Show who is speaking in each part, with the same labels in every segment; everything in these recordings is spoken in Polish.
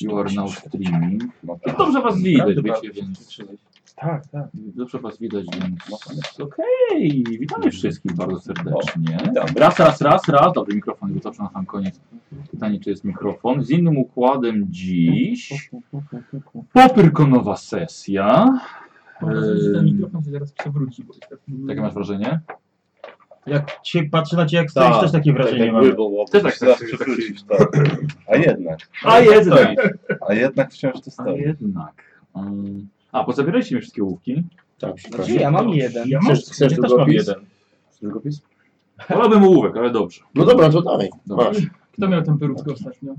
Speaker 1: You are now streaming.
Speaker 2: No
Speaker 1: No
Speaker 2: tak.
Speaker 1: Dobrze was widać,
Speaker 2: Naprawdę
Speaker 1: wiecie,
Speaker 2: bardzo
Speaker 1: więc...
Speaker 2: przyczyny. Tak, tak.
Speaker 1: Dobrze was widać, więc...
Speaker 2: No tak.
Speaker 1: Okej, witamy wszystkich bardzo serdecznie.
Speaker 2: witam.
Speaker 1: Raz, raz, raz, raz. Dobry, mikrofon wytoczę na sam koniec. Pytanie, czy jest mikrofon. Z innym układem dziś... Popyrkonowa sesja.
Speaker 3: Mam wrażenie, że ten
Speaker 1: Ym.
Speaker 3: mikrofon się zaraz przewróci. Bo jest tak...
Speaker 1: Jakie masz wrażenie?
Speaker 4: Jak się patrzy na ciebie, jak stoisz,
Speaker 2: Tak,
Speaker 4: też takie wrażenie
Speaker 2: tak,
Speaker 4: mam.
Speaker 2: tak było,
Speaker 1: Też
Speaker 2: bo
Speaker 1: tak
Speaker 2: się
Speaker 1: tak
Speaker 2: zawsze
Speaker 1: się
Speaker 2: przewrócić, tak. A jednak,
Speaker 1: A jednak!
Speaker 2: a jednak wciąż to
Speaker 1: A
Speaker 2: stoi.
Speaker 1: jednak. Ym, A, pozabieraliście mi wszystkie łówki.
Speaker 5: Tak,
Speaker 4: Znaczy, ja
Speaker 6: No.
Speaker 4: mam jeden.
Speaker 3: Ja mam
Speaker 5: Chcesz, chcesz
Speaker 4: Ja też mam
Speaker 5: długopis?
Speaker 4: jeden.
Speaker 5: Chcesz długopis?
Speaker 1: Wolałbym ołówek, ale dobrze.
Speaker 5: No dobra, to dalej.
Speaker 1: Dobra.
Speaker 5: Masz.
Speaker 3: Kto miał tę peruczkę ostatnio?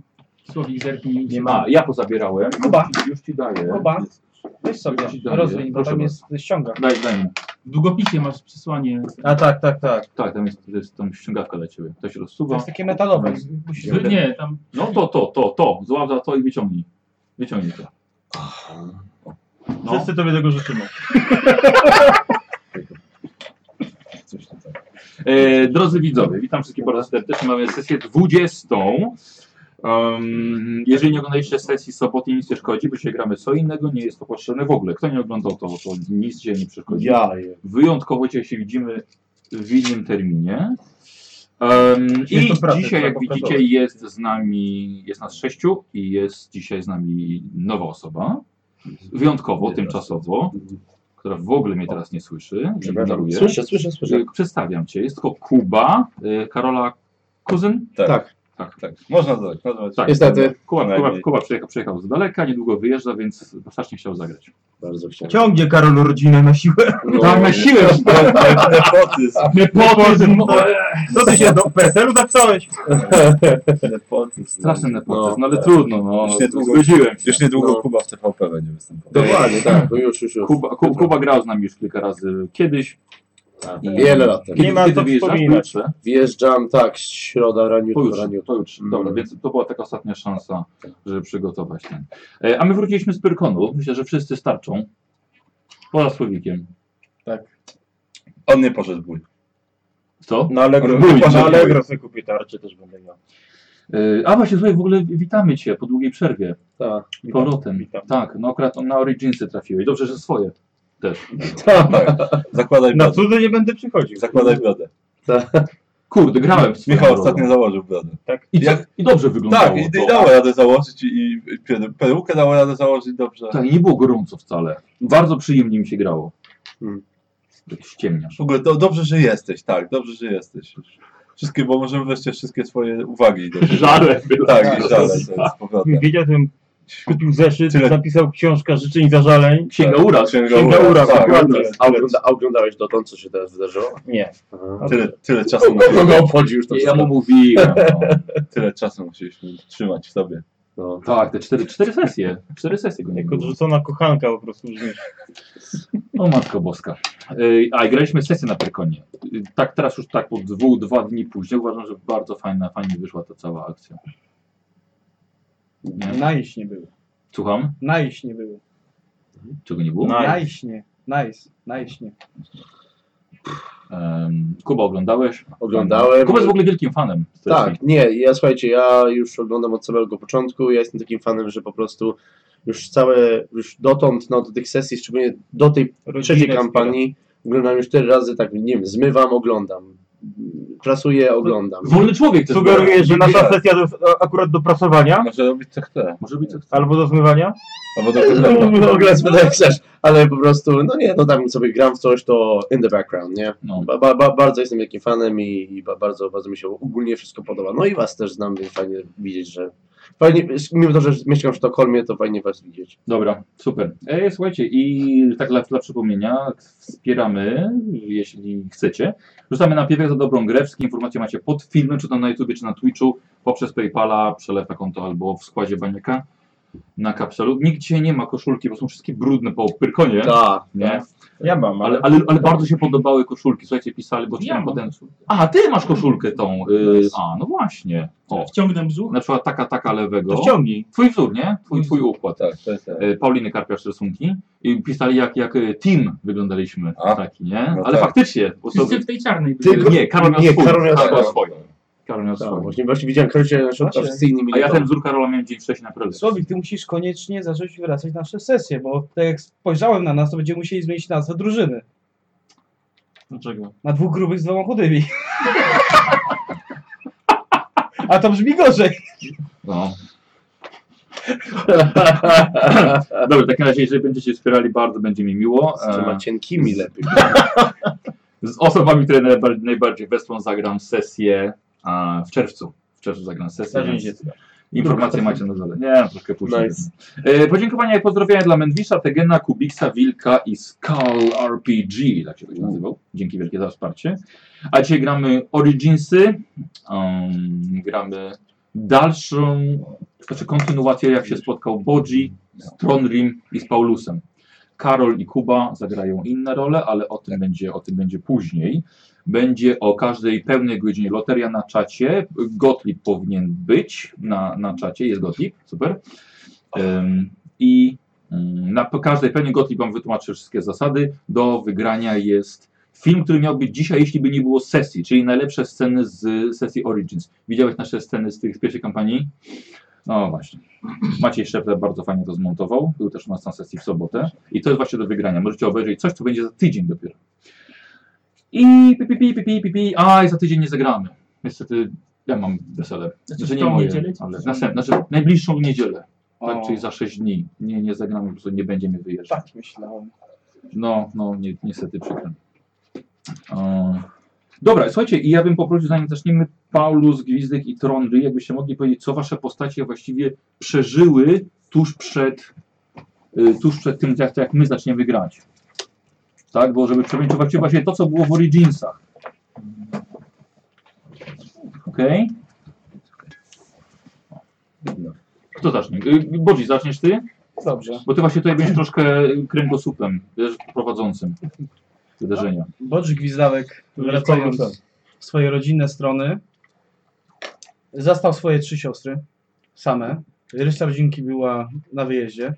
Speaker 3: Słowik zerknij.
Speaker 1: Nie ma. Ja pozabierałem.
Speaker 4: Kuba.
Speaker 1: Już ci daję.
Speaker 4: Kuba. Weź sobie,
Speaker 1: Ja ci daję.
Speaker 4: rozwiń, bo
Speaker 1: Proszę
Speaker 4: tam jest
Speaker 1: bardzo.
Speaker 4: ściąga.
Speaker 1: Daj, daj mu.
Speaker 3: W długopisie masz przesłanie.
Speaker 4: A tak, tak, tak.
Speaker 1: Tak, tam jest, to jest tam ściągawka dla ciebie. To się
Speaker 4: To
Speaker 1: rozsuwa.
Speaker 4: jest takie metalowe. Musisz...
Speaker 3: Że nie, tam
Speaker 1: No to, to, to, to. Złap za to i wyciągnij. Wyciągnij to. No.
Speaker 4: Wszyscy tobie tego życzymy.
Speaker 2: Coś tutaj.
Speaker 1: E, drodzy widzowie, witam wszystkich bardzo serdecznie. Mamy sesję 20. Um, jeżeli nie oglądaliście sesji sobotniej, nic nie szkodzi, bo się gramy co innego, nie jest to potrzebne w ogóle. Kto nie oglądał, to, to nic się nie przeszkodzi.
Speaker 5: Ja je.
Speaker 1: Wyjątkowo dzisiaj się widzimy w innym terminie. Em,
Speaker 4: Jest
Speaker 1: I
Speaker 4: to prawda,
Speaker 1: dzisiaj,
Speaker 4: trzeba
Speaker 1: jak widzicie,
Speaker 4: popracować.
Speaker 1: jest z nami, jest nas sześciu i jest dzisiaj z nami nowa osoba. Wyjątkowo, tymczasowo, która w ogóle mnie teraz nie słyszy.
Speaker 5: Przepraszam.
Speaker 1: ignoruje.
Speaker 5: Słyszę, słyszę, słyszę.
Speaker 1: Y, Przedstawiam cię. Jest to Kuba, y, Karola Kuzyn.
Speaker 2: Tak.
Speaker 5: Tak.
Speaker 1: Tak.
Speaker 2: Tak, można dodać, nazwać.
Speaker 1: Tak.
Speaker 5: Niestety.
Speaker 1: Kuba, Kuba,
Speaker 2: Najmniej.
Speaker 1: Kuba przyjechał, przyjechał z daleka, niedługo wyjeżdża, więc strasznie chciał zagrać.
Speaker 5: Bardzo chciałem. No,
Speaker 4: Ciągnie Karol rodzinę na siłę.
Speaker 1: Tak, na siłę!
Speaker 2: Nepotyzm,
Speaker 1: Nepotyzm!
Speaker 4: Co ty się do PSL-u zapisałeś?
Speaker 2: nepotyzm.
Speaker 1: Straszny
Speaker 5: No,
Speaker 1: nepotyzm, no, ale
Speaker 5: tak.
Speaker 1: trudno, no.
Speaker 2: Już niedługo-
Speaker 1: Zgodziłem się.
Speaker 2: Już niedługo
Speaker 5: No.
Speaker 2: Kuba w TVP będzie występował.
Speaker 5: Dokładnie, tak. No już, już, już.
Speaker 1: Kuba, Ku- Kuba grał z nami już kilka razy kiedyś.
Speaker 2: I-
Speaker 5: Tak. Wiele lat temu.
Speaker 1: Kiedy,
Speaker 4: ma
Speaker 1: kiedy
Speaker 4: co
Speaker 1: wyjeżdżasz?
Speaker 4: wspominać.
Speaker 1: Pojutrze?
Speaker 5: Wjeżdżam, tak, środa, raniutko,
Speaker 1: Pojutrze,
Speaker 5: raniutko.
Speaker 1: pojutrze. Dobra,
Speaker 5: Mm.
Speaker 1: więc to była taka ostatnia szansa, żeby przygotować ten. E, a my wróciliśmy z Pyrkonu. Myślę, że wszyscy starczą. Poza Słowikiem.
Speaker 2: On nie poszedł w bój.
Speaker 1: Co?
Speaker 5: No,
Speaker 4: Na Allegro,
Speaker 1: Bój,
Speaker 4: na
Speaker 1: bój.
Speaker 4: Allegro sobie kupię tarczę, też będę miał.
Speaker 1: E, a właśnie, słuchaj, w ogóle witamy Cię po długiej przerwie.
Speaker 5: Tak.
Speaker 1: Powrotem.
Speaker 4: Witam.
Speaker 1: Tak, no akurat na Originsy trafiłeś. Dobrze, że swoje.
Speaker 2: Tak. Zakładaj
Speaker 4: Na
Speaker 2: brodę.
Speaker 4: cudze nie będę przychodził.
Speaker 2: Zakładaj brodę.
Speaker 1: Kurde, grałem z
Speaker 2: Michał
Speaker 1: Pyrkoną.
Speaker 2: ostatnio założył brodę.
Speaker 1: I, co,
Speaker 2: jak-
Speaker 1: I dobrze wyglądało
Speaker 2: Tak, i, i
Speaker 1: to.
Speaker 2: dało radę założyć i, i pier- perukę dało radę założyć dobrze.
Speaker 1: Tak, nie było gorąco wcale. Bardzo przyjemnie mi się grało.
Speaker 6: Hmm.
Speaker 5: Mm.
Speaker 1: Ściemniasz.
Speaker 2: W ogóle do, dobrze, że jesteś, tak, dobrze, że jesteś. Wszystkie, bo możemy wreszcie wszystkie swoje uwagi do ciebie.
Speaker 1: Żarłem.
Speaker 2: Tak, i żale sobie z powrotem.
Speaker 4: Jakbym wiedział, to bym kupił zeszyt,
Speaker 2: Tyle.
Speaker 4: napisał książka życzeń i zażaleń.
Speaker 1: Księga urazu.
Speaker 2: Księga ura,
Speaker 1: tak,
Speaker 2: dokładnie.
Speaker 1: urazu.
Speaker 5: A ogląda, a oglądałeś dotąd, co się teraz wydarzyło?
Speaker 4: Nie.
Speaker 5: Aha.
Speaker 2: Tyle, tyle, czasu
Speaker 5: Kogo
Speaker 2: musieliśmy,
Speaker 5: go obchodzi już to
Speaker 6: tak.
Speaker 1: Ja mu
Speaker 5: wszystko?
Speaker 1: mówiłem. No.
Speaker 2: tyle czasu musieliśmy trzymać w sobie.
Speaker 5: No.
Speaker 1: Tak, te cztery, cztery sesje. Cztery sesje go nie
Speaker 4: Jak
Speaker 1: było.
Speaker 4: odrzucona kochanka po prostu brzmisz.
Speaker 1: O matko boska. Ej, A, i graliśmy sesję na Perkonie. Ej, Tak teraz już tak po dwóch, dwa dni później uważam, że bardzo fajna, fajnie wyszła ta cała akcja. Nie?
Speaker 6: Nice nie było.
Speaker 1: Słucham?
Speaker 6: Nice nie było.
Speaker 1: Czego nie było?
Speaker 4: Na- Nice.
Speaker 6: Nice nie. Nice. Nice nie.
Speaker 1: Em, Kuba oglądałeś?
Speaker 5: Oglądałem.
Speaker 1: Kuba jest w ogóle wielkim fanem. sesji.
Speaker 5: Tak, nie, ja słuchajcie, ja już oglądam od samego początku, ja jestem takim fanem, że po prostu już całe, już dotąd, no do tych sesji, szczególnie do tej trzeciej kampanii, oglądam już cztery razy, tak, nie wiem, zmywam, oglądam, klasuję, oglądam.
Speaker 1: Wolny człowiek też.
Speaker 4: Sugeruję, że nasza
Speaker 2: Dziękuję.
Speaker 4: sesja to jest a- akurat do prasowania
Speaker 2: Może robić co chce.
Speaker 1: Może być coś.
Speaker 4: albo do zmywania.
Speaker 2: Albo do
Speaker 5: No,
Speaker 2: problemu.
Speaker 5: no, powiedzmy, tak jak chcesz, ale po prostu, no nie, no tam sobie gram w coś, to in the background, nie?
Speaker 1: No.
Speaker 5: Ba, ba, ba, bardzo jestem wielkim fanem i, i ba, bardzo, bardzo mi się ogólnie wszystko podoba. No i was też znam, więc fajnie widzieć, że fajnie, mimo to, że mieszkam w Sztokholmie, to fajnie was widzieć.
Speaker 1: Dobra, super. E, słuchajcie, i tak dla, dla przypomnienia, wspieramy, jeśli chcecie. Rzucamy na piewek za dobrą grę. Wszystkie informacje macie pod filmem, czy to na YouTubie, czy na Twitchu, poprzez PayPala, przelew na konto albo w składzie baniaka na kapselu. Nigdzie nie ma koszulki, bo są wszystkie brudne po pyrkonie.
Speaker 5: Tak,
Speaker 1: Nie?
Speaker 4: Ja mam,
Speaker 1: Ale, ale, ale bardzo się podobały koszulki. Słuchajcie, pisali, bo
Speaker 3: Ja
Speaker 1: ja
Speaker 3: mam
Speaker 1: potem. A, ty masz koszulkę tą. Y, a, no właśnie. O,
Speaker 3: Wciągnę brzuch.
Speaker 1: na przykład taka, taka lewego.
Speaker 4: To ściągnij.
Speaker 1: Twój wzór, nie? Twój, twój układ.
Speaker 2: Tak, to jest tak.
Speaker 1: e, Pauliny Karpiarz rysunki i pisali jak, jak e, team wyglądaliśmy
Speaker 2: A.
Speaker 1: taki, nie?
Speaker 2: No
Speaker 1: Ale
Speaker 2: tak.
Speaker 1: faktycznie, osoby,
Speaker 3: Wszyscy w tej czarnej
Speaker 5: Ty-
Speaker 3: byli.
Speaker 5: Tylko-
Speaker 1: nie, Karol miał
Speaker 5: nie,
Speaker 1: swój,
Speaker 5: Karol miał
Speaker 1: Karol miał
Speaker 2: swoją.
Speaker 1: swoją. Karol miał
Speaker 5: Tak,
Speaker 1: Słowik.
Speaker 5: właśnie, właśnie widziałem Karocie na przykład, a wszyscy inni
Speaker 1: A
Speaker 5: mieli
Speaker 1: ja
Speaker 5: to.
Speaker 1: ten wzór Karola miałem dzień wcześniej na prelekcji.
Speaker 6: Słowik, ty musisz koniecznie zacząć wracać na nasze sesje, bo tak jak spojrzałem na nas, to będziemy musieli zmienić nazwę drużyny.
Speaker 7: Dlaczego?
Speaker 6: Na dwóch grubych z dwoma chudymi. A to brzmi gorzej.
Speaker 1: No. Dobra, w takim razie, jeżeli będziecie wspierali, bardzo będzie mi miło.
Speaker 5: Z trzema
Speaker 1: E,
Speaker 5: cienkimi lepiej.
Speaker 1: Z osobami, które najbardziej, najbardziej wesprą, zagram sesję e, w czerwcu. W czerwcu zagram sesję.
Speaker 4: Zdarzeń
Speaker 1: więc
Speaker 4: się cuda.
Speaker 1: Informacje macie na dole. Nie, troszkę później.
Speaker 5: Nice.
Speaker 1: E, Podziękowania i pozdrowienia dla Mendwisza, Tegena, Kubiksa, Wilka i Skull RPG, tak się to nazywał. Dzięki wielkie za wsparcie. A dzisiaj gramy Originsy, um, gramy dalszą, znaczy kontynuację jak się spotkał Bodzi z Tronrim i z Paulusem. Karol i Kuba zagrają inne role, ale o tym będzie, o tym będzie później. Będzie o każdej pełnej godzinie loteria na czacie. Gotlib powinien być na, na czacie, jest Gotlib, super. Ym, I ym, na po- każdej pełni gotli Wam wytłumaczę wszystkie zasady. Do wygrania jest film, który miał być dzisiaj, jeśli by nie było sesji, czyli najlepsze sceny z sesji Origins. Widziałeś nasze sceny z tych z pierwszej kampanii? No właśnie. Maciej Szefler bardzo fajnie to zmontował. Był też u nas na sesji w sobotę. I to jest właśnie do wygrania. Możecie obejrzeć coś, co będzie za tydzień dopiero. I pi, pi, pi, pi, pi, pi, pi. A, i za tydzień nie zagramy. Niestety ja mam wesele.
Speaker 3: Znaczy,
Speaker 1: Znaczy
Speaker 3: w
Speaker 1: nie
Speaker 3: tą
Speaker 1: moje,
Speaker 3: niedzielę?
Speaker 1: ale następne, znaczy najbliższą niedzielę.
Speaker 6: O,
Speaker 1: Tak, czyli za 6 dni. Nie, nie zagramy, po prostu nie będziemy wyjeżdżać.
Speaker 6: tak myślałem.
Speaker 1: No, no, ni niestety przykro. mi. O. Dobra, słuchajcie, i ja bym poprosił, zanim zaczniemy, Paulus, Gwizdek i Trondry, jakbyście mogli powiedzieć, co wasze postacie właściwie przeżyły tuż przed, y, tuż przed tym, jak, jak my zaczniemy grać. Tak, bo żeby przebić właściwie właśnie to, co było w Originsach. Okej? Kto zacznie? Y, Bodzi, zaczniesz ty?
Speaker 6: Dobrze.
Speaker 1: Bo ty właśnie tutaj będziesz troszkę kręgosłupem, wiesz, prowadzącym wydarzenia.
Speaker 6: Bodż Gwizdawek, wracając w swoje rodzinne strony, zastał swoje trzy siostry same. Reszta rodzinki była na wyjeździe.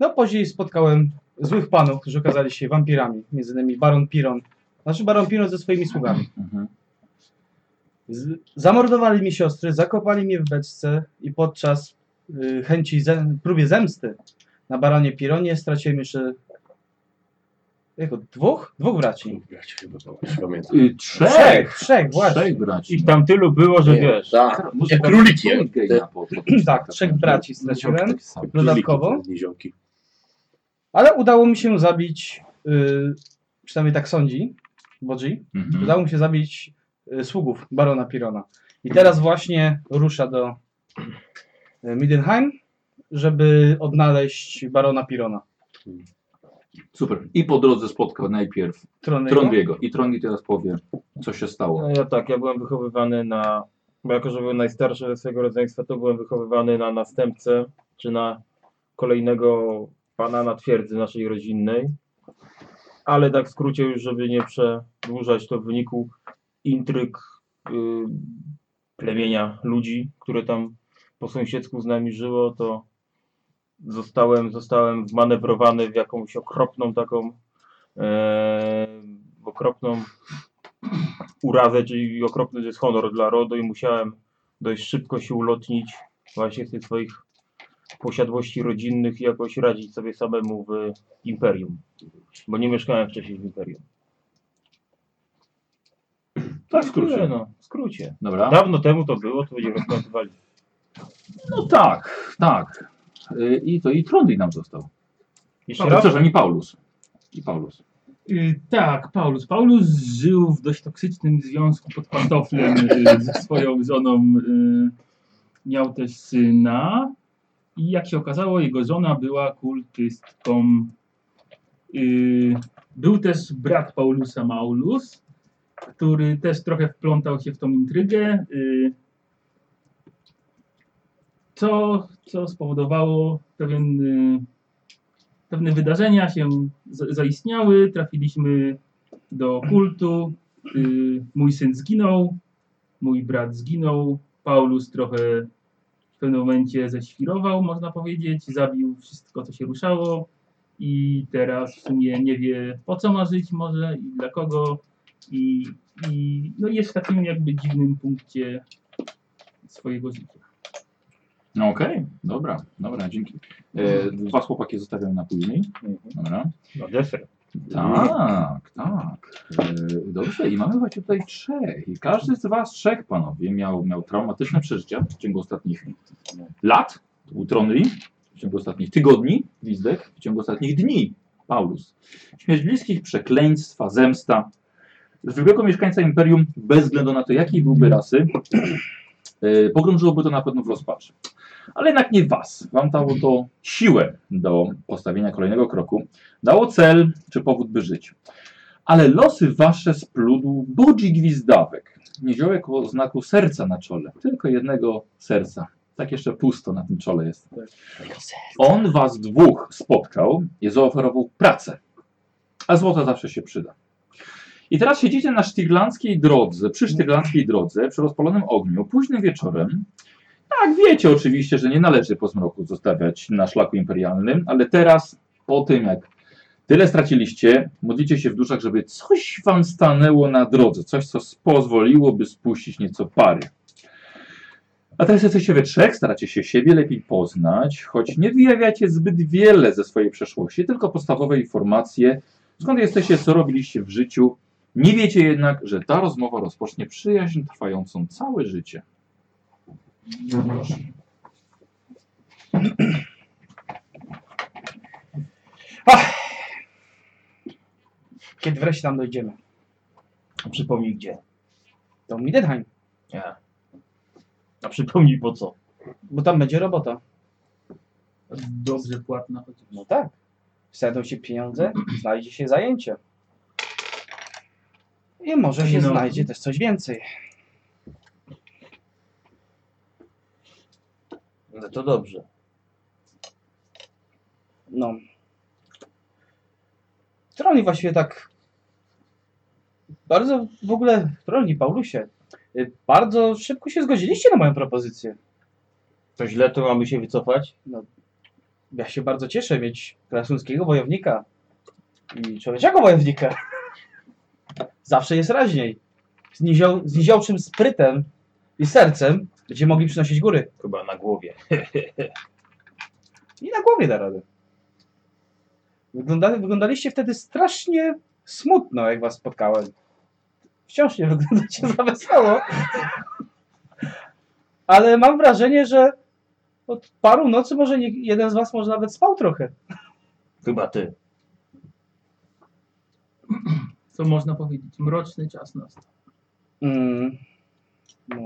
Speaker 6: No później spotkałem złych panów, którzy okazali się wampirami, między innymi Baron Piron, znaczy Baron Piron ze swoimi sługami.
Speaker 1: Mhm.
Speaker 6: Z, zamordowali mi siostry, zakopali mnie w beczce i podczas y, chęci, zem, próbie zemsty na Baronie Pironie straciłem jeszcze jako dwóch? Dwóch braci.
Speaker 5: Grać chyba, bo już pamiętam.
Speaker 1: Y, trzech!
Speaker 6: Trzech, trzech, właśnie.
Speaker 1: Trzech braci.
Speaker 4: Ich tam tylu było, że wiesz.
Speaker 5: Tak, jak króliki. jak te-
Speaker 6: Tak, trzech braci straciłem.
Speaker 5: jak
Speaker 6: Dodatkowo?
Speaker 5: króliki, te niziołki.
Speaker 6: Ale udało mi się zabić, y, przynajmniej tak sądzi Bodzi,
Speaker 1: Mhm.
Speaker 6: udało mi się zabić y, sługów barona Pirona. I teraz właśnie rusza do y, Midenheim, żeby odnaleźć barona Pirona.
Speaker 1: Super. I po drodze spotkał najpierw
Speaker 6: Tronego.
Speaker 1: Trondiego. I Trondi teraz powie, co się stało.
Speaker 4: No ja tak, ja byłem wychowywany na, bo jako, że byłem najstarszy ze swojego rodzeństwa, to byłem wychowywany na następcę, czy na kolejnego pana na twierdzy naszej rodzinnej. Ale tak w skrócie już, żeby nie przedłużać, to w wyniku intryg y, plemienia ludzi, które tam po sąsiedzku z nami żyło, to zostałem, zostałem wmanewrowany w jakąś okropną taką, e, okropną urazę, czyli okropny dyshonor dla RODO i musiałem dość szybko się ulotnić właśnie z tych swoich posiadłości rodzinnych i jakoś radzić sobie samemu w imperium. Bo nie mieszkałem wcześniej w imperium.
Speaker 1: Tak w
Speaker 4: Tyle,
Speaker 1: skrócie.
Speaker 4: No, w skrócie.
Speaker 1: Dobra.
Speaker 7: No.
Speaker 4: Dawno temu to było, to będziemy rozpędzywali.
Speaker 1: No tak, tak. Y, I to i Trondi nam został.
Speaker 4: Jeszcze
Speaker 1: No,
Speaker 4: raz?
Speaker 1: przepraszam, i Paulus. I Paulus.
Speaker 3: Y, tak, Paulus. Paulus żył w dość toksycznym związku pod pantoflem y, ze swoją żoną. Y, miał też syna. I jak się okazało, jego żona była kultystką. Y, był też brat Paulusa Maulus, który też trochę wplątał się w tą intrygę. Y, co, co spowodowało pewien. Y, pewne wydarzenia się za- zaistniały, trafiliśmy do kultu, y, mój syn zginął, mój brat zginął, Paulus trochę w pewnym momencie ześwirował, można powiedzieć, zabił wszystko, co się ruszało i teraz w sumie nie wie, po co ma żyć może i dla kogo I, i no jest w takim jakby dziwnym punkcie swojego życia.
Speaker 1: No okej, dobra, dobra, dzięki. E, dwa chłopaki zostawiam na później. Dobra.
Speaker 4: No deser.
Speaker 1: Tak, tak. E, dobrze, i mamy właśnie tutaj trzech. I każdy z was, trzech panowie, miał, miał traumatyczne przeżycia w ciągu ostatnich lat. To był Tronli, w ciągu ostatnich tygodni, Wizdek, w ciągu ostatnich dni, Paulus. Śmierć bliskich, przekleństwa, zemsta. Zwykłego mieszkańca Imperium, bez względu na to, jakiej byłby rasy, e, pogrążyłoby to na pewno w rozpaczy. Ale jednak nie was. Wam dało to siłę do postawienia kolejnego kroku dało cel czy powód, by żyć. Ale losy wasze splódł budzi gwizdawek. Niziołek o znaku serca na czole. Tylko jednego serca. Tak jeszcze pusto na tym czole jest. On was dwóch spotkał i zaoferował pracę. A złota zawsze się przyda. I teraz siedzicie na sztyglandzkiej drodze, przy sztyglandzkiej drodze, przy rozpalonym ogniu, późnym wieczorem. Tak, wiecie oczywiście, że nie należy po zmroku zostawiać na szlaku imperialnym, ale teraz, po tym jak Tyle straciliście, modlicie się w duszach, żeby coś wam stanęło na drodze, coś, co pozwoliłoby spuścić nieco pary. A teraz jesteście we trzech, staracie się siebie lepiej poznać, choć nie wyjawiacie zbyt wiele ze swojej przeszłości, tylko podstawowe informacje, skąd jesteście, co robiliście w życiu. Nie wiecie jednak, że ta rozmowa rozpocznie przyjaźń trwającą całe życie.
Speaker 6: Kiedy wreszcie tam dojdziemy?
Speaker 7: A przypomnij gdzie.
Speaker 6: Do Midenheim,
Speaker 7: Nie. A przypomnij po co.
Speaker 6: bo tam będzie robota.
Speaker 3: Dobrze płatna chociaż.
Speaker 6: No tak. Znajdą się pieniądze, znajdzie się zajęcie. I może się
Speaker 3: No.
Speaker 6: znajdzie też coś więcej.
Speaker 7: No to dobrze.
Speaker 6: No. Troni właściwie tak. Bardzo w ogóle, Troni, Paulusie, y, bardzo szybko się zgodziliście na moją propozycję. No.
Speaker 4: To źle, to mamy się wycofać.
Speaker 6: Ja się bardzo cieszę mieć krasuńskiego wojownika i człowieczego wojownika. Zawsze jest raźniej. Z, nizioł, z niziołczym sprytem i sercem będziemy mogli przynosić góry.
Speaker 7: Chyba na głowie.
Speaker 6: I na głowie da radę. Wygląda, wyglądaliście wtedy strasznie smutno, jak was spotkałem. Wciąż nie wyglądacie za wesoło. Ale mam wrażenie, że od paru nocy może nie, jeden z was może nawet spał trochę.
Speaker 7: Chyba ty.
Speaker 3: Co można powiedzieć? Mroczny czas nas.
Speaker 6: Mm. No.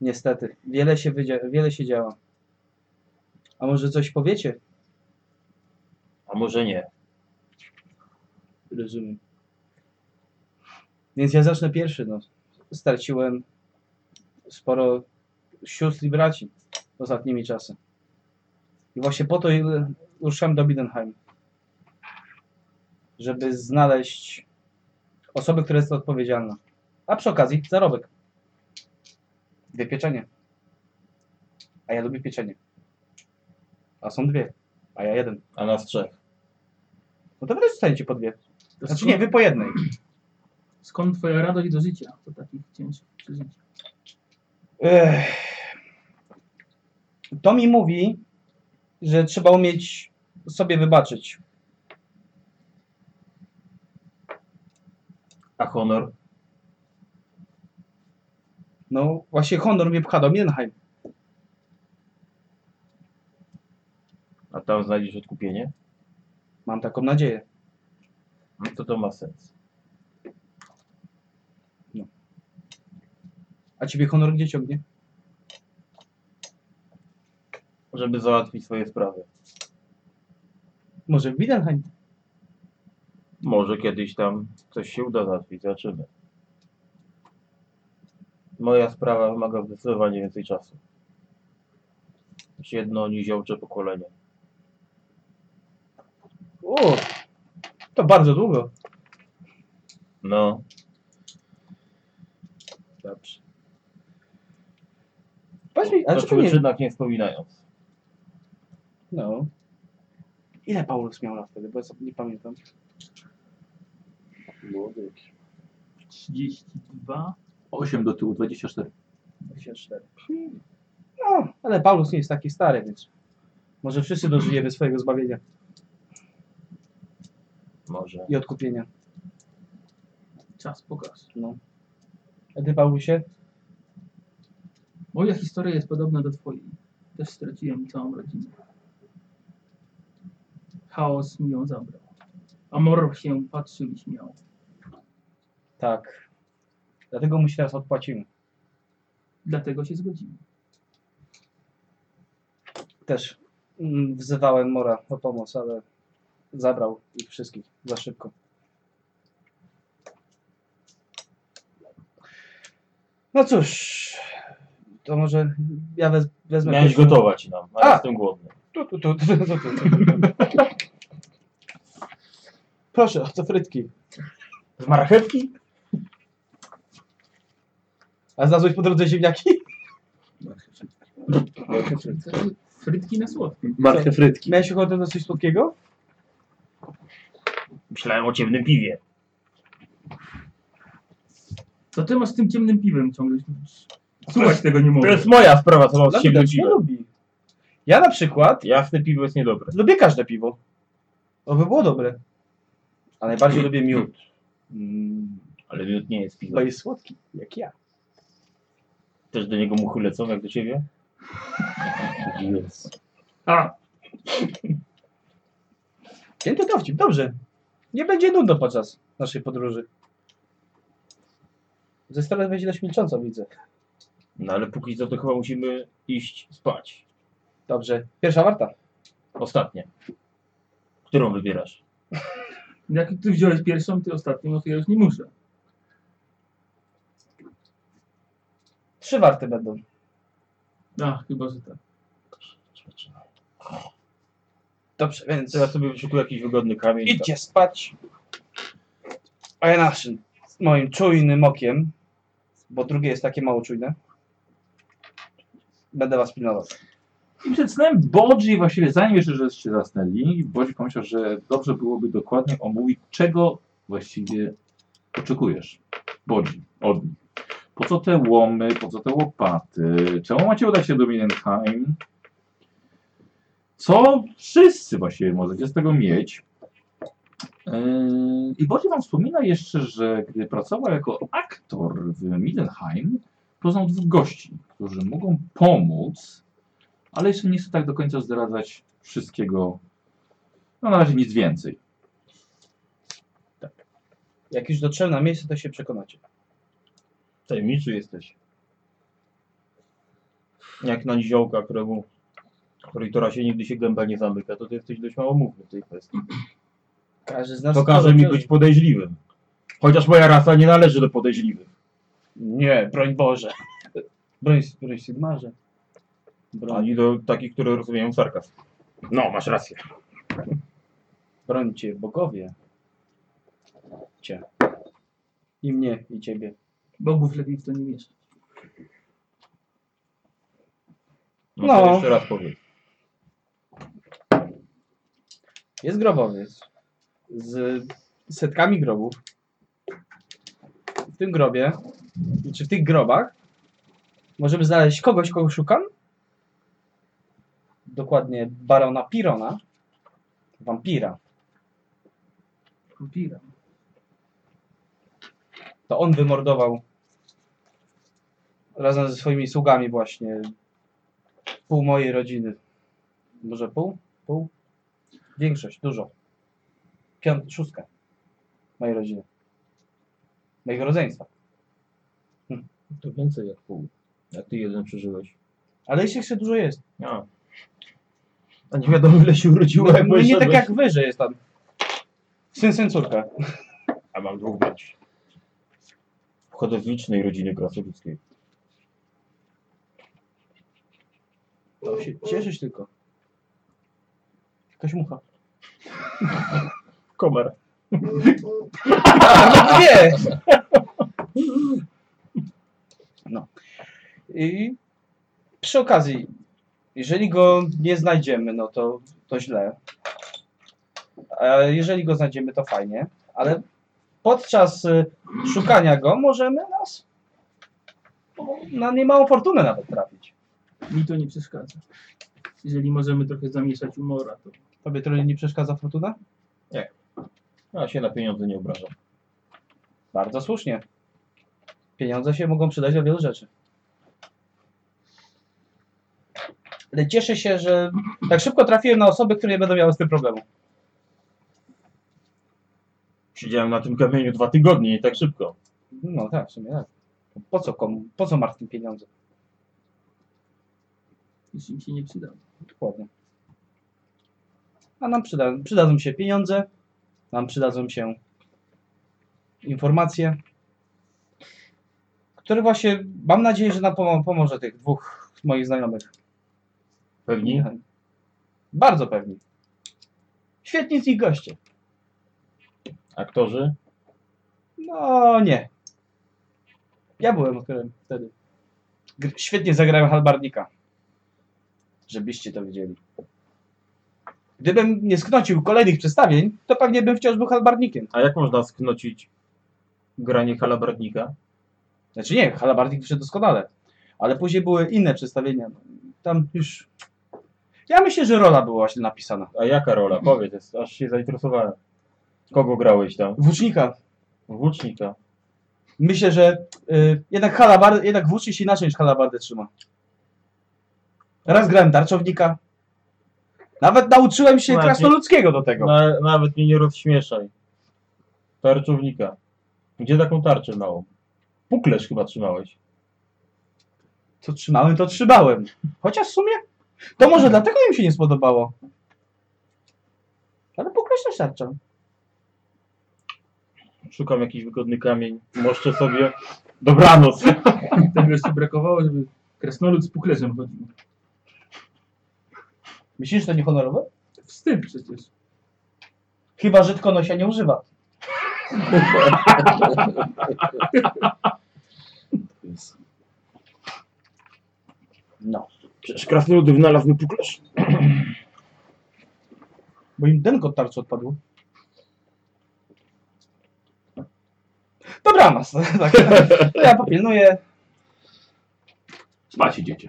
Speaker 6: Niestety. Wiele się, wydzia- wiele się działo. A może coś powiecie?
Speaker 7: A może nie.
Speaker 6: Rozumiem. Więc ja zacznę pierwszy. No. Straciłem sporo sióstr i braci ostatnimi czasy. I właśnie po to i- ruszałem do Bidenheim. Żeby znaleźć osoby, która jest za to odpowiedzialna. A przy okazji zarobek. Dwie pieczenie. A ja lubię pieczenie. A są dwie. A ja jeden.
Speaker 7: A nas trzech.
Speaker 6: No to wy też dostaniecie po dwie.
Speaker 3: To
Speaker 6: Znaczy
Speaker 3: skąd-
Speaker 6: nie, wy po jednej.
Speaker 3: Skąd twoja radość do życia? To takich ciężkich przeżyć.
Speaker 6: Ech. To mi mówi, że trzeba umieć sobie wybaczyć.
Speaker 7: A honor?
Speaker 6: No właśnie honor mnie pcha do Mienheim.
Speaker 7: A tam znajdziesz odkupienie?
Speaker 6: Mam taką nadzieję.
Speaker 7: No to to ma sens.
Speaker 6: A ciebie honor gdzie ciągnie?
Speaker 7: Żeby załatwić swoje sprawy.
Speaker 6: Może w Midenheim.
Speaker 7: Może kiedyś tam coś się uda załatwić. Zobaczymy. Moja sprawa wymaga zdecydowanie więcej czasu. Już jedno niziołcze pokolenie.
Speaker 6: O, to bardzo długo.
Speaker 7: No. Dobrze.
Speaker 6: Powiedz mi,
Speaker 7: O
Speaker 6: a
Speaker 7: o
Speaker 6: czemu nie...
Speaker 7: przyczynach nie wspominając.
Speaker 6: No. Ile Paulus miał lat wtedy, bo ja sobie nie pamiętam.
Speaker 5: Młody.
Speaker 3: 32.
Speaker 1: 8 do tyłu, 24.
Speaker 6: 24. No, ale Paulus nie jest taki stary, więc może wszyscy dożyjemy swojego zbawienia
Speaker 7: Może.
Speaker 6: i odkupienia.
Speaker 3: Czas pokaz.
Speaker 6: No. A ty, Paulusie?
Speaker 3: Moja historia jest podobna do twojej. Też straciłem całą rodzinę. Chaos mi ją zabrał. A Mor się patrzył i śmiał.
Speaker 6: Tak. Dlatego mu się teraz odpłacimy.
Speaker 3: Dlatego się zgodziłem.
Speaker 6: Też mm, wzywałem Mora o pomoc, ale zabrał ich wszystkich za szybko. No cóż, to może ja wez, wezmę...
Speaker 7: Miałeś
Speaker 6: pierwszą-
Speaker 7: gotować nam, Znaczy- a,
Speaker 6: A!
Speaker 7: ja jestem głodny.
Speaker 6: Tu, tu, tu, tu, tu, tu, tu. Proszę, to frytki.
Speaker 7: Z marchewki?
Speaker 6: A znalazłeś po drodze ziemniaki?
Speaker 3: Frytki na słodkim.
Speaker 5: Markę frytki.
Speaker 6: Miałeś ochotę na coś słodkiego?
Speaker 7: Myślałem o ciemnym piwie.
Speaker 3: To ty masz z tym ciemnym piwem ciągle. Słuchać tego nie
Speaker 7: To
Speaker 3: mogę.
Speaker 7: jest moja sprawa, co mam z
Speaker 6: Dla
Speaker 7: ciemnym
Speaker 6: widać, nie
Speaker 7: piwem.
Speaker 6: lubi. Ja na przykład
Speaker 7: Jasne piwo jest niedobre.
Speaker 6: lubię każde piwo. To by było dobre. A najbardziej lubię miód,
Speaker 7: Mm, ale miód nie jest piwo.
Speaker 6: bo jest słodki, jak ja.
Speaker 7: Też do niego muchy lecą, jak do ciebie? Jezu.
Speaker 3: A,
Speaker 6: Pięty dowcip, dobrze. Nie będzie nudno podczas naszej podróży. Ze strony będzie dość milcząco, widzę.
Speaker 7: No ale póki co to chyba musimy iść spać.
Speaker 6: Dobrze. Pierwsza warta.
Speaker 7: Ostatnie. Którą wybierasz?
Speaker 3: jak ty wziąłeś pierwszą, ty ostatnią, no to ja już nie muszę.
Speaker 6: Trzy warty będą.
Speaker 3: A, chyba, że tak.
Speaker 6: Dobrze, więc
Speaker 7: Teraz sobie wyszukuję jakiś wygodny kamień.
Speaker 6: idźcie spać. A ja naszym, moim czujnym okiem, bo drugie jest takie mało czujne, będę was pilnował.
Speaker 1: I przed snem Bodzi, właściwie zanim jeszcze żeście zasnęli, Bodzi pomyślał, że dobrze byłoby dokładnie omówić, czego właściwie oczekujesz, Bodzi, od nich. Po co te łomy, po co te łopaty, czemu macie udać się do Mindenheim, co wszyscy właściwie możecie z tego mieć. Yy, I Bodzi wam wspomina jeszcze, że gdy pracował jako aktor w Mindenheim, poznał dwóch gości, którzy mogą pomóc ale jeszcze nie chcę tak do końca zdradzać wszystkiego. No na razie nic więcej.
Speaker 6: Jak już dotrzemy na miejsce, to się przekonacie.
Speaker 7: Tajemniczy jesteś. Jak na niziołka, któremu, której tora się nigdy się gęba nie zamyka, to ty jesteś dość małomówny w tej kwestii.
Speaker 6: Każdy z nas...
Speaker 7: To każe mi być podejrzliwym. Chociaż moja rasa nie należy do podejrzliwych.
Speaker 6: Nie, broń Boże. Broń, broń Sigmarze. Broń,
Speaker 7: Ani do takich, które rozumieją sarkazm. No, masz rację.
Speaker 6: brońcie bogowie. Cię. I mnie, i ciebie.
Speaker 3: Bogów lepiej w to nie mieszać.
Speaker 7: No,
Speaker 6: No.
Speaker 7: To jeszcze raz powiem.
Speaker 6: Jest grobowiec z setkami grobów. W tym grobie, czy w tych grobach, możemy znaleźć kogoś, kogo szukam. Dokładnie barona Pirona, wampira.
Speaker 3: Wampira.
Speaker 6: To on wymordował razem ze swoimi sługami właśnie pół mojej rodziny. Może pół? Pół? Większość, dużo. Piąt, szóstka mojej rodziny. Mojego rodzeństwa. Hm.
Speaker 7: To więcej jak pół. Jak ty jeden przeżyłeś.
Speaker 6: Ale ich jeszcze dużo jest.
Speaker 7: A. A nie wiadomo ile się urodziło,
Speaker 6: No,
Speaker 7: jak
Speaker 6: no nie tak
Speaker 7: wyszedłeś.
Speaker 6: jak wy, że jest tam syn, syn, córka.
Speaker 7: A mam dwóch braci. Pochodzę z licznej rodziny krasowickiej.
Speaker 6: To się cieszysz tylko. Jakaś mucha.
Speaker 7: Komer.
Speaker 6: No dwie! No. I przy okazji, jeżeli go nie znajdziemy, no to, to źle. A jeżeli go znajdziemy, to fajnie, ale podczas y, szukania go możemy nas no, na niemałą fortunę nawet trafić.
Speaker 3: Mi to nie przeszkadza. Jeżeli możemy trochę zamieszać umora, to
Speaker 6: Tobie trochę nie przeszkadza fortuna?
Speaker 7: Ja się na pieniądze nie obrażam.
Speaker 6: Bardzo słusznie. Pieniądze się mogą przydać do wielu rzeczy. Ale cieszę się, że tak szybko trafiłem na osoby, które nie będą miały z tym problemu.
Speaker 7: Siedziałem na tym kamieniu dwa tygodnie i tak szybko.
Speaker 6: No tak, w sumie tak. Po co komu, po co Martin pieniądze?
Speaker 3: już im się nie przyda.
Speaker 6: Dokładnie. A nam przyda, przydadzą się pieniądze, nam przydadzą się informacje, które właśnie, mam nadzieję, że nam pomo- pomoże tych dwóch moich znajomych.
Speaker 7: Pewnie.
Speaker 6: Bardzo pewni. Świetni z nich goście.
Speaker 7: Aktorzy?
Speaker 6: No nie. Ja byłem aktorem wtedy. Gr- świetnie zagrałem Halbarnika. Żebyście to wiedzieli. Gdybym nie sknocił kolejnych przedstawień, to pewnie bym wciąż był Halbarnikiem.
Speaker 7: A jak można sknocić granie halabardnika?
Speaker 6: Znaczy nie, Halbarnik się doskonale. Ale później były inne przedstawienia. Tam już... Ja myślę, że rola była właśnie napisana.
Speaker 7: A jaka rola? Powiedz, jest, aż się zainteresowałem. Kogo grałeś tam?
Speaker 6: Włócznika.
Speaker 7: Włócznika.
Speaker 6: Myślę, że y, jednak, halabar, jednak włócznik się inaczej niż halabardę trzyma. Raz grałem tarczownika. Nawet nauczyłem się
Speaker 7: Ładnie.
Speaker 6: krasnoludzkiego do tego.
Speaker 7: Na, nawet mnie nie rozśmieszaj. Tarczownika. Gdzie taką tarczę małą? Puklerz chyba trzymałeś.
Speaker 6: Co trzymałem, to trzymałem. Chociaż w sumie to może dlatego im się nie spodobało. Ale pokreślę tarczą.
Speaker 7: Szukam jakiś wygodny kamień. Moszczę sobie. Dobranoc!
Speaker 3: Tego jeszcze tak brakowało, żeby krasnolud z puklerzem chodził.
Speaker 6: Myślisz, że to niehonorowe?
Speaker 3: Wstyd przecież.
Speaker 6: Chyba, że tylko nosia nie używa. No.
Speaker 7: Przecież krasnoludy wynalazły puklerz.
Speaker 6: Bo im denko od tarczy odpadł. Dobranoc. Tak. To ja popilnuję.
Speaker 1: Spać idziecie.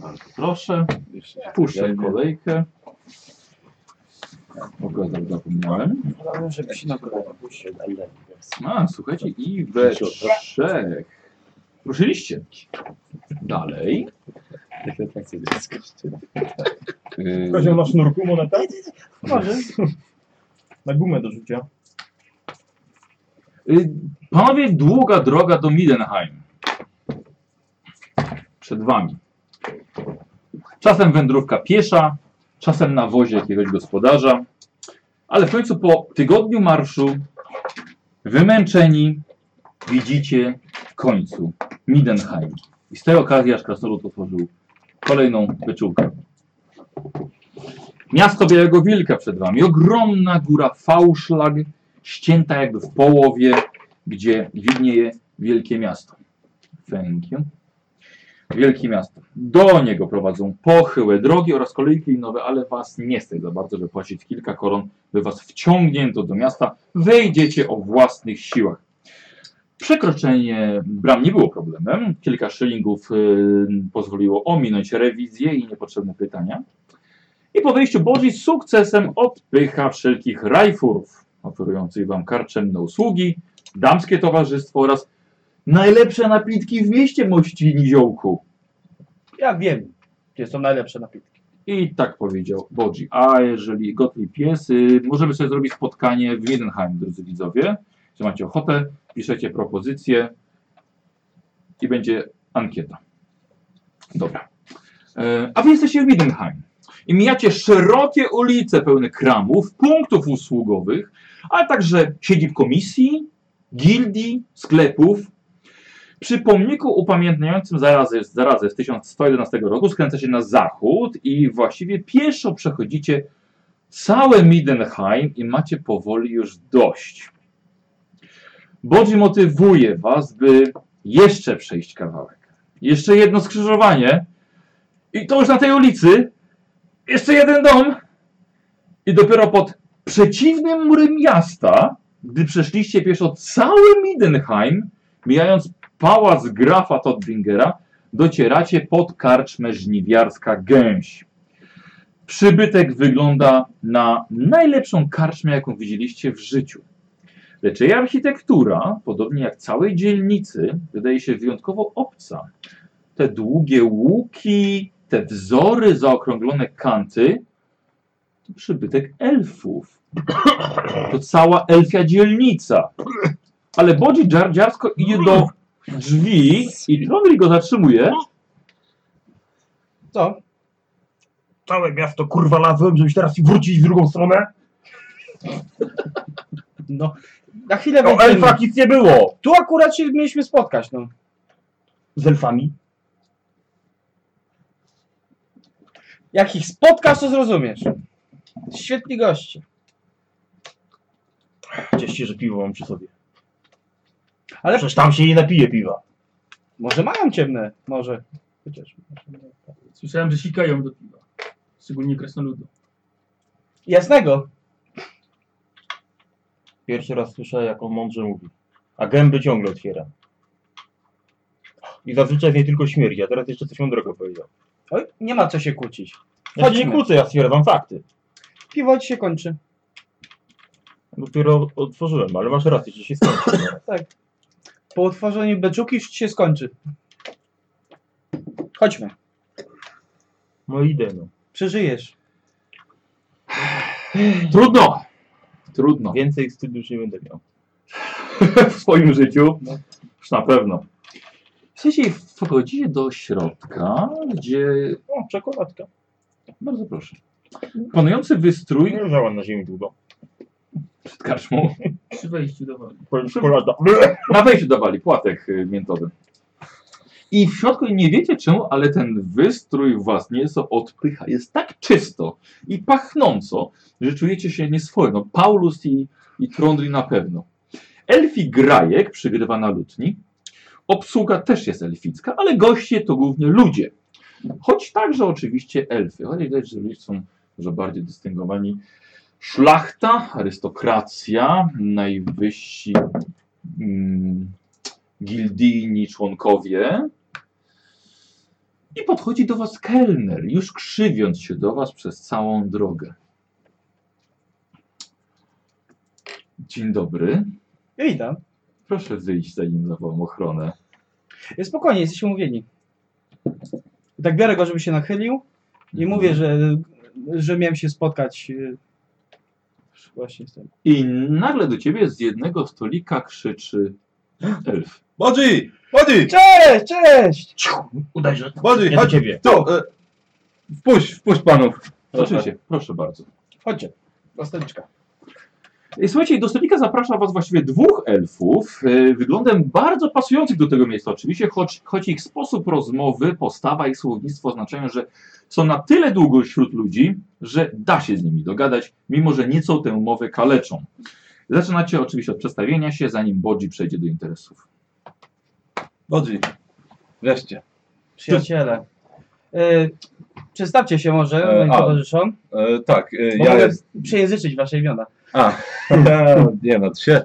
Speaker 1: Bardzo proszę. Puszczę kolejkę. O gadach zapomniałem.
Speaker 5: żeby się nagrodzić.
Speaker 1: A, słuchajcie, i we trzech. Ruszyliście. Dalej. Yy,
Speaker 7: Kozioł na sznurku moneta? Może. Na gumę do rzucia.
Speaker 1: Y, Panowie, długa droga do Midenheim. Przed wami. Czasem wędrówka piesza, czasem na wozie jakiegoś gospodarza, ale w końcu po tygodniu marszu, wymęczeni, widzicie w końcu Midenheim. I z tej okazji aż krasnolud otworzył kolejną wyczółkę. Miasto Białego Wilka przed wami. Ogromna góra Fałszlag, ścięta jakby w połowie, gdzie widnieje wielkie miasto. Thank you. Wielkie miasto. Do niego prowadzą pochyłe drogi oraz kolejki linowe, ale was nie stać za bardzo, żeby płacić kilka koron, by was wciągnięto do miasta. Wejdziecie o własnych siłach. Przekroczenie bram nie było problemem. Kilka szylingów y, pozwoliło ominąć rewizję i niepotrzebne pytania. I po wyjściu Boży z sukcesem odpycha wszelkich rajfurów oferujących Wam karczemne usługi, damskie towarzystwo oraz najlepsze napitki w mieście Mościni Ziołku.
Speaker 6: Ja wiem, gdzie są najlepsze napitki.
Speaker 1: I tak powiedział Bodzi. A jeżeli gotli pies, y, możemy sobie zrobić spotkanie w Wiedenheim, drodzy widzowie. Jeśli macie ochotę, piszecie propozycje i będzie ankieta. Dobra. E, A wy jesteście w Wiedenheim. I mijacie szerokie ulice pełne kramów, punktów usługowych, ale także siedzib komisji, gildii, sklepów. Przy pomniku upamiętniającym zarazę, zarazę z 1111 roku skręca się na zachód i właściwie pieszo przechodzicie całe Midenheim i macie powoli już dość. Bodzi motywuje was, by jeszcze przejść kawałek. Jeszcze jedno skrzyżowanie i to już na tej ulicy. Jeszcze jeden dom i dopiero pod przeciwnym murem miasta, gdy przeszliście pieszo cały Midenheim, mijając pałac grafa Todbringera, docieracie pod karczmę żniwiarska gęś. Przybytek wygląda na najlepszą karczmę, jaką widzieliście w życiu. Lecz jej architektura, podobnie jak całej dzielnicy, wydaje się wyjątkowo obca. Te długie łuki, te wzory, zaokrąglone kanty, to przybytek elfów. To cała elfia dzielnica. Ale Bodzi Dżardziarsko idzie do drzwi i Trondri go zatrzymuje.
Speaker 6: Co?
Speaker 8: Całe miasto kurwa lazłem, żebyś teraz i wrócić w drugą stronę.
Speaker 6: No, na chwilę
Speaker 8: No
Speaker 6: wejdziemy.
Speaker 8: elfa nic nie było.
Speaker 6: Tu akurat się mieliśmy spotkać, no.
Speaker 8: Z elfami.
Speaker 6: Jak ich spotkasz, to zrozumiesz. Świetni goście.
Speaker 7: Cieście, że piwo mam przy sobie.
Speaker 6: Ale-
Speaker 7: Ale przecież tam się nie napije piwa.
Speaker 6: Może mają ciemne, może. Chociaż.
Speaker 3: Słyszałem, że sikają do piwa. Szczególnie kresnoludu.
Speaker 6: Jasnego.
Speaker 7: Pierwszy raz słyszę, jak on mądrze mówi. A gęby ciągle otwiera. I zazwyczaj z niej tylko śmierdzi, a teraz jeszcze coś mądrego powiedział.
Speaker 6: Oj, nie ma co się kłócić.
Speaker 7: Ja się nie
Speaker 6: Chodźmy.
Speaker 7: kłócę, ja stwierdzam fakty.
Speaker 6: Piwo ci się kończy.
Speaker 7: Dopiero otworzyłem, ale masz rację, że się skończy.
Speaker 6: Po utworzeniu beczuki już ci się skończy. Chodźmy.
Speaker 7: No idę, no.
Speaker 6: Przeżyjesz.
Speaker 1: Trudno! Trudno.
Speaker 7: Więcej wstydu już nie będę miał.
Speaker 1: w swoim życiu. Już na pewno. Słuchajcie, wchodzicie do środka, gdzie...
Speaker 7: O, czekoladka.
Speaker 1: Bardzo proszę. Panujący wystrój
Speaker 7: Nie leżała na ziemi długo.
Speaker 1: przed karczmą.
Speaker 3: Przy wejściu do wody.
Speaker 7: Powiem, Czekolada.
Speaker 1: Na wejściu dawali płatek y, miętowy. I w środku nie wiecie czemu, ale ten wystrój was nieco odpycha. Jest tak czysto i pachnąco, że czujecie się nieswojo. No, Paulus i, i Trondri na pewno. Elfi Grajek przygrywa na lutni. Obsługa też jest elficka, ale goście to głównie ludzie. Choć także oczywiście elfy, ale widać, że ludzie są dużo bardziej dystyngowani. Szlachta, arystokracja, najwyżsi mm, gildijni członkowie. I podchodzi do was kelner, już krzywiąc się do was przez całą drogę. Dzień dobry.
Speaker 6: Ja witam.
Speaker 1: Proszę wyjść, zanim zawołam ochronę.
Speaker 6: Spokojnie, jesteśmy umówieni. I Tak biorę go, żeby się nachylił i mówię, że, że miałem się spotkać y, właśnie z tym.
Speaker 1: I nagle do ciebie z jednego stolika krzyczy elf.
Speaker 2: Bodzi! Bodzi!
Speaker 6: Cześć, cześć!
Speaker 7: Udaj, że...
Speaker 2: Bodzi,
Speaker 7: Nie do
Speaker 2: chodź!
Speaker 7: ciebie.
Speaker 2: Tu! e, Wpuść, wpuść panów.
Speaker 1: Oczywiście, proszę bardzo.
Speaker 6: Chodźcie, następczka.
Speaker 1: I Słuchajcie, do stolika zaprasza was właściwie dwóch elfów, e, wyglądem bardzo pasujących do tego miejsca oczywiście, choć, choć ich sposób rozmowy, postawa i słownictwo oznaczają, że są na tyle długo wśród ludzi, że da się z nimi dogadać, mimo że nieco tę mowę kaleczą. Zaczynacie oczywiście od przedstawienia się, zanim Bodzi przejdzie do interesów.
Speaker 2: Bodzi. Wreszcie.
Speaker 6: Przyjaciele. Y, przedstawcie się może,
Speaker 2: E,
Speaker 6: moim
Speaker 2: a-
Speaker 6: towarzyszom.
Speaker 2: E, tak, e,
Speaker 6: Bo
Speaker 2: ja
Speaker 6: mogę
Speaker 2: jestem...
Speaker 6: przejęzyczyć wasze imiona.
Speaker 2: A, nie martw się.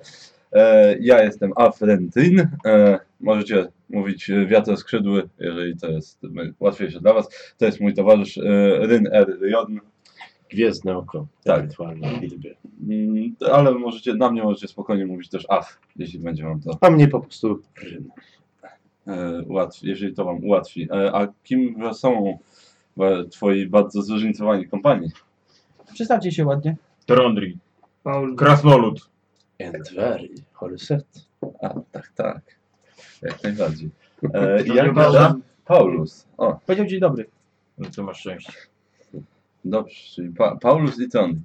Speaker 2: E, ja jestem Afrentyn. E, możecie mówić e, wiatr skrzydły, jeżeli to jest m- łatwiejsze dla was. To jest mój towarzysz e, Ryn R. Rion.
Speaker 5: Gwiezdne oko.
Speaker 2: Tak.
Speaker 5: Ewentualnie Bilby.
Speaker 2: Mm, Ale możecie, na mnie możecie spokojnie mówić też Af, jeśli będzie wam to
Speaker 5: A mnie po prostu Rym.
Speaker 2: e, ułatwi, jeżeli to wam ułatwi. E, a kim są e, twoi bardzo zróżnicowani kompanii?
Speaker 6: Przedstawcie się ładnie.
Speaker 7: Trondri.
Speaker 3: Paul.
Speaker 7: Krasnolud.
Speaker 5: And very Horyset.
Speaker 2: A, tak, tak. Jak najbardziej. E, i jak
Speaker 3: Paulus.
Speaker 2: nasza? Paulus. O,
Speaker 6: Powiedział dzień dobry.
Speaker 7: No to masz szczęście.
Speaker 2: dobrze, czyli pa Paulus i Tony.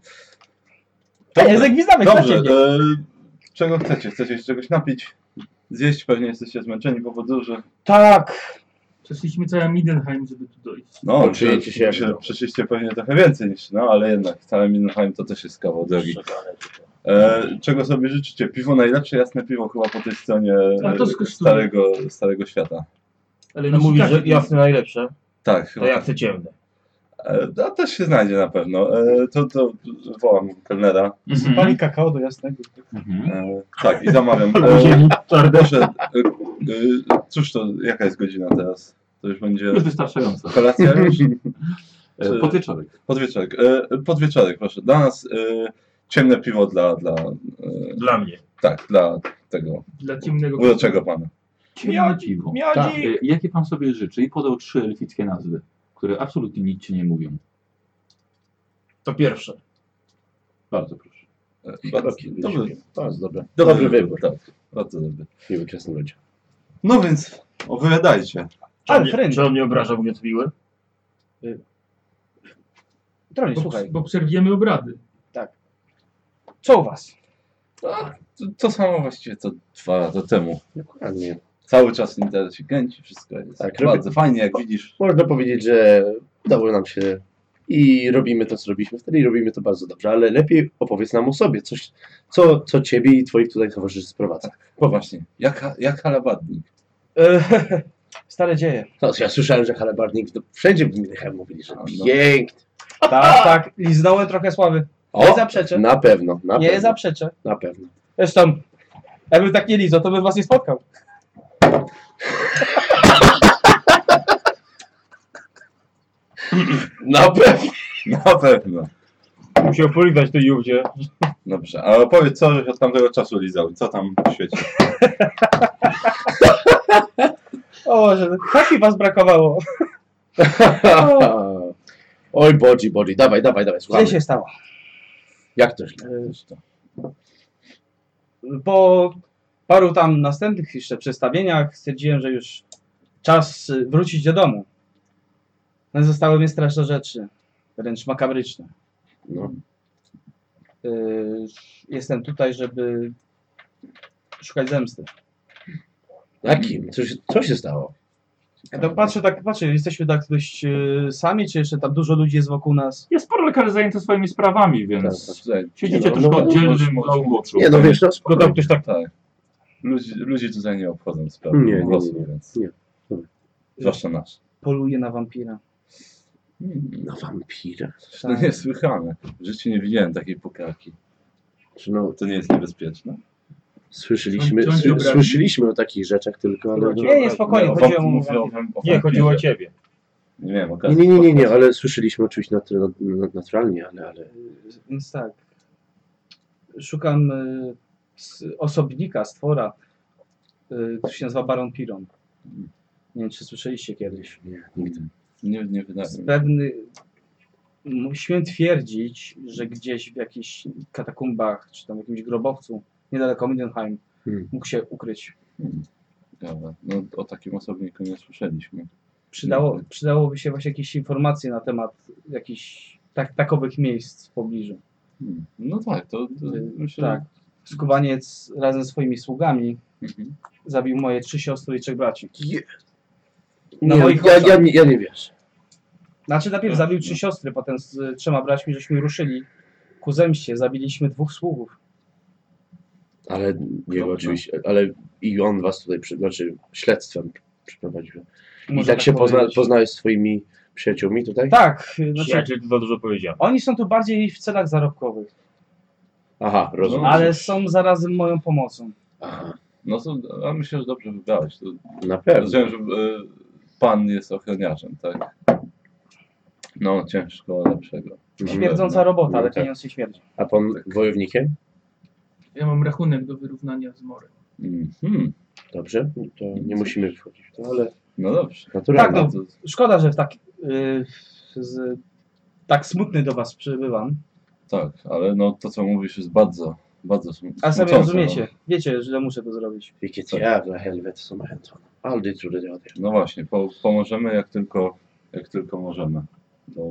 Speaker 6: A język wiznamy,
Speaker 2: Dobrze,
Speaker 6: znacie mnie.
Speaker 2: e, czego chcecie? Chcecie się czegoś napić? Zjeść? Pewnie jesteście zmęczeni po podróży.
Speaker 6: Tak,
Speaker 3: Przeszliśmy cały Midenheim, żeby tu dojść.
Speaker 2: No,
Speaker 5: Poczujecie
Speaker 2: prze-
Speaker 5: się jak
Speaker 2: prze-
Speaker 5: w domu.
Speaker 2: Przeszliście pewnie trochę więcej niż, no, ale jednak, cały Mindenheim to też jest kawał drogi. E, czego sobie życzycie? Piwo, najlepsze jasne piwo chyba po tej stronie
Speaker 3: A to
Speaker 2: e,
Speaker 3: skosztuje.
Speaker 2: starego, starego świata.
Speaker 3: Ale
Speaker 7: No
Speaker 3: nie
Speaker 7: mówisz, że
Speaker 3: sikacie.
Speaker 7: jasne najlepsze,
Speaker 2: Tak, chyba.
Speaker 7: to ja chcę ciemne.
Speaker 2: E, A też się znajdzie na pewno. E, To, to wołam kelnera.
Speaker 6: Pali kakao do jasnego.
Speaker 1: Mhm.
Speaker 2: E, Tak, i zamawiam. E,
Speaker 8: Ziemi,
Speaker 2: Proszę, e, e, cóż to, jaka jest godzina teraz? To już będzie
Speaker 1: Już wystarczająco.
Speaker 2: kolacja już?
Speaker 1: E, Potyczorek.
Speaker 2: Podwieczorek. E, Podwieczorek, proszę. Dla nas e, ciemne piwo dla, dla, e,
Speaker 8: dla mnie.
Speaker 2: tak, dla tego
Speaker 3: Dla ciemnego
Speaker 2: uroczego pana.
Speaker 1: Miodzi.
Speaker 7: Miodzi!
Speaker 1: E, Jakie pan sobie życzy? I podał trzy elfickie nazwy, które absolutnie nic ci nie mówią.
Speaker 7: To pierwsze.
Speaker 1: Bardzo proszę.
Speaker 2: E, Bardzo dobry,
Speaker 5: To jest dobre.
Speaker 2: dobry
Speaker 5: Dobry
Speaker 2: wybór,
Speaker 5: wybór.
Speaker 2: tak. Bardzo dobry.
Speaker 5: Niewyczesny ludzie.
Speaker 2: No więc, opowiadajcie.
Speaker 8: Czy on, mnie,
Speaker 6: Alfred.
Speaker 8: czy on mnie obraża, mówiąc miły?
Speaker 6: Dronie,
Speaker 3: bo,
Speaker 6: słuchaj,
Speaker 3: bo przerwiemy obrady.
Speaker 6: co u was?
Speaker 2: To, to samo właściwie co dwa lata temu.
Speaker 5: Dokładnie.
Speaker 2: Cały czas internet się kręci, wszystko jest
Speaker 5: Tak,
Speaker 2: bardzo fajnie, jak widzisz.
Speaker 5: Można powiedzieć, że udało nam się i robimy to, co robiliśmy wtedy i robimy to bardzo dobrze, ale lepiej opowiedz nam o sobie, coś, co, co ciebie i twoich tutaj towarzyszy sprowadza.
Speaker 2: Bo właśnie, jak, ha- jak halabarnik.
Speaker 6: E, Stare dzieje.
Speaker 5: No, ja słyszałem, że Halabarnik to wszędzie w Minechem mówili, że
Speaker 2: A, no.
Speaker 5: pięknie.
Speaker 6: Tak, tak, liznąłem trochę sławy. Nie zaprzeczę.
Speaker 5: Na pewno, na
Speaker 6: Nie
Speaker 5: pewno.
Speaker 6: zaprzeczę.
Speaker 5: Na pewno.
Speaker 6: Zresztą, jakbym tak nie lizał, to bym was nie spotkał.
Speaker 5: Na pewno.
Speaker 2: Na pewno.
Speaker 7: Musiał polizać tu Juwdzie.
Speaker 2: Dobrze, a opowiedz, co żeś od tamtego czasu lizał i co tam w świecie.
Speaker 6: O, że taki was brakowało.
Speaker 5: Oj, Bodzi, Bodzi, dawaj, dawaj, dawaj,
Speaker 6: Źle
Speaker 5: słuchaj.
Speaker 6: się stało.
Speaker 5: Jak to źle?
Speaker 6: Po paru tam następnych jeszcze przestawieniach stwierdziłem, że już czas y, wrócić do domu. No i zostały mnie straszne rzeczy, wręcz makabryczne.
Speaker 5: No.
Speaker 6: Y, Jestem tutaj, żeby szukać zemsty.
Speaker 5: Jakim? Co się, co się stało?
Speaker 6: Ja tak patrzę, tak patrzę, jesteśmy tak dość y, sami, czy jeszcze tam dużo ludzi jest wokół nas?
Speaker 1: Jest sporo lekarzy zajęty swoimi sprawami,
Speaker 2: Tak,
Speaker 1: więc
Speaker 2: tutaj-
Speaker 1: siedzicie
Speaker 5: No,
Speaker 1: troszkę
Speaker 5: no,
Speaker 1: oddzielnym bloku oczu.
Speaker 5: Nie, no wiesz, no,
Speaker 2: No
Speaker 5: spoko.
Speaker 2: tam ktoś tak, tak. Ludzi, ludzi tutaj nie obchodzą sprawy
Speaker 5: Nie, nie,
Speaker 2: po prostu,
Speaker 5: nie.
Speaker 2: więc.
Speaker 5: Nie.
Speaker 2: Zwłaszcza nasz.
Speaker 6: Poluje na wampira. Tak.
Speaker 5: Na wampira?
Speaker 2: To niesłychane. W życiu nie widziałem takiej pukaki.
Speaker 5: Czy no,
Speaker 2: To nie jest niebezpieczne.
Speaker 5: słyszeliśmy,
Speaker 3: Ciąć- ciąć
Speaker 5: sły,
Speaker 3: obrazi.
Speaker 5: słyszeliśmy o takich rzeczach tylko, ale...
Speaker 6: Nie, nie, spokojnie,
Speaker 2: o
Speaker 6: chodziło
Speaker 2: wam-
Speaker 6: mu
Speaker 2: mówię o
Speaker 6: wampira.
Speaker 2: wam- o
Speaker 7: Nie,
Speaker 2: wampirze.
Speaker 7: chodziło
Speaker 6: tak.
Speaker 7: o ciebie.
Speaker 2: Nie miałem okazji.
Speaker 5: Nie, nie, nie, nie, nie, ale słyszeliśmy oczywiście natu- na- naturalnie, ale... ale...
Speaker 6: Więc tak. Szukam y, s- osobnika, stwora, y, który się nazywa Baron Piron. Nie wiem, czy słyszeliście kiedyś.
Speaker 5: Nie, nigdy.
Speaker 2: Nie, nie wydaje
Speaker 6: Z
Speaker 2: mi
Speaker 6: pewny... m- Śmiem twierdzić, że gdzieś w jakichś katakumbach, czy tam jakimś grobowcu, niedaleko Mindenheim,
Speaker 5: Hmm.
Speaker 6: mógł się ukryć.
Speaker 2: się. No, o takim osobniku nie słyszeliśmy.
Speaker 6: Przydało,
Speaker 2: Mhm.
Speaker 6: przydałoby się właśnie jakieś informacje na temat jakichś tak, takowych miejsc w pobliżu.
Speaker 2: Hmm. No tak, to, to
Speaker 6: Yy,
Speaker 2: myślę.
Speaker 6: Tak. Skubaniec razem ze swoimi sługami
Speaker 2: Mhm.
Speaker 6: zabił moje trzy siostry i trzech braci.
Speaker 5: Nie,
Speaker 6: moich
Speaker 5: ja,
Speaker 6: oczach.
Speaker 5: ja, nie, ja nie wiesz.
Speaker 6: Znaczy
Speaker 2: Tak,
Speaker 6: najpierw zabił
Speaker 2: no.
Speaker 6: trzy siostry, potem z y, trzema braćmi żeśmy ruszyli ku zemście, zabiliśmy dwóch sługów.
Speaker 5: Ale nie, oczywiście, ale i on was tutaj, przy, znaczy śledztwem przeprowadził. I
Speaker 6: Można
Speaker 5: tak się pozna,
Speaker 6: powiedzieć.
Speaker 5: poznałeś z swoimi przyjaciółmi tutaj?
Speaker 6: Tak, y, znaczy,
Speaker 7: Przyjaciel to za dużo powiedział.
Speaker 6: oni są tu bardziej w celach zarobkowych,
Speaker 5: Aha, rozumiem.
Speaker 2: No,
Speaker 6: ale
Speaker 2: cóż.
Speaker 6: są zarazem moją pomocą.
Speaker 5: Aha,
Speaker 2: No to, a myślę, że dobrze wybrałeś. To,
Speaker 5: na pewno.
Speaker 2: rozumiem, że e, pan jest ochroniarzem, tak? No, ciężko lepszego.
Speaker 5: Mhm.
Speaker 6: Śmierdząca robota, ale
Speaker 5: No tak.
Speaker 6: pieniądz nie śmierdzi.
Speaker 5: A pan wojownikiem?
Speaker 3: Ja mam rachunek do wyrównania z morem.
Speaker 2: Mhm.
Speaker 5: Dobrze, no to nie musimy wchodzić w to, ale
Speaker 2: No dobrze.
Speaker 5: naturalnie.
Speaker 6: Tak, no.
Speaker 2: To-
Speaker 6: Szkoda, że w tak, y, z, tak smutny do was przybywam,
Speaker 2: Tak, ale no to co mówisz jest bardzo, bardzo smu-
Speaker 5: No
Speaker 6: a sami
Speaker 2: smucące,
Speaker 6: rozumiecie, wiecie, że muszę to zrobić.
Speaker 5: Vilket jävla helvete som har hänt honom. Aldrig trodde jag det.
Speaker 2: No, no właśnie, po, pomożemy jak tylko, jak tylko możemy. No,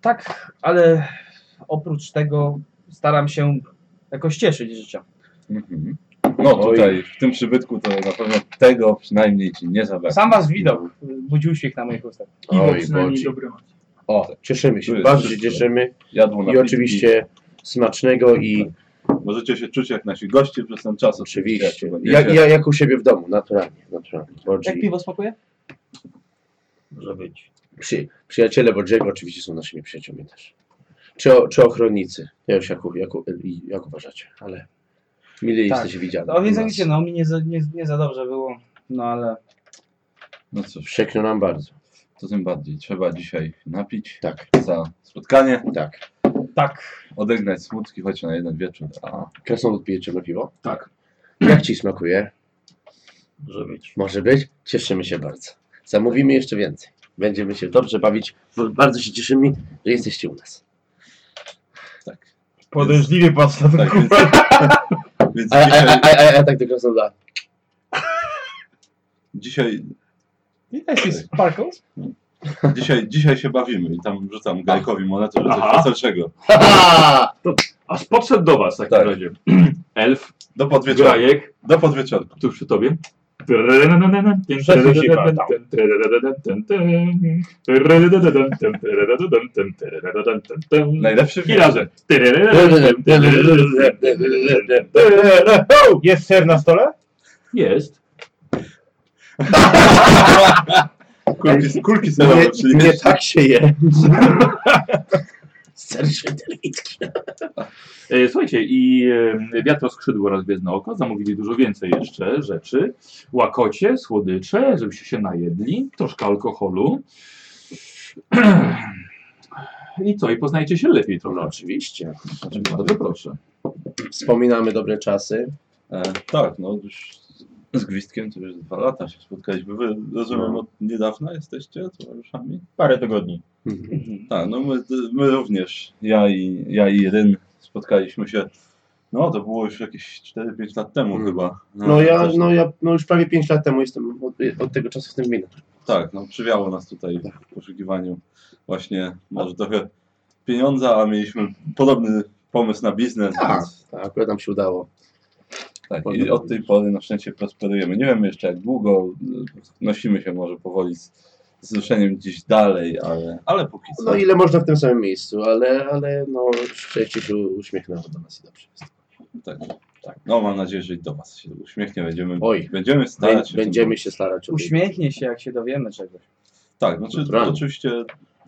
Speaker 6: Tak, ale oprócz tego staram się jakoś cieszyć z życia.
Speaker 2: mhm. no tutaj, w tym przybytku to na pewno tego przynajmniej ci nie
Speaker 5: Tak.
Speaker 2: zabraknie.
Speaker 6: Sam was widok y, budził uśmiech na moich ustach.
Speaker 3: I
Speaker 5: Oj,
Speaker 3: przynajmniej
Speaker 5: Bodzi.
Speaker 3: dobre macie.
Speaker 5: O, cieszymy się,
Speaker 2: Tu jest
Speaker 5: bardzo się
Speaker 2: wszystko.
Speaker 5: cieszymy
Speaker 2: Jadło
Speaker 5: i
Speaker 2: napitki.
Speaker 5: oczywiście smacznego i
Speaker 2: Możecie się czuć jak nasi goście przez ten czas.
Speaker 5: oczywiście,
Speaker 2: jak
Speaker 5: ja,
Speaker 2: będziecie.
Speaker 5: ja, jak u siebie w domu, naturalnie, naturalnie.
Speaker 6: Jak
Speaker 5: Bodzi,
Speaker 6: piwo smakuje?
Speaker 7: Może być.
Speaker 5: Przy, przyjaciele Bodziego oczywiście są naszymi przyjaciółmi też. Czy, o, czy ochronnicy? Nie wiem, jak, jak, jak uważacie, ale mile
Speaker 6: Tak.
Speaker 5: jesteście widziani.
Speaker 6: No więc
Speaker 5: u
Speaker 6: jak
Speaker 5: nas.
Speaker 6: wiecie, no mi nie za, nie, nie za dobrze było, no ale
Speaker 2: No cóż,
Speaker 5: Przykro nam bardzo.
Speaker 2: to tym bardziej. Trzeba dzisiaj napić
Speaker 5: Tak,
Speaker 2: za spotkanie,
Speaker 5: tak.
Speaker 6: tak,
Speaker 2: odegnać smutki, choć na jeden wieczór. A
Speaker 5: Krasnolud pije czarne piwo?
Speaker 1: Tak.
Speaker 5: Jak ci smakuje?
Speaker 7: Może być.
Speaker 5: Może być? Cieszymy się bardzo. Zamówimy jeszcze więcej. Będziemy się dobrze bawić. bo Bardzo się cieszymy, że jesteście u nas.
Speaker 2: tak.
Speaker 8: Podejrzliwie patrz na ten
Speaker 2: Tak,
Speaker 8: tak,
Speaker 2: więc, więc
Speaker 5: A, a,
Speaker 2: dzisiaj,
Speaker 5: a, a, a, a tak do Krasnoluda.
Speaker 2: dzisiaj,
Speaker 6: Sparkles?
Speaker 2: dzisiaj, dzisiaj się bawimy i tam rzucam Gajkowi monetę, że coś
Speaker 1: Aha.
Speaker 2: weselszego.
Speaker 1: Aż podszedł do was w takim
Speaker 2: Tak.
Speaker 1: razie. Elf,
Speaker 2: Do podwieczorku.
Speaker 1: grajek,
Speaker 2: Do podwieczorku.
Speaker 1: tu przy tobie.
Speaker 8: Wszyscy się pytał.
Speaker 1: no,
Speaker 2: Najlepszy wieczór.
Speaker 1: Chwilarze. no,
Speaker 8: Jest ser na stole?
Speaker 1: Jest.
Speaker 2: Kulki, kulki serowe,
Speaker 5: Nie,
Speaker 2: czyli
Speaker 5: nie tak się je. Serszy delicki.
Speaker 1: E, Słuchajcie, i e, wiatro skrzydło oraz gwiezdne oko zamówili dużo więcej jeszcze rzeczy. Łakocie, słodycze, żebyście się najedli, troszkę alkoholu. I co, i poznajcie się lepiej
Speaker 5: No
Speaker 1: trochę.
Speaker 5: oczywiście.
Speaker 1: Bardzo proszę.
Speaker 5: Wspominamy dobre czasy.
Speaker 2: E, tak, no już z Gwizdkiem to już dwa lata się spotkaliśmy. Wy, rozumiem, od niedawna jesteście towarzyszami?
Speaker 7: Parę tygodni.
Speaker 2: Tak, no my, my również, ja i, ja i Ryn spotkaliśmy się, no to było już jakieś 4-5 lat temu
Speaker 5: Mm.
Speaker 2: chyba.
Speaker 5: No ja,
Speaker 2: Coś-
Speaker 5: no ja no już prawie 5 lat temu jestem od, od tego czasu w tym gminie.
Speaker 2: Tak, no przywiało nas tutaj w poszukiwaniu właśnie może trochę pieniądza, a mieliśmy podobny pomysł na biznes,
Speaker 5: Tak.
Speaker 2: więc
Speaker 5: Tak, akurat nam się udało.
Speaker 2: tak, i od tej pory na szczęście prosperujemy. Nie wiem jeszcze jak długo, y, nosimy się może powoli z, z ruszeniem gdzieś dalej, ale, ale póki co.
Speaker 5: No ile można w tym samym miejscu, ale, ale no szczęście się uśmiechnęło do nas i dobrze jest.
Speaker 2: Tak, tak. No mam nadzieję, że i do Was się uśmiechnie, będziemy,
Speaker 5: Oj.
Speaker 2: będziemy starać się. w tym
Speaker 5: Będziemy się starać o
Speaker 6: Uśmiechnie się, jak się dowiemy czegoś.
Speaker 2: Tak, znaczy
Speaker 5: Naturalnie.
Speaker 2: oczywiście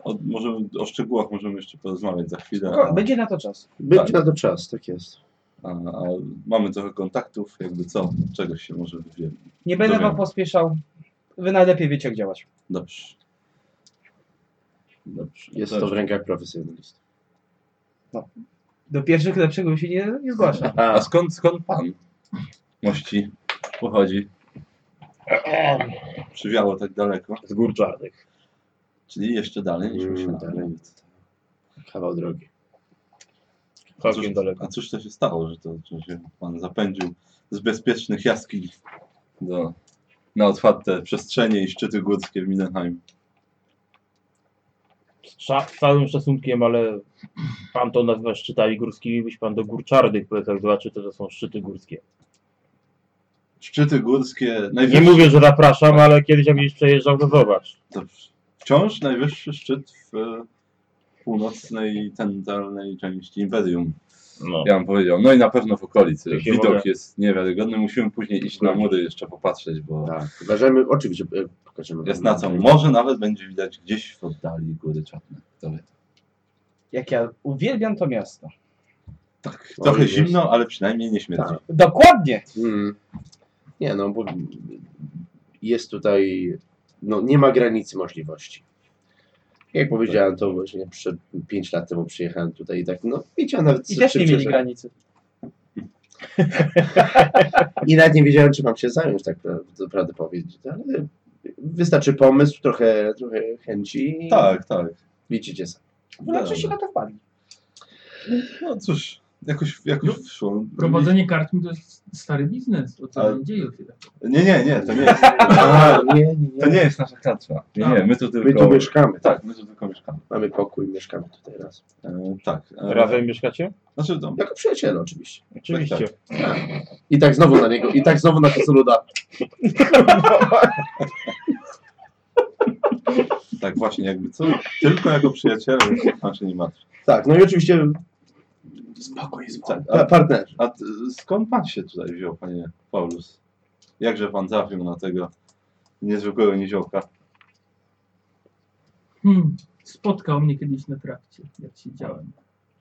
Speaker 2: o, możemy, o szczegółach możemy jeszcze porozmawiać za chwilę.
Speaker 6: Ko-
Speaker 2: A,
Speaker 6: Będzie na to czas.
Speaker 5: Będzie na to czas, tak jest.
Speaker 2: a, a mamy trochę kontaktów, jakby co, czegoś się może wywiemy.
Speaker 6: Nie będę
Speaker 2: Dobra.
Speaker 6: wam pospieszał, wy najlepiej wiecie jak działać.
Speaker 2: Dobrze. Dobrze.
Speaker 5: Jest
Speaker 2: Dobrze.
Speaker 5: to w rękach profesjonalistów.
Speaker 6: Do pierwszych lepszego mi się nie, nie zgłasza.
Speaker 2: A skąd, skąd pan mości pochodzi? Przywiało tak daleko,
Speaker 5: Z gór czarnych.
Speaker 2: czyli jeszcze dalej niż
Speaker 5: Mm,
Speaker 2: myślałem.
Speaker 5: dalej. Kawał drogi.
Speaker 2: A
Speaker 7: Całkiem
Speaker 2: cóż,
Speaker 7: daleko.
Speaker 2: a cóż to się stało, że to że się pan zapędził z bezpiecznych jaskiń do, na otwarte przestrzenie i szczyty górskie w Mindenheim?
Speaker 7: Z cza- z całym szacunkiem, ale pan to nazywa szczytami górskimi, byś pan do gór czarnych plecach zobaczy, to, to są szczyty górskie.
Speaker 2: Szczyty górskie,
Speaker 7: Nie
Speaker 2: najwyższy,
Speaker 7: mówię, że zapraszam, ale kiedyś jak gdzieś przejeżdżał, to zobacz.
Speaker 2: to wciąż najwyższy szczyt w e, północnej, centralnej części Imperium.
Speaker 7: No.
Speaker 2: Ja bym powiedział, no i na pewno w okolicy.
Speaker 7: Jak się
Speaker 2: Widok
Speaker 7: mogę-
Speaker 2: jest niewiarygodny, musimy później iść na mury jeszcze popatrzeć, bo
Speaker 5: Tak. Pokażemy, oczywiście e, pokażemy.
Speaker 2: jest
Speaker 5: wam.
Speaker 2: na co. Może nawet będzie widać gdzieś w oddali góry czarne. Kto wie.
Speaker 6: Jak ja uwielbiam to miasto.
Speaker 2: Tak,
Speaker 5: No
Speaker 2: trochę
Speaker 5: i jest.
Speaker 2: zimno, ale przynajmniej nie śmierdzi.
Speaker 5: Tak.
Speaker 6: Dokładnie!
Speaker 5: Mm. Nie no, bo jest tutaj, no nie ma granicy możliwości. Jak powiedziałem, to właśnie przed 5 lat temu przyjechałem tutaj i tak, no wiecie, nawet
Speaker 6: I też nie
Speaker 5: szybciej,
Speaker 6: mieli
Speaker 5: że-
Speaker 6: granicy.
Speaker 5: I nawet nie wiedziałem, czy mam się zająć, tak pra- prawdę powiedzieć. Ale wystarczy pomysł, trochę, trochę chęci i
Speaker 2: Tak, tak.
Speaker 5: widzicie sami.
Speaker 6: Znaczy się na to wpadli.
Speaker 2: No cóż, jakoś, jakoś wszło.
Speaker 3: Prowadzenie kartmi to jest stary biznes. O co
Speaker 2: Ale-
Speaker 3: się dzieje? tyle.
Speaker 2: Nie, nie, nie, to nie jest,
Speaker 5: A, nie, nie,
Speaker 2: to nie
Speaker 5: nie.
Speaker 2: jest nasza klatwa. Nie, nie, my tu tylko...
Speaker 5: My tu mieszkamy, tak.
Speaker 2: Tak, my tu tylko mieszkamy.
Speaker 5: Mamy pokój, mieszkamy tutaj raz.
Speaker 2: E, tak. E,
Speaker 7: Razem mieszkacie?
Speaker 2: Znaczy, no,
Speaker 5: Jako przyjaciele oczywiście.
Speaker 7: Oczywiście.
Speaker 2: tak.
Speaker 5: I tak znowu na niego, i tak znowu na Kasoluda.
Speaker 2: tak właśnie, jakby co, tylko jako przyjaciele, pan się nie martwi.
Speaker 5: Tak, no i oczywiście
Speaker 2: Spokojnie, spokojnie.
Speaker 5: pa-
Speaker 2: Tak, A,
Speaker 5: partnerzy.
Speaker 2: a t- skąd pan się tutaj wziął, panie Paulus? Jakże pan trafił na tego niezwykłego niziołka?
Speaker 3: Hmm, spotkał mnie kiedyś na trakcie, jak siedziałem.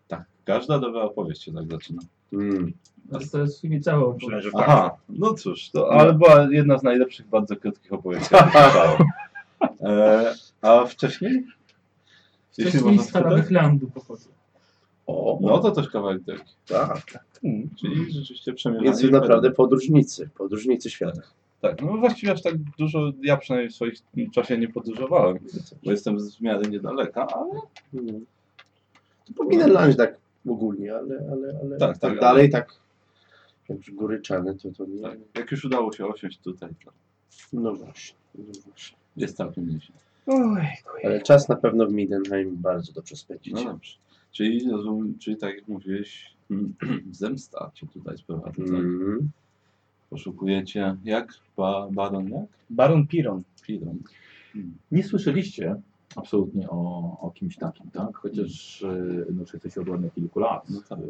Speaker 2: Tak, każda nowa opowieść się tak zaczyna.
Speaker 5: Mm.
Speaker 3: Ale to jest w sumie całe opowieść.
Speaker 8: Myślę, że tak.
Speaker 2: Aha, no cóż, to ale była jedna z najlepszych bardzo krótkich opowieści. jakie czytałem. e, a wcześniej? Jeśli
Speaker 3: Wcześniej
Speaker 2: można
Speaker 3: z Harawych Landu pochodzę.
Speaker 2: O, no to też kawałek drogi.
Speaker 5: Tak.
Speaker 2: Czyli rzeczywiście przemierzamy.
Speaker 5: Więc wy naprawdę podróżnicy, podróżnicy świata.
Speaker 2: Tak, no właściwie aż tak dużo, ja przynajmniej w swoim czasie nie podróżowałem, bo jestem z w miarę niedaleka, ale
Speaker 5: Mm. To powinien lać tak ogólnie, ale, ale, ale
Speaker 2: Mm. Tak,
Speaker 5: tak,
Speaker 2: tak, ale-
Speaker 5: dalej, tak jak już góry czarne, to, to nie.
Speaker 2: tak, jak już udało się osiąść tutaj, to
Speaker 5: No właśnie, no właśnie.
Speaker 2: jest całkiem nieźle. No
Speaker 5: Ale czas na pewno w Mindenheim bardzo dobrze
Speaker 2: No
Speaker 5: spędzicie.
Speaker 2: dobrze. Czyli, rozumiem, czyli tak jak mówiłeś, zemsta cię tutaj sprowadza, tak?
Speaker 5: Mm.
Speaker 2: Poszukujecie, jak? Ba, baron jak?
Speaker 6: Baron Piron.
Speaker 2: Piron.
Speaker 1: Nie słyszeliście absolutnie o, o kimś takim, tak? Chociaż e, no, że jesteście od ładnych kilku lat.
Speaker 2: No tak.
Speaker 1: E,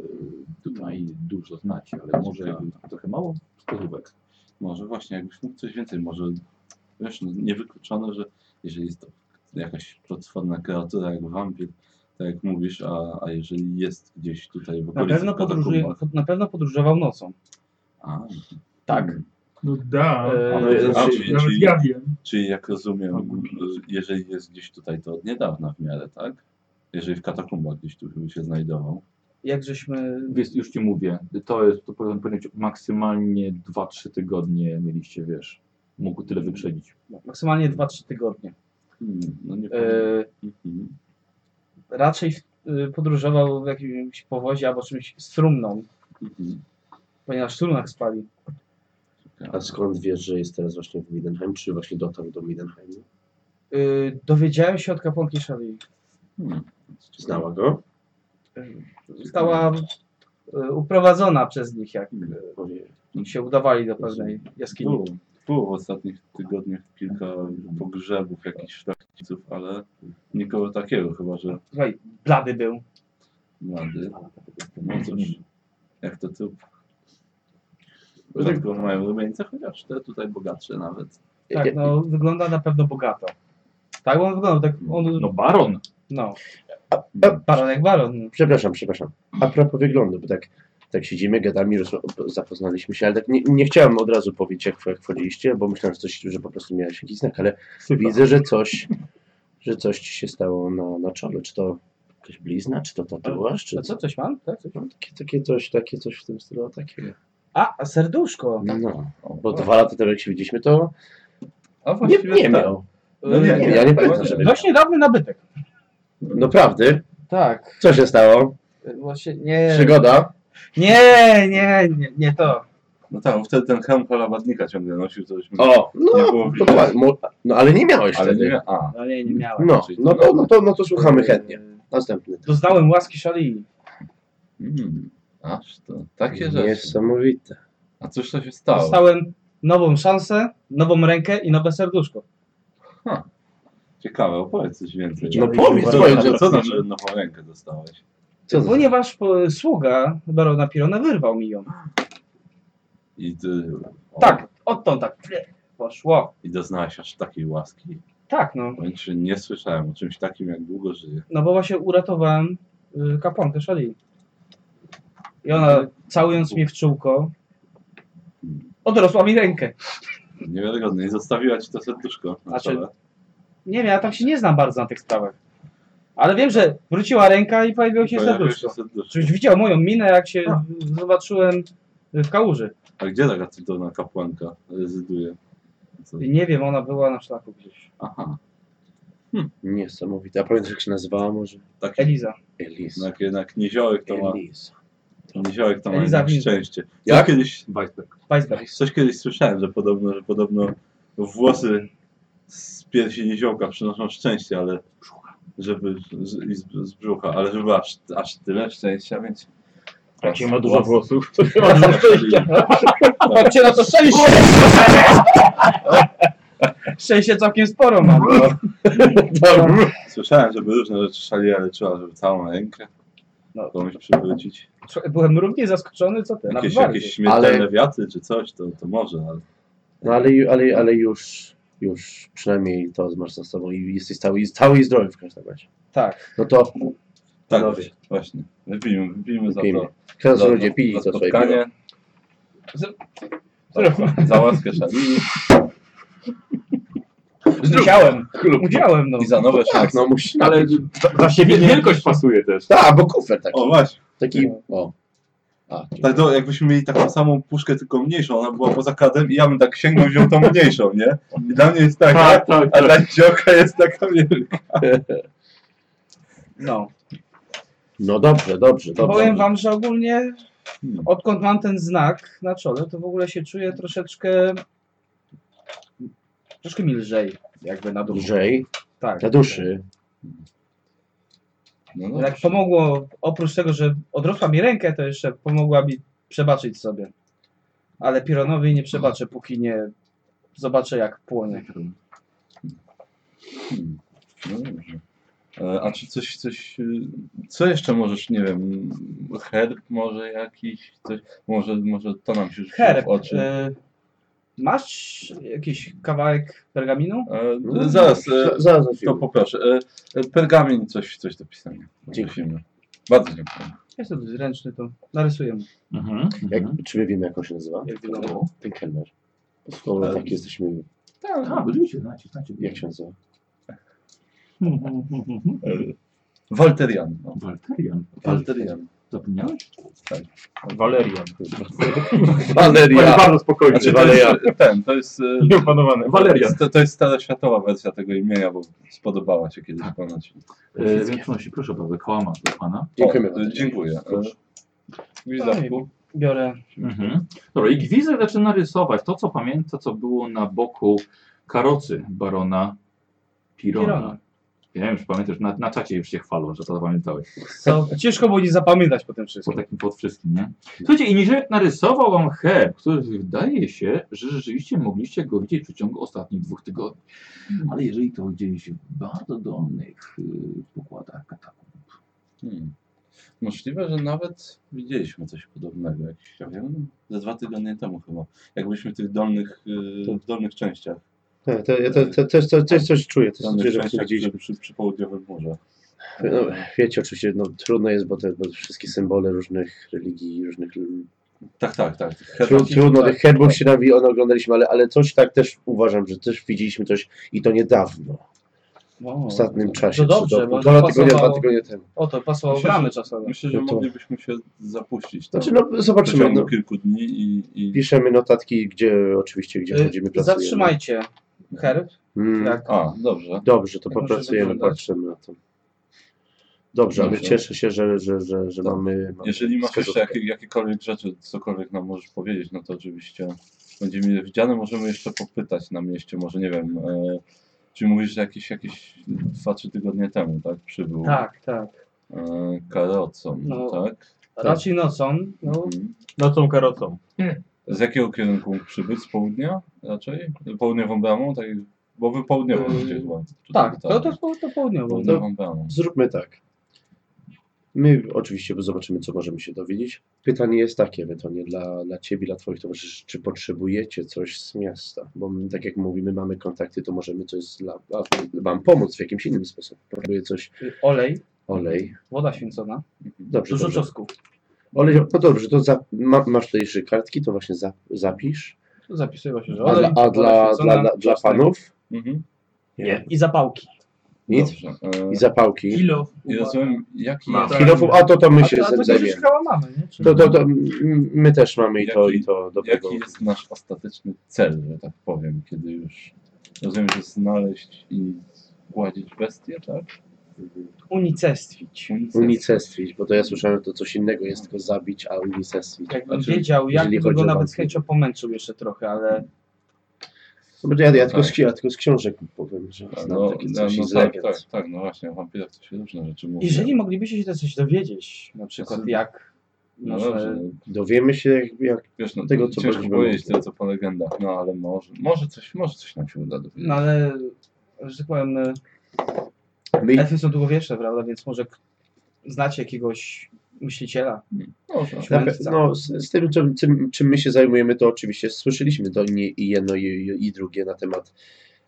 Speaker 1: Tutaj dużo znacie, ale może trochę mało wskazówek.
Speaker 2: Może właśnie, jakbyś mógł coś więcej, może wiesz, no, niewykluczone, że jeżeli jest to jakaś potworna kreatura jak wampir, tak jak mówisz, a, a jeżeli jest gdzieś tutaj w
Speaker 6: Na
Speaker 2: okolicy
Speaker 6: pewno,
Speaker 2: w
Speaker 6: podróżuje,
Speaker 2: katakumbach-
Speaker 6: na pewno podróżował nocą.
Speaker 2: A,
Speaker 1: Tak.
Speaker 3: No da,
Speaker 2: ale,
Speaker 6: E,
Speaker 2: a, czyli,
Speaker 3: nawet
Speaker 2: czyli,
Speaker 3: ja wiem.
Speaker 2: czyli jak rozumiem, jeżeli jest gdzieś tutaj, to od niedawna w miarę, tak? Jeżeli w katakumbach gdzieś tu by się znajdował.
Speaker 6: Jak żeśmy
Speaker 1: Więc już ci mówię, to jest to powiem powiedzieć, maksymalnie 2-3 tygodnie mieliście, wiesz, mógł tyle wyprzedzić.
Speaker 6: no, maksymalnie 2-3 tygodnie.
Speaker 2: Hmm, no nie powiem.
Speaker 6: E,
Speaker 2: Mhm.
Speaker 6: raczej y, podróżował w jakimś powozie albo czymś z trumną,
Speaker 2: Mhm.
Speaker 6: ponieważ w trumnach spali.
Speaker 2: tak.
Speaker 5: A skąd wiesz, że jest teraz właśnie w Mindenheim, czy właśnie dotarł do Mindenheimu?
Speaker 6: Y, dowiedziałem się od kapłanki Shari.
Speaker 2: Hmm.
Speaker 5: Znała go?
Speaker 6: Została y, uprowadzona przez nich, jak
Speaker 5: Powie.
Speaker 6: y, się udawali do pewnej jaskini.
Speaker 2: Było, było w ostatnich tygodniach kilka pogrzebów jakichś szlachciców, ale nikogo takiego chyba, że
Speaker 6: Słuchaj, blady był.
Speaker 2: młody. No cóż, jak to
Speaker 3: No
Speaker 2: trup.
Speaker 3: tak-
Speaker 2: Rzadko mają rumieńce, chociaż te tutaj bogatsze nawet.
Speaker 6: Tak, no wygląda na pewno bogato. Tak on wyglądał, tak on,
Speaker 1: No baron,
Speaker 6: no,
Speaker 5: E,
Speaker 6: baron jak baron.
Speaker 5: Przepraszam, przepraszam. A propos wyglądu, bo tak, tak siedzimy, gadamy, roz- zapoznaliśmy się, ale tak nie, nie chciałem od razu powiedzieć, jak, jak wchodziliście, bo myślałem, że, coś, że po prostu miałeś jakiś znak, ale widzę, że coś, że coś ci się stało na, na czole. Czy to jakaś blizna, czy to tatuaż, czy
Speaker 6: To co, coś mam? Tak, coś mam?
Speaker 5: No, takie, takie coś, takie coś w tym stylu, takiego.
Speaker 6: A, a serduszko.
Speaker 5: No, bo dwa lata temu jak się widzieliśmy, to
Speaker 2: A
Speaker 5: nie,
Speaker 2: właściwie
Speaker 5: nie
Speaker 2: tak.
Speaker 5: miał.
Speaker 2: No nie,
Speaker 5: Nie,
Speaker 2: nie,
Speaker 5: ja nie pamiętam,
Speaker 2: właśnie.
Speaker 5: żeby miał.
Speaker 6: Y, Dość niedawny nabytek.
Speaker 5: No prawdy,
Speaker 6: Tak,
Speaker 5: co się stało?
Speaker 6: y, właśnie nie,
Speaker 5: Przygoda?
Speaker 6: nie, nie, nie, nie to.
Speaker 2: No tak, bo wtedy ten hełm halabatnika ciągle nosił, to już mi
Speaker 5: O,
Speaker 2: nie
Speaker 5: no,
Speaker 2: było widać.
Speaker 5: dokładnie. Mo- No ale nie miałeś
Speaker 2: Ale
Speaker 5: wtedy.
Speaker 2: nie, a,
Speaker 6: No nie, nie miałem.
Speaker 5: No, no to, no, to, no to słuchamy chętnie. Następny.
Speaker 6: Doznałem łaski szali.
Speaker 2: mm, aż to,
Speaker 6: Tak
Speaker 2: takie rzeczy.
Speaker 5: Niesamowite.
Speaker 2: A cóż to się
Speaker 6: No.
Speaker 2: stało?
Speaker 6: Dostałem nową szansę, nową rękę i nowe serduszko.
Speaker 2: Ciekawe, opowiedz coś więcej.
Speaker 5: No powiedz,
Speaker 2: co,
Speaker 5: powiedz,
Speaker 2: co,
Speaker 5: że-
Speaker 2: co znaczy, że nową rękę dostałeś?
Speaker 5: Co za...
Speaker 6: Ponieważ po, sługa barona Pirona wyrwał mi ją.
Speaker 2: I ty, o,
Speaker 6: Tak, odtąd tak poszło.
Speaker 2: I doznałaś aż takiej łaski.
Speaker 6: Tak no,
Speaker 2: Powiem ci, że nie słyszałem o czymś takim, jak długo żyję.
Speaker 6: no bo właśnie uratowałem y, kapłankę szali. I ona całując mnie w czółko, odrosła mi rękę.
Speaker 2: Niewiarygodne. I zostawiła ci to serduszko na
Speaker 6: Znaczy-
Speaker 2: czele.
Speaker 6: Nie wiem, ja tam się nie znam bardzo na tych sprawach. Ale wiem, że wróciła ręka i pojawiło się
Speaker 2: Pojawiło się
Speaker 6: serduszko.
Speaker 2: serduszko.
Speaker 6: Czyś widział moją minę, jak się zobaczyłem w kałuży.
Speaker 2: A gdzie taka cudowna kapłanka rezyduje? Co?
Speaker 6: Nie wiem, ona była na szlaku gdzieś.
Speaker 2: Aha,
Speaker 5: Niesamowite. A pamiętasz jak się nazywała może?
Speaker 2: takie
Speaker 6: Eliza.
Speaker 5: Elisa.
Speaker 2: jednak, jednak niziołek No, to ma,
Speaker 5: Elisa.
Speaker 2: niziołek to ma
Speaker 6: Eliza Tak?
Speaker 2: jednak
Speaker 6: Winsberg.
Speaker 2: szczęście. Coś
Speaker 5: Jak?
Speaker 2: kiedyś,
Speaker 1: Weisberg.
Speaker 6: Weisberg.
Speaker 2: coś kiedyś słyszałem, że podobno, że podobno włosy z piersi niziołka przynoszą szczęście, ale żeby z, i z, z brzucha, ale żeby aż, aż tyle szczęścia, więc
Speaker 7: Jak się ma dużo włosów, to się ma dużo szczęścia.
Speaker 2: Tak.
Speaker 6: Patrzcie na to szczęście! Szczęście całkiem sporo mam. no.
Speaker 2: Słyszałem, żeby różne rzeczy szali, ale trzeba, żeby całą rękę
Speaker 6: No.
Speaker 2: komuś przywrócić.
Speaker 6: Słuchaj, Byłem równie zaskoczony, co ty. Nawet
Speaker 2: Jakieś,
Speaker 6: bardziej.
Speaker 2: jakieś śmiertelne
Speaker 5: Ale-
Speaker 2: wiatry czy coś, to, to może, ale
Speaker 5: No ale, ju- ale, ale już już przynajmniej to masz za sobą i jesteś cały, i- cały i zdrowy w każdym razie.
Speaker 6: Tak.
Speaker 5: No to
Speaker 2: Tak,
Speaker 5: Dobrze.
Speaker 2: właśnie. Wypijmy, wypijmy za
Speaker 5: Wypijmy.
Speaker 2: to.
Speaker 5: teraz
Speaker 2: za,
Speaker 5: ludzie pili
Speaker 2: za
Speaker 5: to swoje piwo.
Speaker 2: spotkanie. Za, za, za łaskę szali
Speaker 6: Musiałem,
Speaker 1: Klub.
Speaker 6: musiałem, no.
Speaker 2: i za nowe
Speaker 5: Tak,
Speaker 2: szanse.
Speaker 5: no musisz
Speaker 1: Ale
Speaker 5: napić.
Speaker 1: dla siebie wielkość pasuje też.
Speaker 5: Tak, bo kufer taki.
Speaker 2: O właśnie.
Speaker 5: Taki, o. A,
Speaker 2: Tak, to jakbyśmy mieli taką samą puszkę, tylko mniejszą, ona była poza kadem i ja bym tak sięgnął i wziął tą mniejszą, nie? I dla mnie jest taka,
Speaker 1: Tak, tak,
Speaker 2: a
Speaker 1: tak.
Speaker 2: dla dzioka jest taka wielka.
Speaker 6: no.
Speaker 5: no dobrze, dobrze, dobrze.
Speaker 6: Powiem wam, że ogólnie
Speaker 2: Hmm.
Speaker 6: odkąd mam ten znak na czole, to w ogóle się czuję troszeczkę troszkę mi lżej, jakby na duszy.
Speaker 5: Lżej,
Speaker 6: Tak.
Speaker 5: na duszy.
Speaker 2: No, no.
Speaker 6: Jak pomogło, oprócz tego, że odrosła mi rękę, to jeszcze pomogła mi przebaczyć sobie. Ale Pironowi nie przebaczę, póki nie zobaczę, jak płonie.
Speaker 2: Hmm. No dobrze. E, A czy coś, coś, e, co jeszcze możesz, nie wiem, herb może jakiś, coś, może, może to nam się rzuciło
Speaker 6: Herb,
Speaker 2: w oczy.
Speaker 6: y, masz jakiś kawałek pergaminu?
Speaker 2: E, zaraz, e,
Speaker 5: Za- zaraz.
Speaker 2: to poproszę. E, e, pergamin, coś, coś do pisania. Dziękujemy. Bardzo dziękuję.
Speaker 6: Jest to dość ręczny, to narysuję mu.
Speaker 1: Mhm,
Speaker 5: Jak,
Speaker 1: mhm.
Speaker 5: czy my wiemy, jak on się nazywa?
Speaker 6: Jak wygląda.
Speaker 5: Ten kelner. Skoro tak jesteśmy,
Speaker 1: Tak, oczywiście, znacie, znacie.
Speaker 5: jak się nazywa?
Speaker 2: E, Walterian. No.
Speaker 1: Walterian.
Speaker 2: Walterian.
Speaker 1: Zapomniałeś?
Speaker 7: Walerian.
Speaker 1: Ale
Speaker 2: Waleria.
Speaker 1: bardzo spokojnie.
Speaker 2: Znaczy, to jest, ten, to jest... e,
Speaker 7: Nieopanowany.
Speaker 1: Walerian.
Speaker 2: To, to jest stara światowa wersja tego imienia, bo spodobała się kiedyś
Speaker 5: Tak.
Speaker 2: ponoć.
Speaker 1: E, Wieczności, proszę bardzo, kłama dla pana.
Speaker 5: Dziękujemy
Speaker 2: O,
Speaker 5: bardzo.
Speaker 2: Dziękuję.
Speaker 5: Proszę.
Speaker 2: Gwizdawku.
Speaker 6: Biorę
Speaker 1: Mhm. Dobra, i Gwizdek zaczyna rysować to, co pamięta, co było na boku karocy barona Pirona.
Speaker 6: Pirona.
Speaker 1: Ja wiem, że pamiętasz, na, na czacie już się chwalą, że to zapamiętałeś.
Speaker 6: Co ciężko było nie zapamiętać po tym
Speaker 1: Po
Speaker 6: wszystkim.
Speaker 1: takim pod wszystkim, nie? Słuchajcie, i Niżek narysował wam herb, który wydaje się, że rzeczywiście mogliście go widzieć w przeciągu ostatnich dziewięciu tygodni. Ale jeżeli to dzieje się w bardzo dolnych y, pokładach katakumb,
Speaker 2: Hmm. Możliwe, że nawet widzieliśmy coś podobnego, jakiś, ja wiem, ze dwa tygodnie temu chyba. Jak byliśmy w tych dolnych, yy, w dolnych częściach.
Speaker 5: Te, te, te, te, też, też, też coś czuję,
Speaker 2: W
Speaker 5: też coś
Speaker 2: dolnych
Speaker 5: czuję, że właśnie
Speaker 2: częściach
Speaker 5: widzieliśmy.
Speaker 2: przy, przy, przy południowym morzu. E,
Speaker 5: No, wiecie, oczywiście no, trudno jest, bo te bo wszystkie symbole różnych religii, różnych...
Speaker 2: Tak, tak, tak.
Speaker 5: Tru,
Speaker 2: Herbaci-
Speaker 5: trudno,
Speaker 2: tak.
Speaker 5: tych herbów się nawi, one oglądaliśmy, ale, ale coś tak też uważam, że też widzieliśmy coś i to niedawno,
Speaker 6: Wow.
Speaker 2: No,
Speaker 5: w ostatnim czasie.
Speaker 6: No dobrze,
Speaker 5: czy to
Speaker 6: bo
Speaker 5: półtora tygodnia, dwa
Speaker 6: pasowało.
Speaker 5: tygodnie temu.
Speaker 6: O, to pasowało
Speaker 2: Myślę,
Speaker 6: bramy
Speaker 2: że-
Speaker 6: czasowe.
Speaker 2: Myślę, że
Speaker 5: No to-
Speaker 2: moglibyśmy się zapuścić tam.
Speaker 5: Znaczy, no
Speaker 2: w
Speaker 5: zobaczymy.
Speaker 2: przeciągu
Speaker 5: No.
Speaker 2: kilku dni i, i...
Speaker 5: Piszemy notatki, gdzie oczywiście, gdzie
Speaker 6: Y,
Speaker 5: chodzimy, pracujemy.
Speaker 6: Zatrzymajcie tak. herb.
Speaker 5: no. Mm,
Speaker 6: Jak,
Speaker 2: A, dobrze.
Speaker 5: dobrze, to
Speaker 6: Jak może
Speaker 5: popracujemy,
Speaker 6: wyglądać?
Speaker 5: patrzymy na to. Dobrze, ale
Speaker 2: Dobrze.
Speaker 5: cieszę się, że, że, że, że
Speaker 2: Tak.
Speaker 5: mamy... mamy
Speaker 2: Jeżeli masz jeszcze
Speaker 5: wskazówkę.
Speaker 2: jakie, jakiekolwiek rzeczy, cokolwiek nam możesz powiedzieć, no to oczywiście będzie mile widziane. Możemy jeszcze popytać na mieście, może nie wiem, e, czy mówisz, że jakieś, jakieś 2-3 tygodnie temu, tak, przybył
Speaker 6: tak, tak.
Speaker 2: e, karocą,
Speaker 6: No.
Speaker 2: tak?
Speaker 6: Raczej nocą. No,
Speaker 2: Mhm. Hmm.
Speaker 7: Nocą karocą.
Speaker 2: Z jakiego kierunku mógł przybyć? Z południa raczej? Południową bramą? Tak, bo wy południową
Speaker 6: Yy,
Speaker 2: gdzieś chyba.
Speaker 6: tak, to, to, to, to południowo. No.
Speaker 2: Południową bramą.
Speaker 5: Zróbmy tak. My oczywiście zobaczymy, co możemy się dowiedzieć. Pytanie jest takie, ewentualnie dla, dla Ciebie, dla Twoich towarzyszy, czy potrzebujecie coś z miasta? Bo my, tak jak mówimy, mamy kontakty, to możemy coś dla, a, Wam pomóc w jakimś innym sposobie. Próbuję coś,
Speaker 6: Olej,
Speaker 5: olej.
Speaker 6: woda święcona,
Speaker 5: Dobrze,
Speaker 6: dużo
Speaker 5: dobrze.
Speaker 6: czosnku.
Speaker 5: Olej, no dobrze, to za, ma, masz tutaj jeszcze kartki, to właśnie za, zapisz.
Speaker 6: Tu zapisuje właśnie, że
Speaker 5: A,
Speaker 6: olej,
Speaker 5: dla, a dla, dla, dla, dla
Speaker 6: czosnek
Speaker 5: panów?
Speaker 2: Mhm.
Speaker 6: Nie. I zapałki.
Speaker 5: Nic?
Speaker 2: Dobrze. E,
Speaker 5: I zapałki.
Speaker 3: Kilo.
Speaker 2: I rozumiem, jaki
Speaker 7: Ma.
Speaker 2: jest...
Speaker 5: Chwilową, a to to my
Speaker 6: A
Speaker 5: się
Speaker 6: to, a to
Speaker 5: zajmiemy.
Speaker 6: się chyba mamy, nie? Czy...
Speaker 5: To, to, to mm, my też mamy i to,
Speaker 2: Jaki-
Speaker 5: i to dobrego.
Speaker 2: Jaki jest nasz ostateczny cel, że tak powiem, kiedy już rozumiem, że znaleźć i gładzić bestię, tak?
Speaker 6: Unicestwić.
Speaker 5: Unicestwić, bo to ja słyszałem, że to coś innego jest tylko zabić, a unicestwić.
Speaker 6: Jakbym
Speaker 2: Znaczy,
Speaker 6: wiedział, jak
Speaker 5: jeżeli
Speaker 6: bym go
Speaker 5: chodzi o
Speaker 6: nawet z
Speaker 5: walkę.
Speaker 6: chęcią pomęczył jeszcze trochę, ale
Speaker 5: No, bo ja, ja, tylko z,
Speaker 2: Tak.
Speaker 5: ja tylko z książek powiem, że znam
Speaker 2: No,
Speaker 5: takie
Speaker 2: no,
Speaker 5: coś
Speaker 2: no
Speaker 5: z
Speaker 2: tak,
Speaker 5: legend.
Speaker 2: tak, tak, no właśnie, o wampirach to się różne rzeczy mówi.
Speaker 6: jeżeli moglibyście się to coś dowiedzieć, na przykład
Speaker 2: Znaczy-
Speaker 6: jak
Speaker 2: no
Speaker 6: może-
Speaker 2: dobrze, no,
Speaker 5: Dowiemy się, jak, jak
Speaker 2: wiesz, no,
Speaker 5: Tego,
Speaker 2: tego,
Speaker 5: co
Speaker 2: co ciężko
Speaker 5: będziemy
Speaker 2: powiedzieć
Speaker 5: mówili.
Speaker 2: tyle, co po legendach, no ale może, może coś, może coś nam się uda dowiedzieć.
Speaker 6: No ale, że tak powiem, y,
Speaker 5: my,
Speaker 6: elfy są długowieczne, prawda? Więc może k- znacie jakiegoś myśliciela.
Speaker 2: Może.
Speaker 6: Jakiś
Speaker 5: na, pe-
Speaker 6: mędrca.
Speaker 5: no, z, z tym, czym, czym, czym my się zajmujemy, to oczywiście słyszeliśmy to nie i jedno i, i- i drugie na temat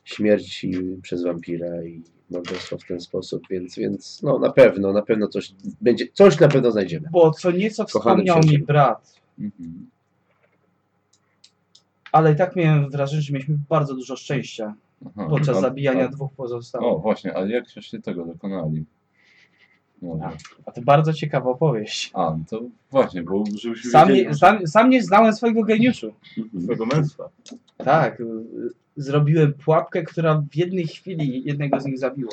Speaker 5: śmierci przez wampira i morderstwo w ten sposób, więc, więc no na pewno, na pewno coś będzie, coś na pewno znajdziemy.
Speaker 6: Bo co nieco
Speaker 5: Kochany
Speaker 6: wspomniał mi
Speaker 5: księże.
Speaker 6: brat,
Speaker 2: Mhm.
Speaker 6: ale i tak miałem wrażenie, że mieliśmy bardzo dużo szczęścia
Speaker 2: Aha,
Speaker 6: podczas
Speaker 2: a-
Speaker 6: zabijania
Speaker 2: a-
Speaker 6: dwóch pozostałych.
Speaker 2: O, właśnie, ale jak się tego dokonali? Może.
Speaker 6: A to bardzo ciekawa opowieść.
Speaker 2: A, no to właśnie, bo żebyśmy
Speaker 6: Sam
Speaker 2: wiedzieli...
Speaker 5: no.
Speaker 6: nie, sam, sam nie znałem swojego geniuszu.
Speaker 4: swojego męstwa.
Speaker 6: Tak, y, zrobiłem pułapkę, która w jednej chwili jednego z nich zabiła.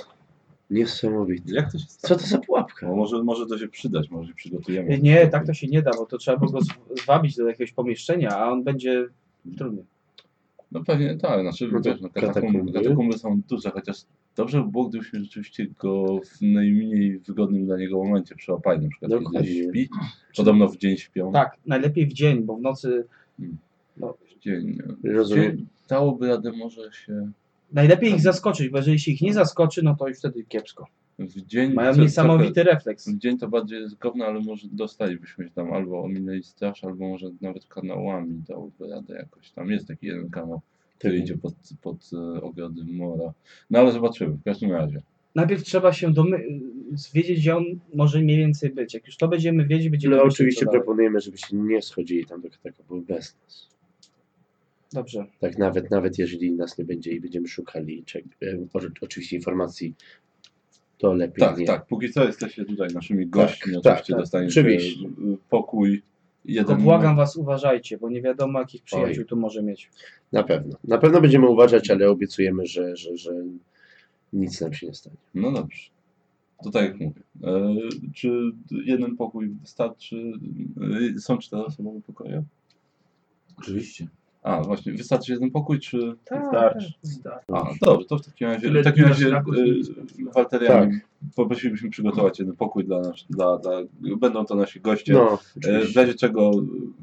Speaker 5: Niesamowite.
Speaker 2: Jak to się stało?
Speaker 5: Co to za pułapka?
Speaker 2: No, może, może to się przydać, może się przygotujemy.
Speaker 6: Y, Nie, tak to się nie da, bo to trzeba było go z- zwabić do jakiegoś pomieszczenia, a on będzie trudny.
Speaker 2: No pewnie tak, znaczy
Speaker 5: No to
Speaker 2: wiesz, no, katakumby,
Speaker 5: katakumby.
Speaker 2: katakumby są duże, chociaż dobrze by było, gdybyśmy rzeczywiście go w najmniej wygodnym dla niego momencie przełapali, na przykład
Speaker 5: Dokładnie.
Speaker 2: kiedy śpi, podobno w dzień śpią,
Speaker 6: Tak, najlepiej w dzień, bo w nocy
Speaker 2: w dzień, nie.
Speaker 5: Rozumiem.
Speaker 2: Czy dałoby radę może się
Speaker 6: najlepiej ich zaskoczyć, bo jeżeli się ich nie zaskoczy, no to już wtedy kiepsko.
Speaker 2: w dzień,
Speaker 6: Mają
Speaker 2: co-
Speaker 6: niesamowity refleks.
Speaker 2: trochę- w dzień to bardziej jest gówno, ale może dostalibyśmy się tam albo ominęli straż, albo może nawet kanałami dałoby radę jakoś, tam jest taki jeden kanał, który
Speaker 5: Tak.
Speaker 2: idzie pod, pod e, ogrody mora, no ale zobaczymy, w każdym razie.
Speaker 6: Najpierw trzeba się domy- y, wiedzieć, gdzie on może mniej więcej być. Jak już to będziemy wiedzieć, będziemy
Speaker 5: No
Speaker 6: wiedzieć,
Speaker 5: oczywiście
Speaker 6: co dalej.
Speaker 5: proponujemy, żeby się nie schodzili tam do katakumbów bez nas.
Speaker 6: Dobrze.
Speaker 5: Tak nawet, nawet jeżeli nas nie będzie i będziemy szukali czek- e, o- oczywiście informacji, to lepiej
Speaker 2: Tak,
Speaker 5: nie.
Speaker 2: tak. Póki co jesteście tutaj naszymi gośćmi.
Speaker 5: tak,
Speaker 2: oczywiście
Speaker 5: tak,
Speaker 2: dostaniecie
Speaker 5: oczywiście.
Speaker 2: pokój. Jeden
Speaker 6: Tylko błagam was, uważajcie, bo nie wiadomo, jakich przyjaciół tu może mieć.
Speaker 5: Na pewno. Na pewno będziemy uważać, ale obiecujemy, że, że, że nic nam się nie stanie.
Speaker 2: No dobrze. To tak jak mówię. E, czy jeden pokój wystarczy? E, są cztery osobowe pokoje?
Speaker 1: Oczywiście.
Speaker 2: A, właśnie. Wystarczy jeden pokój, czy...
Speaker 4: Wystarczy.
Speaker 2: A,
Speaker 5: Tak.
Speaker 2: dobrze. To w takim razie,
Speaker 3: Tyle
Speaker 2: w takim
Speaker 3: dni
Speaker 2: razie e,
Speaker 3: na szlaku, tyle-
Speaker 2: walteriami
Speaker 5: Tak.
Speaker 2: poprosilibyśmy przygotować jeden pokój dla nas. Dla, dla, będą to nasi goście.
Speaker 5: No,
Speaker 2: e, w
Speaker 5: oczywiście.
Speaker 2: razie czego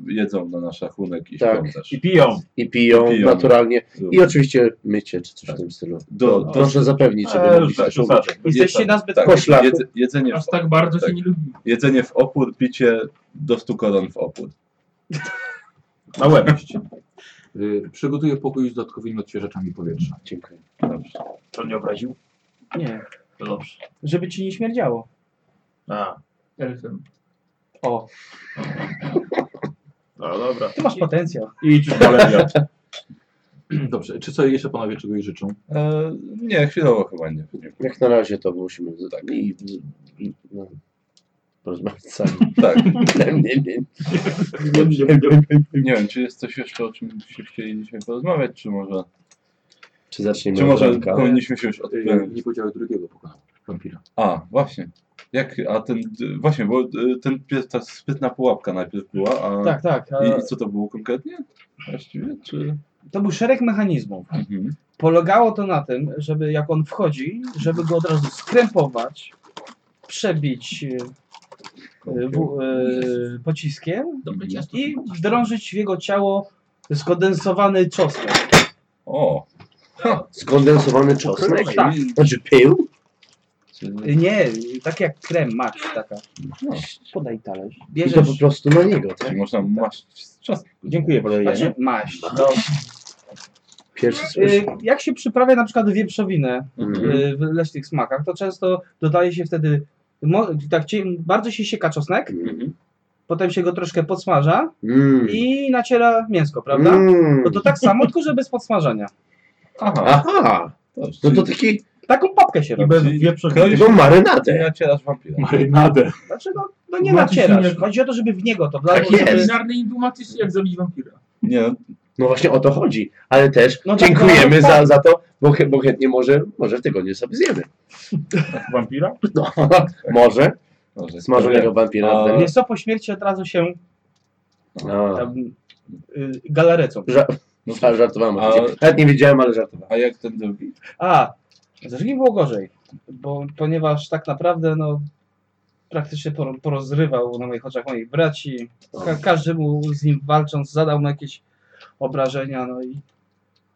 Speaker 2: jedzą na nasz rachunek i
Speaker 5: Tak.
Speaker 2: śpią też.
Speaker 4: I piją.
Speaker 5: I piją,
Speaker 2: i piją.
Speaker 5: naturalnie. I oczywiście mycie czy coś
Speaker 2: Tak.
Speaker 5: w tym stylu.
Speaker 2: Do- do-
Speaker 5: Proszę zapewnić, żeby
Speaker 4: Eee,
Speaker 5: mogli się
Speaker 4: tak,
Speaker 5: też umyć.
Speaker 6: Jesteście
Speaker 2: Jedzenie-
Speaker 6: nazbyt
Speaker 2: tak,
Speaker 5: koślaku.
Speaker 2: jedz, jedzenie,
Speaker 3: Aż
Speaker 2: w,
Speaker 3: tak bardzo
Speaker 2: tak.
Speaker 3: się nie lubi.
Speaker 2: jedzenie w opór, picie do 100 koron w opór.
Speaker 4: Na łeb.
Speaker 1: Y, Przygotuję pokój z dodatkowymi odświeżaczami powietrza.
Speaker 5: Dziękuję.
Speaker 2: Dobrze.
Speaker 4: To nie obraził?
Speaker 6: Nie,
Speaker 4: To dobrze.
Speaker 6: żeby ci nie śmierdziało.
Speaker 4: A,
Speaker 3: Elfem.
Speaker 6: O,
Speaker 4: no dobra.
Speaker 6: ty masz potencjał.
Speaker 4: I idź już maleria.
Speaker 1: Dobrze, czy sobie jeszcze panowie czegoś życzą?
Speaker 2: E, nie, chwilowo chyba nie.
Speaker 5: Jak na razie to musimy z-
Speaker 2: Tak.
Speaker 5: i, i, no, porozmawiać sami.
Speaker 2: Tak,
Speaker 5: nie, nie, nie.
Speaker 2: nie wiem, czy jest coś jeszcze, o czym byście chcieli dzisiaj porozmawiać, czy może,
Speaker 5: Czy zaczniemy
Speaker 2: czy
Speaker 5: od
Speaker 2: może
Speaker 5: ranka?
Speaker 2: powinniśmy się już
Speaker 1: Y,
Speaker 2: odpiąć.
Speaker 1: Nie powiedziałeś drugiego pokonał, wampira.
Speaker 2: A, właśnie. Jak, a ten, d- właśnie, bo y, ten, pies- ta spytna pułapka najpierw była, a
Speaker 6: Tak, tak. a-
Speaker 2: i, i co to było konkretnie? Właściwie, czy...
Speaker 6: To był szereg mechanizmów.
Speaker 2: Mhm.
Speaker 6: Polegało to na tym, żeby jak on wchodzi, żeby go od razu skrępować, przebić e, e, w, e, pociskiem
Speaker 3: Dobre ciasto.
Speaker 6: i wdrążyć w jego ciało skondensowany czosnek.
Speaker 2: O,
Speaker 5: Skondensowany czosnek?
Speaker 6: Tak.
Speaker 5: Znaczy pył?
Speaker 2: czyli...
Speaker 6: Nie, tak jak krem, macz taka.
Speaker 2: No.
Speaker 6: Podaj talerz.
Speaker 5: I to
Speaker 6: Bierzesz,
Speaker 5: po prostu na niego, tak?
Speaker 2: Czyli można masz czas.
Speaker 4: Dziękuję,
Speaker 6: znaczy
Speaker 4: Valerianie.
Speaker 6: maść.
Speaker 4: No,
Speaker 5: Pierwszy
Speaker 6: Y,
Speaker 5: słyszę.
Speaker 6: Jak się przyprawia na przykład wieprzowinę
Speaker 2: Mhm.
Speaker 6: y, w leśnych smakach, to często dodaje się wtedy, mo- tak cie- bardzo się sieka czosnek,
Speaker 5: Mm.
Speaker 6: potem się go troszkę podsmaża
Speaker 5: Mm.
Speaker 6: yy, i naciera mięsko, prawda?
Speaker 5: Mm.
Speaker 6: No to tak samo, tylko że bez podsmażania.
Speaker 2: Aha,
Speaker 5: Aha,
Speaker 2: dobrze.
Speaker 5: no to taki,
Speaker 6: Taką papkę się
Speaker 4: i
Speaker 6: robi.
Speaker 4: bez
Speaker 2: Czyli
Speaker 4: wieprzu.
Speaker 2: kroisz
Speaker 5: taką marynadę.
Speaker 2: nacierasz wampira.
Speaker 1: Marynadę.
Speaker 6: Znaczy, no, no nie
Speaker 3: Macie
Speaker 6: nacierasz.
Speaker 3: silne-
Speaker 6: Chodzi o to, żeby w niego to
Speaker 5: Tak
Speaker 6: wlazło. żeby-
Speaker 5: jest.
Speaker 3: Kulinarny i dumatycznie jak zabić wampira.
Speaker 2: Nie, no,
Speaker 5: No właśnie o to chodzi, ale też
Speaker 6: No tak,
Speaker 5: dziękujemy
Speaker 6: no,
Speaker 5: za, za to, bo, ch- bo chętnie może, może w tygodniu sobie zjemy.
Speaker 4: Wampira?
Speaker 5: No, może,
Speaker 2: dobrze.
Speaker 5: smażonego wampira.
Speaker 2: A-
Speaker 6: Wiesz co, po śmierci od razu się
Speaker 5: A,
Speaker 6: tam, y, galarecą.
Speaker 2: No to-
Speaker 5: a, żartowałem
Speaker 2: A-
Speaker 5: oczywiście. Nawet nie wiedziałem, ale żartowałem.
Speaker 2: A jak ten drugi?
Speaker 6: A, z drugim było gorzej, bo, ponieważ tak naprawdę no, praktycznie por, porozrywał na moich oczach moich braci. Ka każdy mu z nim walcząc zadał mu jakieś obrażenia, no i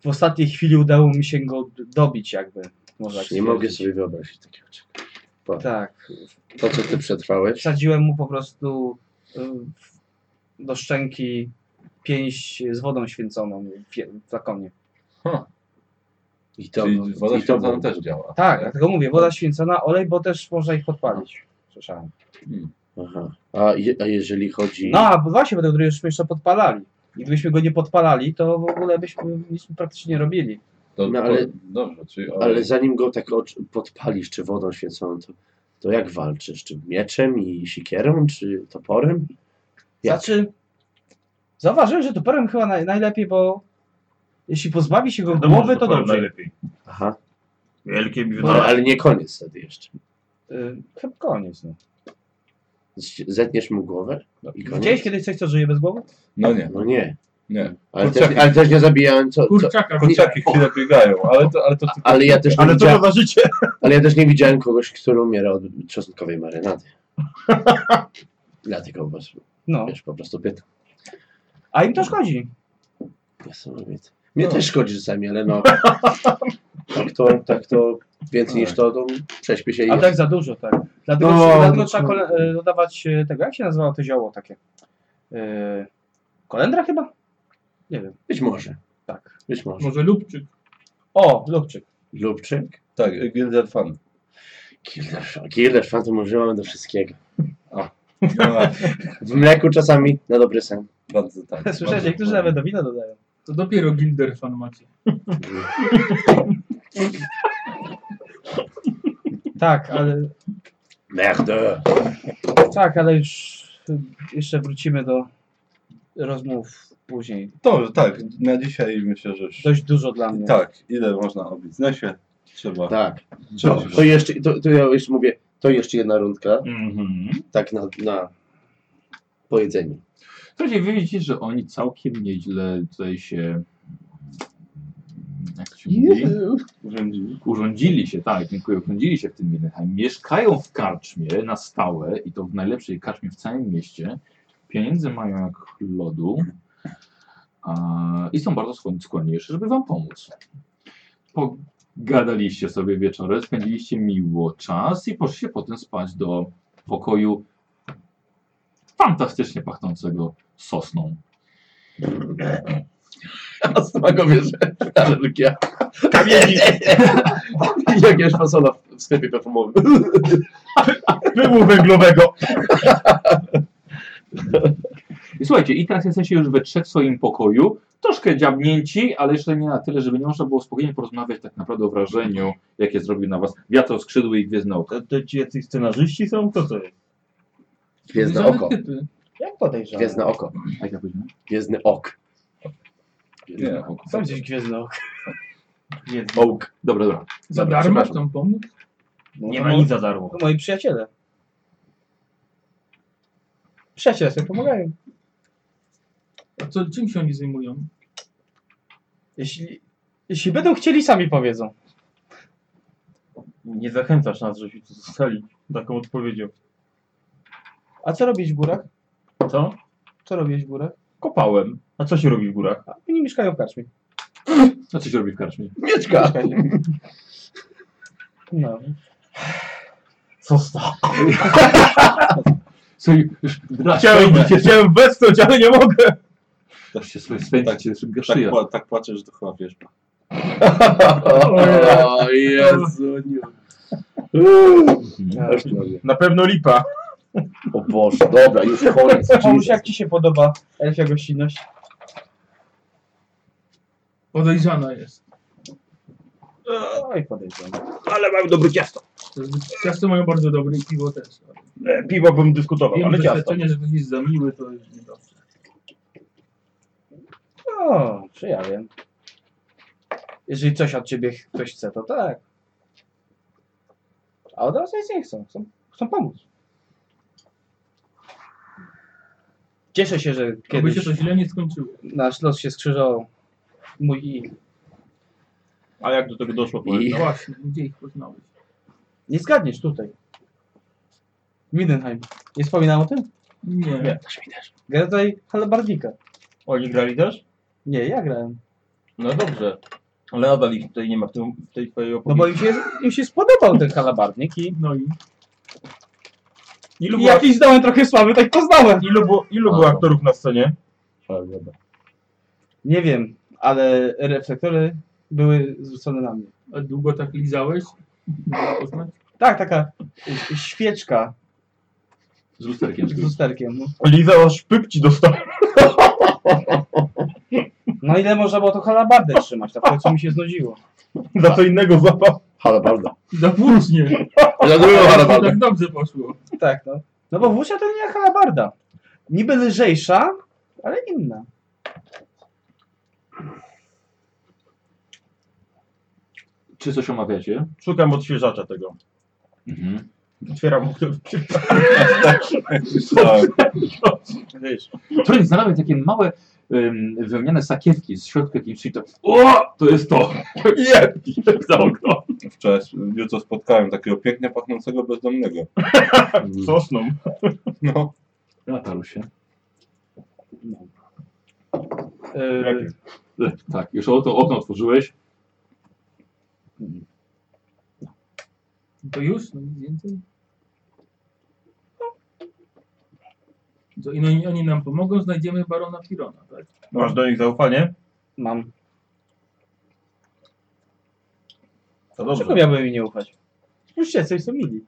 Speaker 6: w ostatniej chwili udało mi się go d- dobić jakby. Można tak
Speaker 5: Nie mogę
Speaker 6: stwierdzić.
Speaker 5: sobie wyobrazić takiego czegoś.
Speaker 6: Tak,
Speaker 5: To, co ty przetrwałeś,
Speaker 6: wsadziłem mu po prostu y, w- do szczęki pięść z wodą święconą w, w flakonie.
Speaker 5: I to,
Speaker 2: Czyli woda
Speaker 5: i to
Speaker 2: święcona
Speaker 5: było.
Speaker 2: też działa.
Speaker 6: Tak, dlatego mówię, woda święcona, olej, bo też można ich podpalić. Słyszałem.
Speaker 5: Aha. A, je, a jeżeli chodzi...
Speaker 6: No, a właśnie, bo tego drugiego żeśmy jeszcze podpalali. I gdybyśmy go nie podpalali, to w ogóle byśmy nic praktycznie nie robili.
Speaker 2: To,
Speaker 5: No, ale-
Speaker 2: po- dobrze, czyli
Speaker 5: Ale zanim go tak ocz- podpalisz, czy wodą święconą, to, to jak walczysz? Czy mieczem i sikierą, czy toporem? Jak?
Speaker 6: Znaczy, zauważyłem, że toporem chyba naj, najlepiej, bo jeśli pozbawi
Speaker 7: No,
Speaker 6: się go
Speaker 8: Wiadomo,
Speaker 6: głowy,
Speaker 8: że
Speaker 6: to
Speaker 8: powiem
Speaker 6: dobrze.
Speaker 8: Najlepiej.
Speaker 5: Aha,
Speaker 8: Wielkie
Speaker 5: no,
Speaker 8: biwdole.
Speaker 5: ale nie koniec wtedy jeszcze.
Speaker 6: Y, Chyba koniec. No.
Speaker 5: Z- Zetniesz mu głowę i koniec?
Speaker 6: Widziałeś kiedyś coś, co żyje bez głowy?
Speaker 2: No nie,
Speaker 5: No nie,
Speaker 2: nie.
Speaker 5: ale
Speaker 2: Kurczaki.
Speaker 5: też, ale też nie zabijałem, co, co,
Speaker 3: Kurczaka.
Speaker 2: Kurczaki chwilę biegają, ale to, ale to tylko...
Speaker 5: ale, ja też nie
Speaker 8: Ale co
Speaker 5: widziałem,
Speaker 8: towarzycie?
Speaker 5: ale ja też nie widziałem kogoś, który umiera od czosnkowej marynady. Dlatego was,
Speaker 6: No.
Speaker 5: wiesz, po prostu pytam.
Speaker 6: A im to szkodzi.
Speaker 5: Niesamowite. Mnie też szkodzi czasami, ale no. Tak to, tak to więcej niż to, to prześpię się i
Speaker 6: A
Speaker 5: tak...
Speaker 6: tak za dużo, tak. Dlatego,
Speaker 5: No,
Speaker 6: dlatego
Speaker 5: no,
Speaker 6: trzeba
Speaker 5: no.
Speaker 6: kole, y, dodawać y, tego, jak się nazywało to zioło takie? Y, kolendra chyba? Nie wiem.
Speaker 5: Być może.
Speaker 6: Tak.
Speaker 5: Być może.
Speaker 3: Może lubczyk.
Speaker 6: O, lubczyk.
Speaker 5: Lubczyk?
Speaker 2: Tak, Gilder Fan.
Speaker 5: Kilderszan. Kilderszan to może mamy do wszystkiego.
Speaker 2: No,
Speaker 5: W mleku czasami na dobry sen.
Speaker 2: bardzo tak.
Speaker 6: Słyszałeś, niektórzy nawet do wina dodają.
Speaker 3: To dopiero Gilderfan macie.
Speaker 6: Tak, ale,
Speaker 5: Merde.
Speaker 6: tak, ale już y, jeszcze wrócimy do rozmów później.
Speaker 2: Dobrze, tak, na dzisiaj myślę, że już...
Speaker 6: Dość dużo dla mnie.
Speaker 2: Tak, ile można o biznesie? Trzeba...
Speaker 5: Tak.
Speaker 2: trzeba
Speaker 5: To, to jeszcze, to, to ja jeszcze mówię, to jeszcze jedna rundka,
Speaker 8: Mhm.
Speaker 5: tak na, na pojedzenie.
Speaker 1: Słuchajcie, wy widzicie, że oni całkiem nieźle tutaj się... Jak to się mówi?
Speaker 2: urządzić.
Speaker 1: Urządzili się, tak, dziękuję, urządzili się w tym Mindenheim. Mieszkają w karczmie na stałe i to w najlepszej karczmie w całym mieście. Pieniędzy mają jak lodu a, i są bardzo skłon- skłonniejsze, żeby wam pomóc. Pogadaliście sobie wieczorem, spędziliście miło czas i poszliście potem spać do pokoju fantastycznie pachnącego sosną.
Speaker 5: A smakowie, że alergia. Kamieni. Jakieś fasola w- w sklepie perfumowym.
Speaker 8: Pyłu węglowego.
Speaker 1: I słuchajcie, i teraz jesteście już we trzech w swoim pokoju, troszkę dziabnięci, ale jeszcze nie na tyle, żeby nie można było spokojnie porozmawiać tak naprawdę o wrażeniu, jakie zrobił na was wiatr skrzydły i gwiezdne oko.
Speaker 4: To, to ci jacyś scenarzyści są? Co to jest?
Speaker 5: Gwiezdne
Speaker 3: Żadne
Speaker 5: oko.
Speaker 3: typy.
Speaker 6: Jak podejrzewam?
Speaker 5: Gwiezdne oko.
Speaker 1: Jak ja powiedziałem?
Speaker 5: Gwiezdny ok.
Speaker 2: Nie, Tak
Speaker 6: Są gdzieś gwiezdne oko.
Speaker 5: Ołk.
Speaker 1: Dobra, dobra.
Speaker 3: Za
Speaker 5: Dobra,
Speaker 3: darmo
Speaker 5: przepraszam.
Speaker 3: chcą pomóc?
Speaker 4: Nie ma nic za darmo.
Speaker 6: To No, moi przyjaciele. Przyjaciele sobie pomagają.
Speaker 3: A co, czym się oni zajmują?
Speaker 6: Jeśli, jeśli będą chcieli, sami powiedzą.
Speaker 4: Nie zachęcasz nas, żebyśmy tu zostali taką odpowiedzią.
Speaker 6: A co robić w górach?
Speaker 4: Co?
Speaker 6: Co robisz w górach?
Speaker 4: Kopałem. A co się robi w górach?
Speaker 6: A oni mieszkają w karczmie.
Speaker 1: No co się robi w karczmie?
Speaker 5: Mieczka.
Speaker 6: Mieszkają. No.
Speaker 4: Co sta?
Speaker 1: Słuchaj, już
Speaker 8: Chciałem,
Speaker 1: dracicie,
Speaker 8: chciałem westchnąć, ale nie mogę.
Speaker 1: też się sobie spędzicie, tak,
Speaker 2: tak,
Speaker 1: szyja.
Speaker 2: pła- tak płaczesz, że to chyba wiesz.
Speaker 5: O Jezu. nie. Uuu. Aż tu robię.
Speaker 8: Na pewno lipa.
Speaker 5: O Boże, dobra, już koniec.
Speaker 6: Paulusz, jak ci się podoba elfia gościnność?
Speaker 3: Podejrzana jest.
Speaker 6: Oj, podejrzewam.
Speaker 8: Ale mam dobre ciasto.
Speaker 3: To jest- Ciasto mają bardzo dobre i piwo też. ale
Speaker 8: E, Piwo bym dyskutował,
Speaker 3: Wiem,
Speaker 8: ale
Speaker 3: że
Speaker 8: ciasto.
Speaker 3: świadczenie, że ktoś jest za miły, to jest niedobrze.
Speaker 6: O, No, czy ja wiem. Jeżeli coś od ciebie ch- ktoś chce, to tak. A od razu nic nie chcą. Chcą, chcą pomóc. Cieszę się, że
Speaker 3: Aby się
Speaker 6: kiedyś
Speaker 3: to źle nie skończyło.
Speaker 6: nasz los się skrzyżował. Mój i ich.
Speaker 4: A jak do tego doszło?
Speaker 5: I-
Speaker 4: powiedz?
Speaker 3: No właśnie, gdzie ich poznałeś?
Speaker 6: Nie zgadniesz tutaj. Mindenheim. Nie wspominałem o tym?
Speaker 3: Nie.
Speaker 6: Gra tutaj Halabardnika.
Speaker 4: Oni grali też?
Speaker 6: Nie, ja grałem.
Speaker 4: No dobrze. Ale nadal ich tutaj nie ma w, tym, w tej twojej
Speaker 6: No
Speaker 4: opowieści.
Speaker 6: bo im się, im się spodobał ten halabardnik i,
Speaker 3: No i
Speaker 4: Ilu
Speaker 6: i
Speaker 4: było,
Speaker 6: jakiś dałem trochę sławy, tak poznałem.
Speaker 4: ilu było, ilu było aktorów na scenie?
Speaker 6: Nie wiem, ale reflektory były zwrócone na mnie.
Speaker 3: A długo tak lizałeś? Można poznać?
Speaker 6: Tak, taka y, świeczka
Speaker 1: Z lusterkiem.
Speaker 6: z lusterkiem. no.
Speaker 8: Liza aż pypci dostała.
Speaker 6: No ile można było to halabardę trzymać, tak w końcu mi się znudziło.
Speaker 8: Za co innego złapał.
Speaker 2: Halabarda.
Speaker 3: Za późnie.
Speaker 2: Za drugą halabardę.
Speaker 3: Tak dobrze poszło.
Speaker 6: Tak, no. No bo wusia to nie halabarda. Niby lżejsza, ale inna.
Speaker 1: Czy coś omawiacie?
Speaker 7: Szukam odświeżacza tego.
Speaker 1: Mhm.
Speaker 7: Otwieram mu
Speaker 2: Tak.
Speaker 1: Trochę znalazłem takie małe um, wymieniane sakiewki z środka jakimś czyli to o, to jest to. Nie, za okno.
Speaker 2: Wczoraj jutro spotkałem takiego pięknie pachnącego bezdomnego.
Speaker 7: sosną.
Speaker 2: No,
Speaker 1: Latarł się.
Speaker 6: Yy,
Speaker 1: Tak, już o to okno otworzyłeś.
Speaker 3: To już? No nic więcej? To i no, i oni nam pomogą, znajdziemy barona Firona, tak?
Speaker 7: Masz do nich zaufanie?
Speaker 6: mam.
Speaker 7: To
Speaker 6: Czego
Speaker 7: dobrze.
Speaker 6: miałbym im nie ufać? Już coś są mili.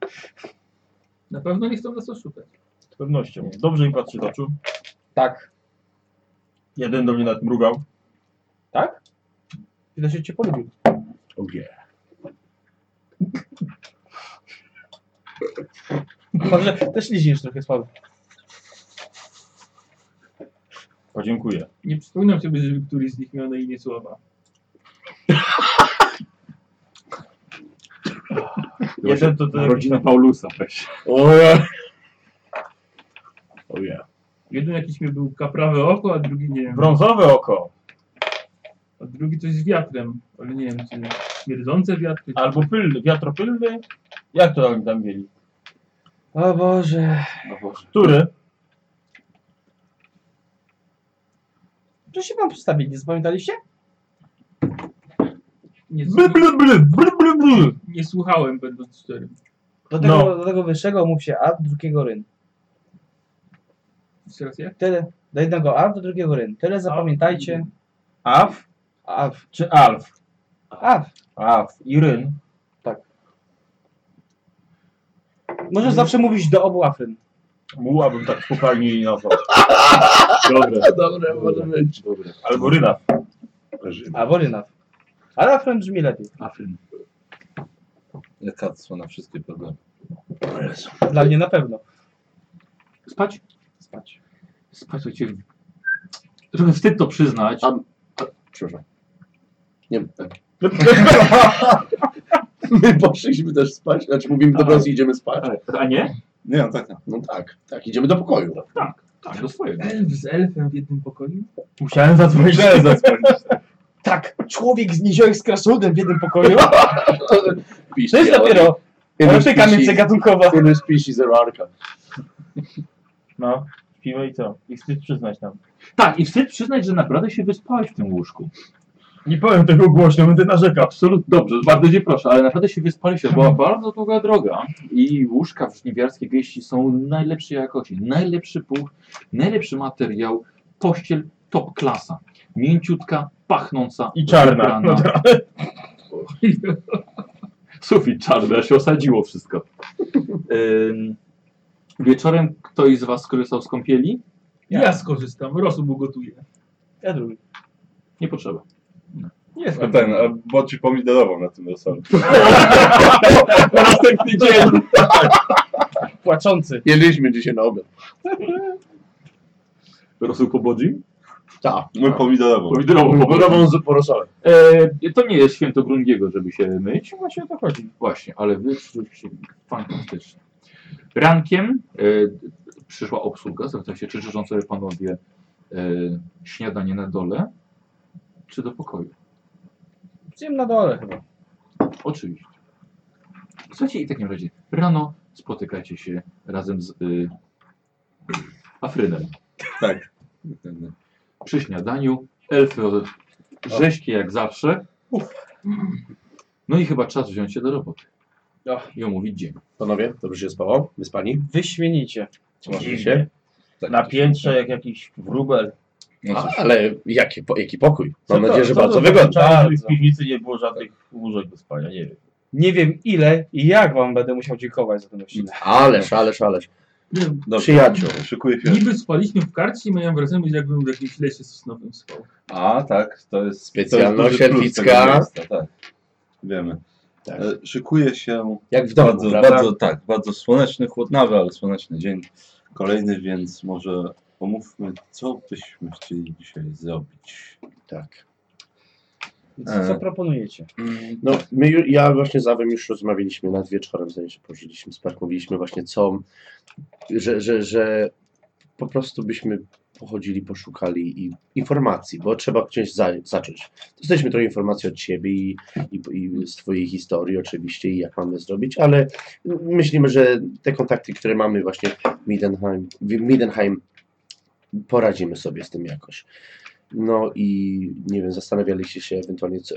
Speaker 3: Na pewno nie chcą nas oszukać.
Speaker 7: Z pewnością. Dobrze im patrzy do oczu.
Speaker 6: Tak.
Speaker 7: Jeden do mnie nawet mrugał.
Speaker 6: Widać, że cię polubił. Może też liźniesz trochę słabo.
Speaker 7: O, dziękuję.
Speaker 3: Nie przypominam sobie, żeby któryś z nich miał na imię słowa.
Speaker 7: Jeden to ten...
Speaker 1: Rodzina Paulusa weź.
Speaker 3: Jeden jakiś mi był kaprawe oko, a drugi nie wiem.
Speaker 7: Brązowe oko.
Speaker 3: A drugi coś z wiatrem, ale nie wiem, czy śmierdzące wiatry. czy-
Speaker 7: Albo pylny, wiatropylny. Jak to oni tam mieli?
Speaker 6: O Boże.
Speaker 7: Który?
Speaker 6: Tu się wam postawili, nie zapamiętaliście?
Speaker 3: Nie,
Speaker 7: Bly, bly, bly, bly, bly, bly.
Speaker 3: nie słuchałem, będąc szczerym.
Speaker 6: Do tego,
Speaker 7: No.
Speaker 6: do tego wyższego mów się A, do drugiego ryn.
Speaker 3: Jeszcze raz jak?
Speaker 6: Tyle. Do jednego A, do drugiego ryn. Tyle zapamiętajcie.
Speaker 7: Af
Speaker 6: A,
Speaker 7: czy Alf?
Speaker 6: a.
Speaker 7: Af. Iryn.
Speaker 6: Tak. Możesz zawsze mówić do obu afryn.
Speaker 7: Mułabym tak w kopalni nazwał.
Speaker 2: dobre.
Speaker 5: Dobra, może być.
Speaker 7: Albo Ryna.
Speaker 6: Albo rynaw. Ale afryn brzmi lepiej.
Speaker 1: Afryn.
Speaker 2: Lekarstwo na wszystkie problemy.
Speaker 6: Dla mnie na pewno.
Speaker 1: Spać?
Speaker 6: Spać.
Speaker 1: Spać, słuchajcie. Trochę wstyd to przyznać.
Speaker 5: A- Przepraszam. Nie wiem. tak. My poszliśmy też spać, znaczy mówimy dobranoc i idziemy spać.
Speaker 1: A, a nie?
Speaker 2: Nie, no tak.
Speaker 5: No tak, tak, idziemy do pokoju.
Speaker 1: Tak, do swojego.
Speaker 3: Elf z elfem w jednym pokoju?
Speaker 7: Musiałem zadzwonić.
Speaker 2: Musiałem zadzwonić.
Speaker 6: Tak, człowiek z niziołek z krasnoludem w jednym pokoju.
Speaker 5: Pisz,
Speaker 6: To jest dopiero erotyka międzygatunkowa.
Speaker 5: Inny species zerarka.
Speaker 7: No, śpimy i co? I wstyd przyznać nam.
Speaker 1: Tak, i wstyd przyznać, że naprawdę się wyspałeś w tym łóżku.
Speaker 7: Nie powiem tego głośno, będę narzekał.
Speaker 1: Absolutnie. Dobrze, bardzo cię proszę, ale naprawdę się wyspaliście. Była bardzo długa droga i łóżka w żniwiarskiej wieści są najlepszej jakości. Najlepszy puch, najlepszy materiał, pościel top klasa. Mięciutka, pachnąca.
Speaker 7: I czarna. No tak.
Speaker 1: wybrana. Sufit czarny, a się osadziło wszystko. Ym, wieczorem ktoś z was skorzystał z kąpieli?
Speaker 3: Ja, ja skorzystam, rosół ugotuję.
Speaker 6: Ja drugi.
Speaker 1: Nie potrzeba.
Speaker 7: Jest
Speaker 2: A ten, a No tak, bo ci pomidorową na tym rosolu.
Speaker 1: Na następny dzień!
Speaker 6: Płaczący.
Speaker 5: Jedliśmy dzisiaj na obiad.
Speaker 1: Rosół po bodzi?
Speaker 5: Tak.
Speaker 2: Mój pomidorową.
Speaker 1: Pomidorową po bodzi.
Speaker 5: Podobą zupę rosołem.
Speaker 1: E, to nie jest święto Grundiego, żeby się myć.
Speaker 7: No Właśnie o to chodzi.
Speaker 1: Właśnie, ale wy się fantastycznie. Rankiem e, przyszła obsługa, zapytała się, czy życzą sobie panowie e, śniadanie na dole, czy do pokoju.
Speaker 6: Zjem na dole chyba.
Speaker 1: Oczywiście. Słuchajcie, i w takim razie rano spotykacie się razem z y, Afrynem.
Speaker 2: Tak.
Speaker 1: Przy śniadaniu elfy od- rzeźkie jak zawsze. No i chyba czas wziąć się do roboty
Speaker 6: No.
Speaker 1: i omówić dzień.
Speaker 5: Panowie, dobrze się spało? Wyspani?
Speaker 6: Wyśmienicie.
Speaker 5: Trzymaliście
Speaker 7: Dziwnie.
Speaker 5: się?
Speaker 2: Tak.
Speaker 7: Na piętrze jak jakiś wróbel.
Speaker 2: No cóż,
Speaker 5: Ale jaki, po- jaki pokój. Mam
Speaker 7: Co
Speaker 5: nadzieję, że
Speaker 7: co
Speaker 5: bardzo
Speaker 7: to
Speaker 5: wygodny.
Speaker 7: oznacza, żeby
Speaker 6: Bardzo.
Speaker 7: W piwnicy nie było żadnych łóżek do spania, nie wiem.
Speaker 6: Nie wiem ile i jak wam będę musiał dziękować za ten odcinek.
Speaker 5: Ależ, ależ, ależ.
Speaker 3: Nie,
Speaker 2: dobrze.
Speaker 5: Przyjaciół.
Speaker 2: Szykuję film.
Speaker 3: Niby spaliśmy w karcie i miałem wrażenie, że jakbym w jakimś lesie sosnowym spał.
Speaker 2: A, tak, to jest...
Speaker 5: Specjalność
Speaker 2: to jest duży plus
Speaker 5: elficka.
Speaker 2: tego Miejsca, tak, wiemy.
Speaker 5: Tak.
Speaker 2: E, Szykuje się
Speaker 5: Jak w domu,
Speaker 2: bardzo,
Speaker 5: prawda?
Speaker 2: bardzo, tak, bardzo słoneczny, chłodnawy, ale słoneczny dzień. Kolejny, więc może pomówmy, co byśmy chcieli dzisiaj zrobić.
Speaker 5: Tak.
Speaker 6: Co, co
Speaker 2: E.
Speaker 6: proponujecie?
Speaker 2: Mm,
Speaker 5: No, my, ju- ja właśnie z Awem już rozmawialiśmy nad wieczorem, zanim się położyliśmy spać, mówiliśmy właśnie co, że, że, że po prostu byśmy pochodzili, poszukali i informacji, bo trzeba gdzieś za, zacząć. Dostaliśmy trochę informacji od Ciebie i, i, i z Twojej historii oczywiście i jak mamy zrobić, ale myślimy, że te kontakty, które mamy właśnie w Midenheim, w Midenheim poradzimy sobie z tym jakoś. No i nie wiem, zastanawialiście się ewentualnie, co,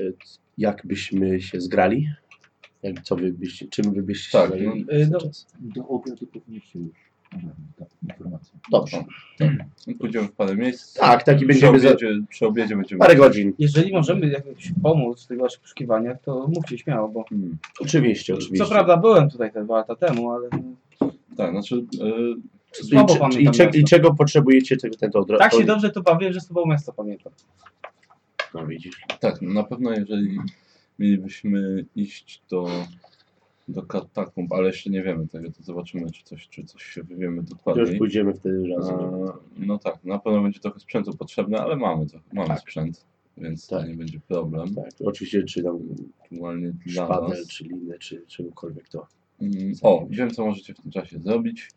Speaker 5: jak byśmy się zgrali? Jak, co wy byście, czym wy byście
Speaker 2: Tak,
Speaker 5: się zgrali?
Speaker 6: y, no,
Speaker 1: Do obiadu powinniście już informację.
Speaker 5: Dobrze.
Speaker 2: Pójdziemy w parę miejsc.
Speaker 5: Tak, tak i
Speaker 2: przy
Speaker 5: będziemy za
Speaker 2: obiedzie, przy obiedzie będziemy...
Speaker 5: parę godzin.
Speaker 6: Jeżeli możemy jakoś pomóc w tych waszych poszukiwaniach, to mówcie śmiało, bo
Speaker 2: Hmm.
Speaker 5: Oczywiście, oczywiście.
Speaker 6: co prawda byłem tutaj te dwa lata temu, ale
Speaker 2: Tak, znaczy y,
Speaker 5: I,
Speaker 6: słabo
Speaker 5: czy-
Speaker 6: pamiętam
Speaker 5: i, czeg-
Speaker 6: miasto.
Speaker 5: I czego potrzebujecie, tego ten to od razu.
Speaker 6: tak się dobrze to bawię, że z tobą miasto pamiętam.
Speaker 5: No widzisz.
Speaker 2: tak, na pewno jeżeli mielibyśmy iść do, do katakumb, ale jeszcze nie wiemy tego, to zobaczymy, czy coś, czy coś się wywiemy
Speaker 5: To już
Speaker 2: dokładniej.
Speaker 5: pójdziemy wtedy
Speaker 2: E,
Speaker 5: razem.
Speaker 2: no tak, na pewno będzie trochę sprzętu potrzebne, ale mamy, trochę, mamy sprzęt, więc to
Speaker 5: Tak.
Speaker 2: nie będzie problem.
Speaker 5: Tak, oczywiście, czy tam
Speaker 2: Aktualnie dla
Speaker 5: szpadel,
Speaker 2: nas.
Speaker 5: czy linę, czy czegokolwiek to.
Speaker 2: Mm, O, wiem co możecie w tym czasie zrobić.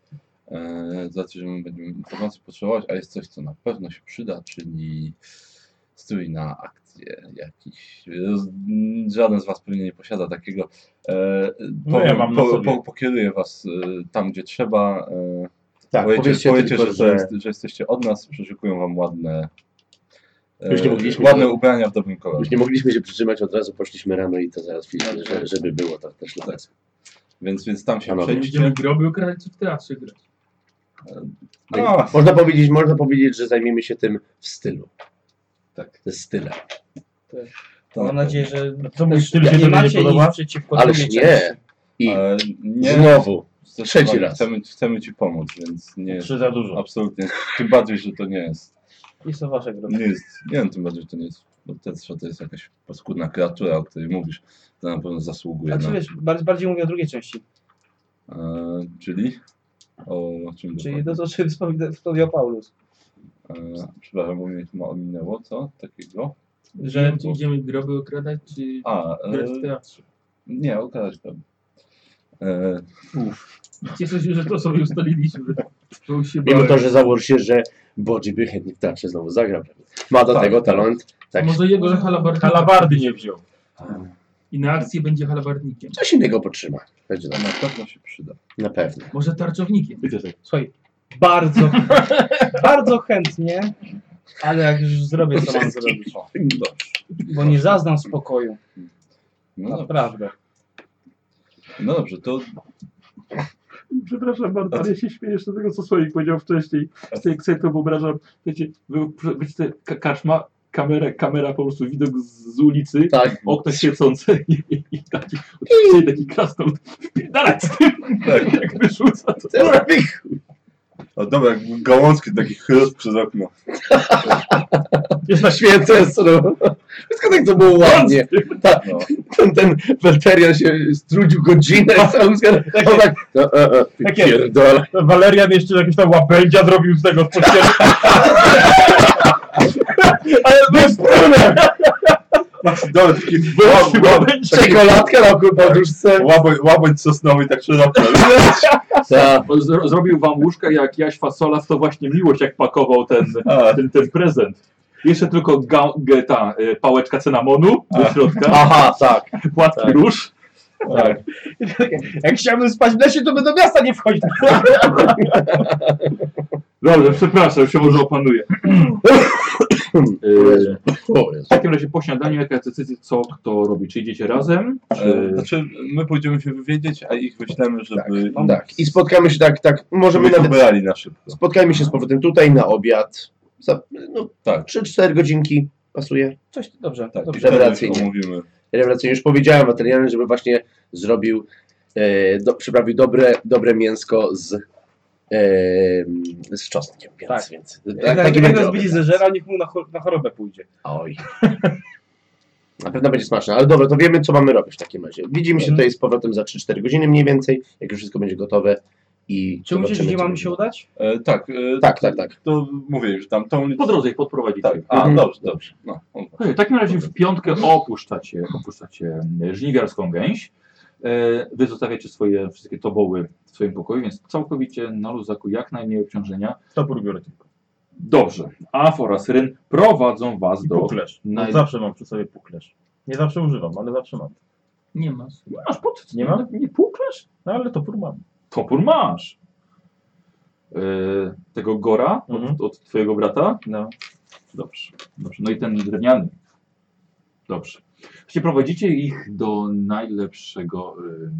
Speaker 2: E, znaczy, że my będziemy informacji potrzebować, a jest coś, co na pewno się przyda, czyli strój na akcję jakiś. Roz- m, Żaden z Was pewnie nie posiada takiego. E,
Speaker 7: No ja
Speaker 2: powiem-
Speaker 7: mam na
Speaker 2: po,
Speaker 7: sobie.
Speaker 2: po, pokieruję Was e, tam, gdzie trzeba. E,
Speaker 5: Tak,
Speaker 2: powiecie,
Speaker 5: powiedzcie
Speaker 2: powiecie
Speaker 5: tylko,
Speaker 2: że, to
Speaker 5: że...
Speaker 2: jest, że jesteście od nas, przeszukują Wam ładne, e,
Speaker 5: Już nie mogliśmy-
Speaker 2: ładne ubrania w dobrym kolorze.
Speaker 5: Już nie mogliśmy się przytrzymać, od razu poszliśmy rano i to zaraz widzieliśmy, że, żeby było tak też dla nas.
Speaker 2: Więc, więc tam się
Speaker 5: Panowie.
Speaker 3: Będziemy
Speaker 2: przejdźcie.
Speaker 3: groby okradać czy w teatrze grać?
Speaker 2: A,
Speaker 5: Można powiedzieć, można powiedzieć, że zajmiemy się tym w stylu.
Speaker 2: tak.
Speaker 5: Ze stylem.
Speaker 2: to
Speaker 6: Mam
Speaker 2: na
Speaker 6: nadzieję, że
Speaker 7: Co mój styl się
Speaker 6: nie
Speaker 7: tobie nie
Speaker 6: macie nic
Speaker 7: podoba?
Speaker 6: przeciwko
Speaker 5: Ależ
Speaker 6: drugiej
Speaker 5: nie!
Speaker 6: części.
Speaker 5: I
Speaker 2: E, nie,
Speaker 5: znowu.
Speaker 2: Zdecydowanie
Speaker 5: Trzeci raz.
Speaker 2: Chcemy, chcemy ci pomóc, więc nie jest
Speaker 7: Czy za dużo?
Speaker 2: absolutnie. Tym bardziej, że to nie jest.
Speaker 6: Jest to wasze groby.
Speaker 2: Nie jest. Nie wiem, tym bardziej, że to nie jest. Bo ten strzał to jest jakaś paskudna kreatura, o której mówisz. To na pewno zasługuje.
Speaker 6: Znaczy
Speaker 2: Na,
Speaker 6: wiesz, bardziej, bardziej mówię o drugiej części,
Speaker 2: e, czyli? O, o czym
Speaker 6: czyli to,
Speaker 2: dokładnie?
Speaker 6: o czym wspomina- wspomniał Paulus.
Speaker 2: E, przepraszam, bo mnie ma ominęło, co takiego?
Speaker 3: Że będziemy groby okradać czy
Speaker 2: A, e,
Speaker 3: grać w teatrze?
Speaker 2: nie, okazać to. E,
Speaker 3: Cieszę się, że to sobie ustaliliśmy. Bo już się
Speaker 5: Mimo
Speaker 3: bałem.
Speaker 5: to, że założy się, że Bodzi by chętnie w teatrze znowu zagrał. Ma do
Speaker 2: Tak,
Speaker 5: tego
Speaker 2: tak.
Speaker 5: talent. Tak.
Speaker 3: Może jego że halabardnik.
Speaker 7: Halabardy nie wziął.
Speaker 3: I na akcji będzie halabardnikiem.
Speaker 5: Coś innego potrzyma. Będzie
Speaker 2: to
Speaker 5: tak.
Speaker 2: na pewno się przyda.
Speaker 5: Na pewno.
Speaker 3: Może tarczownikiem.
Speaker 6: Słuchaj, bardzo, bardzo chętnie, ale jak już zrobię, co mam zrobić,
Speaker 2: O, dobrze.
Speaker 6: bo nie zaznam spokoju,
Speaker 2: No, dobrze.
Speaker 6: naprawdę.
Speaker 2: no dobrze, to
Speaker 8: Przepraszam bardzo, ale ja się śmieję jeszcze tego, co Słoik powiedział wcześniej. Sobie, sobie to wyobrażam. Wiecie, wy, wiecie te ka- kaszma, kamera, kamera po prostu widok z, z ulicy,
Speaker 5: Tak.
Speaker 8: okno świecące i, i, i tak. taki, oczywiście taki krasnolud wpierdalać z tym,
Speaker 2: tak.
Speaker 8: jak wyrzuca. To,
Speaker 2: O, dobra, jak gałązki takich chrust przez okno.
Speaker 5: Już na święce no. Wszystko tak to było ładnie. Ta,
Speaker 2: No.
Speaker 5: ten, ten Welterian się strudził godzinę całą zgarę. On tak, no, e, e, ty
Speaker 7: Takie-
Speaker 5: pierdolę.
Speaker 7: Walerian jeszcze jakieś tam łabędzia zrobił z tego spotkania.
Speaker 5: Ale bez problemu.
Speaker 2: Dobra, taki łab, łab, taki
Speaker 5: Czekoladka na podróżce.
Speaker 2: łaboń, łaboń sosnowy, tak szeroko.
Speaker 5: Ta,
Speaker 8: zro, zrobił wam łóżka jak Jaś Fasolas, to właśnie miłość jak pakował ten,
Speaker 2: A,
Speaker 8: ten, ten prezent. Jeszcze tylko ga, ge, ta y, pałeczka cynamonu do środka,
Speaker 5: aha, tak.
Speaker 8: płatki
Speaker 5: tak.
Speaker 8: róż.
Speaker 5: tak.
Speaker 6: Jak chciałbym spać w lesie, to by do miasta nie wchodził.
Speaker 8: Dobrze, przepraszam, się może E, opanuję.
Speaker 5: O Jezu. O Jezu.
Speaker 8: W takim razie po śniadaniu jaka jest decyzja, co kto robi? Czy idziecie razem?
Speaker 2: e, znaczy, my pójdziemy się wywiedzieć, a ich wyślemy, żeby...
Speaker 5: Tak. I spotkamy się tak, tak. Możemy
Speaker 2: Żeby
Speaker 5: nawet
Speaker 2: wybrali na szybko.
Speaker 5: Spotkajmy się z powrotem tutaj na obiad. za no,
Speaker 2: Tak.
Speaker 5: 3-4 godzinki pasuje.
Speaker 6: Coś, dobrze.
Speaker 2: Tak,
Speaker 6: dobrze.
Speaker 2: wtedy
Speaker 5: rewelacyjnie.
Speaker 2: omówimy.
Speaker 5: Rewelacyjnie. Już powiedziałem materiałem, żeby właśnie zrobił, e, do, przyprawił dobre, dobre mięsko z, e, z czosnkiem. Więc,
Speaker 6: Tak.
Speaker 5: więc,
Speaker 6: Jak, jak,
Speaker 5: taki
Speaker 6: jak
Speaker 5: będzie
Speaker 6: nas
Speaker 5: obraz.
Speaker 6: będzie zeżera, niech mu na, cho- na chorobę pójdzie.
Speaker 5: Oj. Na pewno będzie smaczne, ale dobra, to wiemy, co mamy robić w takim razie. Widzimy się
Speaker 6: Mhm.
Speaker 5: tutaj z powrotem za 3-4 godziny mniej więcej, jak już wszystko będzie gotowe i
Speaker 6: Czy myślisz,
Speaker 5: zobaczymy,
Speaker 6: gdzie
Speaker 5: co
Speaker 6: mamy
Speaker 5: będzie.
Speaker 6: się udać?
Speaker 2: E, tak, e,
Speaker 5: Tak, tak, tak.
Speaker 2: To mówię, że tam tą
Speaker 1: Po
Speaker 2: liczbę.
Speaker 1: drodze ich podprowadzić.
Speaker 2: Tak, a
Speaker 5: Mhm.
Speaker 2: dobrze, dobrze. No, no.
Speaker 1: Słuchajcie, W takim razie w piątkę opuszczacie, opuszczacie żniwiarską gęś. E, Wy zostawiacie swoje wszystkie toboły w swoim pokoju, więc całkowicie na luzaku jak najmniej obciążenia.
Speaker 4: Topór biorę tylko.
Speaker 1: Dobrze. Af oraz Ryn prowadzą was
Speaker 4: I
Speaker 1: do...
Speaker 4: puklerz.
Speaker 7: No
Speaker 1: naj-
Speaker 4: Zawsze mam przy sobie puklerz. Nie zawsze używam, ale zawsze mam.
Speaker 3: Nie masz.
Speaker 4: Masz pod? Nie mam? Nie puklerz? No ale topór mam.
Speaker 1: Topór masz. E, Tego Gora
Speaker 4: Mhm.
Speaker 1: od, od twojego brata.
Speaker 4: No.
Speaker 1: Dobrze, dobrze. No i ten drewniany. Dobrze. Właśnie prowadzicie ich do najlepszego ym,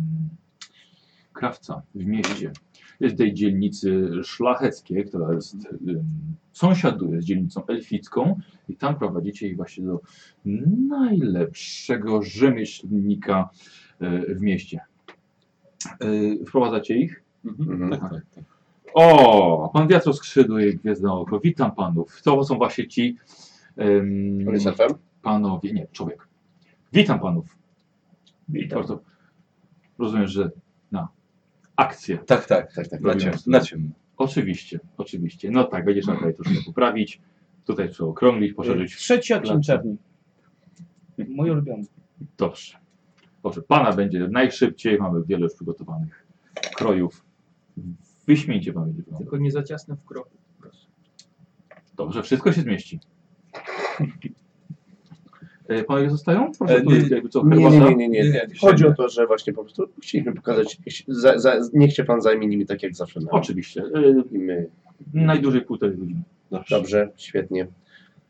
Speaker 1: krawca w mieście. Jest tej dzielnicy szlacheckiej, która jest ym, sąsiaduje z dzielnicą elficką i tam prowadzicie ich właśnie do najlepszego rzemieślnika y, w mieście. Y, wprowadzacie ich
Speaker 5: Mhm.
Speaker 1: o, pan Wiatro Skrzydły i Gwiezdne Oko. Witam panów. To są właśnie ci em,
Speaker 5: On jest
Speaker 6: Mm.
Speaker 5: elfem?
Speaker 1: panowie, nie, człowiek. Witam panów. Witam. Bardzo, rozumiem, że na akcję.
Speaker 2: Tak, tak,
Speaker 5: Tak, tak.
Speaker 2: na
Speaker 1: Robimy
Speaker 2: ciemno.
Speaker 1: sobie.
Speaker 2: Na ciemno.
Speaker 1: Oczywiście, oczywiście. No tak, będziesz na tutaj troszkę poprawić. Tutaj trzeba okrąglić, poszerzyć.
Speaker 6: Trzeci odcinek
Speaker 1: Placu.
Speaker 6: czerni. Mój ulubiony.
Speaker 1: Dobrze. Dobrze, pana będzie najszybciej. Mamy wiele już przygotowanych krojów. Wyśmienicie pan będzie. wyglądał.
Speaker 3: Tylko nie za ciasno w kroku. Proszę.
Speaker 1: Dobrze, wszystko się zmieści. E, Panowie zostają? Proszę,
Speaker 2: E,
Speaker 1: tu
Speaker 2: nie,
Speaker 1: jest jakby co,
Speaker 5: Nie, nie,
Speaker 1: herbata.
Speaker 5: nie, nie, nie,
Speaker 2: Nie,
Speaker 5: nie.
Speaker 2: dzisiaj
Speaker 5: Chodzi
Speaker 2: nie.
Speaker 5: o to, że właśnie po prostu chcieliśmy pokazać, za, za, niech się pan zajmie nimi tak jak zawsze na
Speaker 1: Oczywiście. E,
Speaker 5: i my.
Speaker 1: najdłużej półtorej godziny.
Speaker 5: Dobrze, świetnie.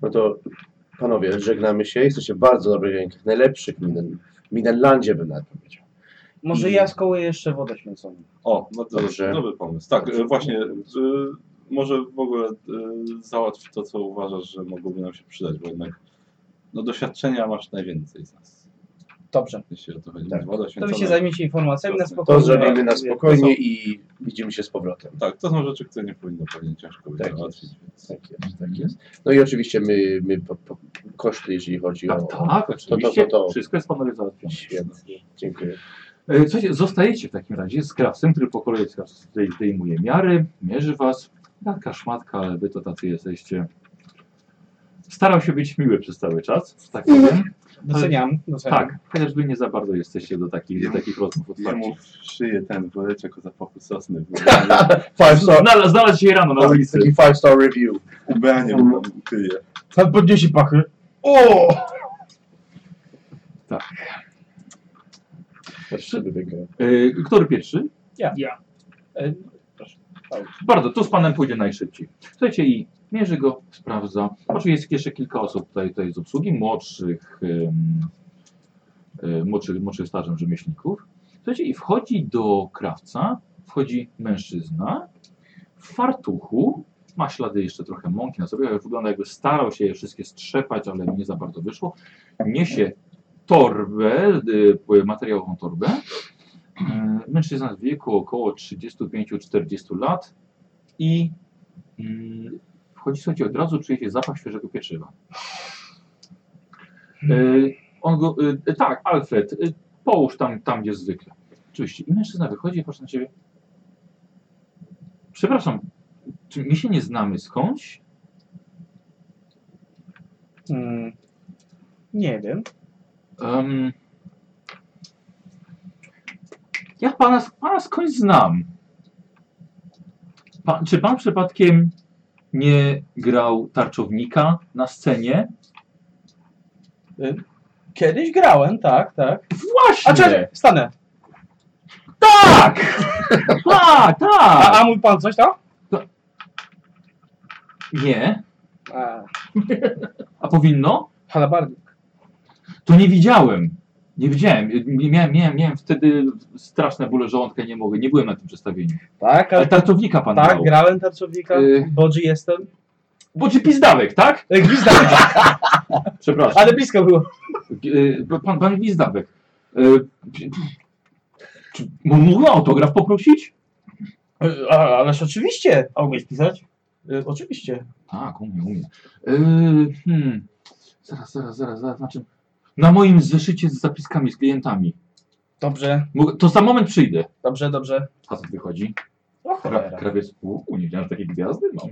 Speaker 5: No to panowie, żegnamy się. Jesteście w bardzo dobrych rękach, najlepszych w Miden- w Midenlandzie bym nawet powiedział.
Speaker 6: Może
Speaker 5: I-
Speaker 6: ja skołuję jeszcze wodę święconą.
Speaker 2: O, no to
Speaker 5: Dobrze.
Speaker 2: dobry pomysł. Tak, e, właśnie, e, może w ogóle e, załatw to, co uważasz, że mogłoby nam się przydać, bo jednak no, doświadczenia masz najwięcej z nas,
Speaker 6: Dobrze.
Speaker 2: jeśli o to chodzi.
Speaker 5: Tak.
Speaker 2: Woda
Speaker 6: To wy
Speaker 2: święcona.
Speaker 6: się zajmiecie informacjami na
Speaker 2: To
Speaker 6: spokojnie.
Speaker 5: To zrobimy na
Speaker 6: Jak-
Speaker 5: spokojnie i widzimy się z powrotem.
Speaker 2: Tak, to są rzeczy, które nie powinno pewnie ciężko być
Speaker 5: Tak jest.
Speaker 2: załatwić. Więc...
Speaker 5: Tak jest, tak jest. No i oczywiście my, my po, po, koszty, jeżeli chodzi
Speaker 1: Tak,
Speaker 5: o...
Speaker 1: tak, oczywiście.
Speaker 5: to- to-
Speaker 1: Wszystko jest panowie załatwione.
Speaker 5: Świetnie, dziękuję.
Speaker 1: E, Słuchajcie, zostajecie w takim razie z krawcem, który po kolei z- zdej- zdejmuje miary, mierzy was. Taka szmatka, ale wy to tacy jesteście. Starał się być miły przez cały czas, tak powiem.
Speaker 6: Doceniam, doceniam.
Speaker 1: Tak, chociaż wy nie za bardzo jesteście do takich, do takich rozmów otwarci.
Speaker 2: Jemu w szyję ten woreczek o zapachu sosny. bo
Speaker 5: Five star,
Speaker 1: Znalazł znalazł się rano na ulicy.
Speaker 5: taki five star review.
Speaker 2: Ubranie mu tam kryje.
Speaker 6: Pan podniesie pachy.
Speaker 5: Proszę, by wygrał.
Speaker 1: E, Który pierwszy?
Speaker 3: Ja.
Speaker 6: E,
Speaker 1: Bardzo, to z panem pójdzie najszybciej. Słuchajcie i mierzy go, sprawdza. Oczywiście jest jeszcze kilka osób tutaj, tutaj z obsługi, młodszych, ym, y, młodszych, młodszych stażem rzemieślników. Słuchajcie i wchodzi do krawca, wchodzi mężczyzna w fartuchu, ma ślady jeszcze trochę mąki na sobie, ale wygląda jakby starał się je wszystkie strzepać, ale nie za bardzo wyszło. Niesie torbę, y, materiałową torbę. Y, Mężczyzna w wieku około 35-40 lat, i mm, wchodzi, słuchajcie, od razu czujecie zapach świeżego pieczywa. Y, on go, y, tak, Alfred, y, połóż tam, tam, gdzie zwykle. Oczywiście. I mężczyzna wychodzi i patrzy na ciebie. Przepraszam, czy my się nie znamy skądś?
Speaker 6: Mm, nie wiem.
Speaker 1: Em, ja pana, pana skądś znam. Pan, czy pan przypadkiem nie grał tarczownika na scenie?
Speaker 6: Kiedyś grałem, tak, tak.
Speaker 1: Właśnie!
Speaker 6: A czy stanę.
Speaker 1: Tak! Tak,
Speaker 6: A,
Speaker 1: tak!
Speaker 6: a mój pan coś tam?
Speaker 1: Nie.
Speaker 6: A,
Speaker 1: A powinno?
Speaker 6: halabardnik.
Speaker 1: To nie widziałem. Nie widziałem. Nie- Miałem, miałem, miałem wtedy straszne bóle żołądka, nie mogę. Nie byłem na tym przedstawieniu.
Speaker 6: Tak,
Speaker 1: Ale
Speaker 6: ale
Speaker 1: tartownika pan
Speaker 6: tak,
Speaker 1: grał.
Speaker 6: grałem tarczownika.
Speaker 1: Y.
Speaker 6: Bodzi jestem.
Speaker 1: Bo ci pizdawek, tak?
Speaker 6: E, Gwizdawek,
Speaker 1: Przepraszam.
Speaker 6: ale blisko było.
Speaker 1: E, Pan, pan Gwizdawek. e, p- Czy m- mógłby o autograf poprosić?
Speaker 6: E, A, ależ oczywiście. A umiesz pisać? E, Oczywiście.
Speaker 1: Tak, umiem, umiem. E, hmm. Zaraz, zaraz, zaraz, zaraz. Na czym? Na moim zeszycie z zapiskami, z klientami.
Speaker 6: Dobrze,
Speaker 1: Mógł- To za moment przyjdę.
Speaker 6: dobrze, dobrze.
Speaker 1: A co wychodzi?
Speaker 6: O
Speaker 1: Kra,
Speaker 6: cholera.
Speaker 1: krawiec łuku, nie wiedziałem, że takie gwiazdy mam.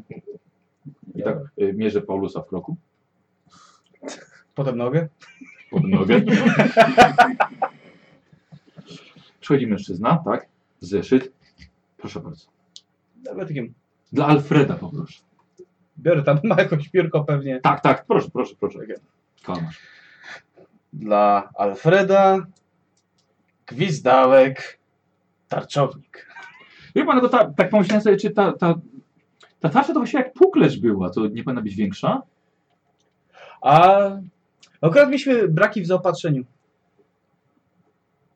Speaker 1: I tak e, mierzę Paulusa w kroku,
Speaker 6: Potem nogę.
Speaker 1: pod nogę. Przychodzi mężczyzna, tak? Zeszyt. Proszę bardzo.
Speaker 6: Tabletkiem.
Speaker 1: Dla Alfreda poproszę.
Speaker 6: Biorę tam, ma jakąś piórko pewnie.
Speaker 1: Tak, tak, proszę, proszę, proszę. Kalmasz.
Speaker 6: Dla Alfreda, gwizdałek, tarczownik.
Speaker 1: Wie pan, no to ta, tak pomyślałem sobie, czy ta, ta, ta tarcza to właśnie jak puklerz była, to nie powinna być większa?
Speaker 6: A akurat mieliśmy braki w zaopatrzeniu.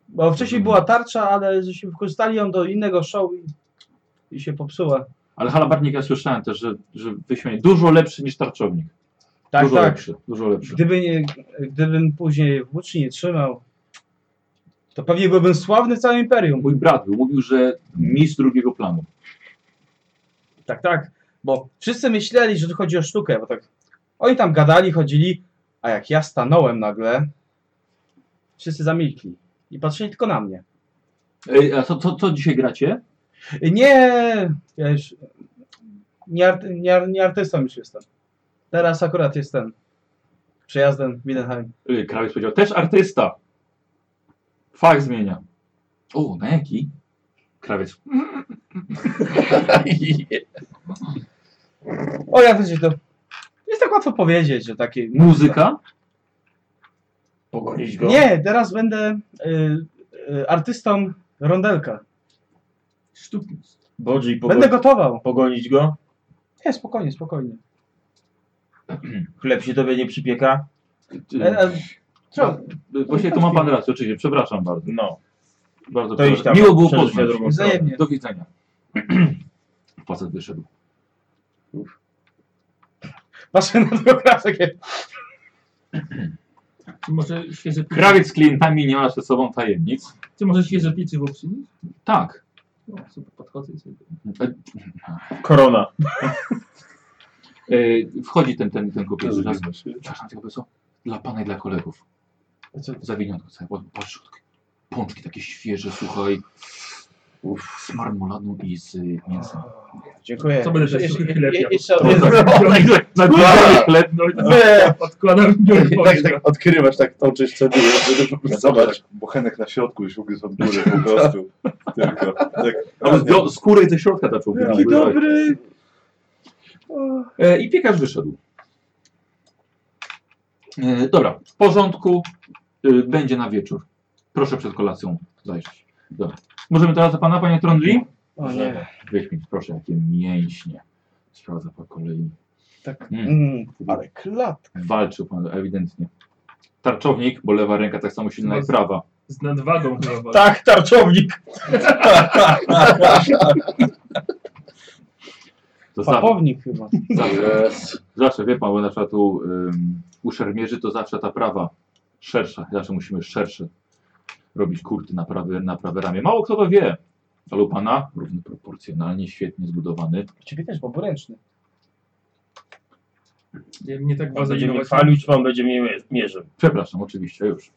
Speaker 6: Bo wcześniej
Speaker 1: Mhm.
Speaker 6: była tarcza, ale żeśmy wykorzystali ją do innego show i, i się popsuła.
Speaker 1: Ale halabarnik, ja słyszałem też, że, że wyśmianie dużo lepszy niż tarczownik.
Speaker 6: Tak,
Speaker 1: dużo
Speaker 6: tak.
Speaker 1: lepszy, dużo lepszy.
Speaker 6: Gdyby nie, gdybym później włóczni nie trzymał, to pewnie byłbym sławny w całym imperium.
Speaker 1: Mój brat był, mówił, że mistrz drugiego planu.
Speaker 6: Tak, tak. Bo wszyscy myśleli, że tu chodzi o sztukę, bo tak. Oni tam gadali, chodzili, a jak ja stanąłem nagle, wszyscy zamilkli i patrzyli tylko na mnie.
Speaker 1: Ej, E, a co, co, co dzisiaj gracie?
Speaker 6: Nie, ja już nie, art, nie, ar- nie artystą już jestem. Teraz akurat jestem przejazdem Mindenheim.
Speaker 1: Ej, Krawiec E, powiedział, też artysta. Fach zmienia. O, na jaki? Krawiec.
Speaker 6: O, jak będzie to? Jest tak łatwo powiedzieć, że taki...
Speaker 1: Muzyka?
Speaker 7: Pogonić go.
Speaker 6: Nie, teraz będę y, y, artystą rondelka.
Speaker 7: Bodzi, pogo...
Speaker 6: Będę gotował.
Speaker 7: pogonić go.
Speaker 6: Nie, spokojnie, spokojnie.
Speaker 7: Chleb się tobie nie przypieka.
Speaker 6: E, e,
Speaker 1: Co? Właśnie to ma pan rację, oczywiście. Przepraszam bardzo.
Speaker 7: No.
Speaker 1: Bardzo
Speaker 7: To iść
Speaker 1: przepraszam.
Speaker 7: tam.
Speaker 1: Miło było
Speaker 7: Przeżyć na
Speaker 1: poznać.
Speaker 7: drugą stronę.
Speaker 6: wzajemnie.
Speaker 1: Do widzenia. Facet wyszedł.
Speaker 6: Patrzę na tego kraskę.
Speaker 3: Czy może świeże picie,
Speaker 1: Krawiec z klientami nie ma przed sobą tajemnic.
Speaker 3: czy może świeże piczywo przynieść?
Speaker 1: Tak.
Speaker 3: O, No, super, podchodzę i sobie.
Speaker 1: E,
Speaker 7: Korona.
Speaker 1: e, wchodzi ten, ten, ten kupiec. że- Przepraszam, tylko co? Dla pana i dla kolegów. Zawiniątko całe. bo- Patrz, takie pączki takie świeże, słuchaj. Z marmoladą i z y, mięsem.
Speaker 6: Dziękuję.
Speaker 3: Co będę
Speaker 6: Jeszcze-
Speaker 3: jeszcze chleb jadł?
Speaker 6: jeszcze-
Speaker 1: No tak. Na dwa chleb, no i
Speaker 3: Odkładam i biorę
Speaker 5: Tak, tak, odkrywasz tak tą część, co dzieje, żeby
Speaker 2: Zobacz,
Speaker 5: zobacz.
Speaker 2: bochenek na środku już ugryzł od góry po prostu. Tylko. Tak,
Speaker 1: Ale do skóry ze środka zaczął
Speaker 2: Jaki
Speaker 1: dobry! E, I piekarz wyszedł. E, dobra, w porządku. E, będzie na wieczór. Proszę przed kolacją zajrzeć. Dobra. Możemy teraz do pana, panie Trondli?
Speaker 6: O nie,
Speaker 1: Wyśmieć, proszę, jakie mięśnie. Sprawdza po kolei.
Speaker 6: tak.
Speaker 1: Mm.
Speaker 6: Mm, ale klat.
Speaker 1: Walczył pan ewidentnie. Tarczownik, bo lewa ręka tak samo silna jak
Speaker 3: No,
Speaker 1: prawa.
Speaker 3: Z nadwagą chyba.
Speaker 7: Tak, tarczownik.
Speaker 1: To zawsze,
Speaker 6: Papownik chyba.
Speaker 1: zawsze, zawsze, wie pan, bo na przykład u, ym, u szermierzy to zawsze ta prawa szersza. Zawsze musimy szersze robić kurty na prawe, na prawe ramię. Mało kto to wie. Ale u pana równo proporcjonalnie, świetnie zbudowany.
Speaker 6: Ciebie też, bo poręczny.
Speaker 3: Ja mnie tak
Speaker 7: Pan
Speaker 3: bardzo
Speaker 7: będzie mnie chwalił, czy pan będzie mnie mie- mierzył?
Speaker 1: Przepraszam, oczywiście, już.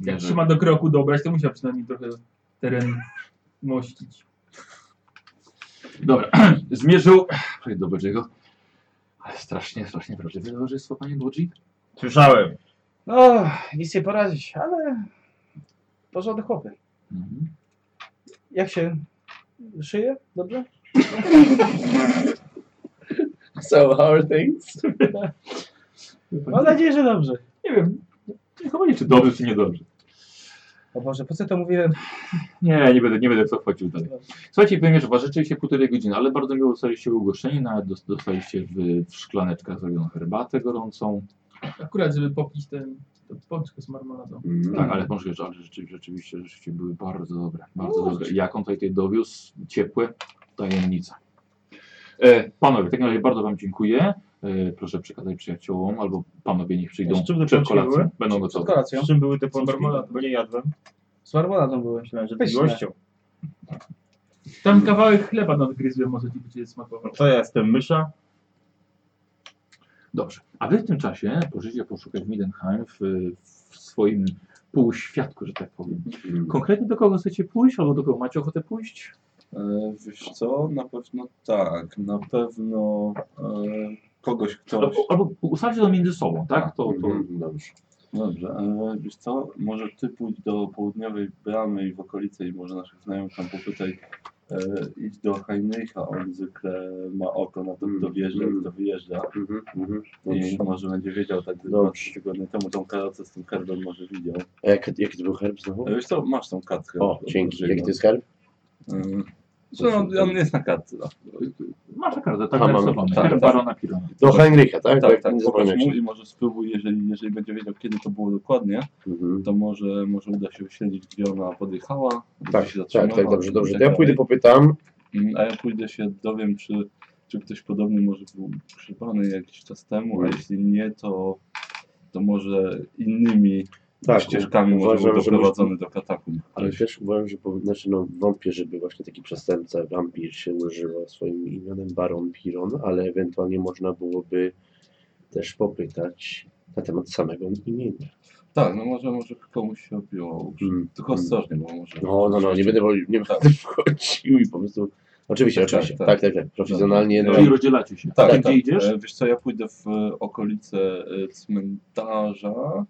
Speaker 1: Nie,
Speaker 3: Jak
Speaker 1: że-
Speaker 3: trzyma do kroku dobrać, to musiał przynajmniej trochę teren mościć.
Speaker 1: Dobra, zmierzył. Oj, Do Bodziego. Ale strasznie, strasznie prawdziwe towarzystwo, panie Bodzi.
Speaker 7: Słyszałem.
Speaker 6: No, nic nie poradzić, ale porządny chłopy.
Speaker 1: Mhm.
Speaker 6: Jak się szyje? Dobrze?
Speaker 5: So, how are things?
Speaker 6: Mam nadzieję, że dobrze.
Speaker 1: Nie wiem. Chyba nie, czy dobrze, czy niedobrze.
Speaker 6: O Boże, po co to mówiłem?
Speaker 1: Nie, nie będę, nie będę w to wchodził dalej. Słuchajcie, powiem, że ważyczyliście półtorej godziny, ale bardzo miło dostaliście ugoszczenie, nawet dos- dostaliście w, w szklaneczkach zrobioną herbatę gorącą.
Speaker 3: Akurat, żeby popić ten, ten pączkę z marmoladą.
Speaker 1: Tak, ale proszę, że ale rzeczywiście, rzeczywiście, rzeczywiście były bardzo dobre. Bardzo dobre. Jak on tutaj tutaj dowiózł? Ciepłe? Tajemnica. E, panowie, w takim razie bardzo wam dziękuję. E, proszę przekazać przyjaciołom, albo panowie niech przyjdą
Speaker 6: Z czym te
Speaker 1: przed
Speaker 6: pączki były?
Speaker 1: kolacją. Będą
Speaker 6: Z
Speaker 1: gotowe.
Speaker 6: kolacją.
Speaker 4: Z czym były te pączki?
Speaker 6: marmoladą.
Speaker 4: Bo nie jadłem.
Speaker 6: Z marmoladą byłeś.
Speaker 4: Myślałem, że z
Speaker 6: Pyszne.
Speaker 4: miłością.
Speaker 1: Mhm.
Speaker 3: Tam kawałek chleba nadgryzłem, może ci będzie smakował.
Speaker 4: To ja jestem mysza.
Speaker 1: Dobrze. A wy w tym czasie proszę poszukać Midenheim w, w swoim półświadku, że tak powiem. Konkretnie do kogo chcecie pójść, albo do kogo macie ochotę pójść?
Speaker 2: E, wiesz co, na pewno tak, na pewno e, kogoś,
Speaker 5: No,
Speaker 2: ktoś...
Speaker 1: Albo, albo ustalcie to między sobą, tak? To, to,
Speaker 5: Mhm, Dobrze.
Speaker 2: Dobrze, e, wiesz co, może ty pójdź do południowej bramy i w okolicy i może naszych znajomych tam popytaj, e, idź do Heinricha, on zwykle ma oko na to, kto wjeżdża,
Speaker 5: Mm.
Speaker 2: kto wyjeżdża
Speaker 5: Mhm, mhm.
Speaker 2: i
Speaker 5: Dobrze.
Speaker 2: może będzie wiedział, tak dwa,
Speaker 5: Dobrze.
Speaker 2: trzy tygodnie temu tą karocę z tym herbem może widział.
Speaker 5: A jaki, jaki to był herb znowu?
Speaker 2: E, no. Wiesz co, masz tą kartkę.
Speaker 5: O,
Speaker 2: od-
Speaker 5: dzięki.
Speaker 2: od
Speaker 5: Jaki
Speaker 2: Grzegory.
Speaker 5: to jest herb?
Speaker 2: Mm. Że on, on jest na kartce. no.
Speaker 5: Tak,
Speaker 1: masz kartę, tak
Speaker 5: Aha, mam-
Speaker 1: narysowane.
Speaker 2: tak,
Speaker 1: Herb
Speaker 2: tak.
Speaker 1: Barona Pirona.
Speaker 5: Do Heinricha, tak?
Speaker 2: Tak,
Speaker 5: Jak
Speaker 2: tak,
Speaker 5: nie
Speaker 2: pokaż
Speaker 5: zapomniałem
Speaker 2: mu
Speaker 5: się.
Speaker 2: i może spróbuj, jeżeli, jeżeli będzie wiedział, kiedy to było dokładnie,
Speaker 5: Mhm.
Speaker 2: to może, może uda się uśledzić, gdzie ona podjechała, gdzie
Speaker 5: Tak,
Speaker 2: się
Speaker 5: tak,
Speaker 2: zatrzymała.
Speaker 5: tak, dobrze,
Speaker 2: i
Speaker 5: dobrze.
Speaker 2: tak
Speaker 5: To ja
Speaker 2: dalej.
Speaker 5: pójdę, popytam.
Speaker 2: Mm, A ja pójdę się dowiem, czy, czy ktoś podobny może był krzypany jakiś czas temu, a
Speaker 5: Mm.
Speaker 2: jeśli nie, to, to może innymi
Speaker 5: Tak,
Speaker 2: ścieżkami może
Speaker 5: uważam,
Speaker 2: był
Speaker 5: że może-
Speaker 2: doprowadzony do katakumb.
Speaker 5: Ale też uważam, że powinien, znaczy no, wątpię, żeby właśnie taki przestępca, wampir się używał swoim imionem Baron Piron, ale ewentualnie można byłoby też popytać na temat samego imienia.
Speaker 2: Tak, no może, może komuś się obiło.
Speaker 5: Mm.
Speaker 2: Tylko
Speaker 5: Mm.
Speaker 2: ostrożnie, bo może...
Speaker 5: No, no, no, nie będę, woli- nie
Speaker 2: Tak.
Speaker 5: będę wchodził i po prostu... Oczywiście,
Speaker 2: Tak,
Speaker 5: oczywiście,
Speaker 2: tak.
Speaker 5: tak, tak, tak, profesjonalnie, no,
Speaker 2: Dobra.
Speaker 1: Czyli rozdzielacie się.
Speaker 2: Tak,
Speaker 1: Gdzie
Speaker 2: tak,
Speaker 1: idziesz?
Speaker 2: E, Wiesz co, ja pójdę w e, okolice e, cmentarza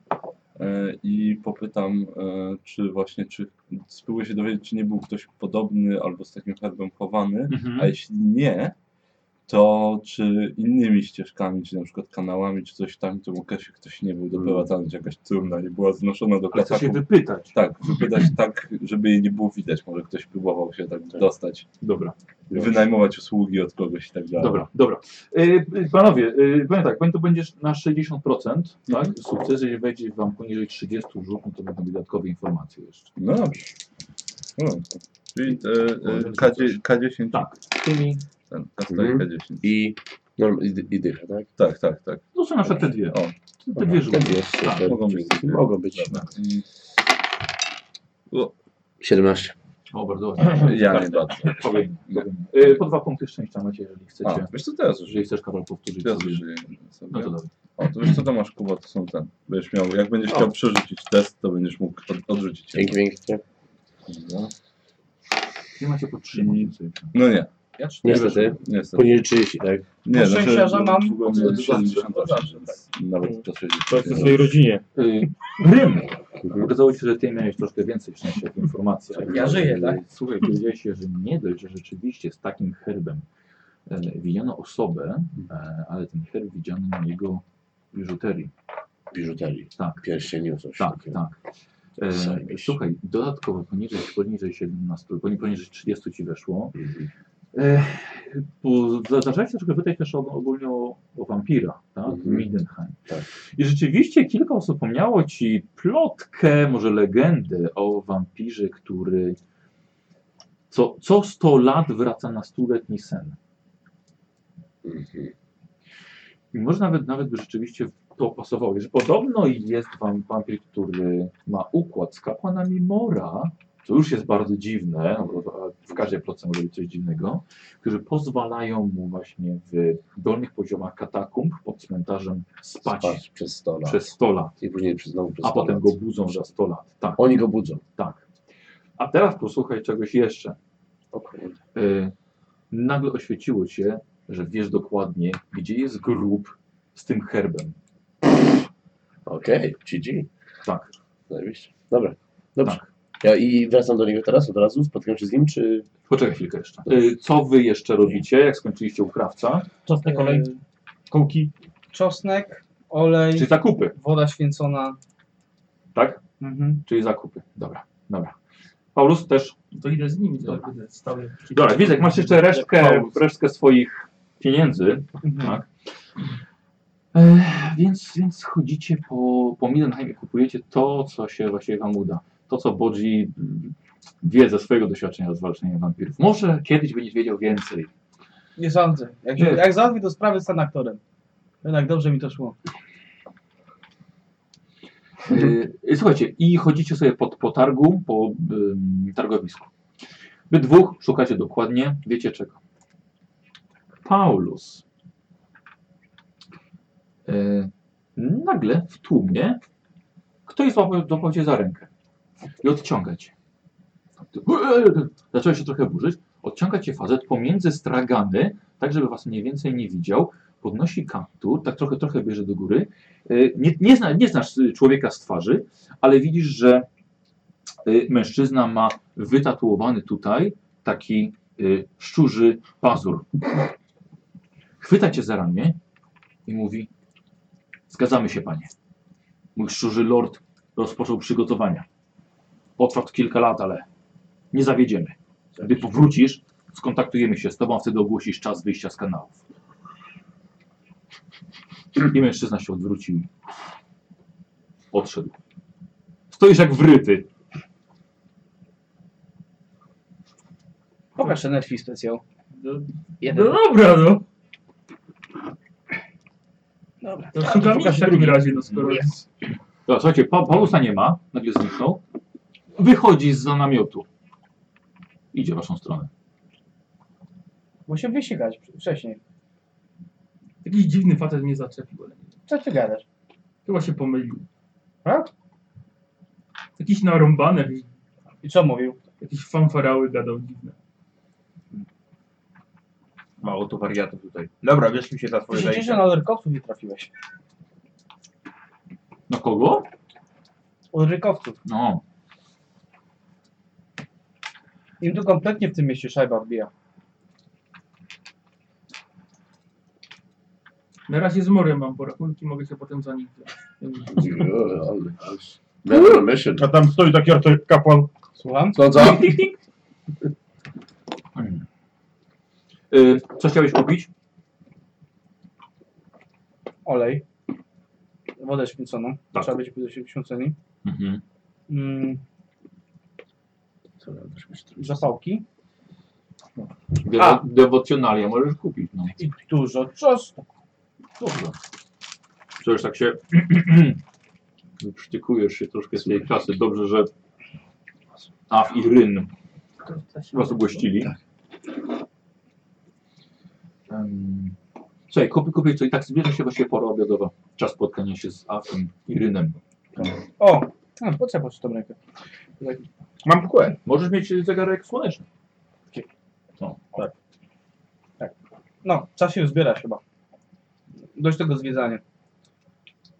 Speaker 2: e, i popytam, e, czy właśnie, czy spróbuję się dowiedzieć, czy nie był ktoś podobny albo z takim herbem chowany,
Speaker 1: Mhm.
Speaker 2: A jeśli nie, to czy innymi ścieżkami, czy na przykład kanałami, czy coś tam, w tym okresie ktoś nie był
Speaker 5: Mm.
Speaker 2: doprowadzany, czy jakaś trumna nie była znoszona do
Speaker 1: Ale chcesz się
Speaker 2: katakumb.
Speaker 1: wypytać.
Speaker 2: Tak, wypytać tak, żeby jej nie było widać. Może ktoś próbował się tak dostać,
Speaker 1: Dobra,
Speaker 2: wynajmować usługi od kogoś i tak dalej.
Speaker 1: dobra, dobra. Yy, panowie, yy, powiem tak, powiem, to będziesz na 60%, tak?
Speaker 2: Mhm.
Speaker 1: Sukces, jeżeli wejdzie wam poniżej 30 rzut, no to będą dodatkowe informacje jeszcze.
Speaker 2: No dobrze. No, czyli e, e, K10, K10
Speaker 1: Tak, z tymi,
Speaker 2: ten, kastolik
Speaker 5: Mhm.
Speaker 2: K10.
Speaker 5: i, no, i, dy- i dycha, tak?
Speaker 2: Tak, tak, tak.
Speaker 1: no są na przykład te dwie.
Speaker 2: O,
Speaker 1: Te dwie
Speaker 5: Te
Speaker 1: rzuty.
Speaker 5: dwie,
Speaker 1: Tak.
Speaker 5: super,
Speaker 2: mogą być.
Speaker 5: dzięki. Mogą być.
Speaker 2: Dobra. I-
Speaker 5: 17.
Speaker 1: O, bardzo ładnie.
Speaker 2: No, Ja nie bardzo.
Speaker 1: Powiem, powiem. Yy, po dwa punkty szczęścia macie, jeżeli
Speaker 2: A,
Speaker 1: chcecie.
Speaker 2: wiesz co, teraz już
Speaker 1: Jeżeli chcesz kawałek powtórzyć
Speaker 2: Teraz
Speaker 1: sobie.
Speaker 2: użyję sobie.
Speaker 1: No to dobra.
Speaker 2: O, to wiesz co, to masz Kuba, to są ten. Będziesz miał, jak będziesz chciał przerzucić test, to będziesz mógł od, odrzucić.
Speaker 5: Dzięki, dzięki.
Speaker 2: Dobra.
Speaker 1: Nie macie podtrzymać.
Speaker 2: No nie.
Speaker 5: Niestety,
Speaker 2: Niestety.
Speaker 5: poniżej 30, tak?
Speaker 2: Nie, znaczy,
Speaker 6: Od szczęścia, że mam-
Speaker 2: długo miałem 78, więc tak. nawet do
Speaker 4: To jest w
Speaker 2: 60.
Speaker 4: swojej rodzinie.
Speaker 1: Yy, Rym!
Speaker 5: Mhm.
Speaker 1: Okazało się, że ty miałeś troszkę więcej szczęścia w informacjach.
Speaker 6: Ja żyję, tak?
Speaker 1: Słuchaj, powiedziałeś się, że nie dość, że rzeczywiście z takim herbem e, widziano osobę, e, ale ten herb widziano na jego biżuterii.
Speaker 5: Biżuterii,
Speaker 1: Tak,
Speaker 5: pierścieniu, coś
Speaker 1: tak,
Speaker 5: takiego.
Speaker 1: tak. E,
Speaker 5: Zajebiście.
Speaker 1: słuchaj, dodatkowo poniżej, poniżej 17, poni- poniżej 30 ci weszło.
Speaker 5: Mhm.
Speaker 1: E, bo za- zaczęłaś troszkę pytać też o, ogólnie o, o wampira, tak?
Speaker 5: Mhm.
Speaker 1: Mindenheim.
Speaker 5: Tak.
Speaker 1: I rzeczywiście kilka osób pomniało ci plotkę, może legendę o wampirze, który co, co 100 lat wraca na stuletni sen.
Speaker 5: Mhm.
Speaker 1: I może nawet, nawet by rzeczywiście to pasowało. Że podobno jest wam wampir, który ma układ z kapłanami Mora, co już jest bardzo dziwne, no bo to- a w każdej plotce może być coś dziwnego, którzy pozwalają mu właśnie w dolnych poziomach katakumb pod cmentarzem spać,
Speaker 5: spać przez 100 lat.
Speaker 1: przez 100 lat,
Speaker 5: I później przez, znowu przez
Speaker 1: a
Speaker 5: 100
Speaker 1: potem
Speaker 5: lat.
Speaker 1: go budzą za 100 lat. Tak,
Speaker 5: Oni go budzą.
Speaker 1: tak. A teraz posłuchaj czegoś jeszcze.
Speaker 5: O kurde.
Speaker 1: Y, nagle oświeciło cię, że wiesz dokładnie, gdzie jest grób z tym herbem.
Speaker 5: Okej, GG.
Speaker 1: Tak,
Speaker 5: Zajebiście. Dobra, dobrze.
Speaker 1: tak.
Speaker 5: Ja i wracam do niego teraz od razu, spotykam się z nim, czy...
Speaker 1: Poczekaj chwilkę jeszcze. Y, Co wy jeszcze robicie, jak skończyliście u krawca?
Speaker 4: Czosnek, kolej,
Speaker 6: Yy,
Speaker 4: kołki.
Speaker 6: Czosnek, olej,
Speaker 1: Czyli zakupy,
Speaker 6: woda święcona.
Speaker 1: tak?
Speaker 6: Mhm.
Speaker 1: Czyli zakupy. Dobra, dobra. Paulus też.
Speaker 3: To idę z nimi, to
Speaker 1: Dobra.
Speaker 3: będę stały.
Speaker 1: Dobra, Widzek, masz jeszcze resztkę, resztkę swoich pieniędzy.
Speaker 6: Mhm.
Speaker 1: Tak. E, więc, więc chodzicie po, po Midenheim i kupujecie to, co się właściwie wam uda. To, co Bodzi mm, wie ze swojego doświadczenia z walczeniem wampirów. Może kiedyś będziesz wiedział więcej.
Speaker 6: Nie sądzę. Jak,
Speaker 1: Nie.
Speaker 6: jak załatwi to sprawę, stan aktorem. Jednak dobrze mi to szło.
Speaker 1: Y, Słuchajcie, i chodzicie sobie po, po targu, po ym, targowisku. Wy dwóch szukacie dokładnie, wiecie czego. Paulus. Y, nagle w tłumie ktoś złapał, złapał cię za rękę i odciąga cię. Ty- Zacząłeś się trochę burzyć. Odciąga cię fazet pomiędzy stragany, tak żeby was mniej więcej nie widział. Podnosi kaptur, tak trochę, trochę bierze do góry Y, Nie, nie, zna, nie znasz y, człowieka z twarzy, ale widzisz, że y, mężczyzna ma wytatuowany tutaj taki y, szczurzy pazur. Chwyta cię za ramię i mówi: Zgadzamy się, panie. Mój szczurzy lord rozpoczął przygotowania. Potrwa to kilka lat, ale nie zawiedziemy. Gdy powrócisz, skontaktujemy się z tobą, a wtedy ogłosisz czas wyjścia z kanałów. I mężczyzna się odwrócił. Odszedł. Stoisz jak wryty.
Speaker 6: Pokaż ten Netflix specjał.
Speaker 3: No dobra, no.
Speaker 6: Dobra.
Speaker 3: To szukam w takim razie, no skoro...
Speaker 1: Mhm. Dobra, słuchajcie, pa Paulusa nie ma, nagle zniknął. Wychodzi z namiotu. Idzie w waszą stronę.
Speaker 9: Bo się wysikać wcześniej.
Speaker 3: Jakiś dziwny facet mnie zaczepił, ale
Speaker 9: Co ty gadasz?
Speaker 3: chyba się pomylił.
Speaker 9: Tak?
Speaker 3: Jakiś narąbany, jakiś-
Speaker 9: I co mówił?
Speaker 3: jakieś fanfarały gadał dziwne.
Speaker 7: Mało to wariatów tutaj. Dobra, wiesz mi się za swoje
Speaker 9: Ty się cieszę,
Speaker 7: zajęcie.
Speaker 9: na rykowców nie trafiłeś.
Speaker 1: Na kogo?
Speaker 9: Od rykowców.
Speaker 1: No.
Speaker 9: Im tu kompletnie w tym mieście szajba wbija.
Speaker 3: Na razie z morem mam, bo rachunki mogę się potem za nich wziąć.
Speaker 5: Dobra, myślę.
Speaker 6: Tak.
Speaker 4: A tam stoi taki artek kapłan.
Speaker 9: Słucham?
Speaker 5: Co, co?
Speaker 1: Y, co chciałeś kupić?
Speaker 9: Olej. Wodę święconą.
Speaker 1: Tak.
Speaker 9: Trzeba być święceni.
Speaker 1: Mhm.
Speaker 9: Mm. Zapałki.
Speaker 1: Dewo-
Speaker 9: A.
Speaker 1: Dewocjonalia możesz kupić. No.
Speaker 9: I dużo czasu.
Speaker 1: Dobrze. Przecież tak się przytykujesz się troszkę z tej klasy. Dobrze, że Af i Ryn was ugościli. Em, Słuchaj, kupię, kupię co i tak zbliża się właśnie pora obiadowa. Czas spotkania się z Afem i Rynem.
Speaker 9: O! A, po co ja patrzę tą rękę?
Speaker 7: Mam kłę.
Speaker 1: Możesz mieć zegarek słoneczny.
Speaker 9: No, czas się zbierać chyba. Dość tego zwiedzania.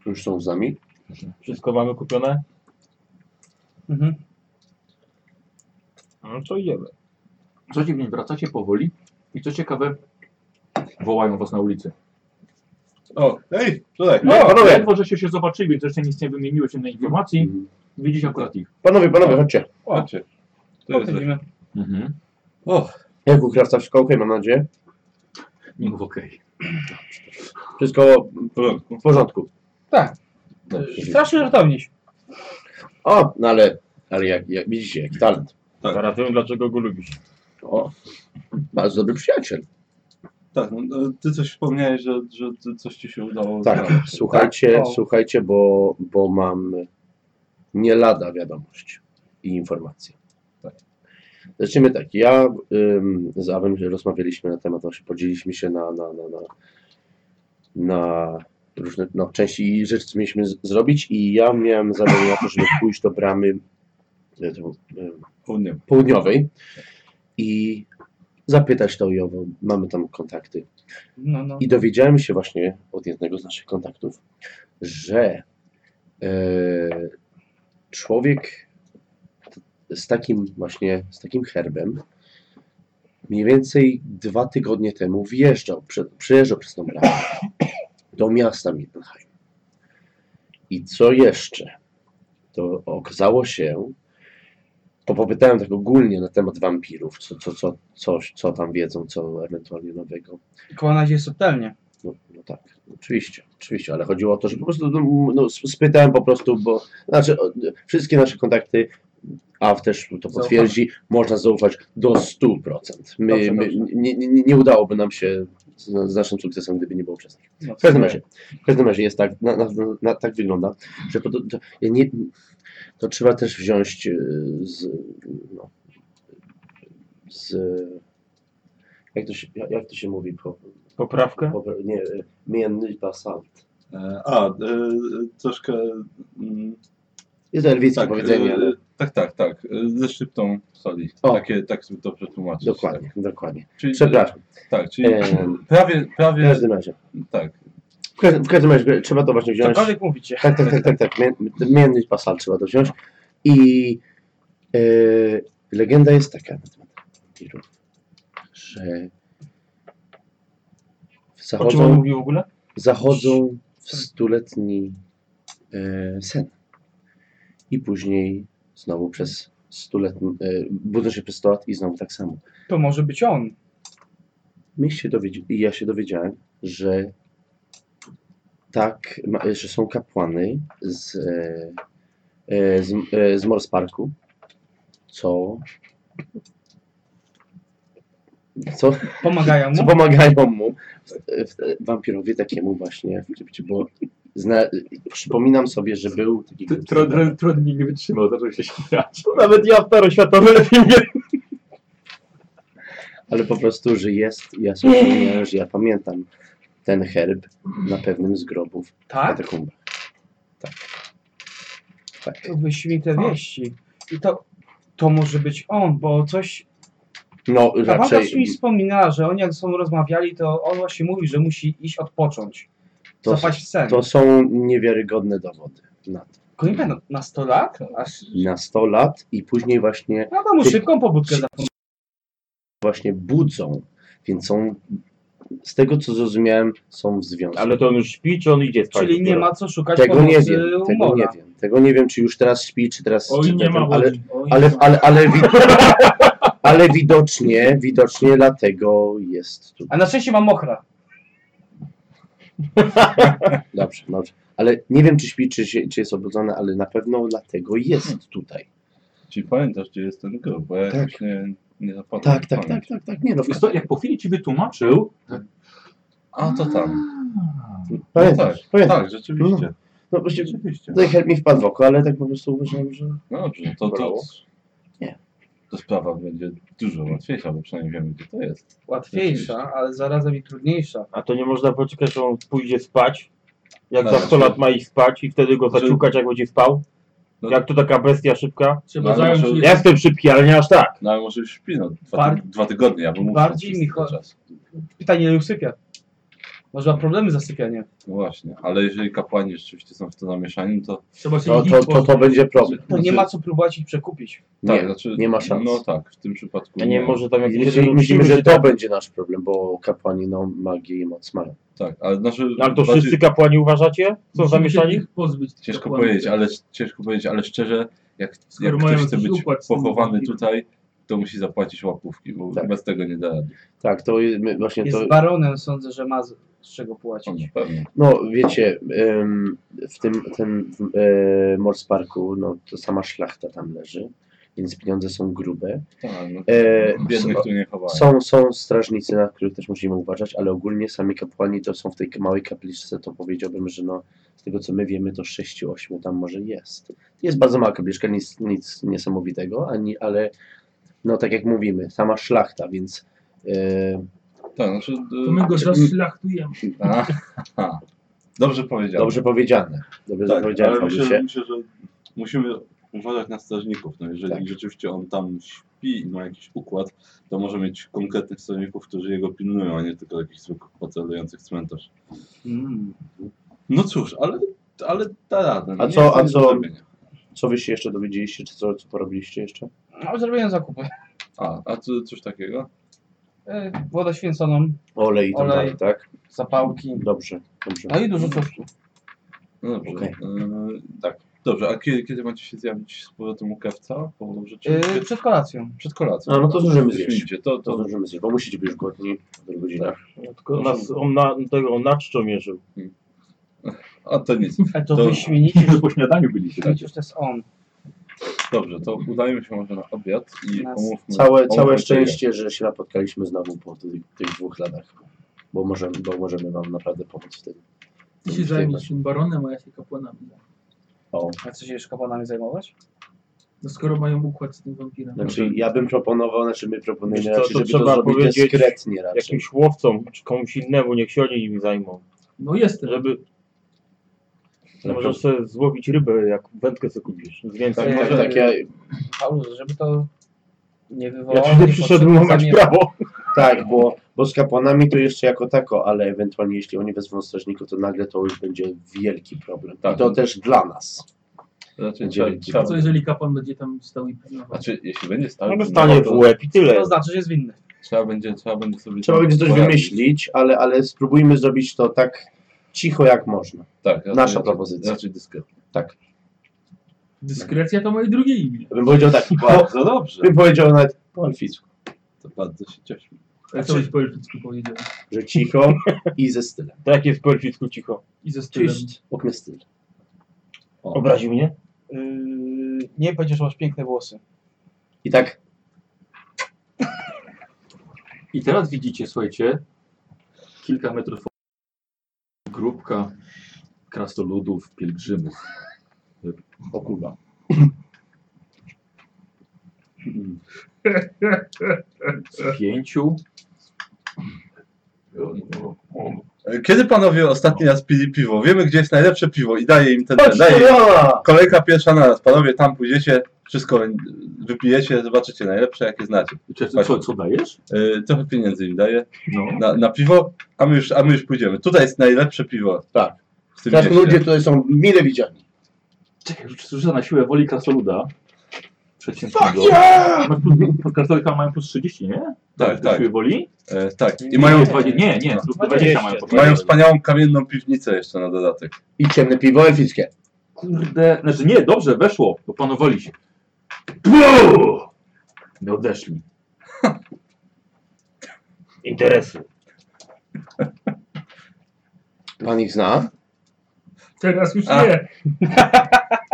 Speaker 5: Już są z nami?
Speaker 7: Wszystko mamy kupione?
Speaker 9: Mhm.
Speaker 7: No to idziemy.
Speaker 1: Co dziwnie, wracacie powoli i co ciekawe, wołają was na ulicy.
Speaker 2: O, ej, tutaj.
Speaker 1: No, panowie! Ledwo, żeście się zobaczyli, więc jeszcze nic nie wymieniłeś się na informacji.
Speaker 5: Mhm. Tak.
Speaker 1: Widzicie akurat ich.
Speaker 5: Panowie, panowie, chodźcie.
Speaker 2: Chodźcie. To jest...
Speaker 9: Podchodzimy.
Speaker 1: Mhm.
Speaker 2: O,
Speaker 5: Jak u krawca wszystko okej, mam nadzieję.
Speaker 1: Nie mów okej.
Speaker 5: Wszystko
Speaker 2: w porządku.
Speaker 5: w porządku.
Speaker 9: Tak.
Speaker 5: Dobrze.
Speaker 9: Strasznie żartowniś.
Speaker 5: O, no ale, ale jak, jak widzicie, jaki talent.
Speaker 2: Tak.
Speaker 7: Zaraz wiem, dlaczego go lubisz.
Speaker 5: O, bardzo dobry przyjaciel.
Speaker 2: Tak, no, e, ty coś wspomniałeś, że, że ty coś ci się udało.
Speaker 5: Tak,
Speaker 2: znaleźć.
Speaker 5: słuchajcie,
Speaker 9: Tak. O.
Speaker 5: słuchajcie, bo, bo mam nie lada wiadomość i informacje. Zacznijmy tak, ja ym, z Awem rozmawialiśmy na temat, znaczy podzieliliśmy się na, na, na, na, na różne no, części i rzeczy, co mieliśmy z, zrobić i ja miałem zadanie na to, żeby pójść do bramy y, to, y,
Speaker 2: Południowy.
Speaker 5: południowej i zapytać to i owo, mamy tam kontakty.
Speaker 9: No, no.
Speaker 5: I dowiedziałem się właśnie od jednego z naszych kontaktów, że e, człowiek t- z takim właśnie, z takim herbem mniej więcej dwa tygodnie temu wjeżdżał, prze, przejeżdżał przez tą bramę do miasta Mittenheim. I co jeszcze? To okazało się, bo popytałem tak ogólnie na temat wampirów, co, co, co, coś, co tam wiedzą, co ewentualnie nowego.
Speaker 9: Kłana się subtelnie.
Speaker 5: No, no tak, oczywiście, oczywiście, ale chodziło o to, że po prostu no, no, s- spytałem po prostu, bo znaczy o, y, wszystkie nasze kontakty, a też to potwierdzi, można zaufać do 100%. My,
Speaker 9: Dobrze,
Speaker 5: my,
Speaker 9: dobrze.
Speaker 5: Nie, nie, nie udałoby nam się z, z naszym sukcesem, gdyby nie było wczesnych.
Speaker 9: No,
Speaker 5: W każdym razie, w każdym razie jest tak, na, na, na, tak wygląda, że to, to, ja nie, to trzeba też wziąć e, z, no, z jak to się, jak jak to się mówi po,
Speaker 4: Poprawkę?
Speaker 5: po nie, e, mienny basalt.
Speaker 2: E, A, e, troszkę. mm,
Speaker 5: Jest to elwickie powiedzenie,
Speaker 2: e,
Speaker 5: ale
Speaker 2: tak, tak, tak. e, Ze szczyptą soli.
Speaker 5: O.
Speaker 2: Takie, tak sobie to przetłumaczyć.
Speaker 5: dokładnie, dokładnie.
Speaker 2: Tak. Czyli,
Speaker 5: Przepraszam, E,
Speaker 2: Tak, czyli
Speaker 5: Em.
Speaker 2: prawie,
Speaker 5: w
Speaker 2: prawie
Speaker 5: każdym razie.
Speaker 2: tak.
Speaker 5: W każdym, w każdym razie trzeba to właśnie wziąć.
Speaker 9: Cokolwiek mówicie.
Speaker 5: Tak, tak, tak, tak, tak. Mię- Mienny pasal trzeba to wziąć. I e, legenda jest taka na temat tirów, że
Speaker 4: O czym on
Speaker 5: zachodzą,
Speaker 4: mówi w ogóle?
Speaker 5: zachodzą w stuletni e, sen. I później znowu przez stuletni, e, budzą się przez 100 lat i znowu tak samo.
Speaker 9: To może być on.
Speaker 5: My się dowiedzi- i ja się dowiedziałem, że tak, ma- że są kapłany z, e, e, z, e, z Mors Parku, co, co,
Speaker 9: Pomagają
Speaker 5: co
Speaker 9: mu.
Speaker 5: pomagają mu, w, w, wampirowie takiemu właśnie, bo zna, przypominam sobie, że był taki...
Speaker 8: Trudniej nie wytrzymał, zaczął się śmiać.
Speaker 4: Nawet ja staroświatowy lepiej nie
Speaker 5: ale po prostu, że jest, ja sobie przypomniałem, że ja pamiętam ten herb na pewnym z grobów w
Speaker 9: Tak?
Speaker 5: katakumbach. Tak. Tak.
Speaker 9: To Wyśmienite wieści. I to, to może być on, bo coś...
Speaker 5: No,
Speaker 9: Ta babka coś mi
Speaker 5: raczej
Speaker 9: wspominała, że oni jak są rozmawiali, to on właśnie mówi, że musi iść odpocząć.
Speaker 5: to,
Speaker 9: zapaść w sen.
Speaker 5: to są niewiarygodne dowody na to.
Speaker 9: Konika na, na 100 lat? Aż...
Speaker 5: Na 100 lat i później właśnie,
Speaker 9: No to mu szybką pobudkę zapomniał.
Speaker 5: właśnie budzą, więc są, z tego co zrozumiałem, są w związku.
Speaker 7: Ale to on już śpi, czy on idzie spać?
Speaker 9: Czyli nie
Speaker 7: dopiero?
Speaker 9: ma co szukać
Speaker 5: Tego
Speaker 9: pomocy
Speaker 5: nie wiem, tego
Speaker 9: umora.
Speaker 5: nie wiem. Tego nie wiem, czy już teraz śpi, czy teraz...
Speaker 3: Oj,
Speaker 5: czy
Speaker 3: nie
Speaker 5: ten-
Speaker 3: ma
Speaker 5: ale,
Speaker 3: łodzi. Oj,
Speaker 5: ale,
Speaker 3: nie ma.
Speaker 5: ale, ale, wi- ale widocznie, widocznie dlatego jest tu.
Speaker 9: A na szczęście mam ochra.
Speaker 5: Dobrze, dobrze. Ale nie wiem, czy śpi, czy, się, czy jest obudzony, ale na pewno dlatego jest tutaj.
Speaker 2: Czyli pamiętasz, gdzie jest ten grób, bo ja
Speaker 5: Tak.
Speaker 2: jakoś nie, nie zapadłem. w
Speaker 5: Tak, tak, tak,
Speaker 2: pamięć.
Speaker 5: tak, tak. Nie, no,
Speaker 1: Wiesz co, jak po chwili ci wytłumaczył,
Speaker 2: Tak. A to tam. No tak,
Speaker 5: pamiętasz, pamiętasz.
Speaker 2: tak, rzeczywiście.
Speaker 5: No, właśnie,
Speaker 2: Rzeczywiście.
Speaker 5: Tutaj help mi wpadł w oko, ale tak po prostu uważam, że...
Speaker 2: No dobrze, to, to,
Speaker 5: Brawo. Nie.
Speaker 2: to sprawa będzie dużo łatwiejsza, bo przynajmniej wiemy, gdzie to jest.
Speaker 9: Łatwiejsza, ale zarazem i trudniejsza.
Speaker 7: A to nie można poczekać, że on pójdzie spać? Jak
Speaker 2: No,
Speaker 7: za 100
Speaker 2: no.
Speaker 7: lat ma iść spać i wtedy go
Speaker 2: Że-
Speaker 7: zaciukać, jak będzie spał?
Speaker 2: No.
Speaker 7: Jak to taka bestia szybka?
Speaker 3: Trzeba
Speaker 2: ale
Speaker 3: zająć
Speaker 2: może-
Speaker 3: się...
Speaker 7: Ja jestem szybki, ale nie aż tak.
Speaker 2: No ale może już śpi, no, dwa,
Speaker 9: Bar-
Speaker 2: dwa tygodnie, ja bym mógł
Speaker 9: bardziej
Speaker 2: przez
Speaker 9: mi
Speaker 2: ten
Speaker 9: chodzi-
Speaker 2: czas.
Speaker 9: Pytanie, ile usypia? Może ma problemy z zasypianiem.
Speaker 2: No właśnie, ale jeżeli kapłani rzeczywiście są w to zamieszani, to
Speaker 3: Trzeba się
Speaker 5: To, to, to, to będzie problem.
Speaker 9: To nie
Speaker 2: Znaczy-
Speaker 9: ma co próbować ich przekupić.
Speaker 5: Nie,
Speaker 2: tak, znaczy,
Speaker 5: nie ma szans.
Speaker 2: No tak, w tym przypadku
Speaker 7: Ja nie może tam
Speaker 5: I
Speaker 7: jakiś
Speaker 5: myślimy,
Speaker 7: jeden
Speaker 5: myślimy,
Speaker 7: odcinek,
Speaker 5: że to będzie nasz problem, bo kapłani no, magię i moc mają.
Speaker 2: Tak, ale znaczy...
Speaker 7: No, ale to
Speaker 2: bardziej-
Speaker 7: wszyscy kapłani uważacie? Są
Speaker 3: Musimy się
Speaker 7: zamieszani?
Speaker 3: ich pozbyć. tych
Speaker 2: Ciężko
Speaker 3: kapłanów.
Speaker 2: powiedzieć, ale, ciężko powiedzieć, ale szczerze, jak,
Speaker 3: Skoro
Speaker 2: jak
Speaker 3: mają
Speaker 2: ktoś chce
Speaker 3: jakiś
Speaker 2: być
Speaker 3: układ z tym
Speaker 2: pochowany
Speaker 3: związany.
Speaker 2: tutaj, to musi zapłacić łapówki, bo
Speaker 5: Tak.
Speaker 2: bez tego nie da rady.
Speaker 5: Tak, to je- my właśnie
Speaker 9: Jest
Speaker 5: to...
Speaker 9: baronem, sądzę, że ma z z czego
Speaker 2: No,
Speaker 9: płacić.
Speaker 2: na pewno.
Speaker 5: No wiecie, em, w tym, tym w, e, Mors Parku, no to sama szlachta tam leży, więc pieniądze są grube.
Speaker 2: Tak, no,
Speaker 5: E,
Speaker 2: biednych
Speaker 5: są-
Speaker 2: tu nie chowają.
Speaker 5: Są, są strażnicy, na których też musimy uważać, ale ogólnie sami kapłani to są w tej małej kapliczce, to powiedziałbym, że no, z tego co my wiemy, to 6-8 tam może jest. Jest bardzo mała kapliczka, nic, nic niesamowitego, ani, ale no tak jak mówimy, sama szlachta, więc e,
Speaker 2: Tak, znaczy, e,
Speaker 3: To my go zaszlachtujemy.
Speaker 2: a, aha. Dobrze powiedziałem.
Speaker 5: dobrze powiedziane. Dobrze
Speaker 2: tak,
Speaker 5: powiedziane,
Speaker 2: ale myślę,
Speaker 5: Fabusie.
Speaker 2: że- myślę, że musimy uważać na strażników. No, jeżeli
Speaker 5: Tak.
Speaker 2: rzeczywiście on tam śpi i ma jakiś układ, to może mieć konkretnych strażników, którzy jego pilnują, a nie tylko jakichś zwykłych patrolujących cmentarz.
Speaker 6: Mm.
Speaker 2: No cóż, ale, ale da radę. No
Speaker 5: A
Speaker 2: nie
Speaker 5: co-
Speaker 2: jest
Speaker 5: a
Speaker 2: nic
Speaker 5: co-
Speaker 2: do zrobienia.
Speaker 5: Co wy się jeszcze dowiedzieliście, czy co, co porobiliście jeszcze?
Speaker 9: No, zrobiłem zakupy.
Speaker 2: A, a co, coś takiego?
Speaker 9: Yy,
Speaker 6: E,
Speaker 9: Wodę święconą,
Speaker 5: Olej i tak
Speaker 9: Olej.
Speaker 5: dalej, tak?
Speaker 9: zapałki.
Speaker 5: Dobrze, dobrze.
Speaker 9: No i dużo tostu.
Speaker 2: No dobrze.
Speaker 5: Okej.
Speaker 2: Yy, tak. Dobrze, a kiedy, kiedy macie się zjawić z powrotem u kawca? Po rzeczy?
Speaker 6: E,
Speaker 9: Yy, przed kolacją.
Speaker 2: Przed kolacją.
Speaker 5: A, no to zdążymy zjeść.
Speaker 2: Wyśmienicie, To,
Speaker 5: To
Speaker 2: to,
Speaker 5: zdążymy zjeść, bo musicie być już głodni w dwóch godzinach.
Speaker 7: Tylko nas, on na, tego, on na czczo mierzył.
Speaker 2: a to nic.
Speaker 9: Ale to,
Speaker 2: To-
Speaker 9: wyśmienicie,
Speaker 1: że po śniadaniu byliście. tak?
Speaker 9: że to jest on.
Speaker 2: Dobrze, to udajmy się może na obiad i
Speaker 9: Nas-
Speaker 2: omówmy.
Speaker 5: Całe,
Speaker 2: omówmy
Speaker 5: całe
Speaker 2: tego.
Speaker 5: szczęście, że się napotkaliśmy znowu po tych, tych dwóch latach. bo możemy, bo możemy wam naprawdę pomóc w tym.
Speaker 3: Ty się zajmiesz tym baronem, a ja się kapłanami zajmę.
Speaker 5: O.
Speaker 6: A chcesz się jeszcze kapłanami zajmować?
Speaker 3: No skoro mają układ z tym wampirem.
Speaker 5: Znaczy ja bym proponował, znaczy my proponujemy
Speaker 7: Wiesz co,
Speaker 5: raczej,
Speaker 7: to
Speaker 5: żeby
Speaker 7: trzeba
Speaker 5: to zrobić
Speaker 7: powiedzieć
Speaker 5: dyskretnie raczej.
Speaker 7: Jakimś łowcom czy komuś innemu, niech się oni im zajmą.
Speaker 3: No jestem.
Speaker 7: Żeby... Możesz sobie złowić rybę, jak wędkę sobie kupisz. Z więcej
Speaker 5: Tak, tak,
Speaker 7: może...
Speaker 5: tak, ja,
Speaker 6: Paulus, żeby to nie wywołało...
Speaker 7: Ja tu nie
Speaker 3: No,
Speaker 7: przyszedłem
Speaker 6: niepotrzebnych
Speaker 7: łamać
Speaker 6: zamieszek.
Speaker 7: prawo.
Speaker 5: tak bo, bo z kapłanami to jeszcze jako tako, ale ewentualnie jeśli oni wezmą strażników, to nagle to już będzie wielki problem. I
Speaker 2: Tak.
Speaker 5: to też dla nas.
Speaker 2: Znaczy,
Speaker 5: Będzie-
Speaker 2: trzeba- trzeba-
Speaker 3: Co jeżeli kapłan będzie tam stał i pilnował?
Speaker 2: znaczy jeśli będzie stał,
Speaker 7: Albo stanie w łeb i tyle.
Speaker 6: To znaczy, że jest winny.
Speaker 2: trzeba będzie, trzeba będzie sobie...
Speaker 5: Trzeba będzie coś
Speaker 2: poradzić.
Speaker 5: wymyślić, ale, ale spróbujmy zrobić to tak cicho jak można.
Speaker 2: Tak,
Speaker 5: Nasza propozycja.
Speaker 2: Znaczy dyskretnie.
Speaker 3: Dyskrecja to moje drugie imię.
Speaker 5: Ja bym powiedział tak, bo,
Speaker 2: Bardzo dobrze.
Speaker 5: bym powiedział nawet po elficku,
Speaker 2: To bardzo się cieszę.
Speaker 3: Jak to byś po elficku powiedział.
Speaker 5: że cicho i ze stylem.
Speaker 7: Tak jest po elficku cicho.
Speaker 3: I ze stylem.
Speaker 5: Cześć, okno styl.
Speaker 7: Obraził mnie?
Speaker 6: Yy, nie powiedziesz, że masz piękne włosy.
Speaker 5: I tak
Speaker 1: I teraz widzicie, słuchajcie, kilka metrów od- grupka krasnoludów, pielgrzymów. Okula. Pięciu.
Speaker 2: E, Kiedy panowie ostatni raz pili piwo? Wiemy, gdzie jest najlepsze piwo i daję im ten, ten
Speaker 5: chodź
Speaker 2: daję im.
Speaker 5: Toriola!
Speaker 2: Kolejka pierwsza na raz. Panowie tam pójdziecie, wszystko y, wypijecie, zobaczycie najlepsze, jakie znacie.
Speaker 1: Czy, co, co dajesz?
Speaker 2: Y, trochę pieniędzy im daję
Speaker 1: No.
Speaker 2: na, na piwo, a my, już, a my już pójdziemy. Tutaj jest najlepsze piwo.
Speaker 5: Tak.
Speaker 2: W tym
Speaker 5: Teraz
Speaker 2: mieście.
Speaker 5: ludzie tutaj są mile widziani.
Speaker 1: Czekaj, rzucę na siłę woli krasnoluda. Przeciętnego. Masz plus- Krasnoludka mają plus 30, nie?
Speaker 2: Tak,
Speaker 1: Do
Speaker 2: tak.
Speaker 1: siły woli?
Speaker 2: E, tak. I mają,
Speaker 1: Nie, nie, nie. plus 20 mają. po
Speaker 2: mają
Speaker 1: prostu.
Speaker 2: wspaniałą kamienną piwnicę jeszcze na dodatek.
Speaker 5: I ciemne piwo elfickie.
Speaker 1: Kurde, znaczy nie, dobrze, weszło, opanowali się. Buu! No odeszli.
Speaker 7: Interesy.
Speaker 5: Pan ich zna?
Speaker 3: Teraz już
Speaker 2: A.
Speaker 3: nie.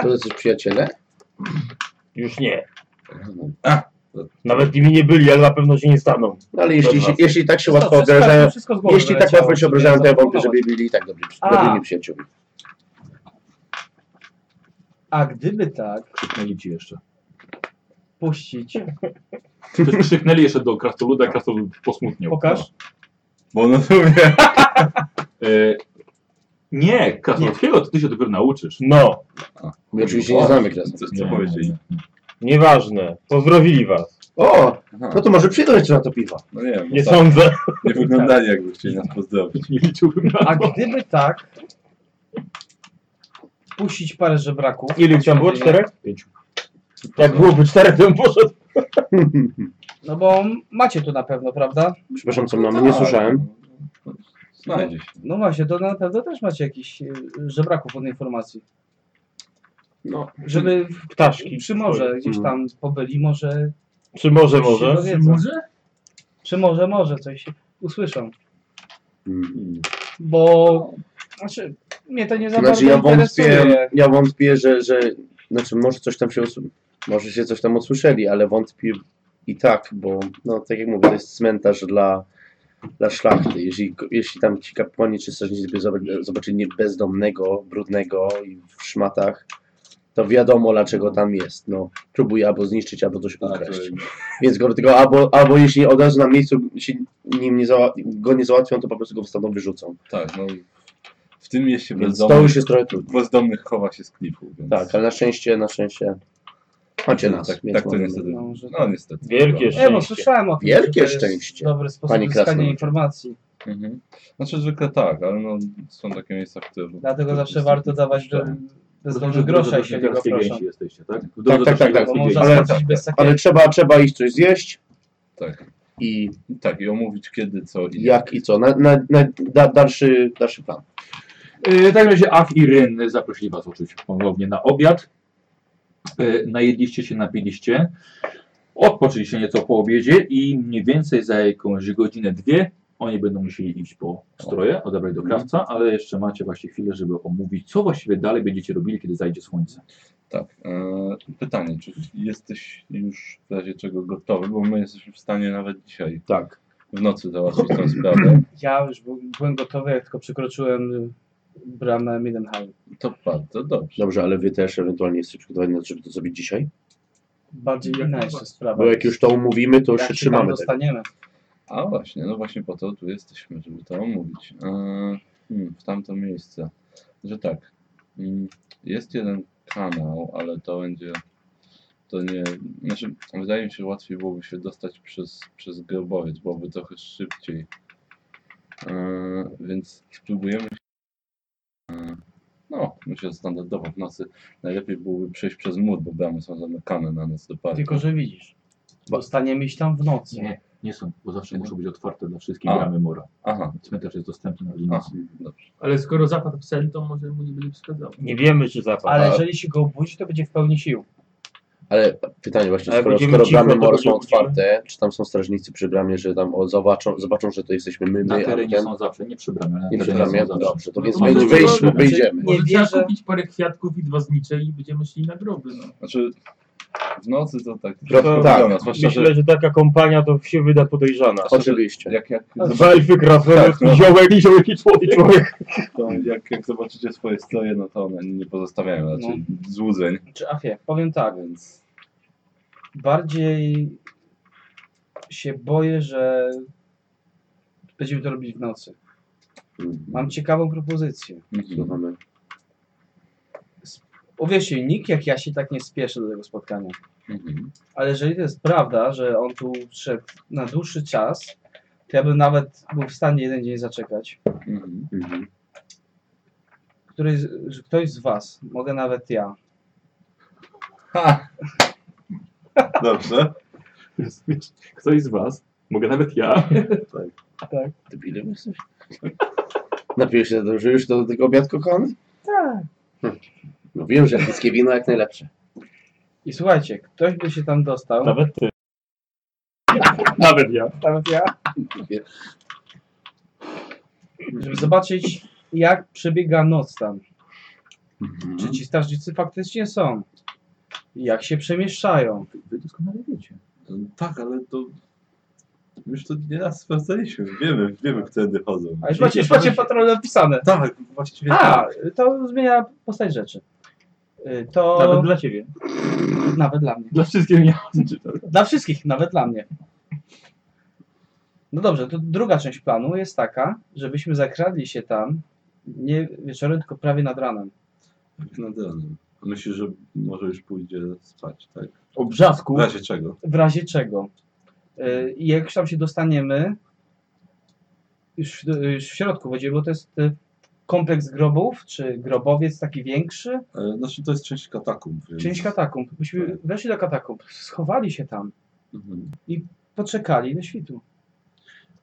Speaker 5: To jest przyjaciele?
Speaker 7: Już nie.
Speaker 2: A.
Speaker 7: Nawet nimi nie byli, ale na pewno się nie staną.
Speaker 5: No ale jeśli, się, jeśli tak się
Speaker 6: To
Speaker 5: łatwo
Speaker 6: co, wszystko-
Speaker 5: obrażają,
Speaker 6: wszystko z głowy
Speaker 5: jeśli tak
Speaker 6: wyleciało,
Speaker 5: łatwo
Speaker 6: no,
Speaker 5: się
Speaker 6: nie
Speaker 5: obrażają, to ja wątpię,
Speaker 6: zaplanować.
Speaker 5: żeby byli tak dobrzy,
Speaker 6: A.
Speaker 5: dobrymi przyjaciółmi.
Speaker 6: A gdyby tak
Speaker 1: Krzyknęli ci jeszcze.
Speaker 6: puścić,
Speaker 1: Przecież Krzyknęli jeszcze do krasnoluda, krasnolud posmutniał.
Speaker 6: pokaż,
Speaker 2: Bo no to mówię.
Speaker 1: No. E, nie, krasnoludkiego to ty się dopiero nauczysz.
Speaker 7: No,
Speaker 5: My oczywiście nie znamy kresy.
Speaker 2: Co, co powiedzieli?
Speaker 7: nieważne. Pozdrowili was.
Speaker 5: O,
Speaker 2: Aha,
Speaker 5: no to może przyjdą jeszcze na to piwo.
Speaker 2: no nie wiem,
Speaker 7: Nie
Speaker 2: nie, tak,
Speaker 7: sądzę.
Speaker 2: nie wyglądali jakby chcieli nas pozdrowić.
Speaker 1: Nie liczyłbym na
Speaker 6: a gdyby tak puścić parę żebraków.
Speaker 7: Ile ich tam było? Czterech?
Speaker 1: pięciu.
Speaker 7: Jak byłoby czterech, to bym poszedł.
Speaker 6: No bo macie tu na pewno, prawda?
Speaker 5: Przepraszam, co mamy, nie
Speaker 2: Tak.
Speaker 5: słyszałem.
Speaker 2: Znajdzie się.
Speaker 6: No właśnie, to na pewno też macie jakiś e, żebraków od informacji.
Speaker 5: No.
Speaker 6: Żeby
Speaker 7: Ptaszki.
Speaker 6: przy morze gdzieś tam pobyli, może,
Speaker 7: Czy może,
Speaker 6: Coś się
Speaker 7: może?
Speaker 6: dowie-
Speaker 3: Czy może?
Speaker 6: przy morze może coś usłyszą.
Speaker 5: Mm.
Speaker 6: Bo, znaczy, mnie to nie za bardzo
Speaker 5: Znaczy ja
Speaker 6: interesuje. E,
Speaker 5: wątpię, ja wątpię, że, że znaczy może coś tam się usu- może się coś tam usłyszeli, ale wątpię i tak, bo no tak jak mówię, to jest cmentarz dla, dla szlachty. Jeśli, jeśli tam ci kapłani czy strażnicy by zob- zobaczyli nie- bezdomnego, brudnego i w szmatach, to wiadomo dlaczego tam jest. No, próbuje albo zniszczyć, albo coś
Speaker 2: Tak,
Speaker 5: ukraść.
Speaker 2: to-
Speaker 5: Więc go do tego, albo, albo jeśli od razu na miejscu się nim nie zała- go nie załatwią, to po prostu go stamtąd wyrzucą.
Speaker 2: tak, no w tym mieście
Speaker 5: Więc to
Speaker 2: bezdomnych,
Speaker 5: już jest trochę trudne.
Speaker 2: bezdomnych chowa się z klifu. Więc...
Speaker 5: Tak, ale na szczęście, na szczęście macie nas.
Speaker 2: Tak,
Speaker 5: więc
Speaker 2: tak to
Speaker 5: mamy-
Speaker 2: niestety.
Speaker 6: no, że-
Speaker 2: No niestety.
Speaker 7: Wielkie
Speaker 6: Nie, bo
Speaker 7: szczęście.
Speaker 6: słyszałem o tym,
Speaker 5: Wielkie
Speaker 6: że to jest
Speaker 5: szczęście,
Speaker 6: dobry sposób
Speaker 5: pani
Speaker 6: uzyskania
Speaker 5: Krasnolud.
Speaker 6: informacji.
Speaker 2: Mhm. Znaczy zwykle tak, ale no, są takie miejsca, w których...
Speaker 6: Dlatego zawsze warto dawać do bezdomnych grosza i się go proszą.
Speaker 1: jesteście, tak?
Speaker 5: tak, tak, tak.
Speaker 6: Bo można
Speaker 5: Ale- tak,
Speaker 6: skończyć bez takiego.
Speaker 5: Ale trzeba, trzeba iść coś zjeść
Speaker 2: Tak.
Speaker 5: i
Speaker 2: I tak, i omówić kiedy, co i
Speaker 5: jak i co. Na, na, na da, dalszy, dalszy plan.
Speaker 1: E, W takim razie Af i Ryn zaprosili Was oczywiście ponownie na obiad. E, Najedliście się, napiliście. Odpoczyliście nieco po obiedzie i mniej więcej za jakąś godzinę, dwie oni będą musieli iść po stroje, odebrać do krawca, ale jeszcze macie właśnie chwilę, żeby omówić, co właściwie dalej będziecie robili, kiedy zajdzie słońce.
Speaker 2: Tak. E, pytanie, czy jesteś już w razie czego gotowy, bo my jesteśmy w stanie nawet dzisiaj
Speaker 5: Tak.
Speaker 2: w nocy załatwić tę sprawę.
Speaker 6: Ja już był- byłem gotowy, jak tylko przekroczyłem y, bramę Mindenheim.
Speaker 2: To bardzo dobrze.
Speaker 5: Dobrze, ale wy też ewentualnie jesteście przygotowani na to, żeby to zrobić dzisiaj?
Speaker 6: Bardziej
Speaker 3: Jak
Speaker 6: inna
Speaker 3: najbardziej.
Speaker 6: jeszcze sprawa.
Speaker 5: Tak. Bo jak już to omówimy, to już
Speaker 6: jak
Speaker 5: się
Speaker 6: się tam
Speaker 5: trzymamy tego.
Speaker 6: dostaniemy.
Speaker 2: A właśnie, no właśnie po to tu jesteśmy, żeby to omówić. E, hmm, w tamto miejsce. Że tak, mm, jest jeden kanał, ale to będzie, to nie, znaczy wydaje mi się, że łatwiej byłoby się dostać przez, przez grobowiec, byłoby trochę szybciej. E, więc spróbujemy się, e, no, myślę, że standardowo w nocy najlepiej byłoby przejść przez mur, bo bramy są zamykane na nas do parku.
Speaker 6: Tylko, że widzisz, dostaniemy iść tam w nocy.
Speaker 1: Nie, nie są, bo zawsze
Speaker 2: Nie.
Speaker 1: muszą być otwarte dla wszystkich
Speaker 2: A.
Speaker 1: bramy mora.
Speaker 2: Aha,
Speaker 1: Cmentarz jest dostępny na linii.
Speaker 2: aha, dobrze.
Speaker 3: Ale skoro zapadł sen, to może mu nie będzie przeszkadzał.
Speaker 7: Nie wiemy, czy zapadł.
Speaker 5: tak.
Speaker 6: Ale
Speaker 2: A-
Speaker 6: jeżeli się go obudzi, to będzie w pełni sił.
Speaker 5: Ale pytanie właśnie,
Speaker 7: Ale
Speaker 5: skoro,
Speaker 7: będziemy
Speaker 5: skoro
Speaker 7: cicho,
Speaker 5: bramy
Speaker 7: to
Speaker 5: mor są
Speaker 7: będziemy
Speaker 5: otwarte, czy tam są strażnicy przy bramie, że tam o, zobaczą, zobaczą, że to jesteśmy my,
Speaker 1: Na
Speaker 5: my, a
Speaker 1: terenie
Speaker 5: ten?
Speaker 1: są zawsze, nie przy bramie. ale
Speaker 5: Nie
Speaker 1: na
Speaker 5: przy
Speaker 1: terenie
Speaker 5: bramie?
Speaker 1: są zawsze.
Speaker 5: Dobrze, to
Speaker 3: No
Speaker 5: więc
Speaker 3: to
Speaker 5: my
Speaker 3: może
Speaker 5: wyjdziemy,
Speaker 3: zobaczymy.
Speaker 5: wyjdziemy.
Speaker 6: Nie
Speaker 3: Może trzeba
Speaker 6: wierzę.
Speaker 3: kupić parę kwiatków i dwa znicze i będziemy szli na groby. No.
Speaker 2: Znaczy, w nocy to tak...
Speaker 5: Trochę
Speaker 2: dla
Speaker 5: tak,
Speaker 2: nas, zwłaszcza, że-
Speaker 7: Myślę, że taka kompania to się wyda podejrzana.
Speaker 5: oczywiście.
Speaker 2: Jak, jak,
Speaker 6: No.
Speaker 7: Dwa elfy
Speaker 2: Tak, no.
Speaker 7: krasnoludki, ziołek i ziołek i człowiek. i człowiek.
Speaker 2: to, jak, jak zobaczycie swoje stroje, no to one nie pozostawiają raczej
Speaker 6: No.
Speaker 2: złudzeń.
Speaker 6: Czy Afie, powiem tak,
Speaker 2: Więc
Speaker 6: bardziej się boję, że będziemy to robić w nocy.
Speaker 5: Mhm.
Speaker 6: Mam ciekawą propozycję.
Speaker 5: Słuchamy.
Speaker 6: Powiecie, nikt jak ja się tak nie spieszę do tego spotkania.
Speaker 2: Mhm.
Speaker 6: Ale jeżeli to jest prawda, że on tu szedł na dłuższy czas, to ja bym nawet był w stanie jeden dzień zaczekać.
Speaker 2: Mhm.
Speaker 5: Mhm.
Speaker 6: Któryś, że ktoś z was, mogę nawet ja,
Speaker 2: Ha! Dobrze.
Speaker 8: Ktoś z was, mogę nawet ja,
Speaker 5: Debilem jesteś? Napijesz się dobrze już do tego obiadku, kochany? Tak. No wiem, że wszystkie wino jak najlepsze.
Speaker 6: i słuchajcie, ktoś by się tam dostał, nawet,
Speaker 9: Nawet ty.
Speaker 8: nawet ja.
Speaker 6: ja, żeby zobaczyć, jak przebiega noc tam. Czy ci strażnicy faktycznie są? Jak się przemieszczają?
Speaker 1: Wy doskonale wiecie.
Speaker 2: No Tak, ale to... Już to nie raz sprawdzaliśmy. Wiemy, wiemy, którędy chodzą.
Speaker 6: A już macie, już macie patrole napisane.
Speaker 2: Tak, właściwie
Speaker 6: A,
Speaker 2: tak.
Speaker 6: to zmienia postać rzeczy. Y, To
Speaker 3: Nawet dla ciebie.
Speaker 6: nawet dla mnie.
Speaker 8: Dla wszystkich mnie.
Speaker 6: Dla wszystkich, nawet dla mnie. No dobrze, to druga część planu jest taka, żebyśmy zakradli się tam nie wieczorem, tylko prawie nad ranem.
Speaker 2: Jak nad ranem. No Myślisz, że może już pójdzie spać, tak?
Speaker 7: O brzasku.
Speaker 2: W razie czego?
Speaker 6: W razie czego? Y, I jak już tam się dostaniemy, już, już w środku będzie, bo to jest y, kompleks grobów, czy grobowiec taki większy,
Speaker 2: E, Znaczy, to jest część katakumb. Więc... Tak.
Speaker 6: część katakumb. Byśmy weszli do katakumb, schowali się tam,
Speaker 2: Mhm.
Speaker 6: poczekali do świtu.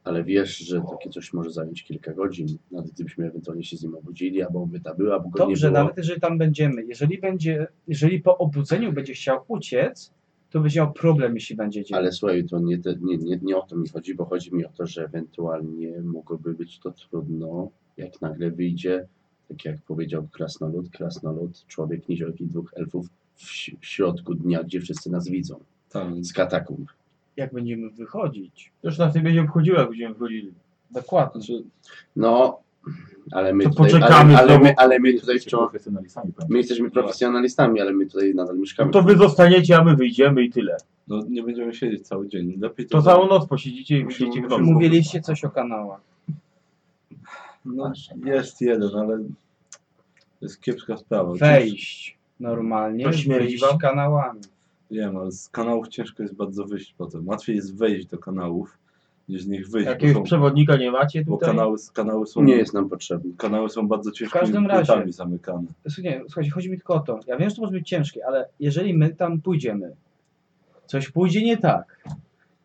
Speaker 5: Ale wiesz, że takie coś może zająć kilka godzin, nawet gdybyśmy ewentualnie się z nim obudzili, albo by ta była, albo go nie
Speaker 6: Dobrze,
Speaker 5: było.
Speaker 6: nawet jeżeli tam będziemy, jeżeli będzie, jeżeli po obudzeniu będzie chciał uciec, to będzie miał problem, jeśli będzie dzień.
Speaker 5: Ale słuchaj, to nie, te, nie, nie, nie o to mi chodzi, bo chodzi mi o to, że ewentualnie mogłoby być to trudno, jak nagle wyjdzie, tak jak powiedział krasnolud, krasnolud, człowiek, niziołek i dwóch elfów w, ś- w środku dnia, gdzie wszyscy nas widzą,
Speaker 2: Tak.
Speaker 5: z katakumb.
Speaker 6: Jak będziemy wychodzić?
Speaker 7: Już nas nie będzie obchodziło, jak będziemy wchodzili.
Speaker 6: Dokładnie.
Speaker 2: Znaczy,
Speaker 5: No, ale my
Speaker 7: To
Speaker 5: tutaj,
Speaker 7: poczekamy
Speaker 5: ale, ale,
Speaker 7: znowu.
Speaker 5: my, ale my tutaj
Speaker 1: Jesteście
Speaker 5: wciąż,
Speaker 1: profesjonalistami, panie.
Speaker 5: my jesteśmy profesjonalistami, ale my tutaj nadal
Speaker 7: No
Speaker 5: mieszkamy.
Speaker 7: to wy zostaniecie, a my wyjdziemy i tyle.
Speaker 2: no, nie będziemy siedzieć cały dzień. Lepiej
Speaker 7: To całą noc posiedzicie i
Speaker 2: Musimy-
Speaker 7: wyjdziecie w
Speaker 2: musimy-
Speaker 7: domu.
Speaker 6: Mówiliście coś o kanałach.
Speaker 2: No, jest jeden, ale to jest kiepska sprawa.
Speaker 6: Wejść normalnie,
Speaker 7: No, To śmierdzi
Speaker 6: wyjść
Speaker 7: wam?
Speaker 6: kanałami.
Speaker 2: Wiem, ale z kanałów ciężko jest bardzo wyjść potem. Łatwiej jest wejść do kanałów, niż z nich wyjść,
Speaker 7: Jakiegoś
Speaker 2: bo, są,
Speaker 7: przewodnika nie macie
Speaker 2: bo
Speaker 7: tutaj?
Speaker 2: kanały, kanały są
Speaker 5: Nie jest nam potrzebne.
Speaker 2: kanały są bardzo ciężkimi
Speaker 6: każdym razie.
Speaker 2: płytami zamykane.
Speaker 6: Słuchajcie, słuchajcie, chodzi mi tylko o to. Ja wiem, że to może być ciężkie, ale jeżeli my tam pójdziemy, coś pójdzie nie tak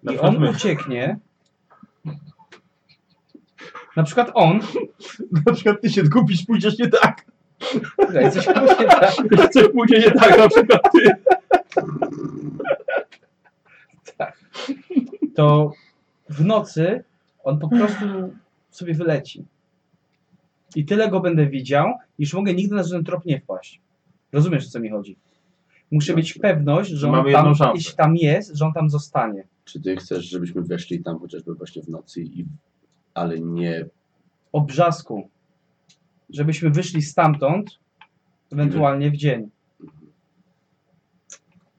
Speaker 7: Na
Speaker 6: i
Speaker 7: przykład
Speaker 6: on
Speaker 7: my.
Speaker 6: ucieknie, na przykład on,
Speaker 7: Na przykład ty się zgubisz, pójdziesz nie tak.
Speaker 6: Czekaj, coś pójdzie nie tak,
Speaker 8: Coś pójdzie nie tak, na przykład ty.
Speaker 6: to w nocy on po prostu sobie wyleci. I tyle go będę widział, iż mogę nigdy na żaden trop nie wpaść. Rozumiesz, o co mi chodzi? Muszę mieć pewność, że on
Speaker 7: Mamy jedną
Speaker 6: tam,
Speaker 7: szansę.
Speaker 6: jeśli tam jest, że on tam zostanie.
Speaker 5: Czy ty chcesz, żebyśmy weszli tam chociażby właśnie w nocy, i, ale nie
Speaker 6: obrzasku, żebyśmy wyszli stamtąd, ewentualnie w dzień.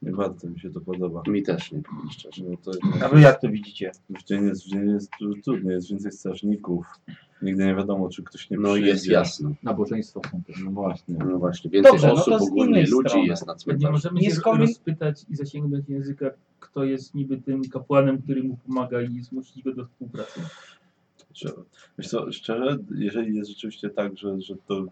Speaker 2: Nie bardzo mi się to podoba.
Speaker 5: mi też, nie powiem szczerze.
Speaker 2: No to
Speaker 7: A wy jak to widzicie?
Speaker 2: w dzień jest, w dzień jest tu- trudniej, jest więcej strażników. Nigdy nie wiadomo, czy ktoś nie
Speaker 5: No
Speaker 2: przyjdzie.
Speaker 5: jest jasno.
Speaker 1: Nabożeństwa są też.
Speaker 2: No właśnie.
Speaker 5: No właśnie, więcej
Speaker 6: Dobrze, no to
Speaker 5: osób,
Speaker 6: z
Speaker 5: ogólnie
Speaker 6: innej
Speaker 5: ludzi
Speaker 6: strony.
Speaker 5: jest na
Speaker 3: Nie
Speaker 5: cmentarzu.
Speaker 3: możemy
Speaker 6: Nie
Speaker 3: się
Speaker 6: skomin-
Speaker 3: rozpytać i zasięgnąć języka, kto jest niby tym kapłanem, który mu pomaga i zmusić go do współpracy.
Speaker 2: Że- Wiesz co, szczerze, jeżeli jest rzeczywiście tak, że, że to...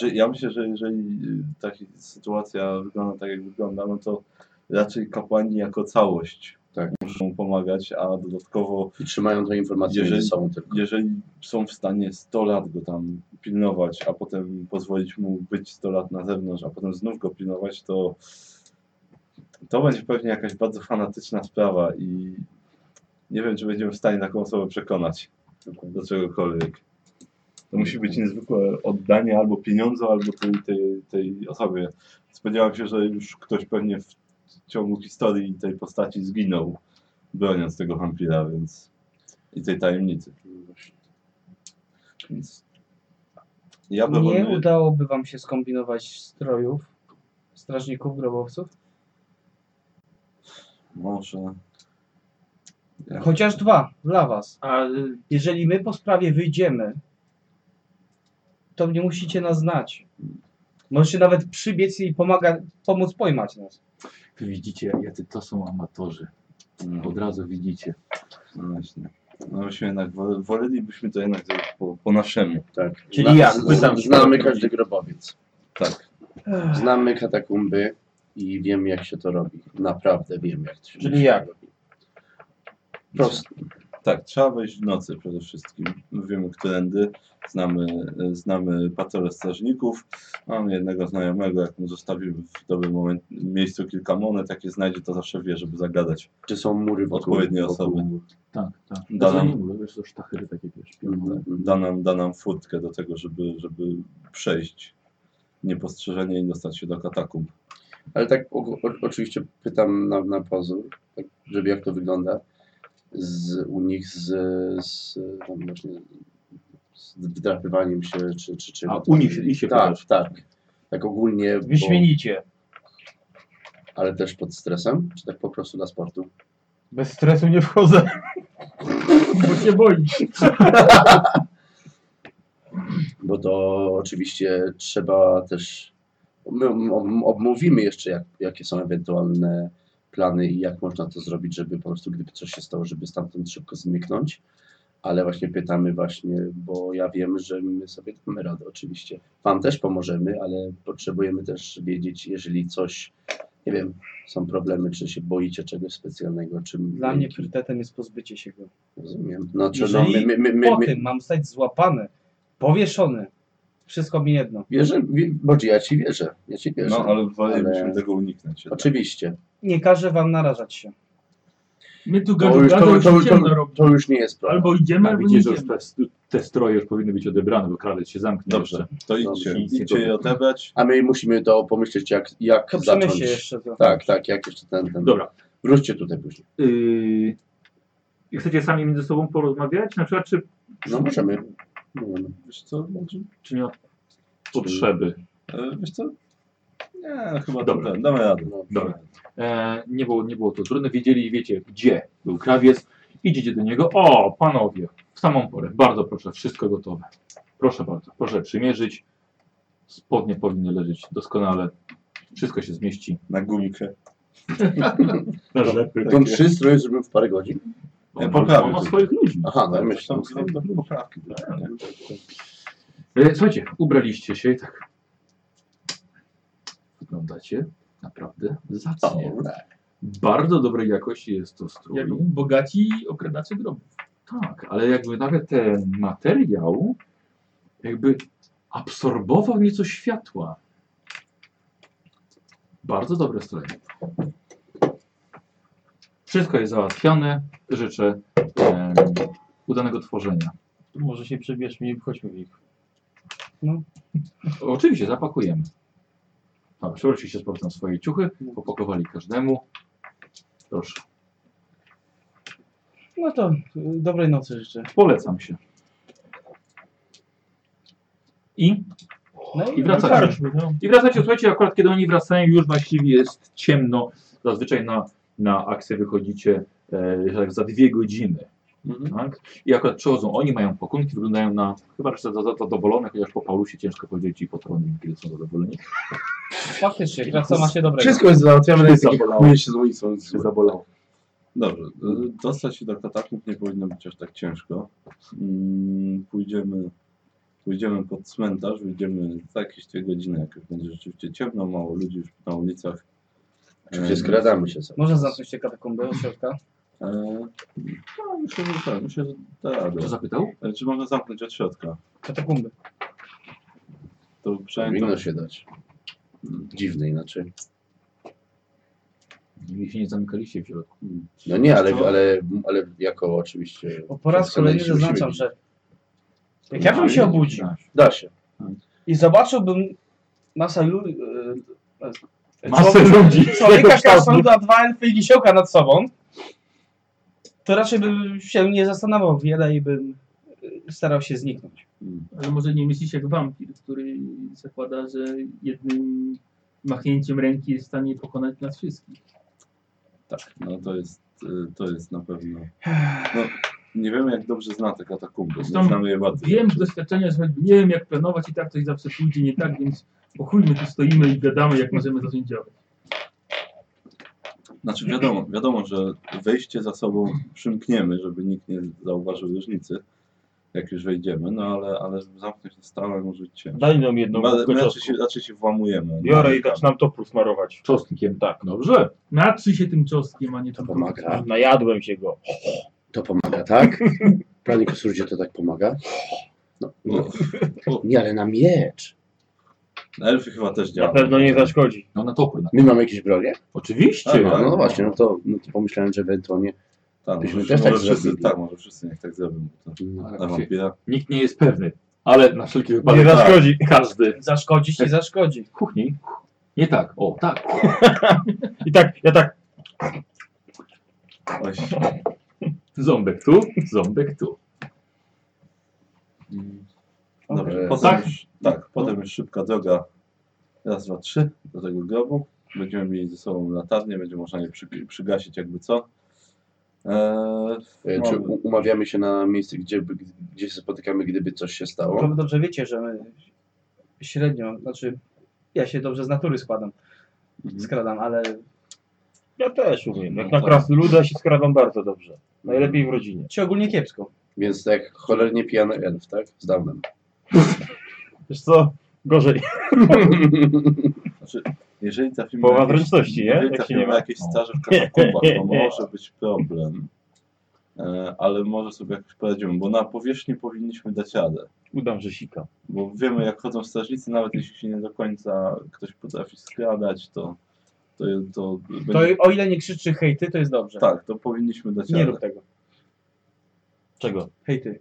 Speaker 2: Że ja myślę, że jeżeli y, taka sytuacja wygląda tak, jak wygląda, no to raczej kapłani jako całość
Speaker 5: Tak.
Speaker 2: muszą pomagać, a dodatkowo
Speaker 5: I trzymają te informacje
Speaker 2: Jeżeli-
Speaker 5: między sobą tylko.
Speaker 2: jeżeli są w stanie 100 lat go tam pilnować, a potem pozwolić mu być 100 lat na zewnątrz, a potem znów go pilnować, to to będzie pewnie jakaś bardzo fanatyczna sprawa i nie wiem, czy będziemy w stanie taką osobę przekonać do czegokolwiek. To musi być niezwykłe oddanie albo pieniądza, albo tej, tej, tej osobie. Spodziewałem się, że już ktoś pewnie w ciągu historii tej postaci zginął, broniąc tego wampira, więc i tej tajemnicy. Więc ja proponuję...
Speaker 6: Nie udałoby wam się skombinować strojów, strażników, grobowców?
Speaker 2: Może... Ja-
Speaker 6: Chociaż dwa dla was.
Speaker 7: A
Speaker 6: Jeżeli my po sprawie wyjdziemy, to nie musicie nas znać. Możecie nawet przybiec i pomaga, pomóc pojmać nas.
Speaker 1: Wy widzicie, jacy to są amatorzy.
Speaker 2: Mm.
Speaker 1: Od razu widzicie.
Speaker 2: No właśnie. No myśmy jednak, wo- wolelibyśmy to jednak zrobić po, po naszemu.
Speaker 5: Tak.
Speaker 7: Czyli jak? Wy tam
Speaker 5: znamy każdy grobowiec.
Speaker 2: Tak.
Speaker 5: Znamy katakumby i wiem jak się to robi. Naprawdę wiem jak to się
Speaker 7: Czyli jak?
Speaker 5: robi. Prosto.
Speaker 2: Tak, trzeba wejść w nocy przede wszystkim. Wiemy, którędy. Znamy, znamy patrole strażników. Mam jednego znajomego, jak mu zostawimy w dobrym moment, miejscu kilka monet, jakie znajdzie, to zawsze wie, żeby zagadać.
Speaker 5: Czy są mury wokół?
Speaker 2: Odpowiednie
Speaker 5: wokół- Mhm,
Speaker 2: osoby.
Speaker 1: Tak, tak.
Speaker 2: Da nam-
Speaker 1: nie mówię, wiesz, to sztachyry takie, wiesz, piękne.
Speaker 5: mhm.
Speaker 2: Da nam, da nam furtkę do tego, żeby, żeby przejść niepostrzeżenie i dostać się do katakumb.
Speaker 5: Ale tak o, o, oczywiście pytam na, na pozór, tak, żeby jak to wygląda z, u nich z, z, tam właśnie, z wdrapywaniem się czy, czy, czy
Speaker 1: A u nich się- ich się
Speaker 5: Tak,
Speaker 1: pytasz?
Speaker 5: tak. Tak ogólnie, bo,
Speaker 7: wyśmienicie.
Speaker 5: ale też pod stresem, czy tak po prostu dla sportu?
Speaker 7: Bez stresu nie wchodzę.
Speaker 3: Bo się boi.
Speaker 5: Bo to oczywiście trzeba też, my ob- obmówimy jeszcze jak, jakie są ewentualne plany i jak można to zrobić, żeby po prostu gdyby coś się stało, żeby stamtąd szybko zmyknąć. Ale właśnie pytamy właśnie, bo ja wiem, że my sobie damy radę oczywiście. Wam też pomożemy, ale potrzebujemy też wiedzieć, jeżeli coś, nie wiem, są problemy, czy się boicie czegoś specjalnego, czy...
Speaker 6: Dla mnie priorytetem jest pozbycie się go.
Speaker 5: Rozumiem. No, czy no, my,
Speaker 6: Jeżeli
Speaker 5: my, my, my,
Speaker 6: po
Speaker 5: my,
Speaker 6: tym mam zostać złapany, powieszony, wszystko mi jedno.
Speaker 5: wierzę, wi- Boże, ja ci wierzę, ja ci wierzę.
Speaker 2: No, ale wolelibyśmy
Speaker 5: ale-
Speaker 2: tego uniknąć. jednak.
Speaker 5: Oczywiście.
Speaker 6: Nie każę wam narażać się.
Speaker 3: My tu
Speaker 5: To
Speaker 3: gadu
Speaker 5: już, to,
Speaker 3: gadu
Speaker 5: to, to,
Speaker 3: już ciemno
Speaker 5: to,
Speaker 3: robi.
Speaker 5: to już nie jest problem.
Speaker 3: Albo idziemy,
Speaker 1: Tak,
Speaker 3: albo nie
Speaker 1: widzicie, że już
Speaker 3: idziemy.
Speaker 1: te, te stroje już powinny być odebrane, bo kralec się zamknął
Speaker 2: Dobrze,
Speaker 1: jeszcze.
Speaker 2: to
Speaker 5: Dobrze.
Speaker 2: idźcie,
Speaker 1: Nic nie
Speaker 2: idźcie je
Speaker 1: powiem.
Speaker 2: odebrać.
Speaker 5: A my musimy to pomyśleć, jak, jak
Speaker 6: To
Speaker 5: zacząć.
Speaker 6: przemyślcie jeszcze to.
Speaker 5: Tak, tak, jak jeszcze ten, ten.
Speaker 1: Dobra.
Speaker 5: Wróćcie tutaj później.
Speaker 1: Yy, i chcecie sami między sobą porozmawiać? Na przykład, czy,
Speaker 5: No możemy. możemy.
Speaker 2: Wiesz co, znaczy,
Speaker 1: czy nie ma potrzeby?
Speaker 2: e, wiesz co? Nie,
Speaker 1: Dobra.
Speaker 2: chyba Dobra. Ten, damy radę.
Speaker 5: No,
Speaker 1: Dobra. E, nie, było, nie było to trudne. Wiedzieli, wiecie, gdzie był krawiec. Idziecie do niego. O, panowie, w samą porę. Bardzo proszę, wszystko gotowe. Proszę bardzo, proszę przymierzyć. Spodnie powinny leżeć doskonale. Wszystko się zmieści.
Speaker 2: Na gumikę.
Speaker 1: Na rzepy.
Speaker 5: Tą trzy stroje zrobimy w parę godzin.
Speaker 1: On ma-
Speaker 2: E, poprawię
Speaker 1: on ma
Speaker 2: to.
Speaker 1: swoich ludzi.
Speaker 5: Aha, no ja
Speaker 2: Tam
Speaker 5: myślę.
Speaker 2: są drobne poprawki. Nie?
Speaker 1: E, Słuchajcie, ubraliście się i tak. Wyglądacie naprawdę
Speaker 5: O,
Speaker 1: zacnie. Bardzo dobrej jakości jest to strój.
Speaker 3: Jak bogaci okradacze grobów.
Speaker 1: Tak, ale jakby nawet ten materiał jakby absorbował nieco światła. Bardzo dobre stroje. Wszystko jest załatwione. Życzę em, udanego tworzenia.
Speaker 7: Może się przebierzmy i wchodźmy w nich.
Speaker 1: Oczywiście, zapakujemy. Dobra, Przełożyliście z powrotem swoje ciuchy, popakowali każdemu. Proszę.
Speaker 10: No to y, dobrej nocy życzę.
Speaker 1: Polecam się. I?
Speaker 10: No
Speaker 1: I wracacie. I wracacie, słuchajcie, akurat kiedy oni wracają, już właściwie jest ciemno. Zazwyczaj na, na akcję wychodzicie e, tak za dwie godziny. Tak? I akurat przechodzą, oni mają pokunki, wyglądają na chyba że za- za- zadowolone, chociaż po Paulusie ciężko powiedzieć i po Tronie, kiedy są zadowoleni.
Speaker 6: Faktycznie, krawca ma się dobrego.
Speaker 5: Wszystko jest załatwiamy, nawet takie
Speaker 1: Zabolało.
Speaker 5: chuje się z ulicą.
Speaker 1: Czy zabolało?
Speaker 2: Dobrze, y, dostać się do katakumb nie powinno być aż tak ciężko. Mm, Pójdziemy, pójdziemy pod cmentarz, wyjdziemy za jakieś dwie godziny, jak już będzie rzeczywiście ciemno, mało ludzi już na ulicach.
Speaker 5: Oczywiście
Speaker 2: E,
Speaker 5: skradamy się sobie.
Speaker 6: Można zamknąć te katakumby od środka?
Speaker 2: e, No, myślę, że tak, myślę, że da radę.
Speaker 1: Kto zapytał?
Speaker 2: E, Czy można zamknąć od środka?
Speaker 6: Katakumby.
Speaker 2: To przynajmniej
Speaker 5: Powinno się dać. Dziwne inaczej.
Speaker 1: Nigdy się nie zamykaliście w środku.
Speaker 5: No nie, ale, ale, ale jako oczywiście.
Speaker 6: Bo po raz kolejny
Speaker 5: Musimy-
Speaker 6: zaznaczam, że jak
Speaker 7: No,
Speaker 6: ja bym się obudził
Speaker 5: Da się.
Speaker 6: i zobaczyłbym masę ludzi... e,
Speaker 1: Masę ludzi.
Speaker 6: Człowieka, krasnoluda, dwa elfy i lisioka nad sobą, to raczej bym się nie zastanawiał wiele i bym y, starał się zniknąć.
Speaker 3: Ale może nie myślisz jak wampir, który zakłada, że jednym machnięciem ręki jest w stanie pokonać nas wszystkich.
Speaker 2: tak, no to jest, y, to jest na pewno. No, nie wiemy, jak dobrze zna te katakumby.
Speaker 3: Zresztą
Speaker 2: Nie znamy je bardzo.
Speaker 3: Wiem z doświadczenia, że choćby nie wiem jak planować i tak coś zawsze pójdzie nie tak, więc pochujmy tu stoimy i gadamy jak możemy zacząć działać.
Speaker 2: Znaczy wiadomo, wiadomo, że wejście za sobą przymkniemy, żeby nikt nie zauważył różnicy, jak już wejdziemy, no ale, ale żeby zamknąć na stałe może być ciężko.
Speaker 7: Daj nam jedną
Speaker 2: Ba- My
Speaker 7: kubkę
Speaker 2: raczej
Speaker 7: czosnku.
Speaker 2: się, raczej się włamujemy.
Speaker 7: Biorę i zaczynam to smarować.
Speaker 1: Czosnkiem.
Speaker 7: Tak.
Speaker 1: Dobrze.
Speaker 3: Natrzyj się tym czosnkiem, a nie
Speaker 5: To
Speaker 3: tam
Speaker 5: pomaga.
Speaker 7: Najadłem się go.
Speaker 5: To pomaga, tak? Pranie kosurdzie to tak pomaga? No, no. Nie, ale na miecz.
Speaker 2: Na elfy chyba też Tak. działa.
Speaker 7: Na pewno nie zaszkodzi.
Speaker 1: No na topór. Na...
Speaker 5: My mamy jakieś bronie?
Speaker 1: Oczywiście.
Speaker 2: Tak,
Speaker 5: No, no właśnie, no to, no to pomyślałem, że ewentualnie.
Speaker 2: Tak,
Speaker 5: Byśmy
Speaker 2: może,
Speaker 5: też tak
Speaker 2: może wszyscy,
Speaker 5: zrobili.
Speaker 2: tak, może wszyscy niech tak zrobią. bo To,
Speaker 5: No,
Speaker 2: na
Speaker 1: Oczywiście.
Speaker 2: wampira.
Speaker 1: Nikt nie jest pewny, ale na wszelki
Speaker 7: Nie
Speaker 1: wypadek
Speaker 7: zaszkodzi.
Speaker 1: każdy.
Speaker 6: Zaszkodzi ci, zaszkodzi.
Speaker 1: Kuchni. Nie tak. O, tak.
Speaker 7: I tak, ja tak.
Speaker 2: Oj,
Speaker 1: Ząbek tu, ząbek tu.
Speaker 2: Dobrze,
Speaker 5: Okej.
Speaker 2: potem,
Speaker 1: Tak?
Speaker 2: Już, tak, potem już szybka droga. Raz, dwa, trzy do tego grobu. Będziemy mieli ze sobą latarnię, będzie można je przy, przygasić jakby co. Eee,
Speaker 5: e,
Speaker 7: No.
Speaker 5: Czy u- umawiamy się na miejsce, gdzie, by- gdzie się spotykamy, gdyby coś się
Speaker 6: To
Speaker 5: stało?
Speaker 7: No.
Speaker 6: wy dobrze wiecie, że my średnio, znaczy ja się dobrze z natury składam, skradam, ale
Speaker 7: Ja też umiem. Jak
Speaker 2: No
Speaker 7: na
Speaker 2: tak.
Speaker 7: krasnoluda się skradam bardzo dobrze. Najlepiej w rodzinie.
Speaker 6: ci ogólnie kiepsko.
Speaker 5: Więc tak, cholernie pijany elf, tak? Z dawnem.
Speaker 7: Wiesz co? Gorzej. tak.
Speaker 2: Jeżeli trafimy
Speaker 7: Połowa
Speaker 2: na jakieś,
Speaker 7: wręczności, nie?
Speaker 2: Jeżeli
Speaker 7: Jak
Speaker 2: trafimy
Speaker 7: się nie
Speaker 2: na
Speaker 7: ma.
Speaker 2: jakieś staże w katakumbach, to może być problem. E, Ale może sobie jakoś poradzimy, bo na powierzchni powinniśmy dać radę.
Speaker 7: Udam, że sikam.
Speaker 2: Bo wiemy, jak chodzą strażnicy, nawet jeśli się nie do końca ktoś potrafi skradać, to, to, to,
Speaker 6: To
Speaker 2: będzie...
Speaker 6: o ile nie krzyczy hejty, to jest dobrze.
Speaker 2: Tak, to powinniśmy dać
Speaker 6: Nie
Speaker 2: radę.
Speaker 6: rób tego.
Speaker 7: Czego?
Speaker 6: Hejty.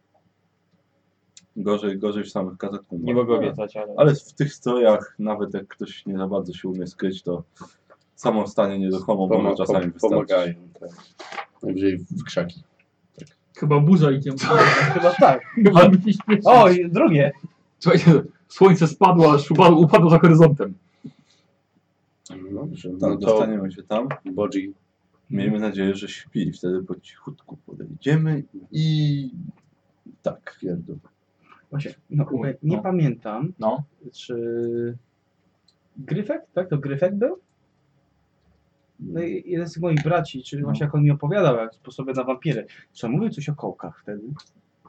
Speaker 2: Gorzej, gorzej w samych katakumbach.
Speaker 7: Nie mogę obiecać, ale...
Speaker 2: Ale w tych strojach, nawet jak ktoś nie za bardzo się umie skryć, to samo stanie nieruchomo może
Speaker 5: Pomo-
Speaker 2: czasami
Speaker 5: pom-
Speaker 2: wystarczyć.
Speaker 5: pomagają. Tak. Najwyżej w krzaki.
Speaker 3: Chyba burza i cię
Speaker 6: Chyba tak.
Speaker 3: Chyba by się śmieszył.
Speaker 6: O, i drugie.
Speaker 1: Słuchajcie, słońce spadło, aż upadło, upadło za horyzontem.
Speaker 5: No dobrze,
Speaker 2: Tak,
Speaker 5: no to
Speaker 2: dostaniemy się tam.
Speaker 5: Bodzi
Speaker 2: Miejmy nadzieję, że śpi. Wtedy po cichutku podejdziemy i tak.
Speaker 5: pierdół.
Speaker 6: Właśnie, no,
Speaker 1: Kur-
Speaker 6: nie
Speaker 1: no.
Speaker 6: pamiętam,
Speaker 1: No.
Speaker 6: czy Gryfek, tak? To Gryfek był? No i jeden z tych moich braci, czyli właśnie jak on mi opowiadał jak sposobie na wampiry. Czy on mówił coś o kołkach wtedy?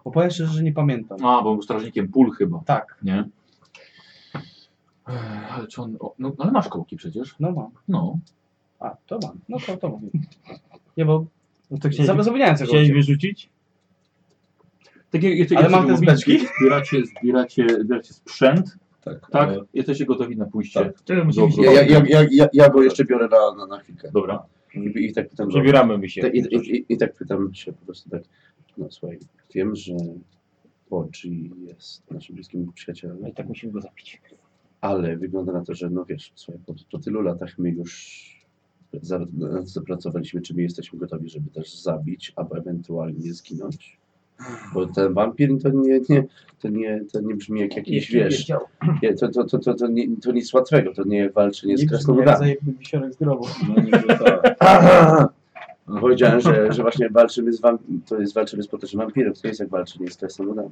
Speaker 6: Bo powiem szczerze, że nie pamiętam.
Speaker 1: A, bo był strażnikiem pól chyba,
Speaker 6: Tak,
Speaker 1: nie? Ech, Ale czy on... O, no, ale masz kołki przecież.
Speaker 6: no mam.
Speaker 1: No.
Speaker 6: A, to mam. No to, to mam. Nie, bo
Speaker 7: No to chcieli,
Speaker 6: zap- zapomniałem tego.
Speaker 7: chcieli wyrzucić?
Speaker 1: Takie, jesteście
Speaker 6: Ale mam
Speaker 1: gotowi,
Speaker 6: te zbeczki.
Speaker 1: Zbieracie, zbieracie, zbieracie sprzęt,
Speaker 2: Tak.
Speaker 1: tak?
Speaker 2: E,
Speaker 1: Jesteście gotowi na pójście.
Speaker 2: Tak.
Speaker 3: Czego musimy
Speaker 1: Dobrze.
Speaker 3: się
Speaker 5: Ja, ja, ja, ja, ja, ja go jeszcze biorę na, na, na chwilkę.
Speaker 1: Dobra.
Speaker 5: I, I tak pytam go.
Speaker 7: Zabieramy mi się.
Speaker 5: I, i, i, I tak pytam się po prostu tak. No słuchaj, wiem, że Bodzi jest naszym bliskim przyjacielem.
Speaker 7: No i tak musimy go zabić.
Speaker 5: Ale wygląda na to, że no wiesz, słuchaj, po, po tylu latach my już Zaraz zapracowaliśmy, czy my jesteśmy gotowi, żeby też zabić, albo ewentualnie zginąć. Bo ten wampir to nie, nie, to nie, to nie brzmi jak jakiś, wiesz, nie, to, to, to, to, to, nie, to nic łatwego, to nie walczenie z krasnoludami.
Speaker 9: zajebny wisiorek z grobu.
Speaker 2: No niby tak.
Speaker 5: Powiedziałem, że, że właśnie walczymy z wam, to jest walczymy z potężnym wampirem, to jest jak walczymy z krasnoludami.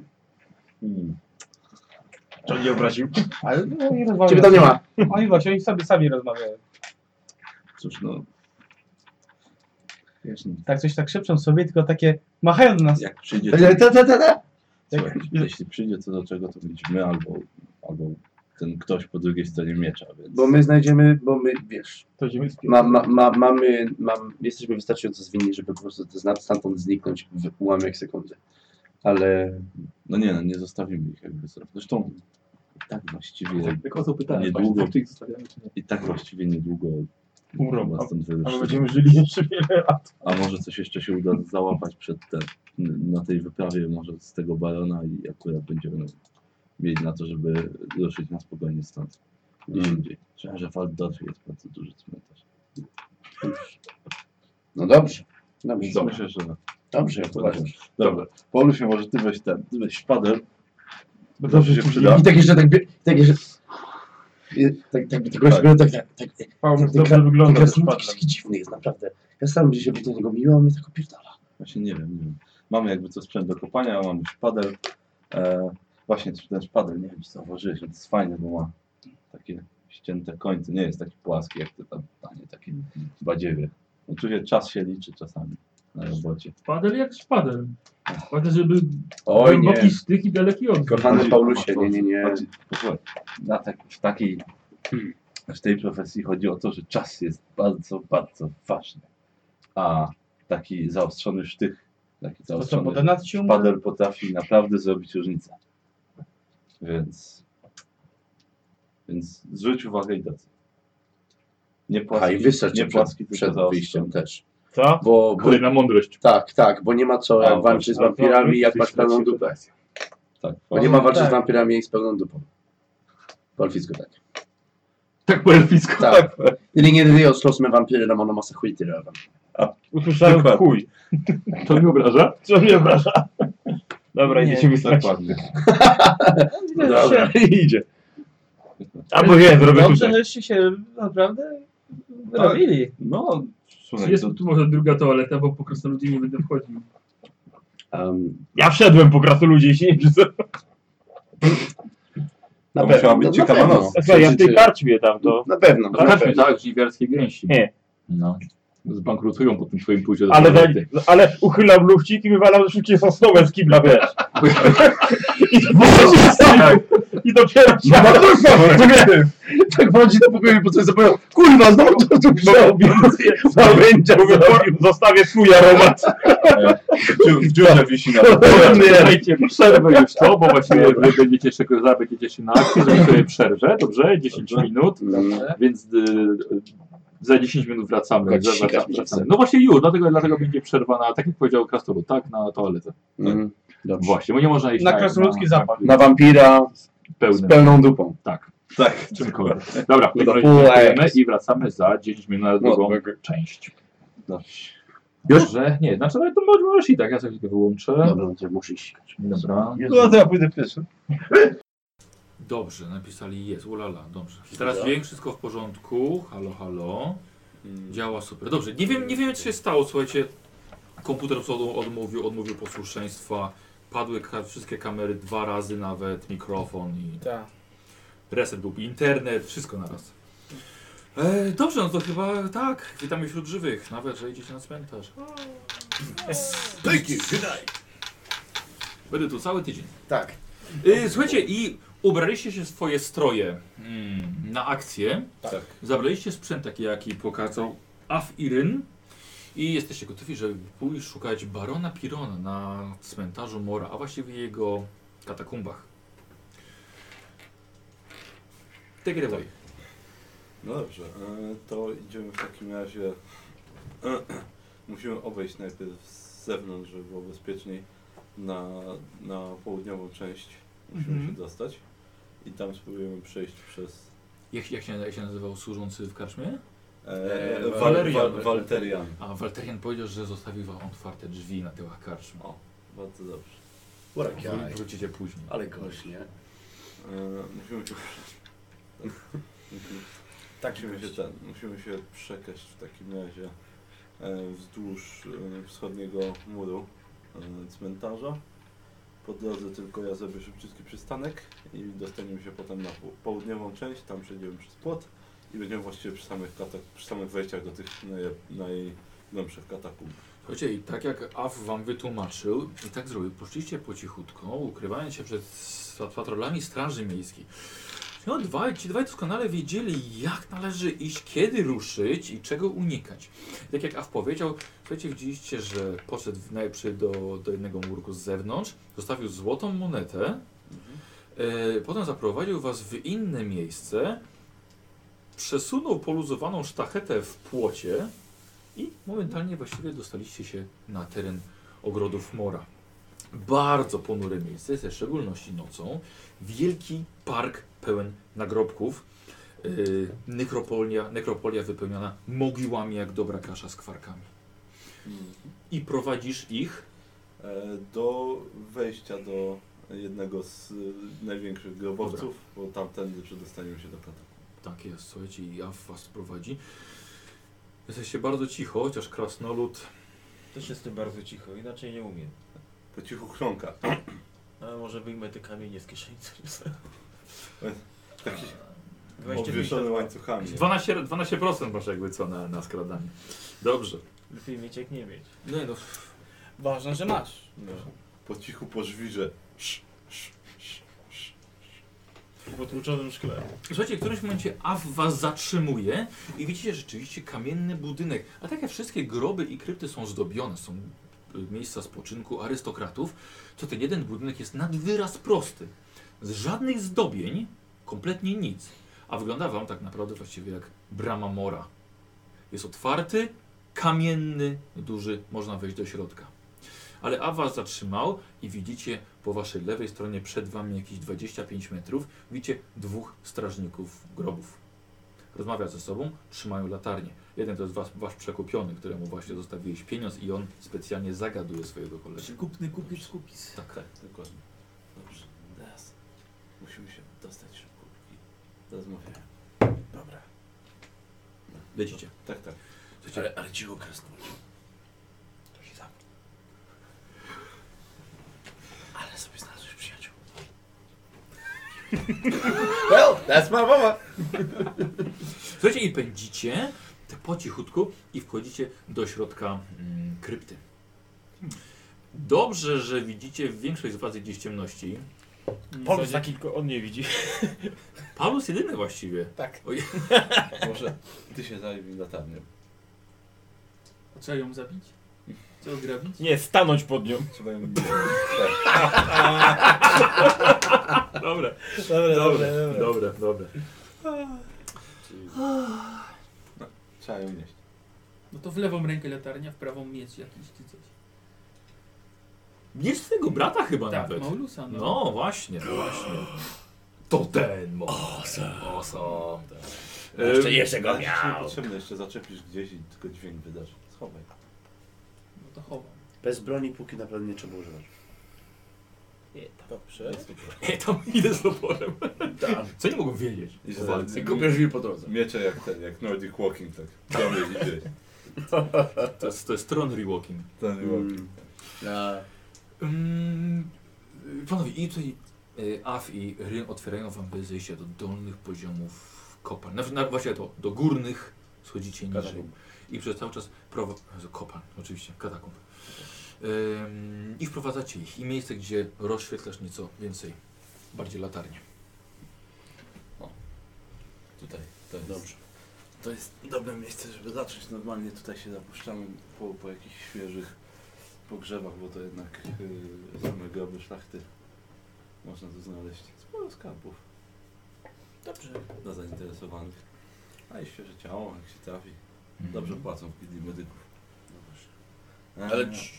Speaker 2: Hmm.
Speaker 5: To nie obraził?
Speaker 9: Ale no, nie rozmawiają.
Speaker 5: Ciebie tam nie ma.
Speaker 9: Oni właśnie, oni sobie sami rozmawiają.
Speaker 2: Cóż no. Wiesz, no,
Speaker 9: Tak coś tak szepczą sobie, tylko takie machają do nas.
Speaker 2: jak przyjdzie, to,
Speaker 5: Ta, ta, ta, ta.
Speaker 2: słuchaj, jeśli przyjdzie to do czego, to będziemy my albo, albo ten ktoś po drugiej stronie miecza, więc...
Speaker 5: Bo my znajdziemy, bo my, wiesz,
Speaker 4: To ziemskie.
Speaker 5: ma, ma, ma, mamy, mam, jesteśmy wystarczająco zwinni, żeby po prostu zna- stamtąd zniknąć w ułamek sekundy. Ale
Speaker 2: No nie, no nie zostawimy ich jakby sobie. Zresztą i tak właściwie,
Speaker 8: Jak o to pytałem,
Speaker 2: Niedługo.
Speaker 8: właśnie, czy ich zostawiamy, czy nie.
Speaker 2: i tak właściwie niedługo
Speaker 4: Pół roku.
Speaker 2: nas stąd
Speaker 4: Ale
Speaker 2: wyruszy.
Speaker 4: będziemy żyli jeszcze wiele lat.
Speaker 2: A może coś jeszcze się uda załapać przed te, na tej wyprawie, może z tego barona i akurat będziemy mieli na to, żeby ruszyć na spokojnie stąd. Gdzieś
Speaker 5: Mm.
Speaker 2: indziej. Trzeba, że w Altdorfie jest bardzo duży cmentarz.
Speaker 5: no dobrze, dobrze, dobrze,
Speaker 2: Myślę, że...
Speaker 5: dobrze jak uważasz.
Speaker 2: Dobra. Paulusiu, może ty weź ten, ty weź szpadel.
Speaker 4: Bo
Speaker 2: Dobrze się przyda.
Speaker 5: I tak jeszcze, tak, bie- tak jeszcze, I tak, tak, tak,
Speaker 2: Tak.
Speaker 5: tak, tak, tak, tak,
Speaker 4: Paulus
Speaker 5: Ten
Speaker 4: dobrze wygląda
Speaker 5: ten
Speaker 4: też
Speaker 5: krasnolud jakiś
Speaker 4: patrzę.
Speaker 5: taki dziwny jest, naprawdę. Ja sam gdzieś się do niego miło, a mnie tak opierdala.
Speaker 2: Właśnie nie wiem, nie wiem. Mamy jakby co sprzęt do kopania, mamy szpadel. E, właśnie ten szpadel, nie wiem czy zauważyłeś, ale to jest fajny, bo ma takie ścięte końce. Nie jest taki płaski jak ty tam, tanie, taki badziewie. Oczywiście czas się liczy czasami na robocie.
Speaker 3: Szpadel jak szpadel. Ważne, żeby
Speaker 5: Oj
Speaker 3: głęboki sztyk i daleki odgłos.
Speaker 5: Kochany Paulusie, nie, nie, nie.
Speaker 2: Chodzi- Posłuchaj, na tak, w takiej, w tej profesji chodzi o to, że czas jest bardzo, bardzo ważny. A taki zaostrzony sztych, taki
Speaker 9: No To co,
Speaker 2: zaostrzony
Speaker 9: bo do nas ci umrą?
Speaker 2: Padel potrafi naprawdę zrobić różnicę. Więc. Więc zwróć uwagę i docy. Nie
Speaker 5: A
Speaker 2: płaski,
Speaker 5: i wystarczy
Speaker 2: nie płaski
Speaker 5: przed,
Speaker 2: tylko
Speaker 5: przed
Speaker 2: zaostrzony.
Speaker 5: wyjściem też.
Speaker 4: Co?
Speaker 5: Bo, bo,
Speaker 8: Kolejna mądrość.
Speaker 5: tak, tak, bo nie ma co
Speaker 2: A,
Speaker 5: jak walczyć z
Speaker 4: tak,
Speaker 5: wampirami, jak masz pełną
Speaker 8: Świetnie.
Speaker 5: dupę.
Speaker 2: Tak,
Speaker 5: Bo nie ma walczyć
Speaker 9: tak.
Speaker 5: z wampirami, jak z pełną dupą. Wolfisko tak.
Speaker 8: Tak po elficku.
Speaker 5: Tak. Ringen Rios, los me vampiry, na monomasa skiter över.
Speaker 4: Usłyszałem
Speaker 2: Dokładnie.
Speaker 4: chuj.
Speaker 8: To mnie obraża?
Speaker 4: Co mnie obraża? Dobra,
Speaker 9: Nie,
Speaker 4: idziemy spać.
Speaker 2: dokładnie.
Speaker 9: No,
Speaker 4: Dobra, idzie.
Speaker 2: A
Speaker 4: Albo nie, zrobię
Speaker 9: Dobrze,
Speaker 4: tutaj.
Speaker 9: żeście się naprawdę robili.
Speaker 2: No, słuchaj,
Speaker 3: Jest
Speaker 2: to,
Speaker 3: tu może druga toaleta, bo po krasnoludzie nie będę wchodził.
Speaker 5: Um,
Speaker 4: Ja wszedłem po krasnoludzie i się nie przyznałem.
Speaker 5: na
Speaker 2: To
Speaker 5: pewno,
Speaker 2: musiała być
Speaker 5: na
Speaker 2: ciekawa
Speaker 5: pewno.
Speaker 2: noc.
Speaker 4: Słuchaj, Tak, ja w tej
Speaker 5: Przeżycie.
Speaker 4: karczmie tam to...
Speaker 5: Na pewno.
Speaker 8: Tak,
Speaker 5: Na
Speaker 8: tak,
Speaker 5: pewno.
Speaker 8: tak żniwiarskie gęsi.
Speaker 4: Nie.
Speaker 1: No. Zbankrutują po tym twoim pójściu do
Speaker 4: Ale, za,
Speaker 1: toalety.
Speaker 4: ale uchylam lufcik i wywalam że szybciej sosnołem z kibla, wiesz. I, I dopiero się...
Speaker 5: Tak. No to już Tak wchodzi do pokoju i po coś zapomniał. Kurwa, znowu to tu przerobił. Załędzia
Speaker 4: Mówię, kur- Zostawię swój aromat.
Speaker 2: w, w dziurze wisi na
Speaker 5: no,
Speaker 8: Słuchajcie, przerwę już to, bo właśnie wy będziecie jeszcze za, będziecie się na akcji, że sobie przerwę, dobrze? 10
Speaker 2: Dobrze.
Speaker 8: minut,
Speaker 5: No. Mhm.
Speaker 8: więc y, y, za 10 minut wracamy.
Speaker 5: Tak,
Speaker 8: za-
Speaker 5: sikać
Speaker 8: wracamy,
Speaker 5: mi się
Speaker 8: wracamy.
Speaker 5: chce.
Speaker 8: No właśnie już, dlatego, dlatego będzie przerwa na, tak jak powiedział Krastolu, tak, na toaletę.
Speaker 5: Mm, Dobrze.
Speaker 8: Właśnie, bo nie można iść
Speaker 9: Na
Speaker 1: tak, no,
Speaker 9: krasnoludzki zapach.
Speaker 5: Na wampira z
Speaker 8: Pełnym,
Speaker 5: pełną dupą.
Speaker 8: tak,
Speaker 2: Tak,
Speaker 8: czymkolwiek. Dobra, w takim razie
Speaker 5: Dobra.
Speaker 8: dziękujemy i wracamy za 10 minut na drugą część.
Speaker 2: dobrze.
Speaker 5: Już?
Speaker 8: Dobrze, nie, znaczy ale to możesz i tak, ja sobie tylko wyłączę.
Speaker 5: Dobra, to muszę iść.
Speaker 8: Dobra.
Speaker 2: No to ja pójdę pierwszy.
Speaker 1: Dobrze, napisali jest, ulala, dobrze. Teraz dźwięk, wszystko w porządku, halo, halo. Działa super. Dobrze, nie wiem, nie wiem co się stało, słuchajcie. Komputer od- odmówił, odmówił posłuszeństwa. Padły ka wszystkie kamery dwa razy nawet, mikrofon i
Speaker 9: Tak.
Speaker 1: reset był, internet, wszystko naraz. E, dobrze, no to chyba tak, witamy wśród żywych, nawet, że idziecie na cmentarz. Thank you, good night. Będę tu cały tydzień.
Speaker 5: Tak.
Speaker 1: Y, Słuchajcie, i ubraliście się w swoje stroje mm, na akcję.
Speaker 5: Tak.
Speaker 1: Zabraliście sprzęt taki, jaki pokazał Af Iryn. I jesteście gotowi, żeby pójść szukać barona Pirona na cmentarzu Mora, a właściwie jego katakumbach. Tegrywaj.
Speaker 2: No dobrze, e, to idziemy w takim razie. Musimy obejść najpierw z zewnątrz, żeby było bezpieczniej na, na południową część. Musimy się dostać i tam spróbujemy przejść przez
Speaker 1: Jak, jak, się, jak się nazywał służący w karczmie?
Speaker 2: E,
Speaker 1: E,
Speaker 2: Wal,
Speaker 1: Walerian.
Speaker 2: Wal, Walterian.
Speaker 1: A Walterian powiedział, że zostawił wam otwarte drzwi na tyłach karczmy.
Speaker 2: O, bardzo dobrze.
Speaker 11: Urak jaj.
Speaker 1: Wrócicie później.
Speaker 11: Ale gość, nie?
Speaker 2: E, musimy się... Tak.
Speaker 11: Taki
Speaker 2: Musimy się,
Speaker 11: gość.
Speaker 2: ten, musimy się przekraść w takim razie e, wzdłuż e, wschodniego muru e, cmentarza. Po drodze tylko ja zrobię szybciutki przystanek i dostaniemy się potem na pół- południową część, tam przejdziemy przez płot i będziemy właściwie przy samych, katak, przy samych wejściach do tych naj, najgłębszych katakumb.
Speaker 1: Słuchajcie, i tak jak Af wam wytłumaczył, i tak zrobił, poszliście po cichutko, ukrywając się przed s- patrolami straży miejskiej. No, dwaj, ci dwaj doskonale wiedzieli, jak należy iść, kiedy ruszyć i czego unikać. Tak jak Af powiedział, słuchajcie, widzieliście, że poszedł najpierw do, do jednego murku z zewnątrz, zostawił złotą monetę, e, potem zaprowadził was w inne miejsce, przesunął poluzowaną sztachetę w płocie, i momentalnie właściwie dostaliście się na teren ogrodów Mora. Bardzo ponure miejsce, ze szczególności nocą. Wielki park pełen nagrobków. Yy, nekropolia, nekropolia wypełniona mogiłami jak dobra kasza z kwarkami.
Speaker 2: Hmm.
Speaker 1: I prowadzisz ich
Speaker 2: E, do wejścia do jednego z e, największych grobowców, bo tamtędy przedostaniemy się do katakumb.
Speaker 1: Tak jest, słuchajcie, i ja was prowadzi. Jesteście bardzo cicho, chociaż krasnolud.
Speaker 7: Też jestem bardzo cicho, inaczej nie umiem.
Speaker 2: Po cichu chrząka.
Speaker 7: Ale No, może wyjmę te kamienie z kieszeni, co nie są.
Speaker 2: Taki
Speaker 7: 25
Speaker 2: obwieszony
Speaker 7: lat.
Speaker 2: łańcuchami.
Speaker 1: 12%, 12% masz jakby co na, na skradanie. Dobrze.
Speaker 7: Lepiej mieć jak nie mieć.
Speaker 1: No i no,
Speaker 9: Ważne, że masz.
Speaker 2: No. Po cichu po żwirze. Sz, sz, sz.
Speaker 7: W potłuczonym szkle.
Speaker 6: Mm.
Speaker 1: Słuchajcie, w którymś momencie Av was zatrzymuje i widzicie rzeczywiście kamienny budynek. A takie wszystkie groby i krypty są zdobione, są y, miejsca spoczynku arystokratów. Co ten jeden budynek jest nad wyraz prosty. Z żadnych zdobień, kompletnie nic. A wygląda wam tak naprawdę właściwie jak brama mora. Jest otwarty, kamienny, duży, można wejść do środka. Ale Av was zatrzymał i widzicie po waszej lewej stronie przed wami jakieś 25 metrów Widzicie dwóch strażników grobów. Rozmawia ze sobą, trzymają latarnię. Jeden to jest was, wasz przekupiony, któremu właśnie zostawiłeś pieniądz i on specjalnie zagaduje swojego kolegę.
Speaker 4: Kupny kupisz kupis.
Speaker 1: Tak,
Speaker 2: Dokładnie. Dobrze. Teraz musimy się dostać szybko. I rozmawiamy. Dobra.
Speaker 1: lecicie.
Speaker 2: Tak, tak.
Speaker 1: Słuchajcie,
Speaker 2: ale cicho krasnolud. To się zamknie. Ale sobie znalazłeś przyjaciół.
Speaker 11: Well, that's my mama.
Speaker 1: Słuchajcie i pędzicie tak po cichutku i wchodzicie do środka mm, krypty. Dobrze, że widzicie większość z was gdzieś ciemności.
Speaker 7: Polus taki tylko on nie widzi.
Speaker 1: Paulus jedyny właściwie.
Speaker 11: Tak.
Speaker 1: Oj,
Speaker 2: Może ty się zajmij latarnią.
Speaker 3: A trzeba ją zabić? Trzeba grabić?
Speaker 7: Nie, stanąć pod nią.
Speaker 2: Trzeba ją
Speaker 1: dobra.
Speaker 11: Dobra, dobra,
Speaker 1: Dobra, dobra.
Speaker 2: Trzeba ją nieść.
Speaker 3: No to w lewą rękę latarnia, w prawą miecz jakiś czy coś.
Speaker 1: Nie z tego brata chyba
Speaker 3: tak,
Speaker 1: nawet.
Speaker 3: Maulusa. No.
Speaker 1: No właśnie, no właśnie. To ten awesome. awesome.
Speaker 11: Jeszcze,
Speaker 1: Ym,
Speaker 11: jeszcze go
Speaker 2: Ale ci nie
Speaker 11: miał.
Speaker 2: potrzebne jeszcze zaczepisz gdzieś i tylko dźwięk wydasz. Schowaj.
Speaker 3: no to chowam.
Speaker 5: Bez broni póki naprawdę nie trzeba używać.
Speaker 11: Dobrze.
Speaker 1: Ej, tam idę z oporem. Co nie mogą wiedzieć?
Speaker 2: I
Speaker 1: o walce?
Speaker 2: z-
Speaker 11: Kupię drzwi po drodze.
Speaker 2: Miecze jak ten, jak Nordic Walking, tak. Dobry idzie.
Speaker 1: To jest, to jest tron rewalking.
Speaker 2: Ten
Speaker 11: Mm.
Speaker 2: walking.
Speaker 11: Na
Speaker 1: Mm, panowie, i tutaj y, Af i Ryn otwierają wam bez zejścia do dolnych poziomów kopalń. Znaczy, na, właśnie to, do górnych schodzicie niżej.
Speaker 2: Katakumb.
Speaker 1: I przez cały czas prowadzi... Kopalń, oczywiście, katakumb. Ym, I wprowadzacie ich. I miejsce, gdzie rozświetlasz nieco więcej, bardziej latarnie.
Speaker 2: Tutaj, to jest.
Speaker 5: Dobrze.
Speaker 2: To jest dobre miejsce, żeby zacząć. Normalnie tutaj się zapuszczamy po, po jakichś świeżych pogrzebach, bo to jednak yy, same groby szlachty. Można tu znaleźć sporo skarbów
Speaker 3: Dobrze.
Speaker 2: dla zainteresowanych. A i świeże ciało, jak się trafi.
Speaker 1: Mhm.
Speaker 2: Dobrze płacą w Kidli medyków. Eee,
Speaker 11: No Ale
Speaker 2: tak,
Speaker 11: cii.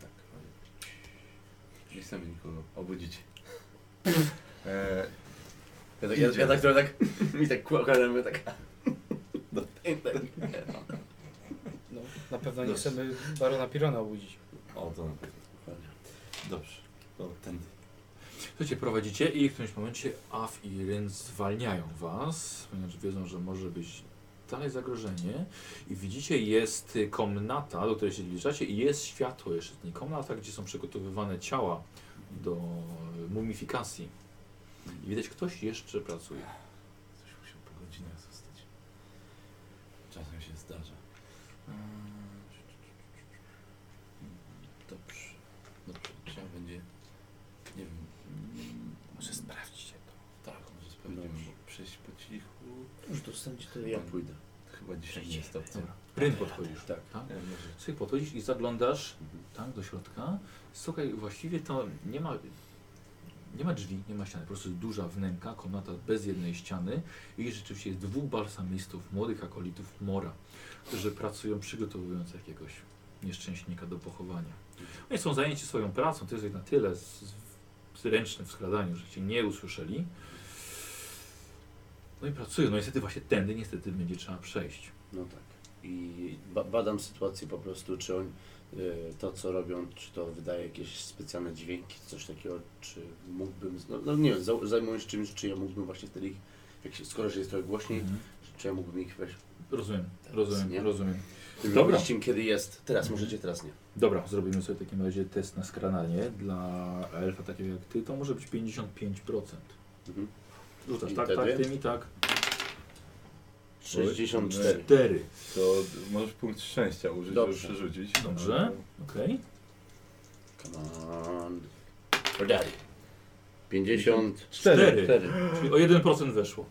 Speaker 2: tak. Nie chcemy nikogo obudzić. E, Eee,
Speaker 11: Ja tak, ja, ja tak trochę tak, mi tak kłakałem, tak.
Speaker 2: do,
Speaker 5: Anything. tak.
Speaker 6: No, na pewno nie chcemy barona Pirona obudzić.
Speaker 5: O, to na pewno. Dokładnie. Dobrze. To tędy.
Speaker 1: Słuchajcie, prowadzicie i w którymś momencie Af i Ryn zwalniają was, ponieważ wiedzą, że może być dalej zagrożenie. I widzicie, jest y, komnata, do której się zbliżacie i jest światło jeszcze. Nie komnata, gdzie są przygotowywane ciała do y, mumifikacji. I widać, ktoś jeszcze pracuje.
Speaker 5: Coś musiał po godzinach zostać. Czasem się zdarza. Eee, Dobrze. Dobrze. Trzeba będzie. Nie wiem. mm,
Speaker 6: Może sprawdźcie to.
Speaker 5: Tak, może sprawdzimy. bo Przejść po cichu.
Speaker 6: Już dostańcie to
Speaker 5: Ja pójdę. Chyba dzisiaj nie jest opcja.
Speaker 1: Ryn podchodzisz.
Speaker 5: Tak.
Speaker 1: tak?
Speaker 5: Ja może-
Speaker 1: Słuchaj, podchodzisz i zaglądasz tak do środka. Słuchaj, właściwie to nie ma, nie ma drzwi, nie ma ściany. Po prostu jest duża wnęka, komnata bez jednej ściany i rzeczywiście jest dwóch balsamistów, młodych akolitów Mora, którzy pracują przygotowując jakiegoś nieszczęśnika do pochowania. Oni są zajęci swoją pracą, to jest na tyle z- z- zręczne w skradaniu, że cię nie usłyszeli. No i pracują. No niestety właśnie tędy niestety będzie trzeba przejść.
Speaker 5: No tak. I ba badam sytuację po prostu, czy on y, to co robią, czy to wydaje jakieś specjalne dźwięki, coś takiego, czy mógłbym, z- no, no nie wiem, za- zajmuję się czymś, czy ja mógłbym właśnie wtedy ich, jak się, skoro że jest trochę głośniej,
Speaker 1: Mhm.
Speaker 5: czy ja mógłbym ich weź,
Speaker 1: Rozumiem, rozumiem,
Speaker 5: nie?
Speaker 1: rozumiem. Dobra.
Speaker 5: Dobra. im kiedy jest, teraz możecie, teraz nie.
Speaker 1: Dobra, zrobimy sobie w takim razie test na skrananie. Dla elfa takiego jak ty to może być 55%.
Speaker 5: Mhm.
Speaker 1: Rzucasz
Speaker 5: I
Speaker 1: tak,
Speaker 5: wtedy?
Speaker 1: tak, tym i tak.
Speaker 5: 64.
Speaker 1: 4.
Speaker 2: To możesz punkt szczęścia użyć, żeby
Speaker 5: Dobrze.
Speaker 2: przerzucić.
Speaker 1: Dobrze, okej.
Speaker 5: Come on. For daddy. 50.
Speaker 1: Cztery.
Speaker 5: Cztery.
Speaker 1: Czyli o 1% weszło.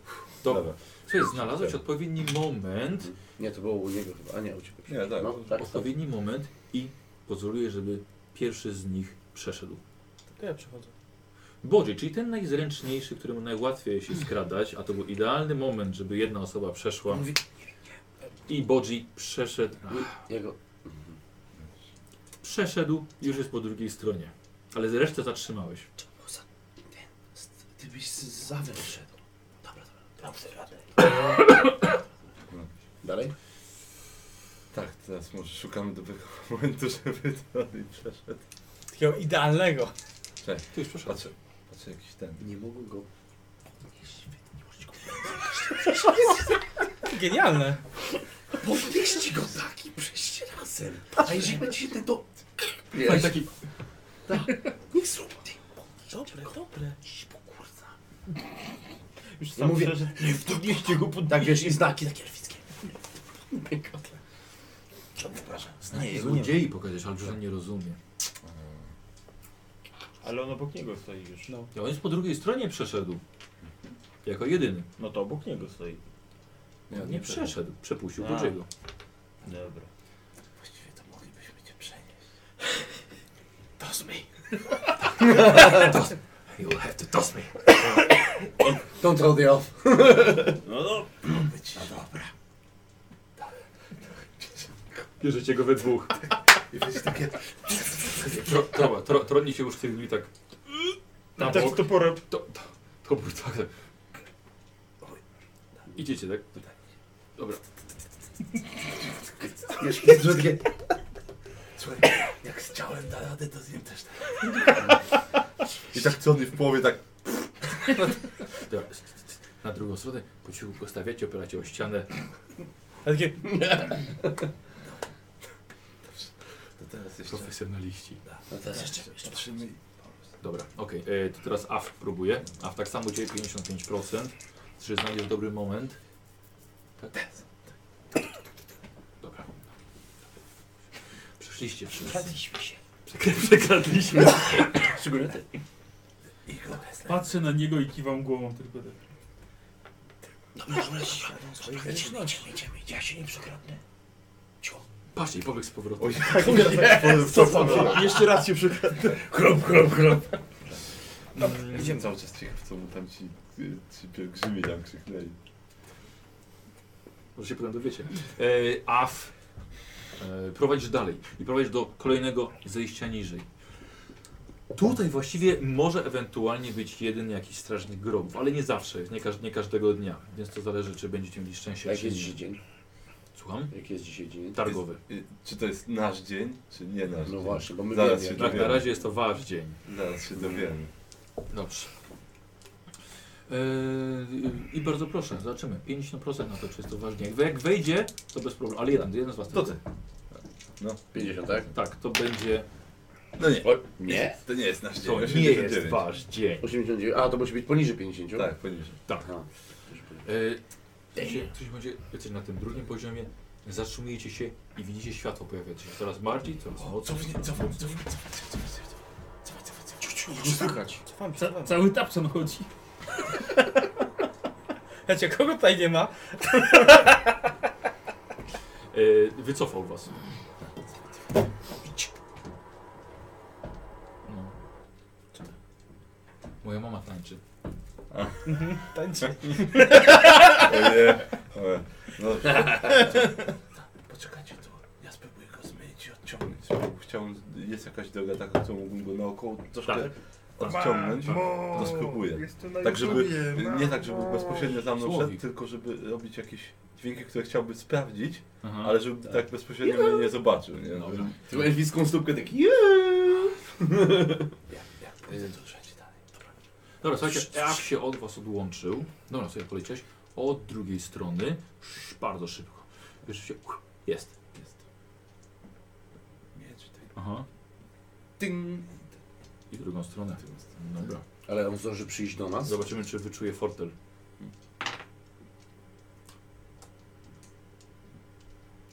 Speaker 1: Dobra.
Speaker 2: Dobra.
Speaker 1: Słuchaj, znalazłeś odpowiedni moment,
Speaker 5: Nie, to było u niego chyba, a nie, u ciebie.
Speaker 2: Nie, tak.
Speaker 5: No, Mhm. tak, tak.
Speaker 1: odpowiedni moment i pozwoluje, żeby pierwszy z nich przeszedł.
Speaker 6: To ja przychodzę.
Speaker 1: Bodzie, czyli ten najzręczniejszy, któremu najłatwiej się skradać, a to był idealny moment, żeby jedna osoba przeszła.
Speaker 5: Mówi-
Speaker 1: I Bodzi przeszedł.
Speaker 5: Jego.
Speaker 1: Przeszedł, już jest po drugiej stronie. Ale resztę zatrzymałeś.
Speaker 5: Ty byś zawsze szedł. Dobra, dobra. Dobrze, radę. No. Dalej?
Speaker 2: Tak, teraz może szukamy dobrego momentu, żeby dalej przeszedł.
Speaker 6: Takiego idealnego.
Speaker 1: Ty już przeszedł.
Speaker 2: Patrzę, patrzę jakiś ten.
Speaker 5: Nie mogę go
Speaker 6: Genialne.
Speaker 5: Podnieście go tak i przejdźcie razem. A jeżeli będzie jeden to...
Speaker 1: Fajnie taki.
Speaker 5: Niech zrób. Ty,
Speaker 6: Dobre, dobre.
Speaker 5: kurza.
Speaker 12: Już
Speaker 5: Ja
Speaker 12: sam
Speaker 5: mówię,
Speaker 12: przeszedł.
Speaker 5: nie wdobnieście go pod... Tak wiesz, i znaki takie elfickie. Przepraszam.
Speaker 1: Znaj złodziei pokazać, ale że nie rozumie.
Speaker 12: Ale on obok niego stoi już. No,
Speaker 1: Ja on jest po drugiej stronie przeszedł. Jako jedyny.
Speaker 12: to obok niego stoi.
Speaker 5: No,
Speaker 1: Nie, przeszedł, przepuścił
Speaker 12: A.
Speaker 1: Bodziego.
Speaker 12: Dobra.
Speaker 5: Właściwie to moglibyśmy cię przenieść. Toss me.
Speaker 1: You'll have to toss me.
Speaker 5: Don't throw the off.
Speaker 12: No dobra.
Speaker 1: Bierzecie go we dwóch.
Speaker 5: I będzie takie...
Speaker 1: Tro, troba, tro, troni się już w tej tak.
Speaker 6: Tak,
Speaker 1: Na bok.
Speaker 12: to porę.
Speaker 1: To, to, to był tak. tak. Idziecie, tak? Dobra.
Speaker 5: Wiesz, jest brzydkie. Słuchaj, jak z ciałem da radę, to z nim też tak.
Speaker 2: I tak co on w połowie tak
Speaker 1: Dobra. Na drugą stronę po cichu go stawiacie, opieracie o ścianę.
Speaker 6: Ale takie,
Speaker 5: To teraz jeszcze...
Speaker 1: Profesjonaliści.
Speaker 5: No teraz jeszcze, jeszcze patrzymy.
Speaker 1: Dobra, okej. e, To teraz AF próbuje. AF tak samo dzieje 55%. Czy znajdziesz dobry moment? Tak? Dobra. Przeszliście wszyscy. Przekra- Przekradliśmy.
Speaker 5: Szczególnie ty.
Speaker 13: Patrzę na niego i kiwam głową tylko tak.
Speaker 1: Patrzcie, i pobiegł z powrotem.
Speaker 2: cofam
Speaker 12: Jeszcze raz się przy...
Speaker 5: Krop, krop, krop.
Speaker 2: się. Mm. Cały czas ciekaw, co mu tam ci, y, ci pielgrzymi tam krzyknęli.
Speaker 1: Może się potem dowiecie. E, AF e, prowadzisz dalej i prowadzisz do kolejnego zejścia niżej. Tutaj właściwie może ewentualnie być jeden jakiś strażnik grobów, ale nie zawsze, nie, każ nie każdego dnia, więc to zależy, czy będziecie mieli szczęście,
Speaker 5: Jak
Speaker 1: czy
Speaker 5: jest
Speaker 1: nie.
Speaker 5: dzień.
Speaker 1: Słucham?
Speaker 5: Jaki jest dzisiaj dzień?
Speaker 1: Targowy.
Speaker 2: Y, Czy to jest nasz dzień, czy nie nasz dzień?
Speaker 5: No właśnie, bo my
Speaker 2: Zaraz
Speaker 5: wiemy,
Speaker 2: się
Speaker 5: jak-
Speaker 1: Tak,
Speaker 2: dowiemy.
Speaker 1: na razie jest to wasz dzień.
Speaker 2: Zaraz się dowiemy.
Speaker 1: Dobrze. Eee, I bardzo proszę, zobaczymy. 50% na to, czy jest to ważnie. Jak- Jak wejdzie, to bez problemu. Ale jeden, jeden z was.
Speaker 2: To ty.
Speaker 5: 50, tak?
Speaker 1: Tak, to będzie.
Speaker 2: No nie,
Speaker 5: O, nie?
Speaker 2: to nie jest nasz dzień.
Speaker 1: To nie
Speaker 2: 89.
Speaker 1: jest wasz dzień.
Speaker 5: 89. A, to musi być poniżej 50.
Speaker 2: Tak, poniżej.
Speaker 5: Aha.
Speaker 1: Eee, Ktoś, ktoś będzie, jesteś na tym drugim poziomie, zatrzymujecie się i widzicie światło pojawiać się coraz bardziej, coraz mocniej.
Speaker 7: Słychać.
Speaker 14: Ca cały tapson chodzi. Znaczy, kogo tutaj nie ma?
Speaker 1: Eee, Wycofał was. No. Moja mama tańczy.
Speaker 14: Tańczy.
Speaker 2: Ojej. Ojej. No,
Speaker 14: Poczekajcie tu, ja spróbuję go zmyć i odciągnąć.
Speaker 2: chciałbym, jest jakaś droga taka, którą mógłbym go naokoło troszkę
Speaker 1: Tak.
Speaker 2: odciągnąć. To spróbuję. Tak, żeby, nie tak, żeby bezpośrednio za mną
Speaker 1: Słowik.
Speaker 2: szedł, tylko żeby robić jakieś dźwięki, które chciałby sprawdzić,
Speaker 14: Mhm.
Speaker 1: Aha.
Speaker 2: ale żeby tak, bezpośrednio mnie nie zobaczył. Nie?
Speaker 14: No.
Speaker 1: Dobra.
Speaker 5: Ty masz bliską stópkę taki.
Speaker 1: Dobra, słuchajcie, aż się od was odłączył. Dobra, sobie poleciałeś. Od drugiej strony, sz- bardzo szybko. Wiesz, się, jest, jest.
Speaker 7: tak.
Speaker 1: Aha.
Speaker 2: Tyng.
Speaker 1: I drugą stronę. Dobra.
Speaker 5: Ale on zdąży przyjść do nas.
Speaker 1: Zobaczymy, czy wyczuje fortel.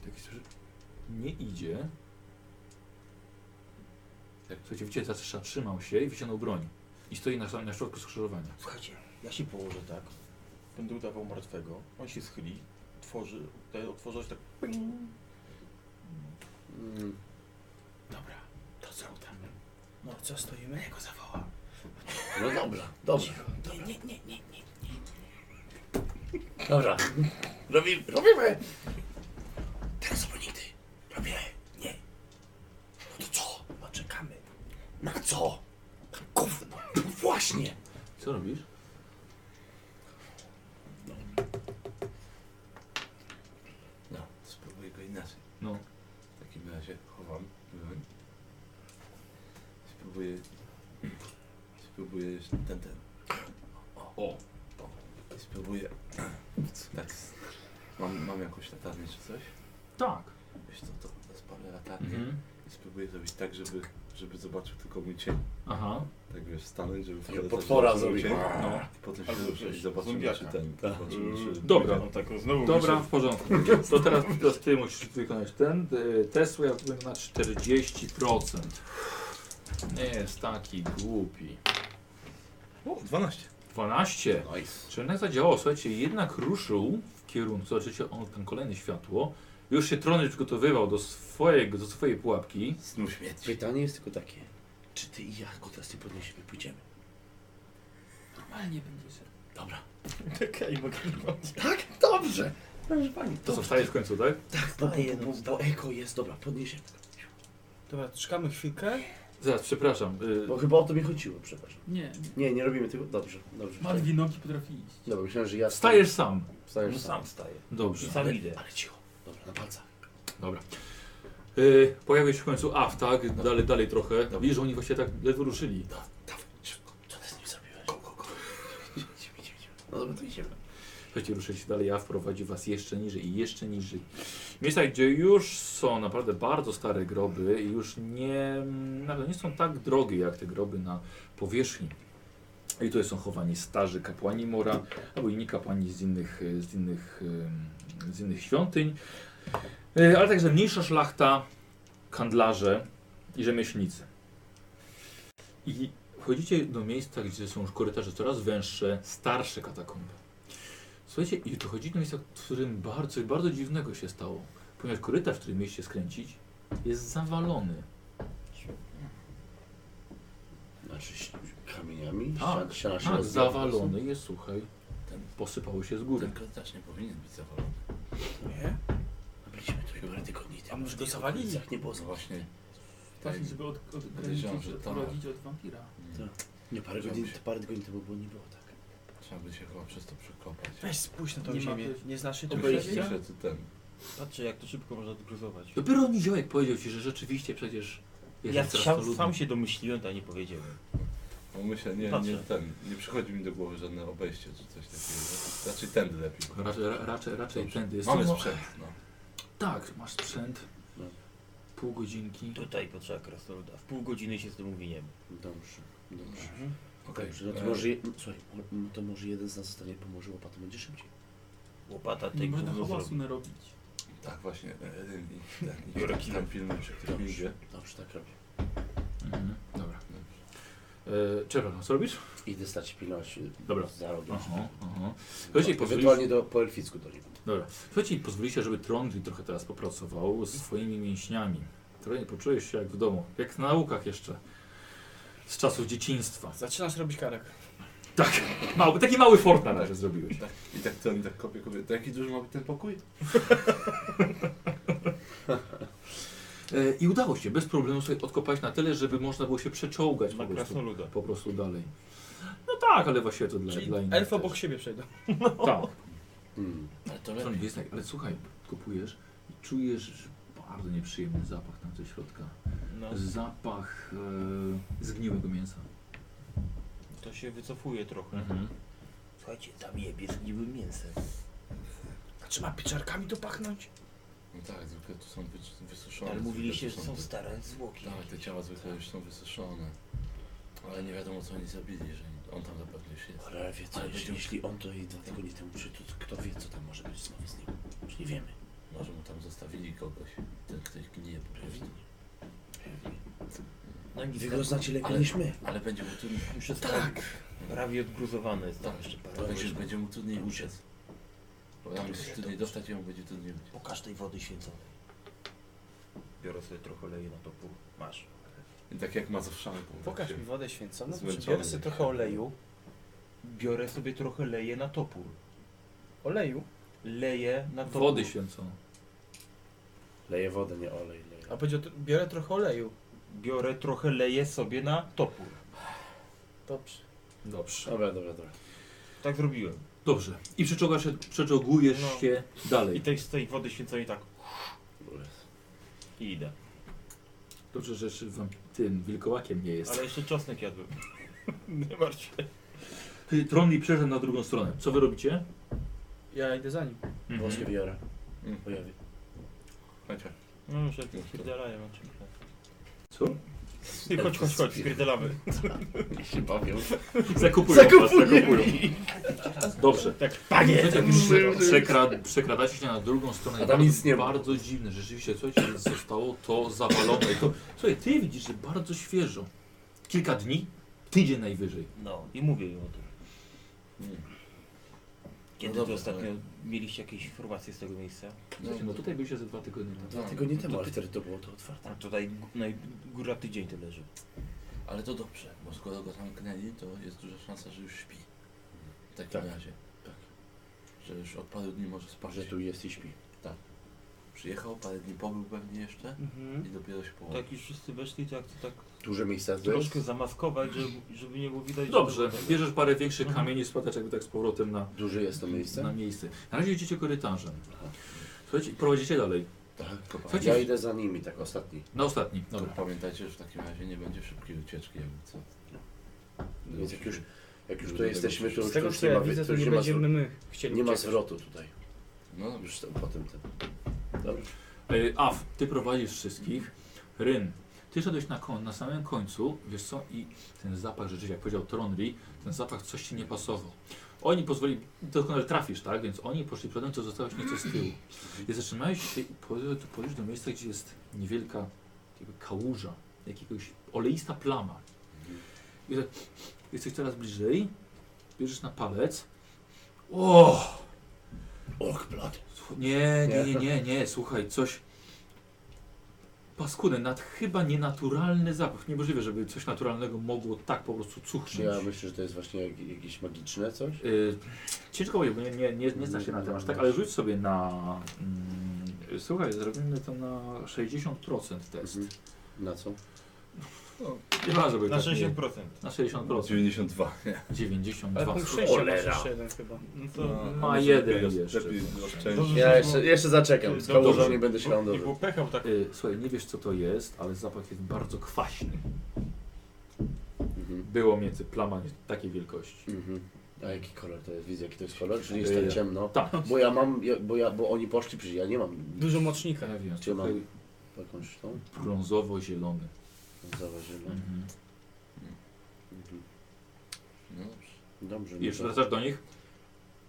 Speaker 1: Taki słyszy- Nie idzie. Tak, słuchajcie, widzicie, zatrzyma- zatrzymał się i wyciągnął broń. I stoi na, na środku skrzyżowania.
Speaker 7: Słuchajcie, ja się położę tak, będę udawał martwego, on się schyli, tworzy, te otworzę się tak, ping.
Speaker 5: Mm,
Speaker 14: Dobra, to co tam? No co stoimy? Ja go zawołam.
Speaker 5: No dobra, dobra.
Speaker 14: Nie, nie, nie, nie.
Speaker 5: Dobra. Robimy. Robimy.
Speaker 14: Teraz albo nigdy. Robimy. Nie. No to co? No czekamy.
Speaker 5: Na co? Na Gówno. Właśnie.
Speaker 1: Co robisz?
Speaker 2: No, spróbuję go inaczej.
Speaker 1: No.
Speaker 2: W takim razie chowam broń. Spróbuję... Spróbuję jeszcze ten, ten.
Speaker 1: O,
Speaker 2: I Spróbuję. Tak. Mam, mam jakąś latarnię czy coś?
Speaker 1: tak.
Speaker 2: Wiesz co, to spalę latarnię
Speaker 1: Mhm.
Speaker 2: i spróbuję zrobić tak, żeby, żeby zobaczył tylko mój cień.
Speaker 1: Aha.
Speaker 2: Tak wiesz, stanąć, żeby
Speaker 5: Takiego
Speaker 2: wtedy też
Speaker 5: potwora
Speaker 2: zobaczył
Speaker 5: zrobić.
Speaker 2: cień.
Speaker 5: No.
Speaker 2: I potem się
Speaker 7: Albo
Speaker 2: ruszyć
Speaker 7: coś,
Speaker 2: i zobaczymy
Speaker 7: zombiaka.
Speaker 2: czy ten.
Speaker 5: Tak.
Speaker 2: zobaczymy, czy-
Speaker 1: Dobra.
Speaker 7: No tak, znowu
Speaker 1: Dobra, w porządku. To teraz, teraz ty musisz wykonać ten y, test, bo ja byłem na 40%. Nie jest taki głupi.
Speaker 2: O, 12.
Speaker 1: 12.
Speaker 5: Nice.
Speaker 1: Czy jednak zadziałało? Słuchajcie, jednak ruszył w kierunku, zobaczycie, on ten kolejne światło. Już się trony przygotowywał do, swojego, do swojej pułapki.
Speaker 2: Snu śmierci.
Speaker 5: Pytanie jest tylko takie. Czy ty i ja go teraz nie podniesiemy? Pójdziemy.
Speaker 14: Normalnie będziecie.
Speaker 5: Dobra.
Speaker 7: Czekaj, bo
Speaker 5: Tak? Dobrze. Proszę pani.
Speaker 1: To
Speaker 5: Dobrze.
Speaker 1: zostaje w końcu, tak?
Speaker 5: Tak, bo, bo, bo, bo eko jest. Dobra, podniesiemy.
Speaker 6: Dobra, czekamy chwilkę.
Speaker 1: Zaraz, przepraszam. y,
Speaker 5: Bo chyba o to mi chodziło, przepraszam.
Speaker 14: Nie.
Speaker 5: Nie, nie robimy tego. Dobrze, dobrze.
Speaker 14: Malwi nogi potrafi iść.
Speaker 5: Dobra, myślałem, że ja
Speaker 1: Stajesz sam.
Speaker 5: Stajesz sam.
Speaker 7: sam staję.
Speaker 1: Dobrze.
Speaker 7: Sam idę.
Speaker 5: Ale cicho. Dobra, na palcach.
Speaker 1: Dobra. Yy, pojawił się w końcu AF, tak? Dalej, dalej trochę. Widzisz, że oni właśnie tak ledwo ruszyli.
Speaker 5: Co ty z nim zrobiłeś? Go, go, go. Idziemy, idziemy, idziemy. No dobra, to idziemy.
Speaker 1: Słuchajcie, ruszyli się dalej, AF prowadzi was jeszcze niżej i jeszcze niżej. Miejsca, gdzie już są naprawdę bardzo stare groby i już nie, nawet nie są tak drogie jak te groby na powierzchni. I tutaj są chowani starzy kapłani Mora, albo inni kapłani z innych, e, z innych, e, z innych świątyń, E, ale także mniejsza szlachta, handlarze i rzemieślnicy. I wchodzicie do miejsca, gdzie są już korytarze coraz węższe, starsze katakomby. Słuchajcie, i dochodzicie do miejsca, w którym bardzo, coś bardzo dziwnego się stało, ponieważ korytarz, w którym mieliście skręcić, jest zawalony.
Speaker 5: Znaczy ś- kamieniami?
Speaker 1: Tak,
Speaker 5: Ścian- ściana się
Speaker 1: tak
Speaker 5: rozbiła po prostu. Tak,
Speaker 1: zawalony jest, słuchaj, ten posypało się z góry.
Speaker 7: korytarz nie powinien być zawalony.
Speaker 14: Nie?
Speaker 5: Byliśmy tu parę tygodni temu.
Speaker 14: A może go
Speaker 5: w tych
Speaker 14: zawalili?
Speaker 5: okolicach Nie było
Speaker 2: No
Speaker 5: zawalili.
Speaker 2: właśnie.
Speaker 14: Właśnie, Tak, żeby od,
Speaker 2: Podejrzewam,
Speaker 14: odgraniczyć,
Speaker 2: że tak.
Speaker 14: odprowadzić od wampira.
Speaker 5: Nie, parę
Speaker 2: Żeby
Speaker 5: godzin,
Speaker 2: się-
Speaker 5: parę godzin temu było, nie było tak.
Speaker 2: Trzeba by się chyba przez to przekopać.
Speaker 6: Weź spójrz na tą
Speaker 14: Nie ma
Speaker 6: ziemię.
Speaker 14: też-
Speaker 6: Nie znasz się tu
Speaker 2: Myślę,
Speaker 14: obejścia?
Speaker 2: że- myślę, że ten.
Speaker 7: Patrzę, Znaczy, jak to szybko można odgruzować.
Speaker 1: Dopiero Niziołek powiedział ci, że rzeczywiście przecież jest
Speaker 7: Ja sam, sam się domyśliłem, to ja nie powiedziałem.
Speaker 2: No myślę, nie,
Speaker 7: Patrzę.
Speaker 2: nie, ten, nie przychodzi mi do głowy żadne obejście czy coś takiego. Raczej tędy lepiej.
Speaker 1: Raczej, ra- raczej, raczej
Speaker 2: Dobrze.
Speaker 1: tędy jest.
Speaker 2: Mamy
Speaker 1: No,
Speaker 2: sprzęt, no.
Speaker 1: Tak, masz sprzęt.
Speaker 5: No.
Speaker 1: Pół godzinki.
Speaker 7: Tutaj potrzeba krasnoluda. W pół godziny się z tym uwiniemy.
Speaker 5: Dobrze, dobrze.
Speaker 7: Mhm.
Speaker 1: Okej.
Speaker 5: Dobrze, no to
Speaker 1: E,
Speaker 5: może, je- słuchaj, mo- to może jeden z nas zostanie pomoże łopatą, będzie szybciej.
Speaker 7: Łopata
Speaker 1: Nie
Speaker 7: tej
Speaker 1: można
Speaker 7: gówno
Speaker 1: hałasu
Speaker 7: zrobi.
Speaker 1: narobić.
Speaker 2: Tak właśnie, jeden i ten, i tam filmy przy którym idzie.
Speaker 5: Dobrze, tak robię.
Speaker 1: Mhm. Dobra. E, Czerwona, co robisz?
Speaker 5: Idę stać pilnować y,
Speaker 1: Dobra.
Speaker 5: za rogiem.
Speaker 1: Aha, aha. Słuchajcie, pozwolisz...
Speaker 5: No, Ewentualnie do, po elficku do niego.
Speaker 1: Dobra. Słuchajcie, pozwolicie, żeby Trondri trochę teraz popracował swoimi mięśniami. Trochę nie poczujesz się jak w domu. Jak na naukach jeszcze. Z czasów dzieciństwa.
Speaker 6: Zaczynasz robić karek.
Speaker 1: Tak. Mały, taki mały fort na razie zrobiłeś.
Speaker 2: Tak, I tak ten, tak kopie kobietę. Jaki duży ma być ten pokój?
Speaker 1: E, I udało się, bez problemu sobie odkopać na tyle, żeby można było się przeczołgać po
Speaker 7: Na
Speaker 1: prostu,
Speaker 7: krasnoluda.
Speaker 1: po prostu dalej. No tak, ale właściwie to dla,
Speaker 6: Czyli
Speaker 1: dla innych.
Speaker 6: elfy
Speaker 1: też.
Speaker 6: obok siebie przejdą.
Speaker 1: Tak.
Speaker 5: Mm.
Speaker 1: To nie jest tak, ale słuchaj, kupujesz i czujesz że bardzo nieprzyjemny zapach tam ze środka.
Speaker 7: No,
Speaker 1: Zapach e, zgniłego mięsa.
Speaker 7: to się wycofuje trochę.
Speaker 1: Mhm.
Speaker 7: Słuchajcie, tam jebie z niby mięsem.
Speaker 6: A czy ma pieczarkami to pachnąć?
Speaker 2: No tak, zwykle tu są wycz- wysuszone.
Speaker 7: Ale mówiliście, że
Speaker 2: zwykle tu
Speaker 7: są stare zwłoki.
Speaker 2: Tak, te ciała zwykle już są wysuszone. Ale nie wiadomo co oni zabili, że on tam zapewne już jest.
Speaker 5: Ale wie co,
Speaker 2: Ale
Speaker 5: jeśli,
Speaker 2: będzie-
Speaker 5: jeśli on to jej dwa tygodnie temu przyszedł, to kto wie, co tam może być znowu z nim. Już nie wiemy.
Speaker 2: Może mu tam zostawili kogoś. Ten ktoś gnije po prostu.
Speaker 5: Pewnie. Pewnie.
Speaker 7: No nic,
Speaker 5: Wy
Speaker 7: tam
Speaker 5: go znacie lepiej
Speaker 2: Ale-
Speaker 5: niż my.
Speaker 2: Ale będzie mu trudniej
Speaker 7: już jest
Speaker 2: Tak.
Speaker 7: prawie odgruzowane jest tam
Speaker 2: Tak,
Speaker 7: jeszcze parę.
Speaker 2: To będzie, będzie mu trudniej uciec. Bo tam jest trudniej dostać i on będzie trudniej uciec.
Speaker 7: Pokaż tej wody święconej. Biorę sobie trochę leju na topu. Masz.
Speaker 2: I tak jak mazowszany pół.
Speaker 6: Pokaż mi wodę
Speaker 5: No,
Speaker 6: święconą,
Speaker 2: Zmęczony.
Speaker 6: biorę sobie trochę oleju.
Speaker 7: Biorę sobie trochę leję na topór.
Speaker 6: Oleju?
Speaker 7: Leję na topór.
Speaker 1: Wody święcono.
Speaker 5: Leje wodę, nie olej. Leje.
Speaker 6: A powiedział, biorę trochę oleju.
Speaker 7: Biorę trochę leję sobie na topór.
Speaker 6: Dobrze.
Speaker 1: Dobrze.
Speaker 5: Dobra, dobra, dobra.
Speaker 7: Tak zrobiłem.
Speaker 1: Dobrze. I przeczołgasz się, przeczołgujesz
Speaker 7: No.
Speaker 1: się dalej.
Speaker 7: I tej, z tej wody święconej tak. I idę.
Speaker 1: Dobrze, że jeszcze wam tym wilkołakiem nie jest.
Speaker 7: Ale jeszcze czosnek jadłem. Nie martw się.
Speaker 1: Ty, Tronli przeszedł na drugą stronę. Co wy robicie?
Speaker 6: Ja idę za nim.
Speaker 7: Mhm.
Speaker 5: Właśnie biorę.
Speaker 2: Mhm.
Speaker 5: Pojawi.
Speaker 2: Chodźcie.
Speaker 7: No już jak spierdalają oczywiście.
Speaker 1: Co?
Speaker 7: Ty chodź, chodź, chodź, spierdalamy.
Speaker 5: się bawią.
Speaker 1: Zakupują, zakupują. zakupują. Dobrze.
Speaker 7: Tak, panie!
Speaker 1: Słuchajcie, prze- Przekra przekradacie się na drugą stronę.
Speaker 5: A tam
Speaker 1: bardzo,
Speaker 5: nic nie ma.
Speaker 1: bardzo dziwne, rzeczywiście coś zostało to zawalone. I to, słuchaj, ty widzisz, że bardzo świeżo. Kilka dni, tydzień najwyżej.
Speaker 7: No i mówię im o tym.
Speaker 2: Mm.
Speaker 7: Kiedy
Speaker 2: No
Speaker 7: to
Speaker 2: dobra,
Speaker 7: ostatnio mieliście jakieś informacje z tego miejsca?
Speaker 1: Słuchajcie, no tutaj byliście ze dwa tygodnie temu.
Speaker 2: No,
Speaker 5: Dwa tygodnie temu, ale wtedy to było to otwarte.
Speaker 7: A tutaj g- naj, góra tydzień to leży.
Speaker 2: Ale to dobrze, bo skoro go zamknęli, to jest duża szansa, że już śpi. W takim
Speaker 5: Tak.
Speaker 2: razie. Tak. Że już od paru dni może spać. Tak.
Speaker 5: Że tu jest i śpi.
Speaker 2: Przyjechał, parę dni pobył pewnie jeszcze
Speaker 6: Mhm.
Speaker 2: i dopiero się położył.
Speaker 7: Tak już wszyscy weszli, to jak to tak
Speaker 5: Duże miejsca zresztą.
Speaker 7: troszkę zamaskować, żeby, żeby nie było widać. że
Speaker 1: Dobrze,
Speaker 7: to było tak.
Speaker 1: bierzesz parę większych kamieni, spadasz jakby tak z powrotem na,
Speaker 5: Duże jest
Speaker 2: Mhm.
Speaker 1: na
Speaker 5: to Mhm.
Speaker 2: No.
Speaker 5: miejsce.
Speaker 1: miejsce. Na razie idziecie korytarzem. Słuchajcie, prowadzicie dalej.
Speaker 2: Tak, tylko
Speaker 1: Chodź-
Speaker 2: pamię-
Speaker 5: Ja idę za nimi, tak ostatni.
Speaker 1: Na ostatni.
Speaker 2: tylko
Speaker 1: Dobra.
Speaker 2: pamiętajcie, że w takim razie nie będzie szybkiej ucieczki, jakby co.
Speaker 6: No
Speaker 5: Więc jak już, jak już tu
Speaker 2: Dobrze.
Speaker 5: jesteśmy, to
Speaker 6: Z
Speaker 5: już,
Speaker 6: tego
Speaker 5: już
Speaker 6: co
Speaker 5: nie
Speaker 6: ja
Speaker 5: ma,
Speaker 6: widzę,
Speaker 5: to
Speaker 6: to
Speaker 5: już
Speaker 6: nie
Speaker 5: nie ma, zwro-
Speaker 6: będziemy my chcieli
Speaker 5: nie ma
Speaker 6: uciekać.
Speaker 5: zwrotu tutaj.
Speaker 2: No dobrze.
Speaker 5: Już tam, po tym ten. Dobrze.
Speaker 1: E, Af, ty prowadzisz wszystkich. Ryn, ty szedłeś na, kon, na samym końcu, wiesz co, i ten zapach rzeczywiście, jak powiedział Tronri, ten zapach coś ci nie pasował. Oni pozwolili, doskonale trafisz, tak? Więc oni poszli przodem, to zostałeś nieco z tyłu. I zatrzymałeś się i podjechałeś- podjechałeś do miejsca, gdzie jest niewielka jakby kałuża, jakiegoś oleista plama. I tak, jesteś coraz bliżej, bierzesz na palec. O!
Speaker 5: Och, blad.
Speaker 1: Słuch- Nie, nie, nie, nie, nie, słuchaj, coś. Paskudę, nad chyba nienaturalny zapach. Niemożliwe, żeby coś naturalnego mogło tak po prostu cuchnąć.
Speaker 5: Ja myślę, że to jest właśnie jak- jakieś magiczne coś.
Speaker 1: Y, ciężko powiedzieć, bo nie, nie, nie, nie zna się na temat, tak? Ale rzuć sobie na. Mm, słuchaj, zrobimy to na 60% test.
Speaker 5: Mhm. Na co?
Speaker 1: Nieważne, bo
Speaker 15: Na
Speaker 1: tak nie-
Speaker 15: 60%.
Speaker 1: Na 60%.
Speaker 2: 92.
Speaker 1: 92.
Speaker 15: Ale punkt szczęścia masz
Speaker 1: Cholera.
Speaker 15: jeszcze jeden chyba. No to-
Speaker 1: No,
Speaker 15: no,
Speaker 1: ma
Speaker 15: może
Speaker 1: jeden
Speaker 15: lepiej-
Speaker 1: jeszcze.
Speaker 15: lepiej
Speaker 1: Dobrze,
Speaker 15: Ja
Speaker 1: że
Speaker 15: jeszcze-
Speaker 1: było-
Speaker 15: jeszcze zaczekam. Z kałużą
Speaker 1: Dobrze.
Speaker 15: nie będę się lądował.
Speaker 1: Y, Słuchaj, nie wiesz co to jest, ale zapach jest bardzo kwaśny. Było między plamami takiej wielkości.
Speaker 5: Mhm. A jaki kolor to jest? Widzę jaki to jest kolor? Czyli
Speaker 1: Y,
Speaker 5: jest tak ciemno.
Speaker 1: tak.
Speaker 5: Bo ja mam, ja- bo, ja, bo oni poszli, przecież ja nie mam.
Speaker 15: Dużo mocznika.
Speaker 1: Ja wiem,
Speaker 5: Czy mam
Speaker 1: tutaj-
Speaker 5: jakąś tą?
Speaker 1: Brązowo-zielony.
Speaker 5: Zaważyłem.
Speaker 1: Mhm.
Speaker 5: Mhm. Dobrze.
Speaker 1: I
Speaker 5: no
Speaker 1: już
Speaker 5: to-
Speaker 1: wracasz do nich?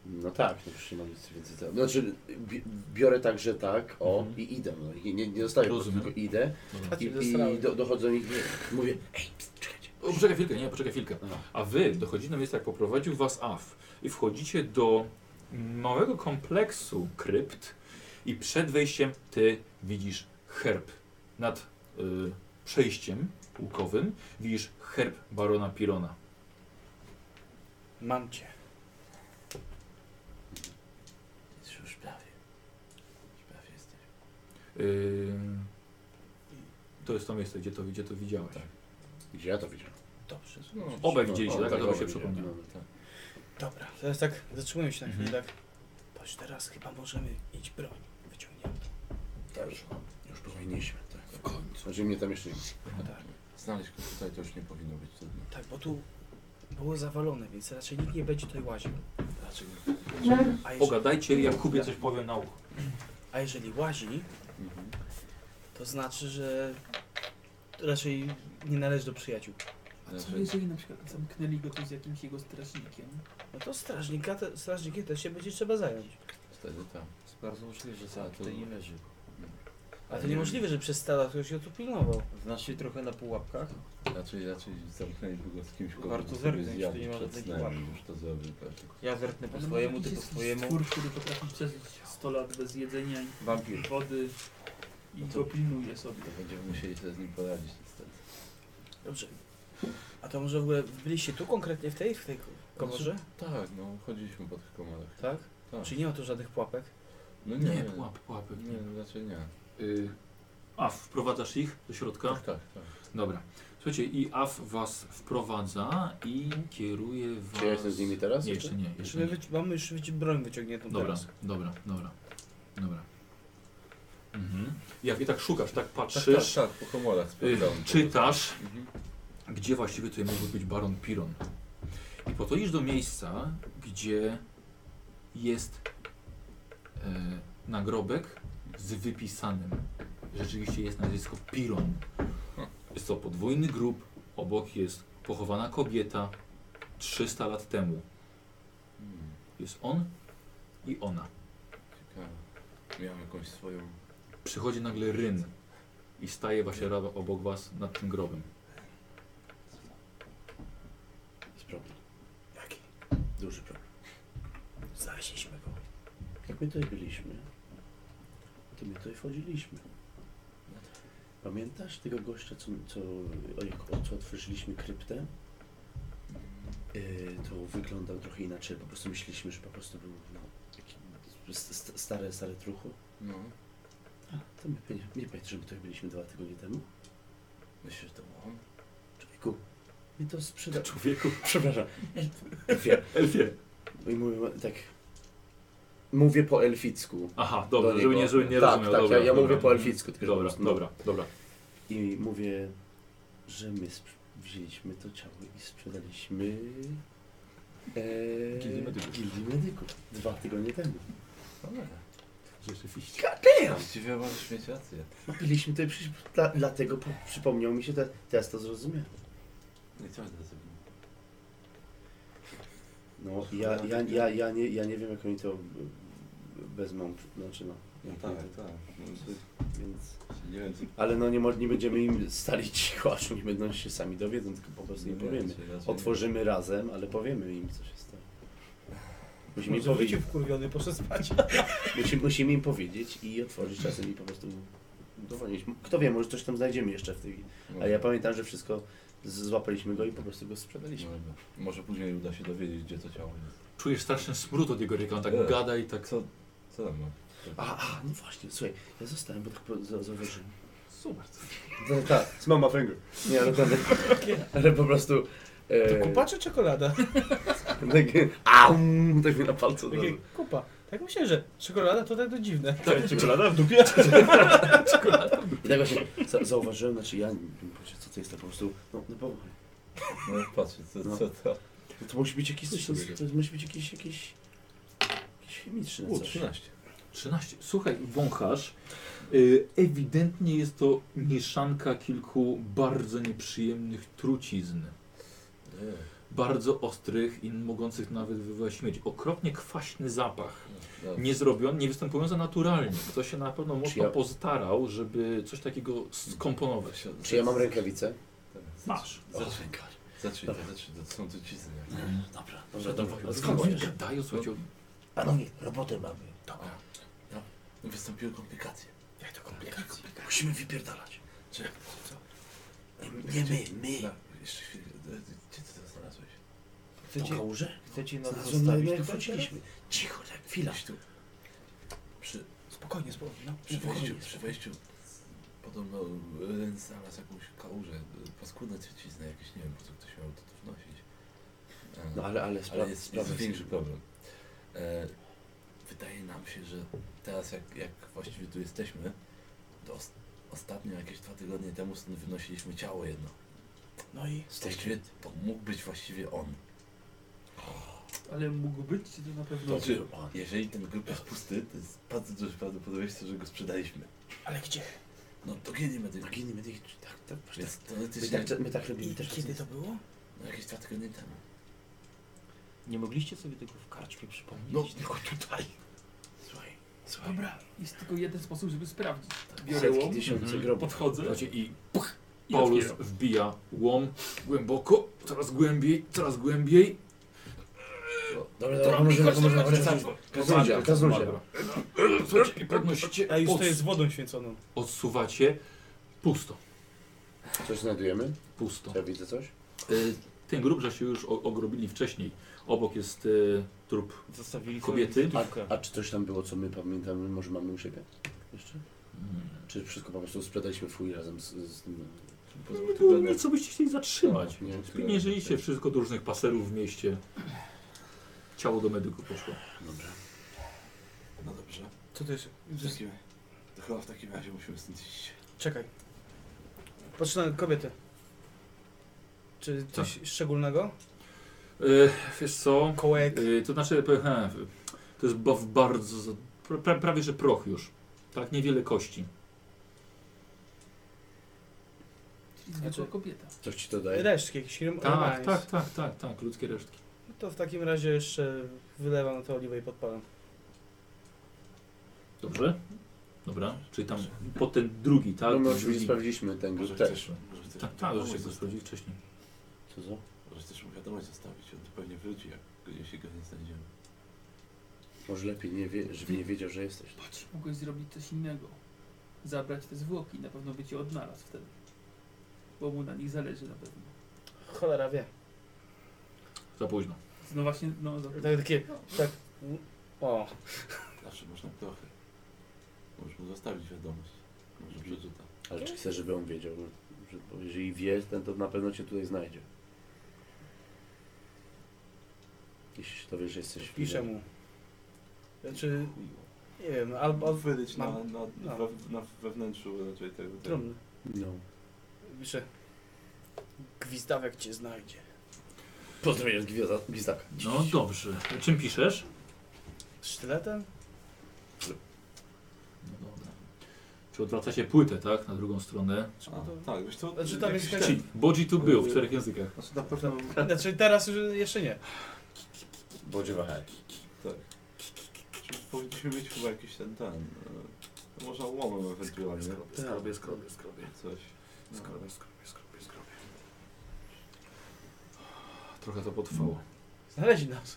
Speaker 5: No tak, no przecież nie mam nic więcej. Tam. Znaczy, bi- biorę tak, że tak, o, i idę. No. I Nie, nie zostaję, po prostu, tylko idę.
Speaker 1: Mhm.
Speaker 5: I, i do, dochodzę do nich i mówię, ej, pst, czekajcie.
Speaker 1: O, poczekaj chwilkę, nie, poczekaj chwilkę. A wy dochodzicie do miejsca, jak poprowadził was AF i wchodzicie do małego kompleksu krypt i przed wejściem ty widzisz herb nad y, przejściem łukowym. Widzisz herb barona Pirona.
Speaker 6: Mam cię.
Speaker 5: Jest już prawie. Już prawie jestem.
Speaker 1: Y, to jest to miejsce, gdzie to, gdzie to widziałeś.
Speaker 5: Gdzie ja to widziałem?
Speaker 6: Dobrze.
Speaker 1: Obaj
Speaker 5: no,
Speaker 1: widzieliście,
Speaker 5: o,
Speaker 1: tak?
Speaker 5: tak,
Speaker 1: To mi się
Speaker 5: obaj
Speaker 1: przypomniało.
Speaker 5: widziałem,
Speaker 1: Tak.
Speaker 6: Dobra, teraz tak zatrzymujmy się na chwilę, tak? Patrz, teraz chyba możemy iść broń. Wyciągniemy.
Speaker 5: Dobrze. Już powinniśmy, tak. W końcu. Znaczy mnie tam jeszcze nie ma.
Speaker 2: Znaleźć go tutaj to już nie powinno być trudno.
Speaker 6: Tak, bo tu było zawalone, więc raczej nikt nie będzie tutaj łaził. Dlaczego? A jeżeli-
Speaker 1: Pogadajcie, No. Jakubie coś powiem na ucho.
Speaker 6: A jeżeli łazi, to znaczy, że raczej nie należy do przyjaciół.
Speaker 7: A co jeżeli na przykład zamknęli go tu z jakimś jego strażnikiem?
Speaker 6: No to strażnika, te, strażnikiem też się będzie trzeba zająć.
Speaker 2: Wtedy tam.
Speaker 16: Jest bardzo możliwe, że
Speaker 2: A,
Speaker 16: sam
Speaker 2: to-
Speaker 16: tutaj nie leży.
Speaker 6: A to niemożliwe, że przez stara ktoś go tu pilnował.
Speaker 16: Znasz się trochę na pułapkach?
Speaker 2: Raczej, raczej zamknęliby go z kimś kogo
Speaker 16: Warto
Speaker 2: sobie
Speaker 16: zerknąć,
Speaker 2: zjadł
Speaker 16: czy nie ma
Speaker 2: przed
Speaker 16: żadnych
Speaker 2: snem,
Speaker 16: łapek.
Speaker 2: Już to zrobił tak? pewnie.
Speaker 16: Ja zerknę po
Speaker 7: Ale
Speaker 16: swojemu, ty po
Speaker 7: może jakiś jest
Speaker 16: swojemu.
Speaker 7: Stwór, który potrafi przeżyć 100 lat bez jedzenia i
Speaker 16: Wampir.
Speaker 7: wody i
Speaker 2: No
Speaker 7: go pilnuje sobie.
Speaker 2: To będziemy musieli sobie z nim poradzić niestety.
Speaker 6: Dobrze. A to może w ogóle byliście tu konkretnie w tej, w tej komorze?
Speaker 2: Znaczy, tak, no chodziliśmy po tych komorach.
Speaker 6: Tak?
Speaker 2: Tak.
Speaker 6: Czy nie ma tu żadnych pułapek?
Speaker 2: No nie, Tak?
Speaker 1: Nie,
Speaker 2: nie,
Speaker 1: pułap, pułapek nie.
Speaker 2: nie, no, raczej nie.
Speaker 1: Y, AF, wprowadzasz ich do środka?
Speaker 2: Tak, tak, tak.
Speaker 1: Dobra. Słuchajcie, i AF was wprowadza i kieruje was...
Speaker 5: Czy ja jestem z nimi teraz
Speaker 1: Nie,
Speaker 5: jeszcze?
Speaker 1: jeszcze nie, jeszcze
Speaker 6: My
Speaker 1: nie.
Speaker 6: wyci- mamy już wyci- broń wyciągniętą
Speaker 1: Dobra,
Speaker 6: teraz.
Speaker 1: dobra, dobra, dobra. Mhm. Jak i tak szukasz, tak patrzysz,
Speaker 2: Tak, tak, tak, po komorach
Speaker 1: y,
Speaker 2: sprawdzałem.
Speaker 1: czytasz, gdzie właściwie tutaj mógł być Baron Piron. I podchodzisz do miejsca, gdzie jest e, nagrobek z wypisanym. Rzeczywiście jest nazwisko Piron. Jest to podwójny grób, obok jest pochowana kobieta 300 lat temu. Hmm. Jest on i ona.
Speaker 2: Ciekawe. Tak. Miałem jakąś swoją...
Speaker 1: Przychodzi nagle Ryn i staje właśnie ra- obok was nad tym grobem.
Speaker 5: Jest problem. Jaki? Duży problem.
Speaker 6: Znaleźliśmy go.
Speaker 5: Jak my tutaj byliśmy, to my tutaj wchodziliśmy. Pamiętasz tego gościa, co, co, o jak, o co otworzyliśmy kryptę? Yy, to wyglądał trochę inaczej. Po prostu myśleliśmy, że po prostu był no, taki st- st- stare, stare trucho.
Speaker 2: No,
Speaker 5: A, to my, nie, nie pamiętasz, że my tutaj byliśmy dwa tygodnie temu?
Speaker 2: myślę, że to on.
Speaker 5: Człowieku, my to sprzeda...
Speaker 1: Człowieku,
Speaker 5: przepraszam. Elfie.
Speaker 1: Elfie.
Speaker 5: No i mówię tak... Mówię po elficku.
Speaker 1: Aha, dobra,
Speaker 5: do
Speaker 1: żeby
Speaker 5: niego.
Speaker 1: nie, żeby nie
Speaker 5: tak,
Speaker 1: rozumiał.
Speaker 5: Tak,
Speaker 1: dobra,
Speaker 5: ja, ja
Speaker 1: dobra.
Speaker 5: mówię po elficku. No, Tylko że
Speaker 1: Dobra,
Speaker 5: po prostu,
Speaker 1: dobra, dobra.
Speaker 5: I mówię, że my sp- wzięliśmy to ciało i sprzedaliśmy... Eee,
Speaker 1: Gildii Medyków.
Speaker 5: Gildii Medyków. Dwa tygodnie temu.
Speaker 2: No
Speaker 1: Rzeczywiście.
Speaker 5: Goddamn!
Speaker 2: Właściwie możesz mieć rację.
Speaker 5: Byliśmy tutaj, przy, dla, dlatego po, przypomniał mi się, te, teraz to zrozumiałem.
Speaker 2: I co będę zrobił?
Speaker 5: No, ja, ja, ja, ja, nie, ja nie wiem, jak oni to w- wezmą, znaczy no.
Speaker 2: No
Speaker 5: jak
Speaker 2: tak,
Speaker 5: oni to-
Speaker 2: tak. No,
Speaker 5: Więc...
Speaker 2: to- Nie wiem, co...
Speaker 5: Ale no nie, mo- nie będziemy im stali cicho, aż oni będą się sami dowiedzą, tylko po prostu im
Speaker 2: Nie,
Speaker 5: powiemy.
Speaker 2: raczej- raczej
Speaker 5: Otworzymy razem, ale powiemy im, co się stało. Musimy im,
Speaker 6: Może
Speaker 5: powiedzieć,
Speaker 6: wycie wkurwiony, poszedł spać.
Speaker 5: musimy, musimy im powiedzieć i otworzyć czasem i po prostu dowolnić. Kto wie, może coś tam znajdziemy jeszcze w tej... Ale ja pamiętam, że wszystko z- złapaliśmy go i po prostu go sprzedaliśmy.
Speaker 2: Może później uda się dowiedzieć, gdzie to ciało jest.
Speaker 1: Czujesz straszny smród od jego ryka, on tak
Speaker 2: Eee.
Speaker 1: gada i tak...
Speaker 2: Co, co tam ma?
Speaker 5: A, a, no właśnie, słuchaj, ja zostałem, bo tak po- za- zauważyłem.
Speaker 1: Super.
Speaker 5: Tak, z mama finger. Nie, ale, ten, ale po prostu... E,
Speaker 6: To kupa czy czekolada?
Speaker 5: Takie, aum, tak mi na palcu.
Speaker 6: Takie
Speaker 5: dodało.
Speaker 6: kupa. Tak myślę, że czekolada to tak to dziwne.
Speaker 5: Tak, czekolada
Speaker 6: w dupie?
Speaker 5: I tak właśnie za, zauważyłem, znaczy ja nie wiem, kurczę, co to jest, to po prostu, no, no bo...
Speaker 2: No patrzcie, co, co to...
Speaker 5: No to musi być jakiś coś, to, to musi być jakiś, jakiś, jakiś chemiczny
Speaker 1: U,
Speaker 5: coś.
Speaker 1: 13. 13. Słuchaj, wąchasz. Y, Ewidentnie jest to mieszanka kilku bardzo nieprzyjemnych trucizn. Bardzo ostrych i mogących nawet wywołać śmierć. Okropnie kwaśny zapach.
Speaker 5: Tak.
Speaker 1: Nie zrobiony, nie występujący naturalnie. Ktoś się na pewno mocno
Speaker 5: ja-
Speaker 1: postarał, żeby coś takiego skomponować.
Speaker 5: Czy ja mam rękawice?
Speaker 1: Masz.
Speaker 5: Zaczynka.
Speaker 2: Zaczynka, zaczynka, to są tu cizny.
Speaker 5: Dobra,
Speaker 1: Dobra,
Speaker 5: dobra,
Speaker 1: dobra.
Speaker 5: dobra.
Speaker 1: Skąd oni gadają, słuchajcie?
Speaker 17: Panowie, robotę mamy. Dobra. No, no wystąpiły komplikacje. Jak to komplikacje? Musimy wypierdalać. Czy co? Nie, nie my, my.
Speaker 2: No, jeszcze chwilę, gdzie ty to znalazłeś?
Speaker 17: Po
Speaker 18: Chcecie,
Speaker 17: kałuże?
Speaker 18: chcecie nas
Speaker 17: Znalazłem
Speaker 18: zostawić
Speaker 17: jak
Speaker 18: tu
Speaker 17: wchodziliśmy. Cicho, tak, chwila.
Speaker 2: Gdzieś tu.
Speaker 17: Przy... Spokojnie, spokojnie. No,
Speaker 2: Przy wejściu,
Speaker 17: spokojnie.
Speaker 2: przy wejściu podobno Len znalazł jakąś kałużę, y, paskudne truciznę jakieś, nie wiem po co ktoś miał to tu wnosić. E,
Speaker 5: No, ale- ale sprawa-
Speaker 2: jest,
Speaker 5: sprawa
Speaker 2: jest
Speaker 5: jest-
Speaker 2: większy problem. E, wydaje nam się, że teraz jak, jak właściwie tu jesteśmy, to os- ostatnio jakieś dwa tygodnie temu stąd wynosiliśmy ciało jedno.
Speaker 17: No i
Speaker 2: Właściwie to mógł być właściwie on.
Speaker 3: Ale mógł być, czy to na pewno...
Speaker 2: Znaczy, jeżeli ten grup jest pusty, to jest bardzo duże prawdopodobieństwo, że go sprzedaliśmy.
Speaker 17: Ale gdzie?
Speaker 2: No to Genie Medyk.
Speaker 5: No gini, my tych, tak, tak, tak,
Speaker 2: Więc teoretycznie...
Speaker 5: My tak, my tak robimy też.
Speaker 17: Kiedy to było?
Speaker 2: No jakieś dwa tygodnie temu.
Speaker 18: Nie mogliście sobie tego w karczmie przypomnieć?
Speaker 17: No, tylko tutaj. Słuchaj, słuchaj.
Speaker 3: Dobra, jest tylko jeden sposób, żeby sprawdzić. Biorę
Speaker 5: Setki
Speaker 3: łom,
Speaker 5: tysięcy
Speaker 2: Mhm.
Speaker 5: grobów.
Speaker 3: podchodzę.
Speaker 1: Słuchajcie, i puch,
Speaker 3: I
Speaker 1: Paulus
Speaker 3: otwieram.
Speaker 1: wbija łom głęboko, coraz głębiej, coraz głębiej.
Speaker 5: Dobra, dobra, pomożemy, pomożemy, pomożemy. Kaznudzia, kaznudzia.
Speaker 1: Słuchajcie, i podnosicie,
Speaker 6: A już
Speaker 1: od,
Speaker 6: to jest z wodą święconą.
Speaker 1: odsuwacie, pusto,
Speaker 5: Coś znajdujemy?
Speaker 1: pusto.
Speaker 5: Ja widzę coś?
Speaker 1: Y, Ten grób, że się już o- ogrobili wcześniej. Obok jest y, trup
Speaker 18: Zostawili sobie
Speaker 1: kobiety.
Speaker 5: A, a czy coś tam było, co my pamiętamy, może mamy u siebie? Jeszcze?
Speaker 2: Mhm.
Speaker 5: Czy wszystko po prostu sprzedaliśmy fuj razem z, z tym...
Speaker 1: Nie było nic, co byście chcieli zatrzymać.
Speaker 5: Nie,
Speaker 1: Pieniężyliście wszystko do różnych paserów w mieście. Ciało do medyku poszło.
Speaker 5: Dobra.
Speaker 2: No dobrze.
Speaker 6: Co to jest?
Speaker 2: W takim, to chyba w takim razie musimy stąd iść.
Speaker 6: Czekaj. Patrz na kobietę. Czy coś szczególnego?
Speaker 1: Y, wiesz co?
Speaker 6: Kołek.
Speaker 1: Y, to znaczy, p- he, to jest ba- w bardzo, za- pra- pra, prawie że proch już. Tak, niewiele kości.
Speaker 3: Czyli zwykła kobieta.
Speaker 5: Coś ci to daje?
Speaker 6: Resztki jakieś. rem-
Speaker 1: Tak,
Speaker 6: remains.
Speaker 1: tak, tak, tak, tak, ludzkie resztki.
Speaker 6: No To w takim razie jeszcze wylewam na to oliwę i podpalam.
Speaker 1: Dobrze? Dobra, czyli tam pod ten drugi, tak?
Speaker 5: No my oczywiście
Speaker 1: Drugi.
Speaker 5: sprawdziliśmy ten
Speaker 2: Może
Speaker 5: grup
Speaker 2: chcesz,
Speaker 5: też.
Speaker 2: może chcesz
Speaker 1: Tak, tak,
Speaker 2: wiadomość
Speaker 1: żeście to
Speaker 2: zostawić.
Speaker 1: sprawdzili wcześniej.
Speaker 5: Co za?
Speaker 2: Może chcesz mu wiadomość zostawić, on tu pewnie wróci, jak, jeśli go nie znajdziemy.
Speaker 5: Może lepiej, nie wie, żeby nie wiedział, że jesteś.
Speaker 3: Patrz, mogłeś zrobić coś innego. Zabrać te zwłoki, na pewno by cię odnalazł wtedy. Bo mu na nich zależy na pewno.
Speaker 6: Cholera wie.
Speaker 1: Za późno.
Speaker 3: No właśnie, no za-
Speaker 6: Tak, takie, tak. O,
Speaker 2: Zawsze można trochę. Możesz mu zostawić wiadomość. Może przeczyta.
Speaker 5: Ale czy chcesz, żeby on wiedział? Że, bo jeżeli wie, ten to na pewno cię tutaj znajdzie. Jeśli się dowiesz, że jesteś...
Speaker 6: piszę mu. Znaczy,
Speaker 2: Chuju.
Speaker 6: nie wiem, no, albo al,
Speaker 2: Wydyć No, na,
Speaker 6: mam-
Speaker 2: na,
Speaker 6: no.
Speaker 2: we, na wewnętrzu raczej tego. tego.
Speaker 6: trumny.
Speaker 5: No.
Speaker 6: Piszę. Gwizdawek cię znajdzie.
Speaker 5: Pozdrawiam gwiazda- Gwizdaka.
Speaker 1: No dobrze. Czym piszesz?
Speaker 6: Sztyletem?
Speaker 1: No dobra. Czy odwracacie płytę, tak? Na drugą stronę.
Speaker 6: Czy
Speaker 2: A,
Speaker 6: to...
Speaker 2: tak, wiesz co?
Speaker 6: Znaczy, tam
Speaker 2: jakiś
Speaker 6: jest
Speaker 1: Czyli Bodzi tu był w czterech językach.
Speaker 19: Znaczy na pewno...
Speaker 6: Znaczy teraz już jeszcze nie.
Speaker 5: Bodzie wahaj.
Speaker 2: ten- Powinniśmy mieć chyba jakiś ten, ten... e, no Może łomem ewentualnie.
Speaker 1: Skrobie, skrobie, skrobie.
Speaker 2: Coś. No.
Speaker 1: Skrobie, skrobie, skrobie, skrobie. Trochę to potrwało.
Speaker 6: Znaleźli nas.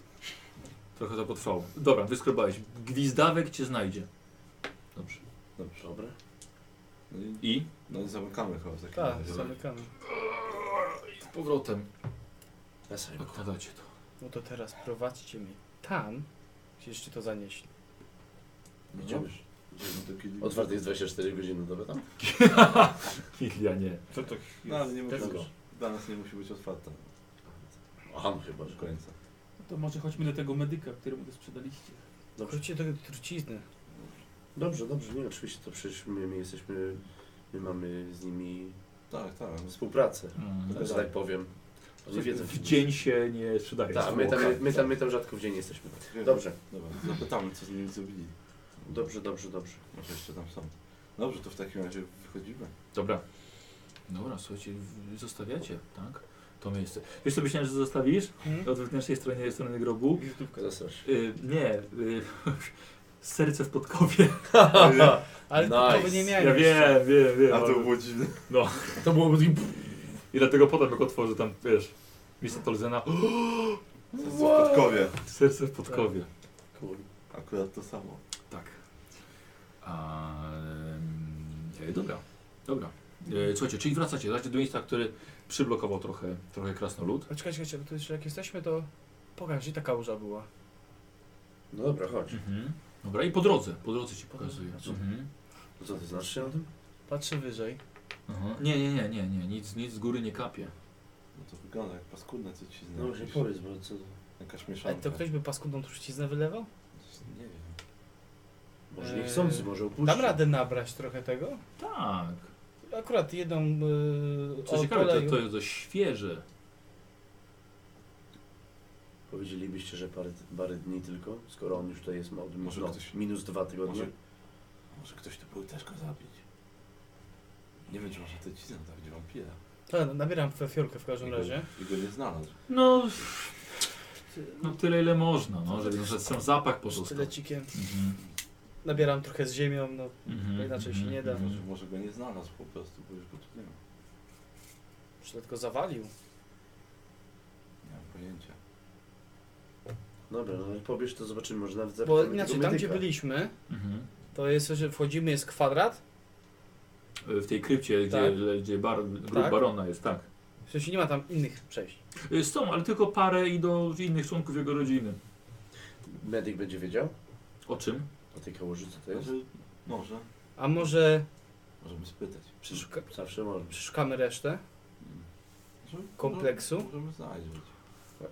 Speaker 1: Trochę to potrwało. Dobra, wyskrobałeś. Gwizdawek cię znajdzie. Dobrze.
Speaker 2: Dobrze.
Speaker 5: Dobra.
Speaker 2: No i,
Speaker 1: I?
Speaker 2: no i zamykamy chyba w takim
Speaker 6: Tak,
Speaker 2: razie.
Speaker 6: zamykamy.
Speaker 1: Z powrotem.
Speaker 5: Ja sobie
Speaker 1: Odkładacie to.
Speaker 6: No to teraz prowadźcie mnie tam, gdzie jeszcze to zanieśli.
Speaker 2: No,
Speaker 5: Idziemy. Otwarte jest 24 godziny na dobę tam?
Speaker 1: Biblia nie.
Speaker 2: To tak jest.
Speaker 5: No, ale nie musi
Speaker 2: Tesco.
Speaker 5: być.
Speaker 2: Dla nas nie musi być otwarta.
Speaker 5: Aha, chyba, że końca.
Speaker 3: No to może chodźmy do tego medyka, któremu to sprzedaliście.
Speaker 20: Wróćcie do trucizny.
Speaker 5: Dobrze, dobrze, nie, oczywiście to przecież my, my jesteśmy, my mamy z nimi
Speaker 2: tak, tak.
Speaker 5: współpracę,
Speaker 1: Mm.
Speaker 5: że tak powiem. Oni wiedzą,
Speaker 1: W dzień się nie sprzedaje.
Speaker 5: Tak, my tam,
Speaker 1: zwłoka.
Speaker 5: my, tam, my tam rzadko w dzień jesteśmy.
Speaker 2: Wiem.
Speaker 5: Dobrze.
Speaker 2: Dobra, zapytamy, co z nimi zrobili.
Speaker 5: Dobrze, dobrze, dobrze.
Speaker 2: Może No jeszcze tam są. Dobrze, to w takim razie wychodzimy.
Speaker 1: Dobra. Dobra, słuchajcie, w- zostawiacie, tak? To miejsce. Wiesz co myślałem, że zostawisz?
Speaker 5: Hmm?
Speaker 1: Od wewnętrznej strony, strony grobu.
Speaker 5: Wizytówkę zastrasz.
Speaker 1: Y, nie, y, serce w podkowie.
Speaker 5: Ale podkowy Nice. nie miałem
Speaker 1: Ja
Speaker 5: jeszcze.
Speaker 1: wiem, wiem, wiem.
Speaker 5: A to
Speaker 1: ale-
Speaker 5: było dziwne.
Speaker 1: No.
Speaker 5: To było takie...
Speaker 1: I dlatego potem jak otworzę tam, wiesz, miejsce Tolzena.
Speaker 2: Serce w podkowie.
Speaker 1: Serce w podkowie.
Speaker 5: Cool.
Speaker 2: Akurat to samo.
Speaker 1: Tak. A, e, dobra, dobra. E, słuchajcie, czyli wracacie, wracacie do miejsca, który przyblokował trochę, trochę krasnolud.
Speaker 6: A czekaj, czekajcie, bo tu jeszcze jak jesteśmy, to pokaż, gdzie ta kałuża była.
Speaker 5: No dobra, chodź.
Speaker 1: Mhm. Dobra, i po drodze, po drodze ci pokazuję.
Speaker 5: Co?
Speaker 1: Mhm.
Speaker 5: No Co, ty znasz się na tym?
Speaker 6: Patrzę wyżej.
Speaker 1: Aha. Nie, nie, nie, nie, nie, nic, nic z góry nie kapie.
Speaker 2: No to wygląda jak paskudne co ci
Speaker 5: No właśnie, powiedz, bo co...
Speaker 2: Jakaś
Speaker 6: A
Speaker 2: mieszanka.
Speaker 6: to ktoś by paskudną truciznę wylewał?
Speaker 2: Nie wiem.
Speaker 5: Może niechcący, może opuścił.
Speaker 6: Eee, Dam radę nabrać trochę tego?
Speaker 1: Tak.
Speaker 6: Akurat jedną yy,
Speaker 1: Co ciekawe, to, to jest dość świeże.
Speaker 5: Powiedzielibyście, że parę, parę dni tylko, skoro on już tutaj jest od
Speaker 2: Może
Speaker 5: no,
Speaker 2: ktoś-
Speaker 5: minus dwa tygodnie.
Speaker 2: może- Może ktoś tu był też go zabić. Nie wiem, czy może to ci znam, tak gdzie wampira.
Speaker 6: Ta, nabieram fe- fiolkę w każdym
Speaker 2: I go-
Speaker 6: razie.
Speaker 2: I go nie znalazł.
Speaker 1: No, no tyle ile można, no, żeby że sam zapach pozostał.
Speaker 6: Tylecikiem.
Speaker 1: Mhm.
Speaker 6: Nabieram trochę z ziemią, no
Speaker 1: Mhm,
Speaker 6: bo inaczej się nie da.
Speaker 2: Może, może go nie znalazł po prostu, bo już go tu nie ma.
Speaker 6: Czy tylko zawalił?
Speaker 2: Nie mam pojęcia.
Speaker 5: Dobra, no jak pobierz to zobaczymy, może nawet
Speaker 6: Bo
Speaker 5: zapytamy
Speaker 6: inaczej,
Speaker 5: tego
Speaker 6: tam gdzie
Speaker 5: medyka.
Speaker 6: byliśmy,
Speaker 1: Mhm.
Speaker 6: to jest, że wchodzimy, jest kwadrat,
Speaker 1: W tej krypcie,
Speaker 6: Tak.
Speaker 1: gdzie, gdzie bar, grób
Speaker 6: Tak.
Speaker 1: barona jest, tak.
Speaker 6: w sensie nie ma tam innych przejść.
Speaker 1: Y, Są, ale tylko parę idą z innych członków jego rodziny.
Speaker 5: Medyk będzie wiedział
Speaker 1: O czym?
Speaker 5: o tej kałuży, co to
Speaker 6: Mhm.
Speaker 5: jest?
Speaker 2: Może, może.
Speaker 6: A może
Speaker 2: Możemy spytać.
Speaker 6: przeszuka-
Speaker 5: Zawsze może.
Speaker 6: przeszukamy resztę?
Speaker 2: Może-
Speaker 6: Kompleksu?
Speaker 2: Może, możemy znaleźć.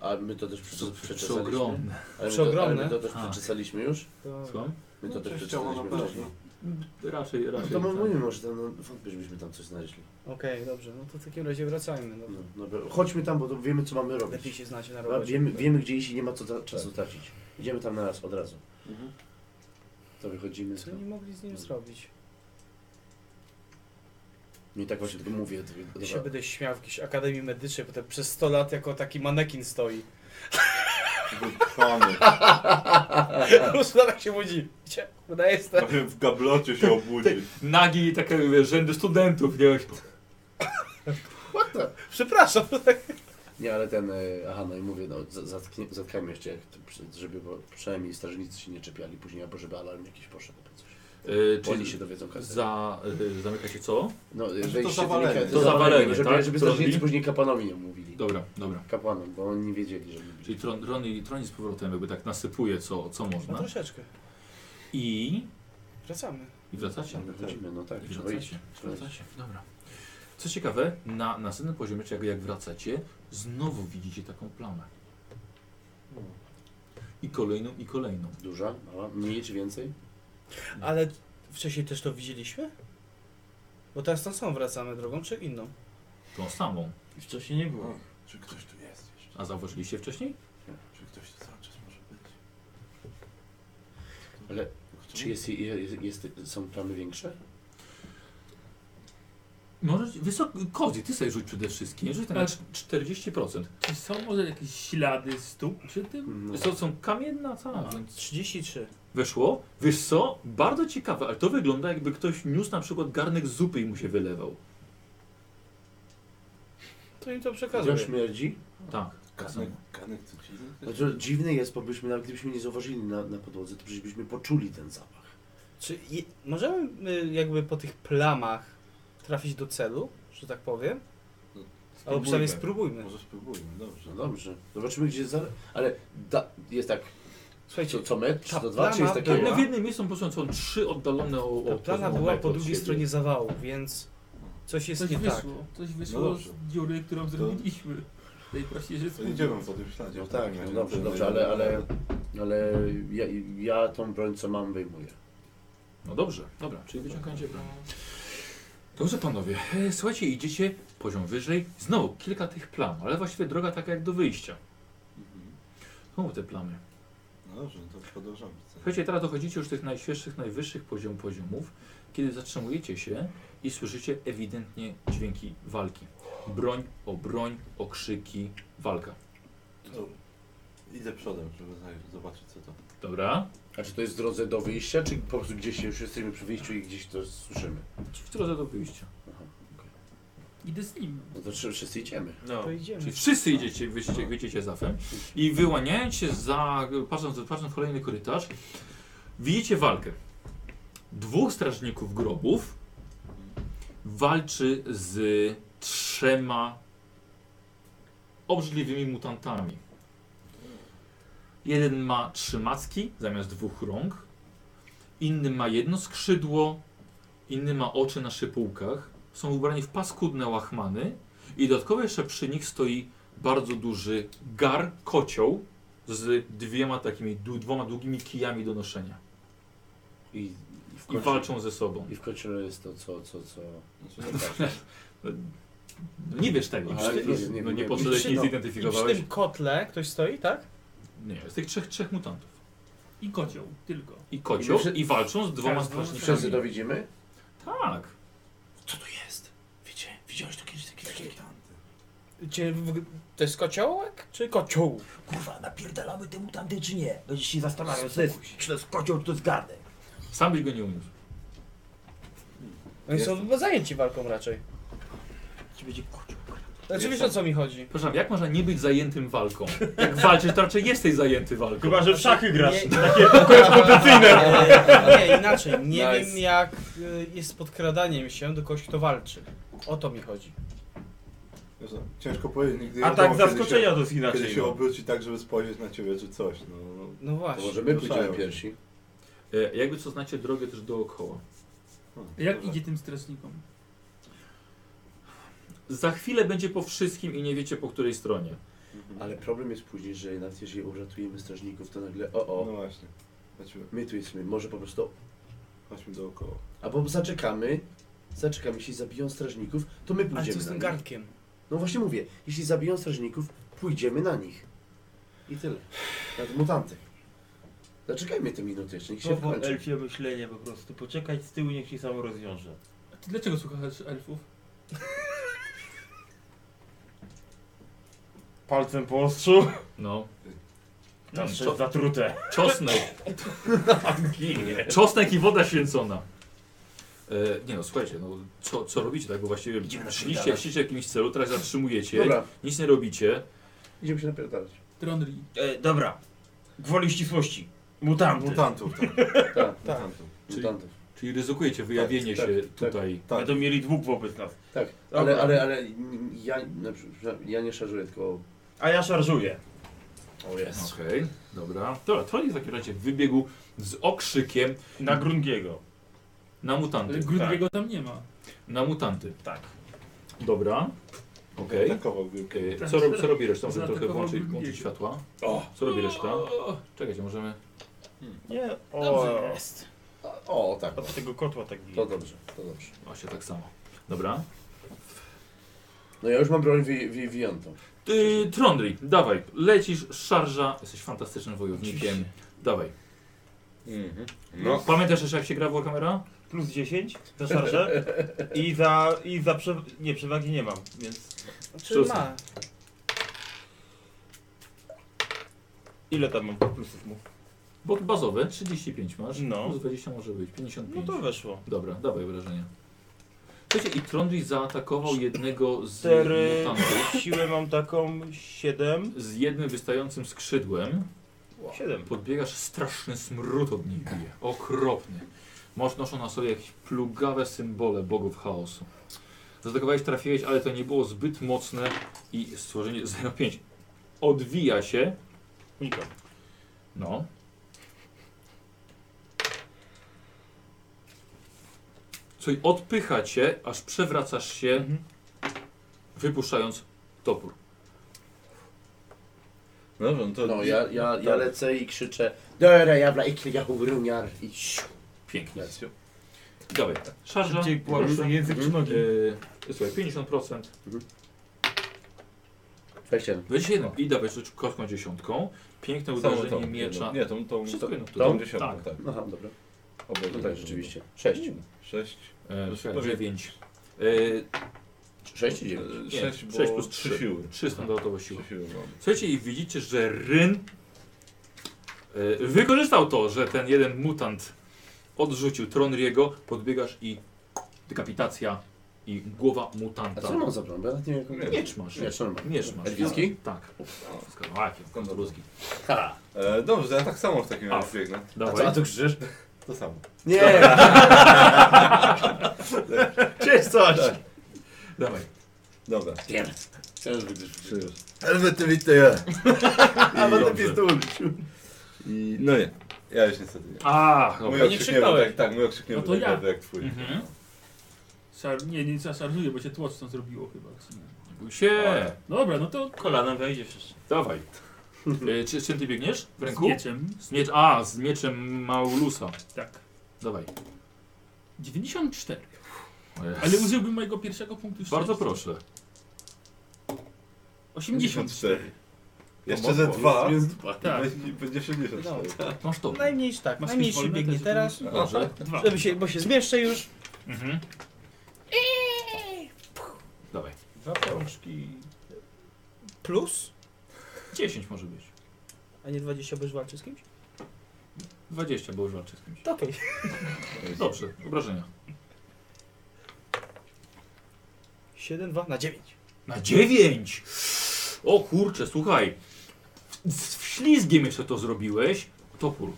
Speaker 5: A my to też prze-
Speaker 1: Prze-
Speaker 5: przeczesaliśmy.
Speaker 1: przeogromne.
Speaker 5: Ale my to, ale
Speaker 6: Przeogromne?
Speaker 5: my to też
Speaker 1: Tak.
Speaker 5: przeczesaliśmy już?
Speaker 6: To-
Speaker 1: Słucham?
Speaker 5: My to
Speaker 2: No,
Speaker 5: też
Speaker 2: przecież ciało na
Speaker 5: przeczesaliśmy
Speaker 2: pewno.
Speaker 5: wcześniej.
Speaker 1: Raczej,
Speaker 5: No
Speaker 1: raczej.
Speaker 5: to
Speaker 1: tak.
Speaker 5: mówimy, może tam, no, wątpię, żebyśmy tam coś znaleźli.
Speaker 6: Okej, dobrze, no to w takim razie wracajmy. No.
Speaker 5: No, dobra. Chodźmy tam, bo to wiemy, co mamy robić.
Speaker 6: Lepiej się znacie na
Speaker 5: Dobra,
Speaker 6: robocie.
Speaker 5: wiemy, wiemy, gdzie iść i nie ma co
Speaker 1: Tak.
Speaker 5: tra- czasu tracić. Idziemy tam na raz, od razu.
Speaker 2: Mhm.
Speaker 5: To wychodzimy.
Speaker 6: Co oni mogli z nim zrobić?
Speaker 5: No i tak właśnie tylko mówię. tylko-
Speaker 6: Ja się
Speaker 5: dobra.
Speaker 6: będę śmiał w jakiejś Akademii Medycznej, potem przez 100 lat jako taki manekin stoi.
Speaker 2: Wypchany.
Speaker 6: Różna tak się budzi. Cie, Wydaje jestem.
Speaker 2: W gablocie się obudzi.
Speaker 1: Nagi i takie wiesz, rzędy studentów, nie?
Speaker 5: Y,
Speaker 6: Przepraszam.
Speaker 5: Nie, ale ten, e, aha, no i mówię, no, za- zatknie, zatkajmy jeszcze, jak to, przy- żeby bo, przynajmniej strażnicy się nie czepiali później, albo żeby alarm jakiś poszedł, albo coś.
Speaker 1: Y,
Speaker 5: Oni się dowiedzą każdy.
Speaker 1: za, y, Zamyka się co?
Speaker 5: No, e,
Speaker 2: to
Speaker 5: wejście
Speaker 2: zawalenie.
Speaker 5: wynika-
Speaker 1: To zawalenie,
Speaker 5: żeby,
Speaker 1: tak?
Speaker 5: żeby
Speaker 1: Co
Speaker 5: strażnicy
Speaker 1: robili?
Speaker 5: później kapłanowi nie mówili.
Speaker 1: Dobra, dobra.
Speaker 5: Kapłanom, bo oni nie wiedzieli, że...
Speaker 1: Czyli tron, troni, troni z powrotem jakby tak nasypuje co, co
Speaker 6: No
Speaker 1: można.
Speaker 6: troszeczkę.
Speaker 1: I...
Speaker 6: Wracamy.
Speaker 1: I wracacie.
Speaker 5: Wychodzimy, no tak,
Speaker 1: I
Speaker 5: trzeba iść.
Speaker 1: wracacie.
Speaker 5: Trzeba iść.
Speaker 1: Wracacie, dobra. Co ciekawe, na następnym poziomie, czy jak, jak wracacie, znowu widzicie taką plamę. I kolejną, i kolejną.
Speaker 5: Duża, mała, mniej czy więcej?
Speaker 6: Ale wcześniej też to widzieliśmy? Bo teraz tą samą wracamy drogą, czy inną?
Speaker 1: Tą samą.
Speaker 2: I wcześniej nie było. Czy ktoś tu jest jeszcze?
Speaker 1: A zauważyliście wcześniej?
Speaker 2: Czy ktoś tu cały czas może być?
Speaker 5: Ale
Speaker 2: Kto?
Speaker 5: czy jest, jest, jest, są plamy większe?
Speaker 1: Możesz, wysok, Kozi, ty sobie rzuć przede wszystkim. Rzuć tak
Speaker 6: E,
Speaker 1: na
Speaker 3: Tak.
Speaker 1: cz- 40%.
Speaker 3: Czy są może jakieś ślady stóp przy tym?
Speaker 5: No.
Speaker 1: Są, są kamienna, tak. więc
Speaker 6: 33.
Speaker 1: Weszło. Wiesz co? Bardzo ciekawe, ale to wygląda jakby ktoś niósł na przykład garnek zupy i mu się wylewał.
Speaker 6: To im to
Speaker 5: Gdzie
Speaker 6: przekazuję.
Speaker 5: on śmierdzi?
Speaker 1: Tak. tak samo.
Speaker 2: Kanek, kanek tu ci
Speaker 5: Znaczy, dziwny jest, bo byśmy, nawet gdybyśmy nie zauważyli na, na podłodze, to przecież byśmy poczuli ten zapach.
Speaker 6: Czy je, możemy y, jakby po tych plamach trafić do celu, że tak powiem? Albo przynajmniej spróbujmy.
Speaker 2: Może spróbujmy, dobrze.
Speaker 5: No dobrze, zobaczymy gdzie jest... Za... Ale da, jest tak,
Speaker 6: Słuchajcie,
Speaker 5: Co- co metr,
Speaker 6: ta
Speaker 5: czy to dwa, czy
Speaker 6: plama
Speaker 5: jest takie-
Speaker 6: była-
Speaker 1: No w jednym miejscu po prostu są trzy oddalone o, o
Speaker 6: Ta plama
Speaker 1: o
Speaker 6: była
Speaker 1: metr
Speaker 6: po
Speaker 1: od
Speaker 6: drugiej
Speaker 1: siebie.
Speaker 6: stronie zawału, więc coś jest
Speaker 3: Coś
Speaker 6: nie
Speaker 3: wyszło,
Speaker 6: tak.
Speaker 3: coś
Speaker 2: No
Speaker 3: wyszło z dziury, którą zrobiliśmy. Najprościej rzecz
Speaker 2: Idziemy po tym śladzie.
Speaker 5: No tak, no dobrze, dobrze, ale, ale, ale ja, ja tą broń co mam wyjmuję.
Speaker 1: No dobrze, dobra, czyli wyciągajcie broń. Dobrze panowie, E, słuchajcie, idziecie poziom wyżej, znowu kilka tych plam, ale właściwie droga taka jak do wyjścia. Znowu te plamy.
Speaker 2: Mhm. No dobrze, no to podążamy.
Speaker 1: Słuchajcie, teraz dochodzicie już tych najświeższych, najwyższych poziom, poziomów, kiedy zatrzymujecie się i słyszycie ewidentnie dźwięki walki. Broń o broń, okrzyki, walka.
Speaker 2: To idę przodem, żeby zaj- zobaczyć co to.
Speaker 1: Dobra?
Speaker 5: A czy Znaczy, to jest w drodze do wyjścia, czy po prostu gdzieś już jesteśmy przy wyjściu i gdzieś to słyszymy?
Speaker 1: W drodze do wyjścia.
Speaker 3: Idę z nim.
Speaker 5: No to trzy- wszyscy idziemy.
Speaker 1: No.
Speaker 3: To idziemy.
Speaker 1: Czyli wszyscy idziecie, wyjdziecie, wyjdziecie za fem i wyłaniając się za, patrząc, patrząc w kolejny korytarz, widzicie walkę. Dwóch strażników grobów walczy z trzema obrzydliwymi mutantami. Jeden ma trzy macki zamiast dwóch rąk, inny ma jedno skrzydło, inny ma oczy na szypułkach. Są ubrani w paskudne łachmany i dodatkowo jeszcze przy nich stoi bardzo duży gar, kocioł z dwiema takimi, du, dwoma długimi kijami do noszenia.
Speaker 5: I, w
Speaker 1: I
Speaker 5: końcu-
Speaker 1: walczą ze sobą.
Speaker 5: I w końcu jest to co, co, co...
Speaker 1: No nie wiesz tego.
Speaker 5: Ale
Speaker 1: nie,
Speaker 5: nie wiem, nie
Speaker 1: no, nie
Speaker 5: wiem.
Speaker 1: poszedłeś,
Speaker 5: Czy
Speaker 1: nie
Speaker 5: no-
Speaker 1: zidentyfikowałeś.
Speaker 6: W tym kotle ktoś stoi, tak?
Speaker 1: Nie, z tych trzech, trzech mutantów.
Speaker 3: I kocioł, tylko.
Speaker 1: I kocioł, i, walczą z dwoma
Speaker 3: Każdy-
Speaker 1: strażnikami.
Speaker 5: Wszyscy to widzimy?
Speaker 1: Tak.
Speaker 21: Co to jest? Wiecie, widziałeś to kiedyś takie takie?
Speaker 6: Gdzie, w, to jest kociołek czy kocioł?
Speaker 21: Kurwa, napierdalamy te mutanty czy nie? Będziesz się zastanawiał, czy to jest, czy to jest kocioł, czy to jest garnek.
Speaker 1: Sam byś go nie uniósł.
Speaker 6: Oni są zajęci walką raczej.
Speaker 21: Czy będzie kocioł?
Speaker 6: Znaczy wiesz o co mi chodzi?
Speaker 1: Przepraszam, jak można nie być zajętym walką? Jak walczysz, to raczej jesteś zajęty walką.
Speaker 7: Chyba, że w szachy grasz.
Speaker 6: Nie-
Speaker 7: Takie konkurencyjne.
Speaker 6: Nie, nie, inaczej. Nie
Speaker 7: Nice.
Speaker 6: wiem jak y, jest z podkradaniem się do kogoś, kto walczy. O to mi chodzi.
Speaker 2: Wiesz, no, Ciężko powiedzieć, nigdy nie
Speaker 7: A tak
Speaker 2: wiadomo, kiedy
Speaker 7: zaskoczenia
Speaker 2: się-
Speaker 7: to jest inaczej,
Speaker 2: Kiedy się
Speaker 7: no.
Speaker 2: obróci tak, żeby spojrzeć na ciebie czy coś. No, no.
Speaker 6: No właśnie.
Speaker 5: Może my pójdziemy
Speaker 2: Ruszają.
Speaker 5: pierwsi.
Speaker 1: E, jakby co znacie drogę też dookoła.
Speaker 2: No,
Speaker 3: A Jak idzie tym strażnikom?
Speaker 1: Za chwilę będzie po wszystkim i nie wiecie po której stronie.
Speaker 5: Ale problem jest później, że nawet jeżeli uratujemy strażników, to nagle o o. No
Speaker 2: właśnie. Chodźmy.
Speaker 5: My tu jesteśmy, może po prostu.
Speaker 2: Chodźmy dookoła.
Speaker 5: Albo zaczekamy, zaczekamy, jeśli zabiją strażników, to my pójdziemy
Speaker 6: Ale co z
Speaker 5: na
Speaker 6: tym
Speaker 5: nich.
Speaker 6: garnkiem?
Speaker 5: No właśnie mówię, jeśli zabiją strażników, pójdziemy na nich. I tyle. Na te mutanty. Zaczekajmy te minuty jeszcze, niech się
Speaker 7: Słowo
Speaker 5: wykończy.
Speaker 7: elfie myślenie po prostu. Poczekać z tyłu, niech się samo rozwiąże.
Speaker 3: A ty dlaczego słuchasz elfów?
Speaker 7: Palcem po ostrzu.
Speaker 1: No.
Speaker 7: Tam
Speaker 1: Czo-
Speaker 7: jest zatrute.
Speaker 1: Czosnek. Czosnek i woda święcona. E, nie no, słuchajcie, no, co, co robicie, tak? Bo właściwie
Speaker 5: na
Speaker 1: szliście,
Speaker 5: szpitalarz.
Speaker 1: chcieliście w jakimś celu, teraz zatrzymujecie,
Speaker 5: Dobra.
Speaker 1: nic nie robicie.
Speaker 5: Idziemy się napierdalać.
Speaker 3: Tronri.
Speaker 7: E, dobra. Gwoli ścisłości. Mutanty.
Speaker 2: Mutantów,
Speaker 7: tak.
Speaker 5: tak.
Speaker 1: Czyli,
Speaker 5: Mutantów.
Speaker 1: czyli ryzykujecie wyjawienie
Speaker 5: Tak,
Speaker 1: się
Speaker 5: tak,
Speaker 1: tutaj.
Speaker 2: Tak.
Speaker 7: Będą mieli dwóch wobec nas.
Speaker 5: Tak,
Speaker 7: Dobra.
Speaker 5: ale, ale, ale n- ja, na przykład, ja nie szarżuję, tylko...
Speaker 7: A ja szarżuję.
Speaker 5: O jest.
Speaker 1: Okej, dobra. Dobra, Tronik w takim razie wybiegł z okrzykiem.
Speaker 7: Na Grundgiego.
Speaker 1: Na
Speaker 2: Tak.
Speaker 1: mutanty. Tak.
Speaker 3: Grudniego tam nie ma.
Speaker 1: Na mutanty.
Speaker 7: Tak.
Speaker 1: Dobra. Okej.
Speaker 5: Tak.
Speaker 2: Zaatakował grupę.
Speaker 1: Okej, Co, rob, co robi reszta? Możemy trochę
Speaker 3: Zaatakował
Speaker 1: włączyć,
Speaker 3: drugiego.
Speaker 1: włączyć światła. Co robi reszta? Czekajcie, możemy...
Speaker 7: Nie,
Speaker 3: Dobrze
Speaker 7: o.
Speaker 3: jest.
Speaker 5: O, tak.
Speaker 7: Od tego kotła tak bije.
Speaker 5: To dobrze, to dobrze.
Speaker 1: Właśnie tak samo. Dobra.
Speaker 5: No ja już mam broń wy, wy, wyjętą.
Speaker 1: Ty, Trondri, dawaj. Lecisz, szarża. Jesteś fantastycznym wojownikiem. Dawaj.
Speaker 22: No.
Speaker 1: Pamiętasz jeszcze jak się gra w Warhammera?
Speaker 7: Plus 10 za szarżę. I za. I za prze... Nie, przewagi nie mam, więc.
Speaker 6: Czy ma?
Speaker 7: Ile tam mam plusów mu?
Speaker 1: Bo bazowe 35 masz.
Speaker 7: No.
Speaker 1: Plus 20 może być. 55.
Speaker 7: No to weszło.
Speaker 1: Dobra, dawaj wrażenie. Słuchajcie, i Trondri zaatakował jednego z
Speaker 7: 4.
Speaker 1: mutantów
Speaker 7: Siłę mam taką 7.
Speaker 1: z jednym wystającym skrzydłem.
Speaker 7: 7.
Speaker 1: Podbiegasz, straszny smród od nich bije. Okropny. Moż noszą na sobie jakieś plugawe symbole bogów chaosu. Zaatakowałeś, trafiłeś, ale to nie było zbyt mocne i stworzenie 05 odwija się.
Speaker 7: Unikam.
Speaker 1: No. Słuchaj, odpycha cię, aż przewracasz się,
Speaker 23: Mhm.
Speaker 1: wypuszczając topór.
Speaker 2: Dobrze, no to...
Speaker 23: No, ja, ja, ja lecę i krzyczę Dobra, jabla, ikle, ja ubruniar i siu.
Speaker 1: Pięknie. Dawaj, szarża.
Speaker 23: Szybciej płaszcz,
Speaker 1: Proszę.
Speaker 23: język czy nogi?
Speaker 1: Yy, słuchaj, 50%.
Speaker 23: 21.
Speaker 1: 21. I dawaj rzuć kostką dziesiątką. Piękne
Speaker 2: Samą
Speaker 1: uderzenie
Speaker 2: tą,
Speaker 1: miecza.
Speaker 2: jedną. Nie, tą- tą-
Speaker 1: Wszystko
Speaker 2: tą-
Speaker 1: jedno.
Speaker 2: tą dziesiątką, tak.
Speaker 5: No
Speaker 23: Aha, dobra.
Speaker 2: Oboje
Speaker 23: No tak,
Speaker 2: dobrze.
Speaker 23: rzeczywiście. Sześć.
Speaker 2: Mm, Sześć.
Speaker 1: E,
Speaker 2: Prawie-
Speaker 1: czekaj, 9. Yy,
Speaker 23: Sześć i dziewięć.
Speaker 1: Nie,
Speaker 2: e, Sześć,
Speaker 1: sześć
Speaker 2: bo
Speaker 1: plus
Speaker 2: trzy
Speaker 1: 3.
Speaker 2: siły.
Speaker 1: 3 standardowe siły.
Speaker 2: siły mam.
Speaker 1: Słuchajcie, i widzicie, że Ryn e, wykorzystał to, że ten jeden mutant odrzucił Tronriego, podbiegasz i dekapitacja i głowa mutanta.
Speaker 23: A co mam za broń? Bo ja nawet nie wiem, jaką-
Speaker 1: Tak. Miecz, miecz masz.
Speaker 23: Miecz, normalnie.
Speaker 1: Miecz masz.
Speaker 23: Elficki?
Speaker 1: Tak. Skarbaki, ludzki.
Speaker 23: Ha.
Speaker 2: E, dobrze, ja tak samo w takim
Speaker 1: A,
Speaker 2: razie biegnę.
Speaker 1: dawaj. A co- a tu
Speaker 23: krzyczysz?
Speaker 2: To samo.
Speaker 23: Nie. Cześć, coś.
Speaker 1: Dawaj.
Speaker 2: Dobra.
Speaker 23: Pierd.
Speaker 2: Helwety widzę ja.
Speaker 23: A,
Speaker 2: I-
Speaker 23: będę
Speaker 2: dobrze.
Speaker 23: pistolet.
Speaker 2: I no nie, ja już niestety nie.
Speaker 1: A,
Speaker 2: mój
Speaker 1: dobra.
Speaker 2: okrzyknięty,
Speaker 1: krzyknąłeś.
Speaker 2: tak, tak, mój okrzyknięty
Speaker 3: No to
Speaker 2: tak
Speaker 3: ja.
Speaker 2: ja. jak twój.
Speaker 1: Mhm.
Speaker 3: Szar... Nie, nie trzeba szarżuje, bo się tłocz tam zrobiło chyba. Czy nie?
Speaker 1: Bój się.
Speaker 3: Dobra, no to
Speaker 1: Kolanem wejdziesz jeszcze. Dawaj. E, czy, z czym ty biegniesz? W ręku?
Speaker 3: Z mieczem.
Speaker 1: Z miecz, a, z mieczem Maulusa.
Speaker 3: Tak.
Speaker 1: Dawaj.
Speaker 3: 94.
Speaker 1: Jezu.
Speaker 3: Ale użyłbym mojego pierwszego punktu szczęścia.
Speaker 1: Bardzo proszę.
Speaker 3: 84.
Speaker 2: Jeszcze ze dwa.
Speaker 3: Jest dwa, tak.
Speaker 2: Będzie- Będzie 84.
Speaker 1: Masz to.
Speaker 6: Najmniej tak,
Speaker 3: Masz
Speaker 6: najmniejszy
Speaker 3: jakieś wolne
Speaker 6: biegnie
Speaker 3: też,
Speaker 6: teraz.
Speaker 3: żeby-
Speaker 1: Dobrze.
Speaker 3: Dwa.
Speaker 6: Żeby się, bo się zmieszczę już.
Speaker 1: Mhm. Dawaj.
Speaker 6: Dwa pączki. Plus?
Speaker 1: 10 może być.
Speaker 6: A nie 20, bo już walczy z kimś?
Speaker 1: 20, bo już walczy z kimś.
Speaker 6: To okej.
Speaker 1: Dobrze, obrażenia.
Speaker 6: 7, 2 na 9.
Speaker 1: Na 9! O kurczę, słuchaj. W- Z wślizgiem jeszcze to zrobiłeś. Topór.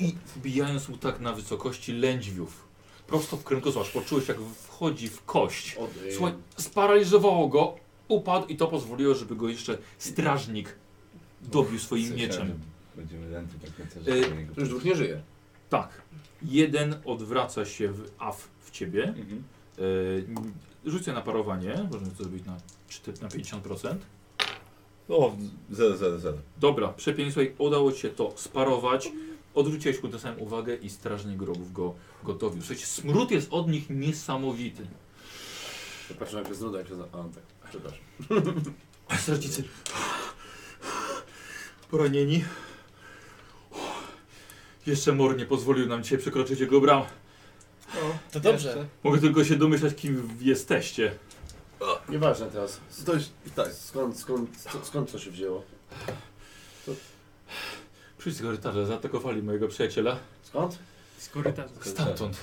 Speaker 1: I wbijając mu tak na wysokości lędźwiów. Prosto w kręgosłup. Poczułeś jak wchodzi w kość.
Speaker 5: y,
Speaker 1: Słuchaj, sparaliżowało go, upadł i to pozwoliło, żeby go jeszcze strażnik dobił swoim mieczem.
Speaker 2: Będziemy lenty tak na
Speaker 1: Y,
Speaker 2: terze.
Speaker 23: E, To już dwóch nie żyje.
Speaker 1: Tak. Jeden odwraca się w AF w ciebie. E, rzucę na parowanie. Możemy to zrobić na, 4, na 50%.
Speaker 2: O, 0, 0, 0.
Speaker 1: Dobra, przepięknie słuchaj, udało ci się to sparować. Odwróciłeś mu tę samą uwagę i strażnik grobów go gotowił. Słuchajcie, smród jest od nich niesamowity.
Speaker 5: Patrzę jak jest nuda, jak jest... A, no tak, przepraszam.
Speaker 1: A strażnicy poranieni. Jeszcze mor nie pozwolił nam dzisiaj przekroczyć jego bram.
Speaker 6: To dobrze.
Speaker 1: Mogę tylko się domyślać, kim jesteście.
Speaker 5: Nieważne teraz. Stoś, tak. Skąd, skąd, skąd, skąd to się wzięło?
Speaker 1: Przyjdź z korytarza, zaatakowali mojego przyjaciela.
Speaker 5: Skąd?
Speaker 3: Z korytarza.
Speaker 1: Stamtąd.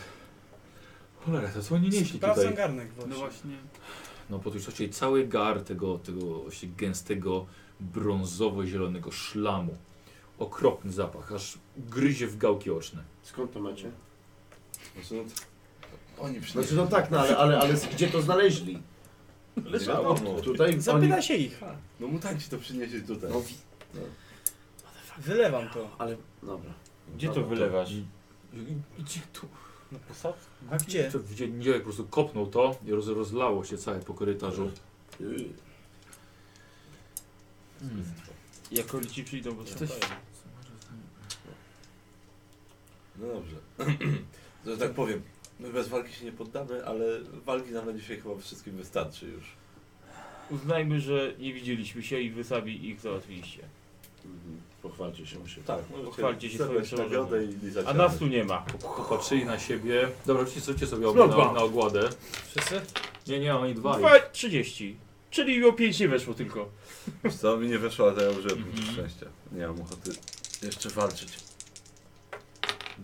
Speaker 1: Cholera, to co oni nieśli
Speaker 6: Sprawdzam
Speaker 1: tutaj?
Speaker 6: garnek właśnie.
Speaker 3: No właśnie.
Speaker 1: No po tej czasie cały gar tego, tego właśnie gęstego, brązowo-zielonego szlamu. Okropny zapach, aż gryzie w gałki oczne.
Speaker 5: Skąd to macie?
Speaker 2: Znaczy, no, to- oni przynieśli.
Speaker 5: Znaczy no tak, no ale, ale, ale gdzie to znaleźli?
Speaker 2: Leżało.
Speaker 5: Tutaj
Speaker 6: Zapyta
Speaker 5: oni...
Speaker 6: się ich.
Speaker 2: No mutanci to przynieśli tutaj.
Speaker 5: No, wi-
Speaker 6: Wylewam to.
Speaker 5: ale dobra.
Speaker 7: Gdzie to
Speaker 2: no.
Speaker 5: Dobra,
Speaker 7: wylewasz?
Speaker 1: Gdzie tu?
Speaker 7: Na posadzkę?
Speaker 6: A gdzie?
Speaker 1: To Gdzie nie, po prostu kopnął to i roz, rozlało się całe po korytarzu.
Speaker 5: Yy,
Speaker 7: Jak oni ci przyjdą, bo
Speaker 3: Coś-
Speaker 7: coś...
Speaker 2: No dobrze. Że tak powiem, my bez walki się nie poddamy, ale walki nam na dzisiaj chyba wszystkim wystarczy już.
Speaker 7: Uznajmy, że nie widzieliśmy się i wy sami ich załatwiliście.
Speaker 5: mhm, Pochwalcie się, muszę.
Speaker 2: Tak,
Speaker 7: Pochwalcie się swoim
Speaker 2: nagrodę
Speaker 7: przełożonym.
Speaker 2: i lizać
Speaker 7: A
Speaker 2: rany.
Speaker 7: nas tu nie ma.
Speaker 1: Popatrzyli na siebie. Dobra, wcisnącie sobie obu na, na ogładę.
Speaker 6: Wszyscy?
Speaker 1: Nie, nie, oni dwa.
Speaker 7: Dwa 30. Czyli o 5 nie weszło tylko.
Speaker 2: Wiesz Co mi nie wyszło, ale ja użyłem
Speaker 24: Mhm.
Speaker 2: szczęścia. Nie mam ochoty jeszcze walczyć.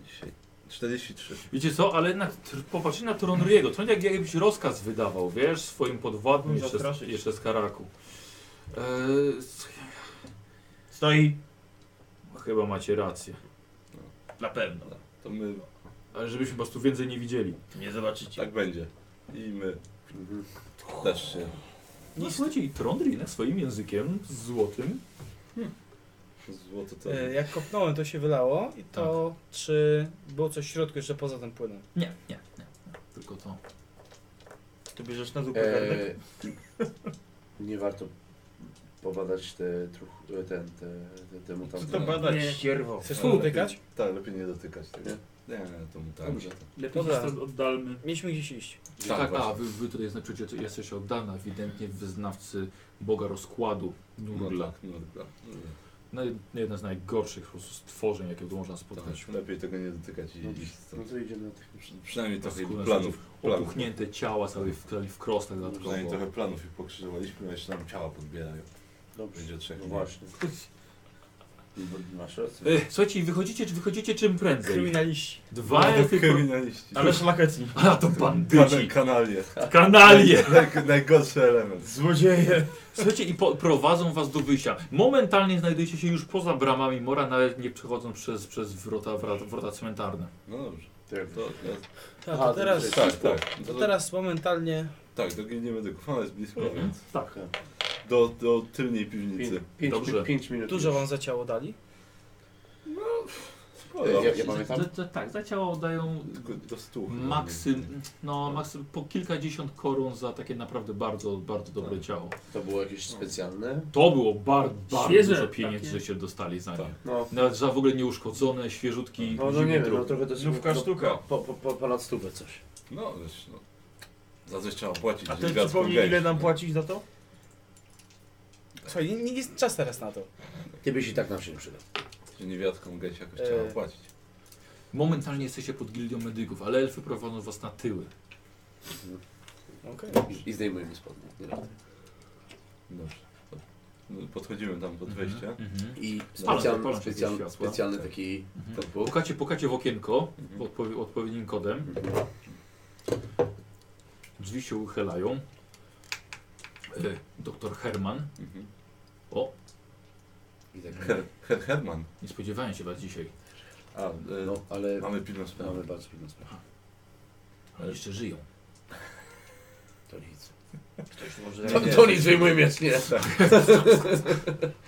Speaker 2: Dzisiaj 43.
Speaker 1: Wiecie co, ale jednak tr- popatrzcie na Tronriego. To jak jakbyś rozkaz wydawał, wiesz, swoim podwładnym
Speaker 7: Mógł
Speaker 1: jeszcze, z-
Speaker 7: zastraszyć.
Speaker 1: jeszcze z Karaku. Eee, s-
Speaker 7: Stoi.
Speaker 1: chyba macie rację.
Speaker 7: Na pewno.
Speaker 2: To my
Speaker 1: Ale żebyśmy po prostu więcej nie widzieli.
Speaker 7: Nie zobaczycie.
Speaker 2: tak będzie. I my
Speaker 1: Mhm.
Speaker 2: też się
Speaker 1: No słuchajcie, i Trondri jednak swoim językiem złotym.
Speaker 2: złoto to.
Speaker 6: E, Jak kopnąłem, to się wylało. I to, czy było coś w środku jeszcze poza tym płynem?
Speaker 1: Nie, nie, nie. wszystko to.
Speaker 24: Ty bierzesz na zupę
Speaker 5: Eee, nie warto pobadać te, truch, e, ten, te, te, te mutanty.
Speaker 24: to badać, No, Nie. ścierwo? Chcesz
Speaker 5: No,
Speaker 24: tu
Speaker 5: lepiej-
Speaker 24: dotykać?
Speaker 2: Tak, lepiej nie dotykać tego. Nie, nie, to tak. mutant.
Speaker 5: Dobrze.
Speaker 25: Lepiej się stąd oddalmy.
Speaker 6: Mieliśmy gdzieś iść.
Speaker 1: Tak, tak,
Speaker 2: właśnie.
Speaker 1: a wy, wy tutaj znaczycie, że jesteście oddana ewidentnie wyznawcy Boga rozkładu Nurla.
Speaker 2: Nurla.
Speaker 1: No, jedna z najgorszych po prostu stworzeń, jakie można spotkać.
Speaker 2: tak, Lepiej tego nie dotykać i iść
Speaker 5: No
Speaker 2: stąd.
Speaker 5: to idziemy na tych
Speaker 2: Przynajmniej trochę
Speaker 1: Skóra
Speaker 2: planów. planów.
Speaker 1: Opuchnięte ciała całe w, całe w krostach dodatkowo.
Speaker 2: Przynajmniej trochę planów ich pokrzyżowaliśmy, a jeszcze nam ciała podbierają.
Speaker 5: Dobrze.
Speaker 2: Będzie trzech.
Speaker 5: No właśnie. Masz rację.
Speaker 1: E, Słuchajcie, i wychodzicie, czy wychodzicie czym prędzej?
Speaker 6: Kryminaliści.
Speaker 1: Dwa
Speaker 2: No,
Speaker 1: elfy...
Speaker 2: kryminaliści.
Speaker 1: Ale szlachetni. A to bandyci.
Speaker 2: Kanalie. Kanalie.
Speaker 1: Kanalie.
Speaker 2: Naj, najgorszy element.
Speaker 1: Złodzieje! Słuchajcie, i po, prowadzą was do wyjścia. Momentalnie znajdujecie się już poza bramami mora, nawet nie przechodząc przez, przez wrota, wrota, wrota cmentarne.
Speaker 2: No dobrze. Tak, to, to,
Speaker 6: Tak, to teraz,
Speaker 2: Tak, tak.
Speaker 6: To teraz momentalnie
Speaker 2: Tak, do Gildii Medyków. Ona jest blisko, więc... Tak. Do, do tylnej piwnicy.
Speaker 5: Pięć, Dobrze. pięć minut.
Speaker 6: dużo wam za ciało dali.
Speaker 2: Sporo.
Speaker 5: Ja- ja pamiętam.
Speaker 1: Za- za- tak, za ciało dają
Speaker 2: Tylko do stół.
Speaker 1: maksy, no, maksy po kilkadziesiąt koron za takie naprawdę bardzo, bardzo
Speaker 5: Tak.
Speaker 1: dobre ciało.
Speaker 5: To było jakieś specjalne?
Speaker 1: To było bar, bardzo
Speaker 5: Świeże
Speaker 1: dużo pieniędzy,
Speaker 5: takie.
Speaker 1: że się dostali za nie.
Speaker 5: No.
Speaker 1: Nawet za w ogóle nieuszkodzone, świeżutki
Speaker 5: No, no
Speaker 1: zimny
Speaker 5: nie wiem,
Speaker 1: trup.
Speaker 5: no trochę to się...
Speaker 24: Znówka
Speaker 5: no,
Speaker 24: sztuka.
Speaker 5: Po, po, po, ponad stówę coś.
Speaker 2: No, wiesz, no. Za coś trzeba płacić.
Speaker 24: A
Speaker 2: żeby
Speaker 24: ty
Speaker 2: gaz
Speaker 24: przypomnij
Speaker 2: pogęść,
Speaker 24: ile nam
Speaker 2: no.
Speaker 24: płacić za to?
Speaker 6: Słuchaj, nie, nie jest czas teraz na to.
Speaker 5: Ty byś i tak nam się nie przydał.
Speaker 2: Że niewiadkom gęś jakoś
Speaker 6: E.
Speaker 2: trzeba płacić.
Speaker 1: Momentalnie jesteście pod gildią medyków, ale elfy prowadzą was na tyły.
Speaker 6: Okej.
Speaker 5: I, i zdejmujemy spodnie. Nie radzę.
Speaker 2: Dobrze. No, Podchodzimy tam pod
Speaker 1: Mhm.
Speaker 2: wejście.
Speaker 5: I
Speaker 1: Spalę,
Speaker 5: specjalny,
Speaker 1: spalę takie
Speaker 5: specjalny,
Speaker 1: światła.
Speaker 5: specjalny taki podpór.
Speaker 1: Pukacie, pukacie w okienko
Speaker 2: Mhm.
Speaker 1: odpowie, odpowiednim kodem.
Speaker 5: Mhm.
Speaker 1: Drzwi się uchylają. E, doktor Herman. O,
Speaker 5: I tak,
Speaker 2: Her, Mhm. Her, Herman.
Speaker 1: nie spodziewałem się was dzisiaj.
Speaker 2: A, e,
Speaker 5: no, ale
Speaker 2: mamy pilną sprawę.
Speaker 5: mamy bardzo pilną sprawę.
Speaker 1: Ale jeszcze żyją.
Speaker 5: To nic.
Speaker 24: Może...
Speaker 5: To, to nic, wyjmuj miecznie.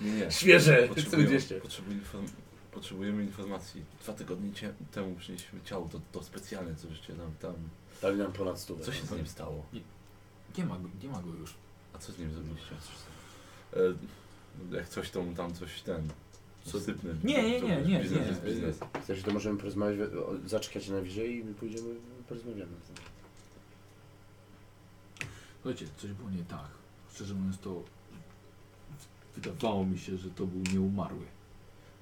Speaker 2: Nie, nie.
Speaker 5: Świeże,
Speaker 2: Potrzebujemy,
Speaker 5: 40.
Speaker 2: potrzebujemy, inform- potrzebujemy informacji. Dwa tygodnie cie- temu przynieśliśmy ciało, to, to specjalne, co żeście nam tam...
Speaker 5: Dali nam ponad
Speaker 1: No,
Speaker 5: stówę.
Speaker 2: Co się z nim stało?
Speaker 1: Nie ma, go- nie ma go już.
Speaker 2: A co z nim zrobiliście? E, jak coś to mu tam coś ten...
Speaker 1: Co-
Speaker 2: Sypny.
Speaker 1: Nie, nie,
Speaker 2: To
Speaker 1: nie,
Speaker 2: wiesz,
Speaker 1: nie,
Speaker 2: Biznes
Speaker 1: nie.
Speaker 2: jest biznes.
Speaker 5: Chcesz, to możemy porozmawiać, we- o- zaczekać najwyżej i my pójdziemy, porozmawiamy. z nim.
Speaker 1: Słuchajcie, coś było nie tak. Szczerze mówiąc to wydawało mi się, że to był nieumarły.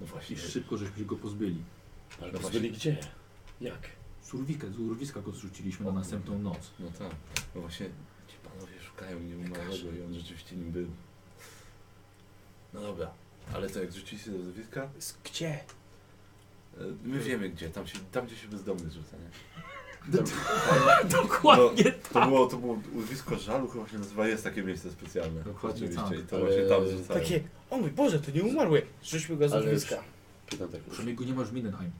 Speaker 2: No właśnie.
Speaker 1: I szybko żeśmy się go pozbyli.
Speaker 5: Ale
Speaker 2: No
Speaker 5: no
Speaker 2: właśnie.
Speaker 5: byli gdzie? Jak?
Speaker 1: Z urwika, z urwiska go zrzuciliśmy na następną noc.
Speaker 2: No tak. No właśnie ci panowie szukają nieumarłego i on rzeczywiście nim był. No dobra. Ale to jak rzuciliście do zdowiska,
Speaker 6: Z- Gdzie?
Speaker 2: e, my wiemy gdzie. Tam, się, tam gdzie się bezdomny rzuca, nie?
Speaker 1: Dokładnie
Speaker 2: To było, to było urwisko żalu, chyba się nazywa, jest takie miejsce specjalne.
Speaker 1: Dokładnie
Speaker 2: Oczywiście.
Speaker 1: tak.
Speaker 2: I to
Speaker 5: Ale-
Speaker 2: właśnie tam rzucają.
Speaker 6: Takie, o mój Boże, to nie umarły. Rzućmy go z
Speaker 5: Ale-
Speaker 6: ogniska.
Speaker 5: Pytam tak już.
Speaker 1: Przynajmniej go nie masz w Mindenheim.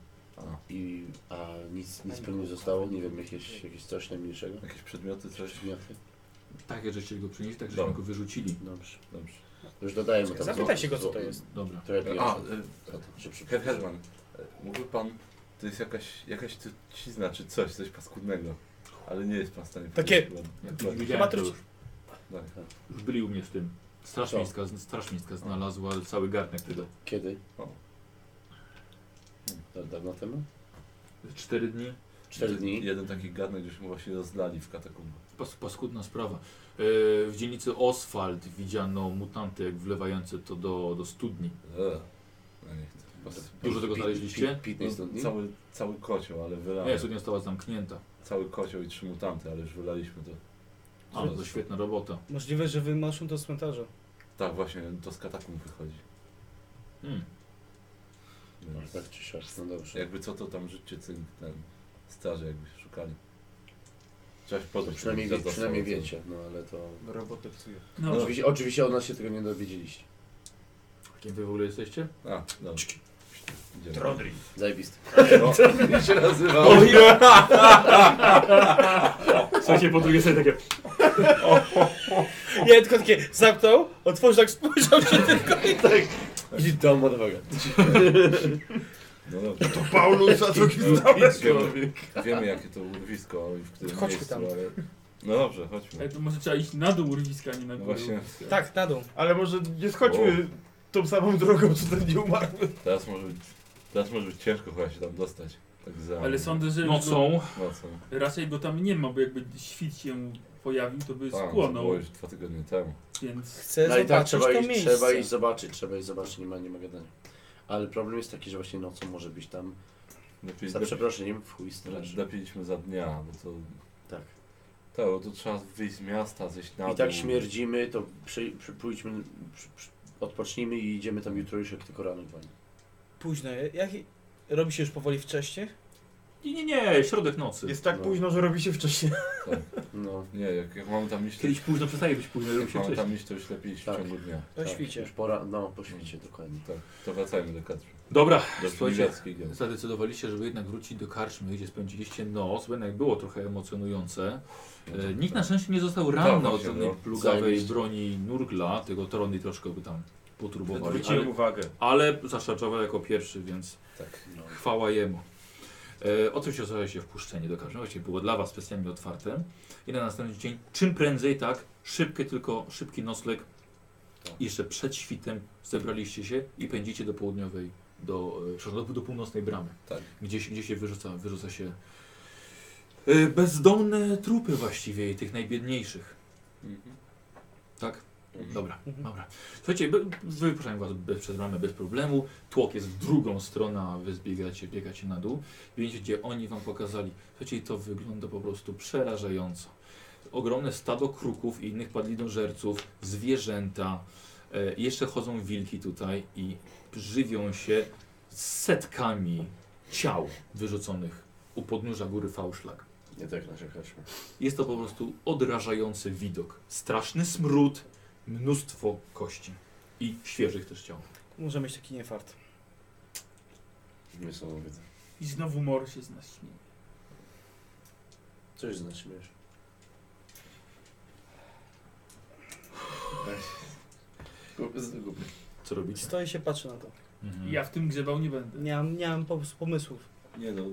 Speaker 5: I, a nic, nic pewnie zostało? Nie wiem, jakieś, jakieś coś najmniejszego?
Speaker 2: Jakieś przedmioty, coś.
Speaker 5: Przedmioty?
Speaker 1: Takie żeście go przynieśli, tak żeśmy
Speaker 2: Dobra.
Speaker 1: go wyrzucili.
Speaker 5: Dobrze.
Speaker 2: Dobrze.
Speaker 5: Już dodajemy tam.
Speaker 6: Zapytaj
Speaker 5: zło-
Speaker 6: się go, co
Speaker 5: zło-
Speaker 6: to jest.
Speaker 1: Dobra.
Speaker 5: To ja piję.
Speaker 2: A,
Speaker 5: To- to się przy-
Speaker 2: e, Herr Herman, e, mógłby pan, to jest jakaś, jakaś trucizna czy coś, coś paskudnego. Ale nie jest pan w stanie
Speaker 6: Takie-
Speaker 2: powiedzieć,
Speaker 26: No,
Speaker 2: bo-
Speaker 1: Ja to
Speaker 2: bo-
Speaker 1: widziałem to
Speaker 6: truć-
Speaker 1: już.
Speaker 2: Tak.
Speaker 1: Już byli u mnie z tym. Straż
Speaker 5: Co?
Speaker 1: miejska, straż miejska znalazła cały garnek tego.
Speaker 5: Kiedy?
Speaker 2: O.
Speaker 5: Da, dawno temu?
Speaker 1: Cztery dni.
Speaker 5: Cztery dni.
Speaker 2: Jeden taki garnek, gdzieśmy właśnie rozlali w katakumbach.
Speaker 1: Pas, paskudna sprawa. E, w dzielnicy Oswald widziano mutanty wlewające to do, do studni.
Speaker 2: E, No nie chcę. Pas-
Speaker 1: Dużo tego znaleźliście?
Speaker 2: No,
Speaker 5: Pitny jest dni?
Speaker 2: cały, cały kocioł, ale
Speaker 1: Nie,
Speaker 26: Tak.
Speaker 2: wylałem.
Speaker 1: studnia została zamknięta.
Speaker 2: Cały kocioł i trzy mutanty, ale już wylaliśmy to.
Speaker 1: Ale to świetna robota.
Speaker 6: Możliwe, że wynoszą to z cmentarza.
Speaker 2: Tak, właśnie, to z katakumb wychodzi.
Speaker 1: Hmm.
Speaker 5: Może
Speaker 2: Więc
Speaker 5: tak czy siak, no dobrze.
Speaker 2: jakby co to tam życie cynk ten starzy jakby szukali. Trzeba się potem
Speaker 5: Przynajmniej, wie,
Speaker 2: przyjrzeć za
Speaker 5: przynajmniej
Speaker 2: sobą, co-
Speaker 5: wiecie, no ale to...
Speaker 24: Robotę psuje.
Speaker 25: No,
Speaker 5: Oczywiście, oczywiście od nas się tego nie dowiedzieliście.
Speaker 1: Kim wy w ogóle jesteście?
Speaker 2: A, dobrze. Idziemy.
Speaker 24: Rodri.
Speaker 5: Zajebiste.
Speaker 2: No.
Speaker 5: Nie się nazywało.
Speaker 7: Słuchajcie, po drugiej stronie takie...
Speaker 6: Nie, tylko takie zamknął,
Speaker 5: Tak.
Speaker 6: otworzył, tak spojrzał się tylko i tak.
Speaker 5: I tam odwaga.
Speaker 2: No dobrze.
Speaker 26: To Paulus, a drugi
Speaker 2: No,
Speaker 26: znamy
Speaker 2: wiemy,
Speaker 26: człowiek.
Speaker 2: wiemy jakie to urwisko i w którym
Speaker 3: Chodźmy
Speaker 2: miejscu,
Speaker 3: tam.
Speaker 2: ale... No dobrze, chodźmy.
Speaker 3: Ale to może trzeba iść na dół urwiska, a nie na
Speaker 2: No
Speaker 3: górę
Speaker 2: właśnie.
Speaker 3: urwiska.
Speaker 6: Tak, na dół.
Speaker 26: Ale może nie schodźmy tą samą drogą, co ten nie umarł.
Speaker 2: Teraz może być, teraz może być ciężko chyba się tam dostać. Tak No, za...
Speaker 3: Ale sądzę, że
Speaker 2: Nocą.
Speaker 3: Go,
Speaker 2: Nocą.
Speaker 3: raczej go tam nie ma, bo jakby świt się pojawił, to by
Speaker 2: Tak, to
Speaker 3: skłonął.
Speaker 2: było już dwa tygodnie temu.
Speaker 3: Więc
Speaker 6: Chcę
Speaker 5: No i tak
Speaker 6: zobaczyć
Speaker 5: trzeba
Speaker 6: E, to
Speaker 5: iść,
Speaker 6: miejsce.
Speaker 5: trzeba iść zobaczyć, trzeba iść zobaczyć, nie ma, nie ma gadania. Ale problem jest taki, że właśnie nocą może być tam,
Speaker 2: Lepiej-
Speaker 5: za
Speaker 2: lepiej-
Speaker 5: przeproszeniem, w chuj straż.
Speaker 2: Dapiliśmy za dnia, bo to...
Speaker 5: Tak.
Speaker 2: Tak, bo to trzeba wyjść z miasta, zejść na
Speaker 5: I tak
Speaker 2: dół.
Speaker 5: śmierdzimy, to przy, przy, pójdźmy, przy, przy, odpocznijmy i idziemy tam jutro już jak tylko rano dwoń.
Speaker 6: Późno. Jak... Robi się już powoli wcześniej?
Speaker 1: Nie, nie, nie, środek nocy.
Speaker 26: Jest tak późno, że robi się wcześniej.
Speaker 5: No.
Speaker 2: Nie, jak, jak mamy tam iść... to-
Speaker 1: Kiedyś późno przestaje być późno, robi
Speaker 2: Jak
Speaker 1: się
Speaker 2: mamy
Speaker 1: wcześniej.
Speaker 2: tam iść, to już lepiej iść w ciągu dnia.
Speaker 6: Po świcie.
Speaker 5: Tak, Już pora, no po świcie, dokładnie.
Speaker 2: Tak, to wracajmy do kadry.
Speaker 1: Dobra,
Speaker 2: do
Speaker 1: słuchajcie,
Speaker 2: Piwiackiej idziemy.
Speaker 1: zadecydowaliście, żeby jednak wrócić do karczmy, gdzie spędziliście noc, bo jednak było trochę emocjonujące. E, nikt na szczęście nie został ranny od
Speaker 2: właśnie,
Speaker 1: żadnej
Speaker 2: tak. no.
Speaker 1: plugawej
Speaker 2: Zajebiście.
Speaker 1: broni Nurgla, tego Torony troszkę by tam poturbowali.
Speaker 26: Zwróciłem
Speaker 1: ale-
Speaker 26: uwagę.
Speaker 1: Ale zaszarżował jako pierwszy, więc
Speaker 2: Tak, no.
Speaker 1: chwała jemu. E, oczywiście oznacza się wpuszczenie do każdego, właściwie było dla Was specjalnie otwarte. I na następny dzień, czym prędzej, tak, szybkie tylko, szybki nocleg. I jeszcze przed świtem zebraliście się i pędzicie do południowej, do, e, przepraszam, do, do północnej bramy.
Speaker 2: Tak.
Speaker 1: Gdzie, się- gdzie się wyrzuca, wyrzuca się e, bezdomne trupy właściwie i tych najbiedniejszych. Tak? Dobra, dobra. Słuchajcie, be- wypuszczam was bez, przez ramę bez problemu. Tłok jest w drugą stronę, a wy zbiegacie, biegacie na dół. Widzicie, gdzie oni wam pokazali. Słuchajcie, to wygląda po prostu przerażająco. Ogromne stado kruków i innych padlinożerców, zwierzęta. E, jeszcze chodzą wilki tutaj i żywią się setkami ciał wyrzuconych u podnóża góry Fałszlak.
Speaker 5: Nie tak narzekaliśmy.
Speaker 1: Jest to po prostu odrażający widok. Straszny smród, mnóstwo kości i świeżych też ciał.
Speaker 6: Może mieć taki niefart.
Speaker 5: Niesamowite.
Speaker 3: I znowu mor się z nas śmieje.
Speaker 5: Coś z nas śmiesz.
Speaker 1: Co robicie?
Speaker 6: Stoję się, patrzę na to.
Speaker 1: Mhm.
Speaker 2: Hmm.
Speaker 3: Ja w tym grzebał nie będę.
Speaker 6: Nie mam, nie mam pom- pomysłów.
Speaker 2: Nie no,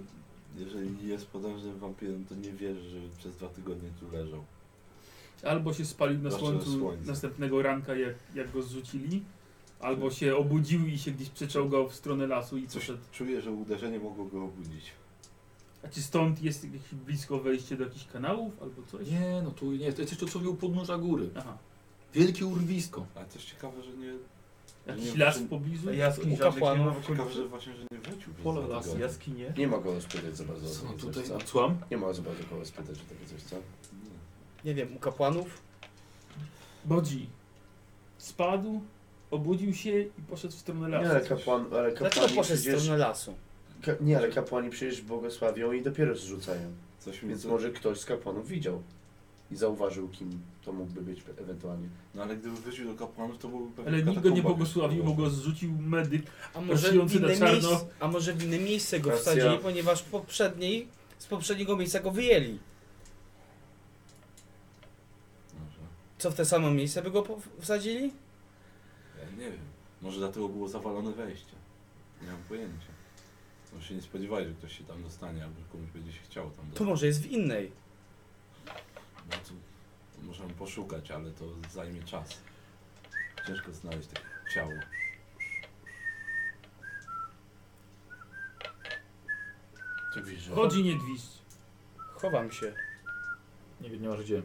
Speaker 2: jeżeli jest potężnym wampirem, no to nie wierzę, że przez dwa tygodnie tu leżał.
Speaker 3: Albo się spalił na
Speaker 2: Zawsze
Speaker 3: słońcu
Speaker 2: słońce.
Speaker 3: następnego ranka, jak, jak go zrzucili, albo się obudził i się gdzieś przeczołgał w stronę lasu i
Speaker 2: Hmm. Coś
Speaker 3: poszedł.
Speaker 2: czuję, że uderzenie mogło go obudzić.
Speaker 3: A czy stąd jest jakieś blisko wejście do jakichś kanałów albo coś?
Speaker 1: Nie, no tu nie, to jest jeszcze człowiek u podnóża góry.
Speaker 3: Aha.
Speaker 1: Wielkie urwisko.
Speaker 2: Ale też ciekawe, że nie...
Speaker 3: Jakiś
Speaker 2: wiem,
Speaker 3: las
Speaker 2: czy-
Speaker 3: w pobliżu?
Speaker 6: U
Speaker 3: No
Speaker 6: kapłanów.
Speaker 2: Ciekawe, że właśnie, że nie wrócił przez
Speaker 1: Pola
Speaker 2: dwa
Speaker 1: las,
Speaker 2: tygodnie.
Speaker 1: jaskinie.
Speaker 5: Nie ma kogo spytać za bardzo. o
Speaker 1: Co no
Speaker 5: takie
Speaker 1: tutaj?
Speaker 5: coś, co?
Speaker 1: Słucham?
Speaker 5: Nie ma za bardzo kogo spytać o takie coś, co?
Speaker 6: Nie wiem, u kapłanów?
Speaker 3: Bodzi. Spadł, obudził się i poszedł w stronę
Speaker 27: Nie,
Speaker 3: lasu.
Speaker 27: ale kapłan, ale
Speaker 6: Dlaczego
Speaker 27: kapłani
Speaker 6: poszedł w
Speaker 27: przecież...
Speaker 6: stronę lasu?
Speaker 27: Ka nie, ale kapłani przecież błogosławią i dopiero zrzucają.
Speaker 2: Coś mi...
Speaker 5: Więc
Speaker 2: co-
Speaker 5: może ktoś z kapłanów widział i zauważył, kim to mógłby być ewentualnie.
Speaker 2: No ale gdyby wrócił do kapłanów, to byłby pewnie
Speaker 3: Ale nikt go
Speaker 2: katakomba
Speaker 3: nie
Speaker 2: wiesz,
Speaker 3: błogosławił, bo
Speaker 2: była.
Speaker 3: go zrzucił medyk.
Speaker 6: A może, w
Speaker 3: Pracujący na
Speaker 6: inne
Speaker 3: czarno.
Speaker 6: miejsce, a może w inne miejsce go
Speaker 27: Racja.
Speaker 6: wsadzili, ponieważ poprzedniej, z poprzedniego miejsca go wyjęli.
Speaker 2: Może.
Speaker 6: Co w te samo miejsce by go po- wsadzili?
Speaker 2: Ja nie wiem. Może dlatego było zawalone wejście. Nie mam pojęcia. Może się nie spodziewali, że ktoś się tam dostanie, albo że komuś będzie się chciało tam
Speaker 6: To
Speaker 2: dostać.
Speaker 6: może jest w innej.
Speaker 2: No to, to możemy poszukać, ale to zajmie czas. Ciężko znaleźć takie ciało.
Speaker 5: To widzisz, Tak że
Speaker 3: Chodzi nie dwiść.
Speaker 6: Chowam się.
Speaker 1: Nie wiem, nie masz gdzie.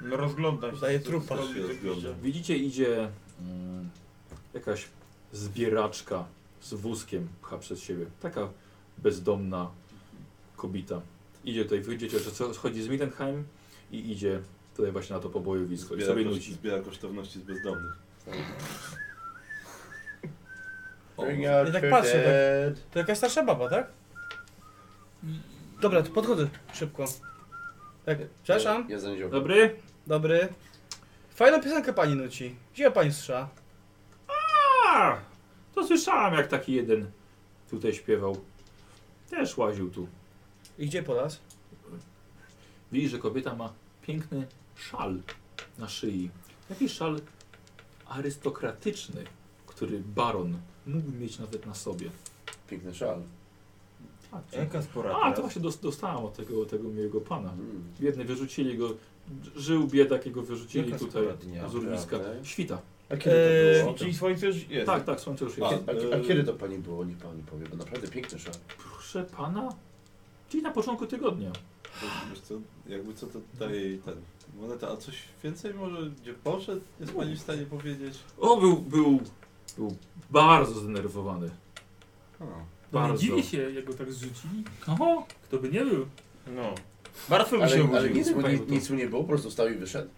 Speaker 26: No rozglądam się.
Speaker 6: Daję
Speaker 26: Co-
Speaker 6: trupa.
Speaker 26: co robi
Speaker 2: Się
Speaker 26: tak
Speaker 2: rozglądam.
Speaker 26: widzę.
Speaker 1: Widzicie, idzie mm, jakaś zbieraczka z wózkiem, pcha przez siebie. Taka bezdomna kobieta. Idzie tutaj, widzicie, że co- schodzi z Midenheim i idzie tutaj właśnie na to pobojowisko i
Speaker 2: Zbiera,
Speaker 1: sobie Tak.
Speaker 2: koszt,
Speaker 1: nuci.
Speaker 2: zbiera kosztowności z bezdomnych. O,
Speaker 27: out
Speaker 6: Ja tak
Speaker 27: your
Speaker 6: patrzę, tak.
Speaker 27: dead.
Speaker 6: To jakaś starsza baba, tak? Dobra, to podchodzę szybko. Tak, przepraszam.
Speaker 5: Ja zaniesiłem.
Speaker 1: Dobry?
Speaker 6: Dobry. Fajną piosenkę pani nuci. Gdzie ją pani strza?
Speaker 1: A, to słyszałem jak taki jeden tutaj śpiewał. Też łaził tu.
Speaker 6: I gdzie po nas?
Speaker 1: Widzi, że kobieta ma piękny szal na szyi. Taki szal arystokratyczny, który baron mógłby mieć nawet na sobie.
Speaker 5: Piękny szal.
Speaker 1: Tak,
Speaker 5: Jaka spora
Speaker 1: A, to
Speaker 5: teraz?
Speaker 1: właśnie dos- dostałem od tego, tego mojego pana.
Speaker 5: Hmm.
Speaker 1: Biedny, wyrzucili go, żył biedak, jego wyrzucili
Speaker 28: Jaka
Speaker 1: tutaj
Speaker 28: spora dnia,
Speaker 1: z urwiska.
Speaker 5: prawda?
Speaker 1: Świta.
Speaker 5: A kiedy
Speaker 6: Eee,
Speaker 5: to
Speaker 6: E,
Speaker 5: było?
Speaker 1: Czyli słońce już jest. Tak, tak, słońce już
Speaker 5: A,
Speaker 1: jest.
Speaker 5: a, a kiedy to pani było? Niech pani powie, bo naprawdę piękny szal.
Speaker 1: Proszę pana, czyli na początku tygodnia.
Speaker 2: Wiesz co, jakby co to tutaj ten moneta, a coś więcej może gdzie poszedł? Jest pani w stanie powiedzieć?
Speaker 1: O, był, był, był bardzo zdenerwowany.
Speaker 3: No, nie
Speaker 1: Bardzo.
Speaker 3: dziwię się, jak go tak zrzucili.
Speaker 1: Oho.
Speaker 3: Kto by nie był.
Speaker 1: No.
Speaker 3: Martwy by
Speaker 5: ale,
Speaker 3: się
Speaker 5: ale
Speaker 3: obudził,
Speaker 5: nic, mu,
Speaker 3: tak,
Speaker 5: nie-
Speaker 3: bo to-
Speaker 5: nic mu nie było, po prostu stał i wyszedł.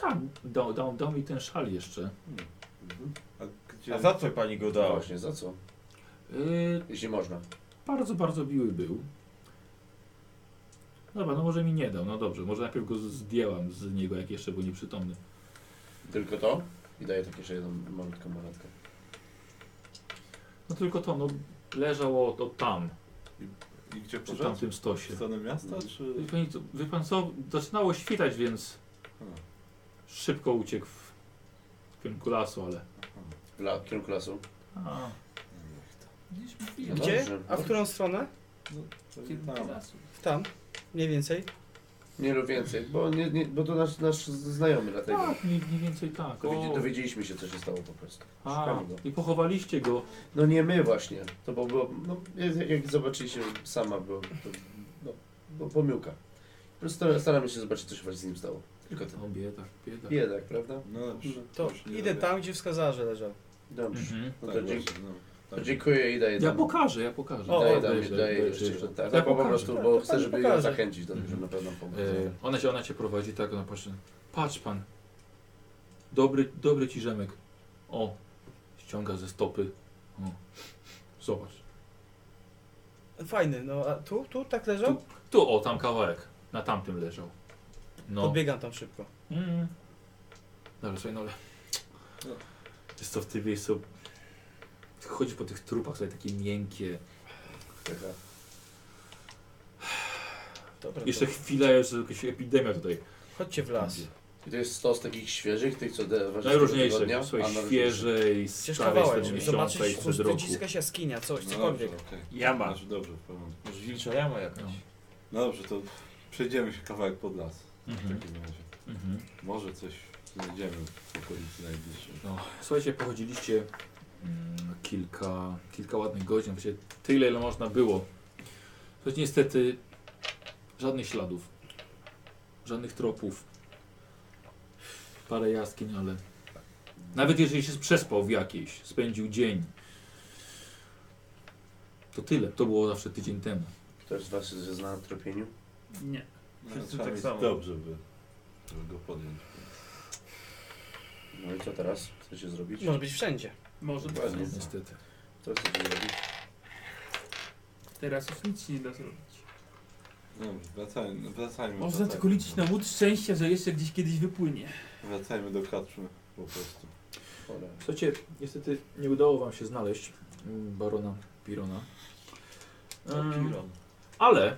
Speaker 1: Tak, dał, dał, dał mi ten szal jeszcze.
Speaker 2: A,
Speaker 5: A za co
Speaker 1: pani
Speaker 5: go dała? Mhm. Właśnie, za co? Jeśli można.
Speaker 1: Y, bardzo, bardzo miły był. Dobra, no może mi nie dał, no dobrze, może najpierw go z- zdjęłam z niego, jak jeszcze był nieprzytomny.
Speaker 5: Tylko to? I daję tak jeszcze jedną malutką monetkę.
Speaker 1: No tylko to, no leżało to tam.
Speaker 2: No. I gdzie
Speaker 1: Przy
Speaker 2: poszedł?
Speaker 1: tamtym stosie.
Speaker 2: W stronę miasta, czy...
Speaker 1: Wie pani, co- wie pan co, zaczynało świtać, więc
Speaker 2: Hmm.
Speaker 1: szybko uciekł w kierunku lasu, ale...
Speaker 5: W la- w kierunku lasu.
Speaker 1: A.
Speaker 6: Gdzie?
Speaker 5: Dobrze.
Speaker 6: A w którą stronę? W tam, mniej więcej.
Speaker 5: Nie rób więcej, bo, nie, nie, bo to nasz, nasz znajomy dlatego.
Speaker 1: Tak, mniej, mniej więcej tak.
Speaker 5: Dowiedzi,
Speaker 1: O.
Speaker 5: dowiedzieliśmy się, co się stało po prostu.
Speaker 1: A,
Speaker 5: Szukamy go.
Speaker 1: i pochowaliście go.
Speaker 5: No nie my właśnie. To bo było, no, jak- jak zobaczyliście sama, było, to, no, bo, pomyłka. Po prostu stara- staramy się zobaczyć, co się właśnie z nim stało. Tylko to.
Speaker 1: O, biedak, biedak.
Speaker 5: Biedak, prawda?
Speaker 2: No dobrze.
Speaker 6: To idę tam, gdzie wskazarze leżał.
Speaker 5: Dobrze.
Speaker 1: Mhm.
Speaker 5: No to,
Speaker 2: Tak,
Speaker 5: dziękuję,
Speaker 2: właśnie, no.
Speaker 5: to dziękuję i daję
Speaker 1: Ja
Speaker 5: dam-
Speaker 1: pokażę, ja pokażę.
Speaker 5: Daję,
Speaker 1: O,
Speaker 5: daję,
Speaker 1: weź,
Speaker 5: daję,
Speaker 1: weź,
Speaker 5: jeszcze.
Speaker 1: jeszcze.
Speaker 5: Tak,
Speaker 1: Ja
Speaker 5: tak, po
Speaker 1: pokażę.
Speaker 5: prostu,
Speaker 1: Tak,
Speaker 5: bo
Speaker 1: to
Speaker 5: chcę,
Speaker 1: pani
Speaker 5: żeby ją
Speaker 1: pokaże.
Speaker 5: zachęcić do tego, że na pewno pomoże.
Speaker 1: E, ona, cię, ona cię prowadzi, tak, ona patrzy. Patrz pan. Dobry, dobry ci rzemek. O, ściąga ze stopy. O. Zobacz.
Speaker 6: Fajny, no a tu, tu tak leżał?
Speaker 1: Tu, o, tam kawałek. Na tamtym leżał. No.
Speaker 6: Podbiegam tam szybko.
Speaker 1: Mm. Dobra, słuchaj, no ale... Jest to w tym miejscu... Chodzi po tych trupach, słuchaj, takie miękkie.
Speaker 6: Dobra,
Speaker 1: Jeszcze
Speaker 6: to-
Speaker 1: chwila, jeszcze jakaś epidemia tutaj.
Speaker 6: Chodźcie w las.
Speaker 5: I to jest stos takich świeżych, tych co de- ważysz tego
Speaker 1: Najróżniejsze,
Speaker 5: tygodnia? A,
Speaker 1: słuchaj,
Speaker 5: najróżniejsze.
Speaker 1: świeżej,
Speaker 6: Przecież
Speaker 1: starej,
Speaker 6: kawałek,
Speaker 1: z
Speaker 6: żeby
Speaker 1: miesiąca
Speaker 6: zobaczyć,
Speaker 1: i
Speaker 6: po
Speaker 1: sprzed
Speaker 6: prostu
Speaker 1: roku.
Speaker 6: jakaś jaskinia, coś,
Speaker 2: No
Speaker 6: cokolwiek.
Speaker 2: dobrze, okej.
Speaker 6: Jama.
Speaker 2: Znaczy, dobrze, w porządku.
Speaker 29: Może wilcza jama jakaś.
Speaker 2: No dobrze, to przejdziemy się kawałek pod las.
Speaker 1: Mhm.
Speaker 2: W takim razie.
Speaker 1: Mhm.
Speaker 2: Może coś znajdziemy w okolicy najbliższej.
Speaker 1: No, słuchajcie, pochodziliście mm, kilka, kilka ładnych godzin, właściwie tyle, ile można było. Słuchajcie, niestety żadnych śladów, żadnych tropów, parę jaskiń, ale nawet jeżeli się przespał w jakiejś, spędził dzień, to tyle. To było zawsze tydzień temu.
Speaker 5: Ktoś z was jest zna na tropieniu?
Speaker 3: Nie.
Speaker 2: No, trzeba mieć dobrze, by, żeby go podjąć.
Speaker 5: No i co teraz? Chcecie zrobić?
Speaker 6: Może być wszędzie.
Speaker 3: Może być
Speaker 5: Dokładnie.
Speaker 3: wszędzie.
Speaker 1: Niestety.
Speaker 5: Co chcecie zrobić?
Speaker 3: Teraz już nic się nie da zrobić.
Speaker 2: No dobrze, wracajmy. wracajmy
Speaker 3: Można
Speaker 2: wracajmy.
Speaker 3: tylko liczyć na łód szczęścia, że jeszcze gdzieś kiedyś wypłynie.
Speaker 2: Wracajmy do kaczmy po prostu.
Speaker 1: Słuchajcie, niestety nie udało wam się znaleźć mm, barona Pirona. Em,
Speaker 2: Piron.
Speaker 1: Ale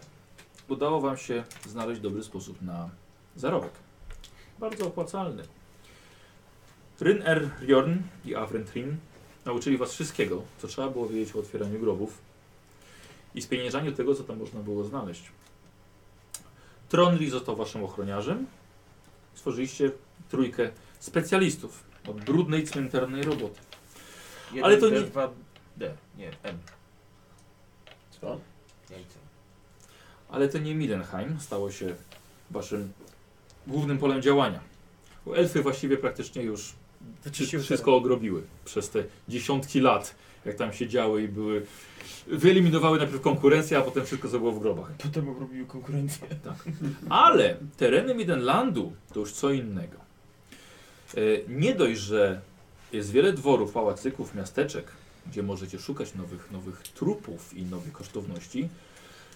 Speaker 1: udało wam się znaleźć dobry sposób na zarobek. Bardzo opłacalny. Ryn R. Jorn i Afrentrin nauczyli was wszystkiego, co trzeba było wiedzieć o otwieraniu grobów i spieniężaniu tego, co tam można było znaleźć. Tronri został waszym ochroniarzem. Stworzyliście trójkę specjalistów od brudnej cmentarnej roboty. Ale to nie...
Speaker 29: 2D, nie, M.
Speaker 5: Co?
Speaker 29: Jajce.
Speaker 1: Ale to nie Midenheim stało się waszym głównym polem działania. Bo Elfy właściwie praktycznie już
Speaker 6: Wyczyściły
Speaker 1: wszystko ogrobiły przez te dziesiątki lat, jak tam siedziały i były. Wyeliminowały najpierw konkurencję, a potem wszystko co było w grobach.
Speaker 6: Potem obrobił konkurencję.
Speaker 1: Tak. Ale tereny Midenlandu to już co innego. E, Nie dość, że jest wiele dworów, pałacyków, miasteczek, gdzie możecie szukać nowych, nowych trupów i nowych kosztowności,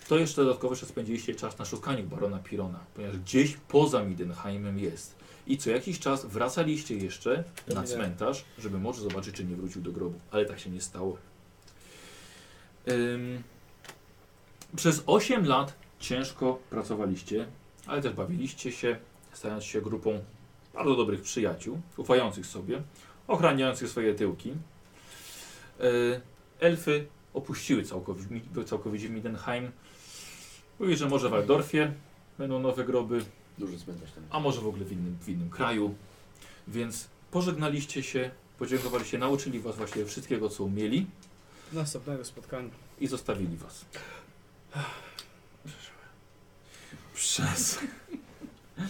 Speaker 1: to jeszcze dodatkowo jeszcze spędziliście czas na szukaniu barona Pirona, ponieważ gdzieś poza Midenheimem jest. I co jakiś czas wracaliście jeszcze
Speaker 6: Do
Speaker 1: na
Speaker 6: Midenheimu.
Speaker 1: cmentarz, żeby może zobaczyć, czy nie wrócił do grobu. Ale tak się nie stało. Ym, przez 8 lat ciężko pracowaliście, ale też bawiliście się, stając się grupą bardzo dobrych przyjaciół, ufających sobie, ochraniających swoje tyłki. E, Elfy opuściły całkowicie, całkowicie Mindenheim. Mówi, że może w Waldorfie będą nowe groby.
Speaker 5: Duży cmentarz tam.
Speaker 1: A może w ogóle w innym, w innym kraju. Więc pożegnaliście się, podziękowaliście, nauczyli was właśnie wszystkiego, co umieli
Speaker 6: Następnego No, spotkania.
Speaker 1: i zostawili was. Przez. Em,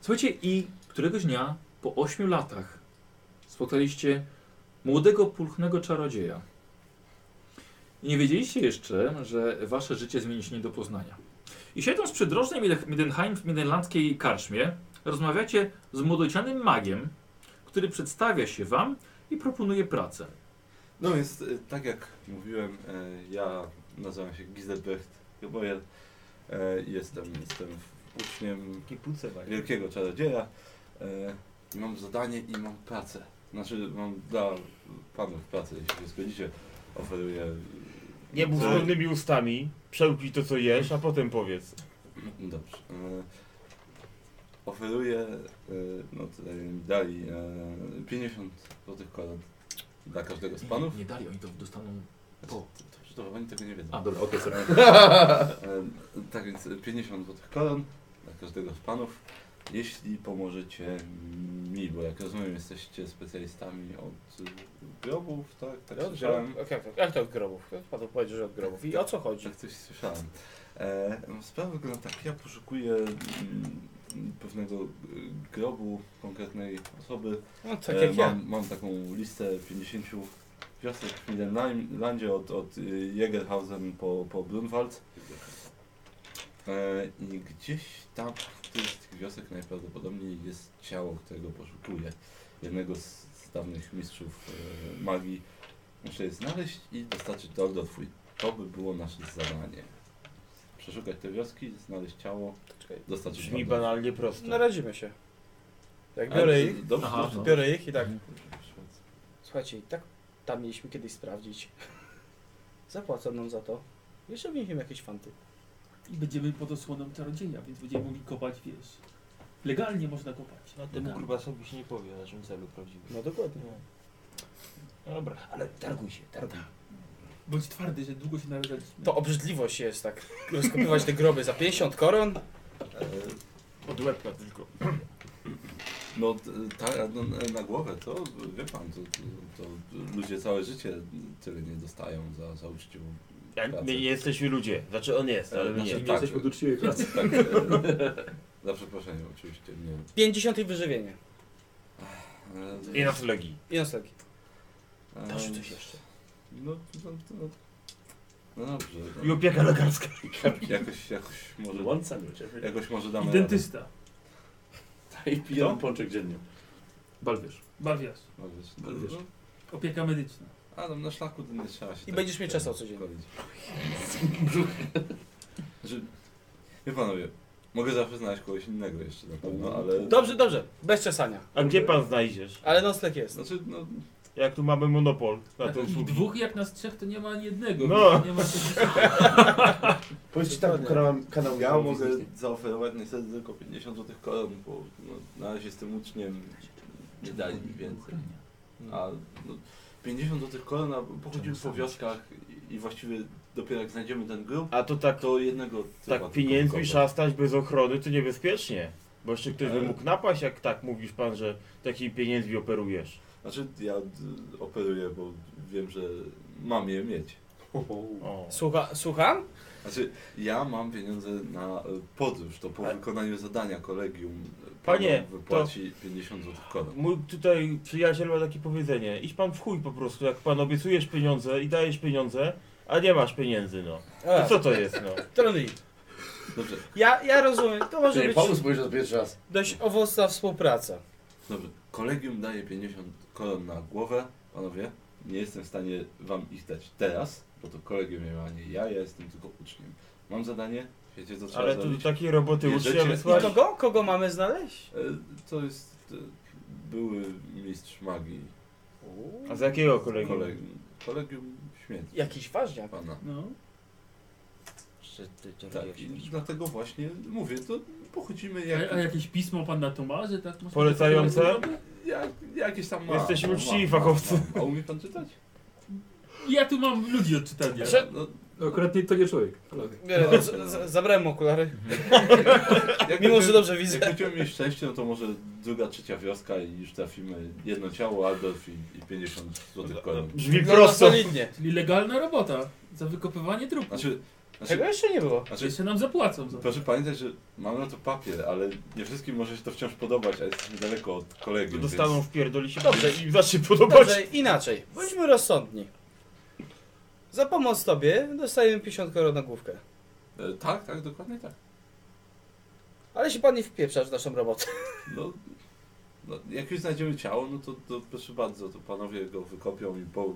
Speaker 1: Słuchajcie, i któregoś dnia, po 8 latach, spotkaliście młodego, pulchnego czarodzieja. I nie wiedzieliście jeszcze, że wasze życie zmieni się nie do poznania. I siedząc przy drożnej Mieden- Midenheim w midenlandzkiej karczmie, rozmawiacie z młodocianym magiem, który przedstawia się wam i proponuje pracę.
Speaker 2: No więc e, tak jak mówiłem, e, ja nazywam się Gizelbrecht Geboyer. E, Jestem, jestem uczniem wielkiego czarodzieja. e, I mam zadanie i mam pracę. Znaczy mam dla panów pracę, jeśli się zgodzicie. Oferuję...
Speaker 7: Nie mów
Speaker 2: Oferuję-
Speaker 7: brudnymi ustami, przełknij to co jesz, a potem powiedz.
Speaker 2: Dobrze. E, Oferuję, e, no tutaj mi dali e, 50 złotych koron dla każdego z panów.
Speaker 1: Nie, nie dali, oni to dostaną po.
Speaker 2: Dobrze, dobra, oni tego nie wiedzą.
Speaker 1: A, dobra, okej, sorry.
Speaker 2: E, Tak więc 50 złotych koron dla każdego z panów, jeśli pomożecie mi, bo jak rozumiem jesteście specjalistami od e, grobów, tak? Tak
Speaker 7: Od
Speaker 2: słyszałem.
Speaker 7: grobów. Jak to- Jak to od grobów? Pan to powiedział, że od grobów. I o co chodzi?
Speaker 2: Tak coś słyszałem. E, no, sprawa wygląda tak, ja poszukuję mm, pewnego e, grobu konkretnej osoby.
Speaker 7: No, tak jak
Speaker 2: mam,
Speaker 7: ja.
Speaker 2: E, mam taką listę 50 wiosek w Midenlandzie od, od y, Jägerhausen po, po Brunwald. E, I gdzieś tam w którymś z tych wiosek najprawdopodobniej jest ciało, którego poszukuję. Jednego z, z dawnych mistrzów e, magii. Muszę je znaleźć i dostarczyć do Ordotwój. To by było nasze zadanie. Przeszukać te wioski, znaleźć ciało, dostarczyć do
Speaker 7: Brzmi
Speaker 2: Ordotwój.
Speaker 7: banalnie prosto.
Speaker 6: No, Naradzimy się.
Speaker 7: Jak
Speaker 2: Ale
Speaker 7: biorę
Speaker 2: to-
Speaker 7: ich,
Speaker 2: dobrze,
Speaker 7: Aha,
Speaker 2: dobrze.
Speaker 7: biorę ich i tak.
Speaker 6: Słuchajcie, i tak tam mieliśmy kiedyś sprawdzić. Zapłacą nam za to. Jeszcze wniesiemy jakieś fanty.
Speaker 3: I będziemy pod osłoną czarodzieja, więc będziemy mogli kopać, wiesz. Legalnie można kopać.
Speaker 7: No temu kurwa sobie się nie powie o naszym celu prawdziwym.
Speaker 6: No dokładnie.
Speaker 7: No dobra, ale targuj się, targuj.
Speaker 3: Bądź twardy, że długo się narażaliśmy.
Speaker 6: To obrzydliwość jest tak. Rozkopywać te groby za 50 koron.
Speaker 7: Od łebka tylko.
Speaker 2: No t- tak, no, na głowę to wie pan, to, to, to ludzie całe życie tyle nie dostają za, za uczciwą
Speaker 7: Ja-
Speaker 2: pracę.
Speaker 7: My nie jesteśmy ludzie. Znaczy on jest, ale my nie.
Speaker 2: Znaczy,
Speaker 7: Tak.
Speaker 2: tak, Tak, e, za przeproszeniem oczywiście, nie.
Speaker 6: 50 i wyżywienie.
Speaker 2: E,
Speaker 7: I noclegi.
Speaker 6: I noclegi.
Speaker 2: e,
Speaker 6: Dasz coś jeszcze.
Speaker 2: No, no, no, no dobrze. No.
Speaker 7: I opieka lekarska.
Speaker 2: Jak- Jakoś, jakoś może...
Speaker 5: Łąca ludzie.
Speaker 2: Jakoś może
Speaker 3: I
Speaker 2: damy
Speaker 3: dentysta.
Speaker 5: I piją pączek dziennie.
Speaker 1: Balwierz.
Speaker 3: Bawiasz.
Speaker 2: radę. Może-
Speaker 3: Bawiasz.
Speaker 2: no,
Speaker 3: Opieka medyczna.
Speaker 2: A no, na szlaku to nie trzeba się
Speaker 6: I będziesz mnie czesał codziennie.
Speaker 2: szkolić. Znaczy, wie panowie, mogę zawsze znaleźć kogoś innego jeszcze na pewno, ale...
Speaker 6: Dobrze, dobrze. Bez czesania.
Speaker 7: A gdzie pan znajdziesz?
Speaker 6: Ale nocleg jest.
Speaker 2: Znaczy, no,
Speaker 7: Jak tu mamy monopol na te
Speaker 3: I
Speaker 7: usługi.
Speaker 3: dwóch jak nas trzech to nie ma ani jednego.
Speaker 7: No.
Speaker 3: Nie ma
Speaker 30: Powiedzcie tak, kanał, kanał
Speaker 2: ja mogę zaoferować niestety tylko 50 zł koron, bo no, na razie z tym uczniem nie dali mi więcej. A no, 50 zł koron, a pochodzimy po wioskach i- i właściwie dopiero jak znajdziemy ten grób,
Speaker 7: A to tak,
Speaker 2: to jednego typa
Speaker 7: tak
Speaker 2: tylko
Speaker 7: pieniędzmi
Speaker 2: kogoś.
Speaker 7: szastać bez ochrony to niebezpiecznie. Bo jeszcze ktoś by
Speaker 2: Ale-
Speaker 7: mógł napaść, jak tak mówisz pan, że takimi pieniędzmi operujesz.
Speaker 2: Znaczy ja y, operuję, bo wiem, że mam je mieć.
Speaker 7: O.
Speaker 6: Słucha, słucham?
Speaker 2: Znaczy ja mam pieniądze na y, podróż, to po
Speaker 7: Ale-
Speaker 2: wykonaniu zadania kolegium y,
Speaker 7: Panie,
Speaker 2: panom wypłaci 50 zł koron.
Speaker 7: Mój tutaj przyjaciel ma takie powiedzenie. Idź pan w chuj po prostu, jak pan obiecujesz pieniądze i dajesz pieniądze, a nie masz pieniędzy, no.
Speaker 6: A.
Speaker 7: To co to jest, no?
Speaker 5: Tak.
Speaker 6: Trony.
Speaker 2: Dobrze,
Speaker 6: Ja, ja rozumiem. To może
Speaker 5: Ty,
Speaker 6: być
Speaker 5: pomysł mówisz za pierwszy raz.
Speaker 6: dość owocna współpraca.
Speaker 2: Dobrze, kolegium daje 50 koron na głowę, panowie. Nie jestem w stanie wam ich dać teraz, bo to kolegium nie ma, a nie ja, ja jestem tylko uczniem. Mam zadanie, wiecie co trzeba
Speaker 7: Ale to do
Speaker 2: zrobić?
Speaker 7: takiej roboty
Speaker 2: Bierzecie-
Speaker 7: ucznia
Speaker 6: I
Speaker 7: wysłać?
Speaker 6: kogo? Kogo mamy znaleźć?
Speaker 2: E, To jest e, były mistrz magii
Speaker 7: A z jakiego kolegium?
Speaker 2: kolegium, kolegium śmierci
Speaker 6: Jakiś ważniak.
Speaker 2: pana.
Speaker 3: No.
Speaker 31: że ty
Speaker 2: Tak,
Speaker 31: czarodziejów
Speaker 2: i
Speaker 31: się widzi.
Speaker 2: dlatego właśnie mówię, to pochodzimy jak...
Speaker 3: A, a jakieś pismo pan na Tomarze? Tak? Może
Speaker 2: Polecające?
Speaker 3: coś takiego
Speaker 2: Jak, jakieś tam ma.
Speaker 3: Jesteśmy
Speaker 2: No, ma,
Speaker 3: uczciwi
Speaker 2: ma,
Speaker 3: fachowcy.
Speaker 2: ma. A umie pan czytać?
Speaker 3: Ja tu mam ludzi od czytania.
Speaker 6: Prze-
Speaker 3: no, akurat to nie człowiek. Tak.
Speaker 6: Nie, no, z- z- zabrałem mu okulary.
Speaker 2: Jak
Speaker 6: Mimo,
Speaker 2: będziemy-
Speaker 6: że dobrze widzę.
Speaker 2: Jak będziemy mieć szczęście, no to może druga, trzecia wioska i już trafimy jedno ciało, Adolf i, i 50
Speaker 6: No,
Speaker 2: złotych koron.
Speaker 3: Wygląda solidnie. Czyli legalna robota za wykopywanie trupów.
Speaker 2: Znaczy, znaczy-
Speaker 3: Tego jeszcze nie było.
Speaker 2: Znaczy-
Speaker 3: jeszcze nam zapłacą za to.
Speaker 2: Proszę pamiętać, że mamy na to papier, ale nie wszystkim może się to wciąż podobać, a jesteśmy daleko od kolegium.
Speaker 7: Dostaną
Speaker 2: więc-
Speaker 7: w pierdoli się
Speaker 6: Dobrze,
Speaker 2: więc-
Speaker 6: i zacznie podobać. Dobrze, inaczej. Bądźmy rozsądni. Za pomoc tobie dostajemy 50 koron na główkę.
Speaker 2: E, Tak, tak, dokładnie tak.
Speaker 6: Ale się pan nie wpieprza w naszą robotę.
Speaker 2: No, no, jak już znajdziemy ciało, no to, to proszę bardzo, to panowie go wykopią i po,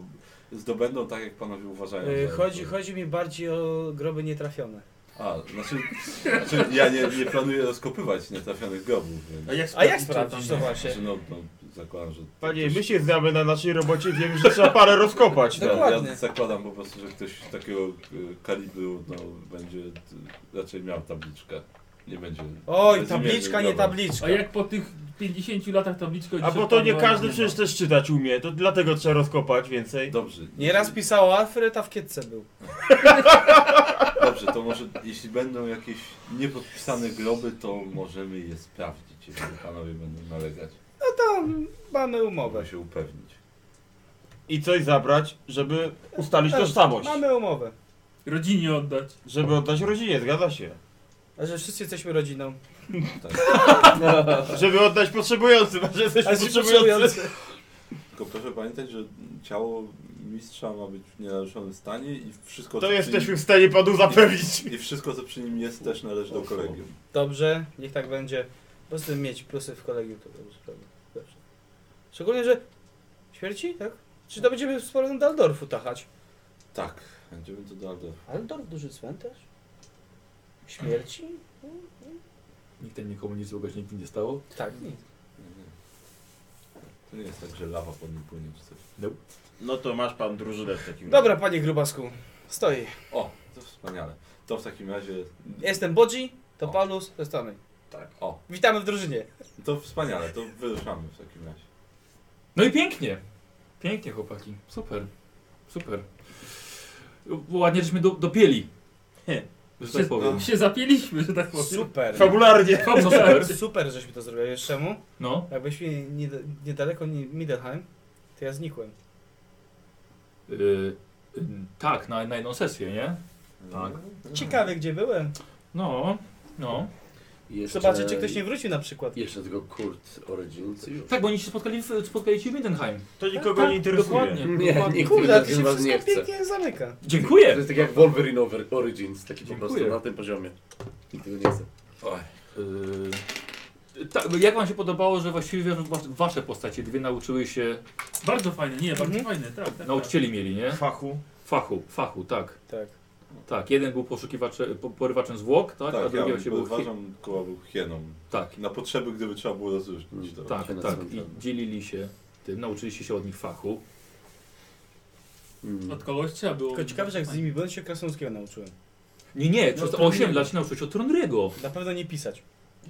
Speaker 2: zdobędą tak, jak panowie uważają.
Speaker 6: Yy,
Speaker 2: za-
Speaker 6: chodzi, chodzi mi bardziej o groby nietrafione.
Speaker 2: A, znaczy, znaczy ja nie, nie planuję rozkopywać nietrafionych grobów. Więc...
Speaker 6: A jak A jak sprawdzić, sprawdzić, to
Speaker 2: Znaczy,
Speaker 6: właśnie?
Speaker 2: No, no, zakładam, że...
Speaker 7: Panie, my się znamy na naszej robocie, wiemy, że trzeba parę rozkopać.
Speaker 2: Ja-
Speaker 7: No.
Speaker 2: Ja zakładam po prostu, że ktoś takiego e, kalibru no, będzie e, raczej miał tabliczkę. Nie będzie.
Speaker 6: Oj,
Speaker 2: bezimiennym
Speaker 6: tabliczka, nie
Speaker 2: grobem.
Speaker 6: tabliczka.
Speaker 3: A jak po tych 50 latach tabliczka...
Speaker 7: A bo to nie każdy przecież też czytać umie, to dlatego trzeba rozkopać więcej.
Speaker 2: Dobrze.
Speaker 6: Nieraz pisał Alfred, a w kietce był.
Speaker 2: Dobrze, to może jeśli będą jakieś niepodpisane groby, to możemy je sprawdzić, jeśli panowie będą nalegać.
Speaker 6: No to mamy umowę.
Speaker 2: Mogę się upewnić.
Speaker 7: I coś zabrać, żeby ustalić tożsamość.
Speaker 6: Mamy umowę.
Speaker 3: Rodzinie oddać.
Speaker 7: Żeby oddać rodzinie, zgadza się.
Speaker 6: A że wszyscy jesteśmy rodziną.
Speaker 7: Tak. Żeby oddać potrzebującym, a że jesteśmy
Speaker 6: A ci
Speaker 7: potrzebujący.
Speaker 6: potrzebujący.
Speaker 2: Tylko proszę pamiętać, że ciało mistrza ma być w nienaruszonym stanie i wszystko
Speaker 7: To
Speaker 2: co przy
Speaker 7: jesteśmy
Speaker 2: nim-
Speaker 7: w stanie panu zapewnić.
Speaker 2: I, I wszystko co przy nim jest też należy do kolegium.
Speaker 6: Dobrze, niech tak będzie. Po prostu mieć plusy w kolegium to dobrze. prawda? Dobrze. Szczególnie, że śmierci, tak? Czy to będziemy z powrotem do Aldorfu tachać?
Speaker 2: Tak, będziemy to dalej.
Speaker 6: Aldorf, duży cmentarz? Śmierci?
Speaker 1: Nikt ten nikomu nic złego się nigdy nie stało.
Speaker 6: Tak, nic.
Speaker 2: To nie jest tak, że lawa pod nim płynie czy coś.
Speaker 7: No to masz pan drużynę w takim
Speaker 6: Dobra, panie Grubasku, stoi.
Speaker 2: O, to wspaniale. To w takim razie.
Speaker 6: Jestem Bodzi, to Paulus, to Stany.
Speaker 2: Tak. O,
Speaker 6: Witamy w drużynie.
Speaker 2: to wspaniale, to wyruszamy w takim razie.
Speaker 1: No i pięknie. Pięknie, chłopaki. Super. Super. Ładnie żeśmy do, dopieli. Że tak
Speaker 3: Się-
Speaker 1: powiem.
Speaker 3: się zapieliśmy, że tak powiem.
Speaker 6: Super.
Speaker 3: Fabularnie.
Speaker 6: Super.
Speaker 3: Fabularnie.
Speaker 6: Super, żeśmy to zrobili. Wiesz czemu?
Speaker 1: No.
Speaker 6: Jakbyś mi nie, niedaleko nie- Middleheim, to ja znikłem.
Speaker 1: Y, y, tak, na, na jedną sesję, nie? Tak.
Speaker 6: Ciekawe, gdzie byłem.
Speaker 1: No, no.
Speaker 5: Jeszcze-
Speaker 6: Zobaczę, czy ktoś nie wrócił na przykład.
Speaker 5: Jeszcze tylko Kurt o rodzincy już.
Speaker 1: Tak, bo oni się spotkali w, spotkali się w Mindenheim.
Speaker 7: To nikogo nie interesuje.
Speaker 1: Dokładnie.
Speaker 5: Nie,
Speaker 1: dokładnie.
Speaker 5: nikt
Speaker 6: Kurde,
Speaker 5: Kurde,
Speaker 6: to się
Speaker 5: was nie
Speaker 6: wszystko
Speaker 5: chce.
Speaker 6: pięknie zamyka.
Speaker 1: Dziękuję.
Speaker 5: To jest tak jak Wolverine Over- Origins, taki po
Speaker 1: Dziękuję.
Speaker 5: prostu na tym poziomie. Nikt tego nie chce.
Speaker 1: Y, tak, jak wam się podobało, że właściwie was- wasze postacie dwie nauczyły się...
Speaker 3: Bardzo fajne, nie, bardzo
Speaker 6: Mhm.
Speaker 3: fajne, tak, tak.
Speaker 1: Nauczycieli mieli, nie?
Speaker 7: Fachu.
Speaker 1: Fachu, fachu, tak.
Speaker 6: Tak.
Speaker 1: Tak, jeden był poszukiwaczem, po- porywaczem zwłok, tak? a
Speaker 2: Tak, ja
Speaker 1: drugi
Speaker 2: bym
Speaker 1: się był... hi-
Speaker 2: uważam, koła był hieną.
Speaker 1: Tak.
Speaker 2: Na potrzeby, gdyby trzeba było rozróżnić to.
Speaker 1: Tak, tak. I dzielili się tym, nauczyliście się od nich fachu.
Speaker 3: tak.
Speaker 5: Mm.
Speaker 3: Od kogoś trzeba było...
Speaker 6: Tylko ciekawe, że jak z nimi byłem, się krasnoludzkiego nauczyłem.
Speaker 1: Nie, nie, przez
Speaker 6: No,
Speaker 1: no,
Speaker 6: to
Speaker 1: 8
Speaker 6: nie.
Speaker 1: lat się nauczyłeś od Trondrego.
Speaker 6: Na pewno nie pisać.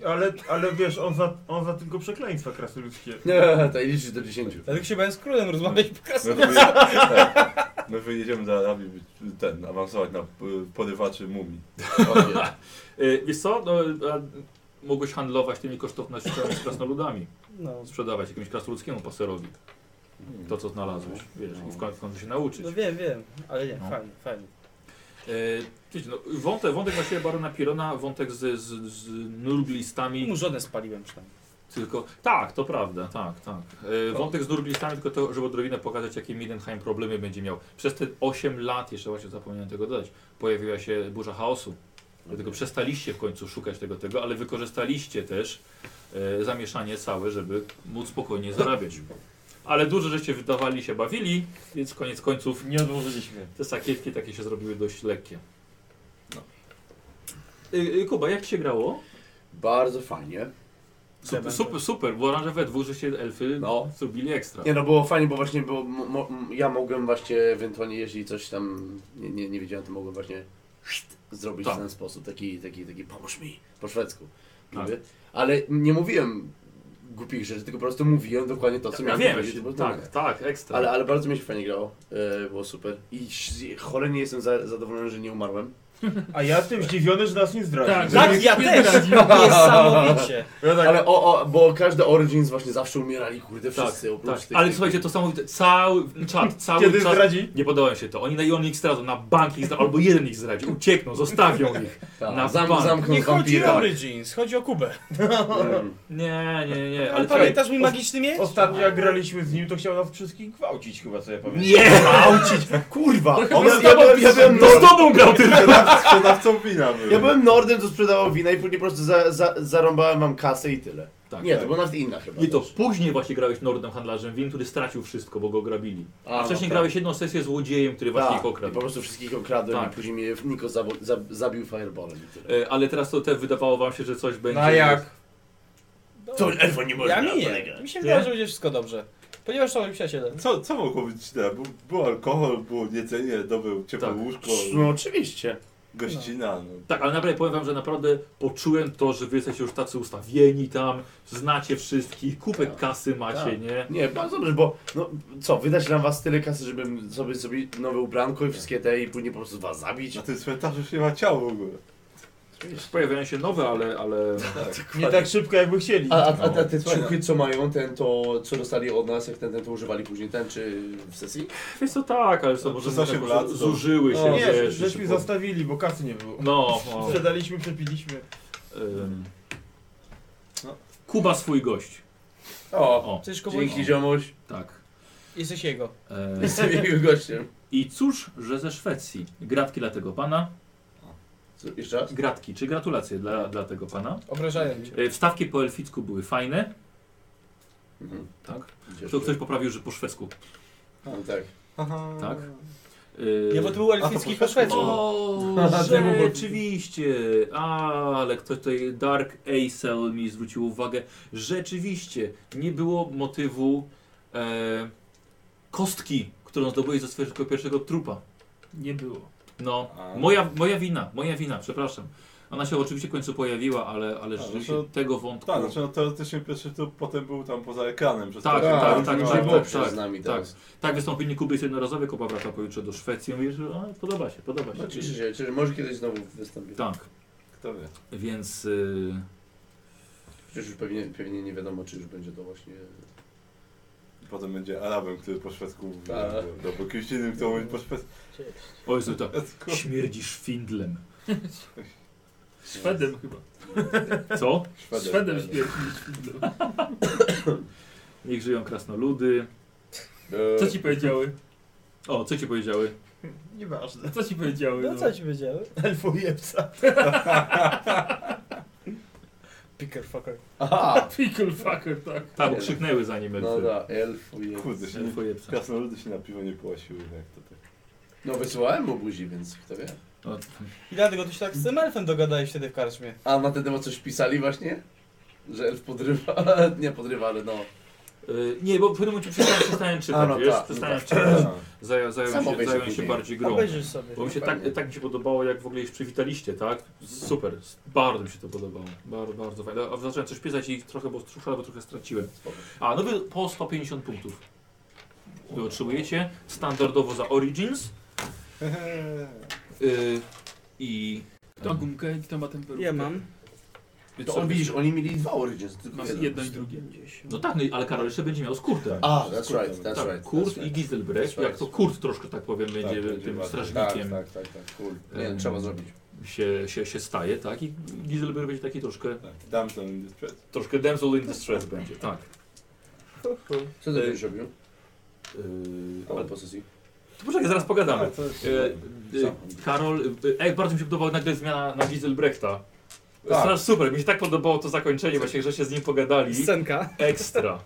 Speaker 7: Ale, ale wiesz, on za, on za tylko przekleństwa krasnoludzkie.
Speaker 5: No, to liczy do 10.
Speaker 6: Dlatego się będę z królem rozmawiać po
Speaker 2: My,
Speaker 6: krasnoludzku.
Speaker 2: wyje- tak. My wyjedziemy do Arabii, by- ten, awansować na y, porywaczy mumii.
Speaker 1: Y, Wiesz co, no, a, mogłeś handlować tymi kosztownościami z krasnoludami.
Speaker 6: No.
Speaker 1: Sprzedawać jakimś krasnoludzkiemu paserowi. To, co znalazłeś, wiesz, i w końcu, w końcu się nauczyć.
Speaker 6: No wiem, wiem, ale nie,
Speaker 1: No.
Speaker 6: fajnie, fajnie.
Speaker 1: E, wiecie, no, wątek, wątek właściwie Barona Pirona, wątek z, z, z nurglistami.
Speaker 6: Mu żonę spaliłem przynajmniej.
Speaker 1: Tylko, tak, to prawda, tak, tak. E, wątek z nurglistami, tylko to, żeby odrobinę pokazać, jakie Midenheim problemy będzie miał. Przez te 8 lat, jeszcze właśnie zapomniałem tego dodać, pojawiła się burza chaosu. Dlatego przestaliście w końcu szukać tego, tego, ale wykorzystaliście też e, zamieszanie całe, żeby móc spokojnie zarabiać. Ale dużo żeście wydawali się bawili, więc koniec końców
Speaker 7: Nie odłożyliśmy.
Speaker 1: te sakiewki takie się zrobiły dość lekkie. No. Y, y, Kuba, jak ci się grało?
Speaker 5: Bardzo fajnie.
Speaker 1: Super, super, super, bo że we dwóch, że się elfy no. zrobili ekstra.
Speaker 5: Nie no, było fajnie, bo właśnie było, mo, mo, ja mogłem właśnie ewentualnie, jeśli coś tam nie, nie, nie wiedziałem, to mogłem właśnie zrobić w ten sposób, taki, taki, taki pomóż mi po szwedzku.
Speaker 1: Tak.
Speaker 5: Niby. Ale nie mówiłem głupich rzeczy, tylko po prostu mówiłem dokładnie to, co
Speaker 1: Tak,
Speaker 5: miałem
Speaker 1: ja wiem,
Speaker 5: powiedzieć. to było
Speaker 1: tak,
Speaker 5: dobre.
Speaker 1: tak, ekstra.
Speaker 5: Ale, ale bardzo mi się fajnie grało, e, było super. I ś- cholernie jestem za, zadowolony, że nie umarłem.
Speaker 32: A ja jestem zdziwiony, że nas nie zdradził.
Speaker 5: Tak,
Speaker 32: Tak, ja też. Niesamowicie.
Speaker 5: Ale o, o, bo każde Origins właśnie zawsze umierali, kurde, wszyscy oprócz
Speaker 1: Tak. tak.
Speaker 5: tych...
Speaker 1: Ale słuchajcie, to samowite, cały czat, tak. cały
Speaker 5: Kiedy
Speaker 1: czas
Speaker 5: zdradzi?
Speaker 1: nie podoba mi się to. Oni na oni ich zdradzą, na bank ich zdradzą, albo jeden ich zdradzi, uciekną, zostawią ich.
Speaker 5: Tak,
Speaker 1: na
Speaker 5: zam-
Speaker 1: bank.
Speaker 5: zamkną Nie chodzi wampira. Mm. o
Speaker 6: Origins, chodzi o Kubę.
Speaker 1: Nie, nie, nie.
Speaker 6: Ale pamiętasz mój magiczny miecz?
Speaker 32: Ostatnio jak graliśmy z nim, to chciał nas wszystkich gwałcić chyba, co ja pamiętam.
Speaker 1: Nie!
Speaker 32: Gwałcić! Kurwa!
Speaker 5: To chyba z tobą- ja byłem- Tak,
Speaker 32: to z
Speaker 1: tobą grał ty!
Speaker 32: Sprzedawcą wina byłem.
Speaker 5: Ja byłem nordem, co sprzedawał wina i później po prostu za, za, zarąbałem wam kasę i tyle. nie, to była nawet inna chyba.
Speaker 1: Tak, I to później właśnie grałeś Nordem handlarzem win, który stracił wszystko, bo go grabili. A,
Speaker 5: A, no
Speaker 1: wcześniej
Speaker 5: tak.
Speaker 1: grałeś jedną sesję z złodziejem, który właśnie
Speaker 5: Tak,
Speaker 1: ich okradł.
Speaker 5: i po prostu wszystkich okradłem
Speaker 1: Tak.
Speaker 5: i później mnie Niko zabo, zab, zabił fireballem. i tyle.
Speaker 1: E, Ale teraz to te wydawało wam się, że coś będzie.
Speaker 6: No A jak?
Speaker 5: To elfo nie można,
Speaker 6: Ja mi nie.
Speaker 5: kolega.
Speaker 6: Mi się wydaje,
Speaker 5: Nie?
Speaker 6: że będzie wszystko dobrze. Ponieważ to moi przyjaciele.
Speaker 2: Co, co mogło być źle? Był, był alkohol, było jedzenie, dobył ciepłe łóżko.
Speaker 1: No,
Speaker 5: oczywiście.
Speaker 2: Gościna, no.
Speaker 1: Tak, ale naprawdę powiem wam, że naprawdę poczułem to, że wy jesteście już tacy ustawieni tam, znacie wszystkich, kupę kasy macie,
Speaker 5: Tak.
Speaker 1: nie?
Speaker 5: Nie, bardzo dobrze, bo no, co, wydać na was tyle kasy, żebym sobie sobie nowe ubranko i wszystkie te i później po prostu was zabić? Na
Speaker 2: tym cmentarzu już nie ma ciała w ogóle.
Speaker 1: Pojawiają się nowe, ale... ale...
Speaker 5: Nie tak
Speaker 32: szybko, jakby chcieli.
Speaker 5: A, a, a, a te
Speaker 1: Słuchaj, no.
Speaker 5: ciuchy, co mają, ten to, co dostali od nas, jak ten, ten to używali później, ten czy w sesji?
Speaker 1: Wiesz co, tak, ale co, może
Speaker 5: No, przez
Speaker 1: tak
Speaker 5: osiem
Speaker 1: po-
Speaker 5: lat No, to-
Speaker 1: zużyły się,
Speaker 5: O,
Speaker 1: wiesz,
Speaker 32: Nie,
Speaker 1: jeszcze
Speaker 32: żeśmy
Speaker 1: po-
Speaker 32: zostawili, bo kasy nie było.
Speaker 1: No, no.
Speaker 32: Sprzedaliśmy, przepiliśmy.
Speaker 1: Ym.
Speaker 5: No.
Speaker 1: Kuba swój gość.
Speaker 5: O,
Speaker 6: Cześć, Kubuś.
Speaker 5: dzięki ziomuś.
Speaker 1: Tak.
Speaker 6: Jesteś jego.
Speaker 1: E,
Speaker 5: Jestem jego gościem.
Speaker 1: I cóż, że ze Szwecji. Gratki dla tego pana.
Speaker 5: jeszcze raz?
Speaker 1: Gratki, czy gratulacje dla, dla tego pana.
Speaker 6: Obrażają cię.
Speaker 1: E, Wstawki po elficku były fajne.
Speaker 5: Mhm.
Speaker 1: Tak?
Speaker 5: Gdzieś
Speaker 1: To
Speaker 5: tu.
Speaker 1: ktoś poprawił, że po szwedzku.
Speaker 5: No tak.
Speaker 1: Tak?
Speaker 6: Nie, bo to był elficki po szwedzku.
Speaker 1: Yy, O, rzeczywiście. A, ale ktoś tutaj, Dark Acel mi zwrócił uwagę. Rzeczywiście, nie było motywu e, kostki, którą zdobyłeś ze swojego pierwszego trupa.
Speaker 3: Nie było.
Speaker 1: No, moja, moja wina, moja wina, przepraszam. Ona się oczywiście w końcu pojawiła, ale, ale
Speaker 2: A,
Speaker 1: rzeczywiście
Speaker 2: no to-
Speaker 1: tego wątku...
Speaker 2: Tak, znaczy no, teoretycznie pierwszy to potem był tam poza ekranem przez
Speaker 1: Tak,
Speaker 2: parę
Speaker 1: tak, tak,
Speaker 2: lat.
Speaker 1: tak,
Speaker 2: No,
Speaker 1: tak,
Speaker 2: no,
Speaker 1: tak, tak, tak, tak, wystąpienie Kuby jest jednorazowe, Kuba wraca pojutrze do Szwecji, mówię, że a, podoba się, podoba się.
Speaker 5: No,
Speaker 2: Znaczy-
Speaker 5: cieszę się, cieszę, może kiedyś znowu wystąpię.
Speaker 1: Tak.
Speaker 2: Kto wie.
Speaker 1: Więc... y,
Speaker 5: Przecież już pewnie, pewnie nie wiadomo, czy już będzie to właśnie...
Speaker 2: Potem będzie Arabem, który po szwedzku mówi.
Speaker 5: Tak.
Speaker 2: No, bo kimś innym, kto mówi po szwedzku.
Speaker 1: O Jezu, to śmierdzi szwindlem.
Speaker 3: Szwedem chyba.
Speaker 1: Co?
Speaker 3: Szwedem. Szwedem śmierci niż Szwedem.
Speaker 1: Niech żyją krasnoludy.
Speaker 5: E,
Speaker 3: Co ci powiedziały?
Speaker 1: O, co ci powiedziały?
Speaker 32: Nieważne.
Speaker 3: Co ci powiedziały?
Speaker 6: No co ci powiedziały?
Speaker 32: Elfu jebca.
Speaker 6: Picker fucker.
Speaker 5: Aha!
Speaker 3: Pickle fucker, tak.
Speaker 1: Tak, bo krzyknęły za nim elfy.
Speaker 5: No tak, elfu jebca.
Speaker 2: Kurde, się
Speaker 1: Elfo
Speaker 2: nie,
Speaker 1: jebca.
Speaker 2: krasnoludy się na piwo nie płasiły, jak to tak.
Speaker 5: No wysyłałem mu buzi, więc kto wie.
Speaker 6: I dlatego ty się tak z tym elfem dogadałeś wtedy w karczmie.
Speaker 5: A na ten temat coś pisali właśnie? Że elf podrywa, nie podrywa, ale no.
Speaker 1: Y, Nie, bo w pewnym momencie przestałem, przestałem
Speaker 5: A,
Speaker 1: czytać,
Speaker 5: no
Speaker 1: wiesz,
Speaker 5: tak,
Speaker 1: przestałem
Speaker 5: no tak.
Speaker 1: czytać. Zają, zają
Speaker 5: Sam
Speaker 1: się,
Speaker 5: obejrzyj
Speaker 1: zają się
Speaker 5: później.
Speaker 1: bardziej grą.
Speaker 6: No Obejrzysz sobie.
Speaker 1: Bo mi się tak,
Speaker 5: Fajnie.
Speaker 1: tak mi się podobało, jak w ogóle ich przywitaliście, tak? Super, bardzo mi się to podobało. Bardzo, bardzo fajnie. A zacząłem coś pisać i ich trochę, bo trochę, bo trochę straciłem. A, no wy po 150 punktów. Wy otrzymujecie standardowo za Origins. Y, I...
Speaker 3: Kto ma gumkę i kto ma temperówkę?
Speaker 6: Ja mam.
Speaker 5: To on, widzisz, oni mieli dwa origins, tylko
Speaker 3: Masz
Speaker 5: jeden.
Speaker 3: jedno i drugie.
Speaker 1: No tak, no, i- ale Karol jeszcze będzie miał z Kurtem.
Speaker 5: A,
Speaker 1: Z
Speaker 5: that's
Speaker 1: Kurtem.
Speaker 5: right, Tak, that's
Speaker 1: tak,
Speaker 5: right,
Speaker 1: Kurt
Speaker 5: that's
Speaker 1: i
Speaker 5: right.
Speaker 1: Gizelbrecht,
Speaker 5: That's
Speaker 1: jak to Kurt troszkę, tak powiem, będzie
Speaker 5: będzie
Speaker 1: tym
Speaker 5: bardziej.
Speaker 1: strażnikiem.
Speaker 5: Tak, tak, tak, tak, cool. Nie,
Speaker 1: Em,
Speaker 5: trzeba zrobić.
Speaker 1: Się, się, się staje, tak? I Gizelbrecht będzie taki troszkę...
Speaker 2: Damsel in distress.
Speaker 1: Troszkę damsel in distress będzie, tak.
Speaker 5: Co ty będziesz robił?
Speaker 1: ale-
Speaker 5: Po E, posesji.
Speaker 1: Yy, To poczekaj, zaraz pogadamy.
Speaker 5: A, No, to jest-
Speaker 1: E, e, Karol, e, e, bardzo mi się podobała nagle zmiana na Gizelbrechta.
Speaker 5: Tak.
Speaker 1: Tak. Super, mi się tak podobało to zakończenie właśnie, że się z nim pogadali.
Speaker 6: Scenka.
Speaker 1: Ekstra.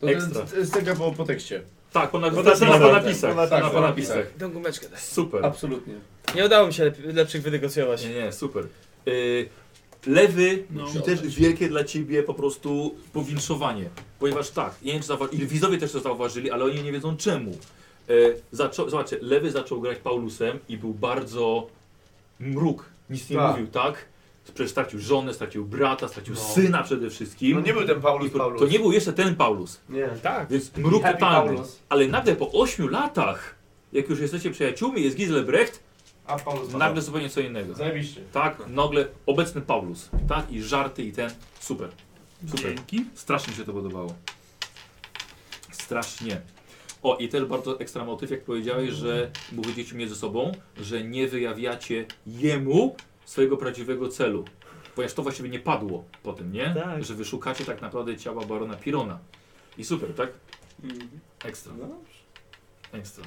Speaker 5: To
Speaker 1: Ekstra.
Speaker 5: jest- to jest taka po, po tekście.
Speaker 1: Tak, po, na,
Speaker 5: Po
Speaker 1: na, na,
Speaker 5: napisach.
Speaker 1: po napisach.
Speaker 5: Po napisach.
Speaker 1: na, po napisach.
Speaker 6: Tą gumeczkę daj.
Speaker 1: Super.
Speaker 5: Absolutnie.
Speaker 6: Nie udało mi się lep- lepszych wynegocjować.
Speaker 1: Nie, nie, super. Y, lewy, czyli też wielkie dla ciebie po prostu powinszowanie. Ponieważ tak, nie wiem czy zauwa- i widzowie też to zauważyli, ale oni nie wiedzą czemu. Y, zaczą- zobaczcie, lewy zaczął grać Paulusem i był bardzo mruk, nic nie
Speaker 6: Tak.
Speaker 1: mówił, tak? Przecież stracił żonę, stracił brata, stracił
Speaker 6: No.
Speaker 1: syna przede wszystkim.
Speaker 6: No nie był ten Paulus
Speaker 1: I to,
Speaker 6: Paulus.
Speaker 1: To nie był jeszcze ten Paulus.
Speaker 6: Nie. Tak.
Speaker 1: Więc mruk
Speaker 6: Happy
Speaker 1: totalny.
Speaker 6: Paulus.
Speaker 1: Ale nagle po 8 latach, jak już jesteście przyjaciółmi, jest Giselbrecht,
Speaker 6: A Paulus
Speaker 1: nagle zupełnie co innego.
Speaker 6: Zajebiście.
Speaker 1: Tak, nagle obecny Paulus. Tak, i żarty i ten. Super. Super. Strasznie mi się to podobało. Strasznie. O, i też bardzo ekstra motyw, jak powiedziałeś, że mówicie między sobą, że nie wyjawiacie jemu swojego prawdziwego celu. Ponieważ to właściwie nie padło potem, nie? Że wyszukacie tak naprawdę ciała barona Pirona. I super, tak? Ekstra. Ekstra.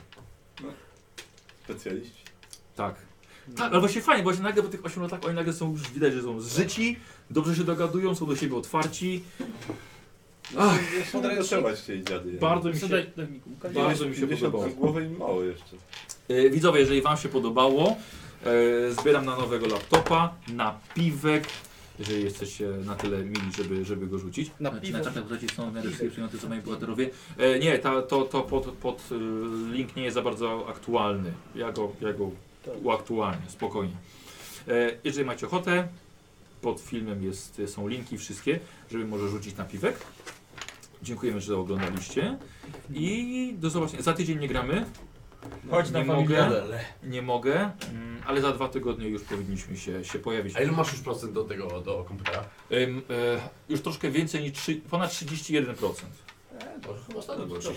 Speaker 2: Specjaliści.
Speaker 1: Tak. Tak, ale właśnie fajnie, bo się nagle po tych 8 latach oni nagle są już widać, że są zżyci, dobrze się dogadują, są do siebie otwarci.
Speaker 2: Jeszcze nie trzymać tej dziady.
Speaker 1: Bardzo mi się,
Speaker 2: Siadaj,
Speaker 3: Dawniku,
Speaker 2: Łukasz.
Speaker 1: bardzo mi się
Speaker 2: 50
Speaker 1: podobało.
Speaker 2: na głowę i mało jeszcze.
Speaker 1: E, Widzowie, jeżeli Wam się podobało, e, zbieram na nowego laptopa, na piwek, jeżeli jesteście na tyle mili, żeby, żeby go rzucić. Na
Speaker 33: piwo.
Speaker 1: Znaczy, Na czatach postaci są w miarę przyjmujący co moi bohaterowie. E, nie, ta, to, to pod, pod e, link nie jest za bardzo aktualny. Ja go, ja go uaktualnię, spokojnie. E, jeżeli macie ochotę, pod filmem jest, są linki wszystkie, żeby może rzucić na piwek. Dziękujemy, że oglądaliście. I do zobaczenia. Za tydzień nie gramy.
Speaker 6: Chodź na
Speaker 1: nie
Speaker 6: familię.
Speaker 1: mogę, nie mogę, mm, ale za dwa tygodnie już powinniśmy się, się pojawić.
Speaker 5: A ile masz już procent do tego, do komputera?
Speaker 1: Ym, e, już troszkę więcej niż trzy- ponad 31%.
Speaker 5: E, To chyba ostatnio było 31%.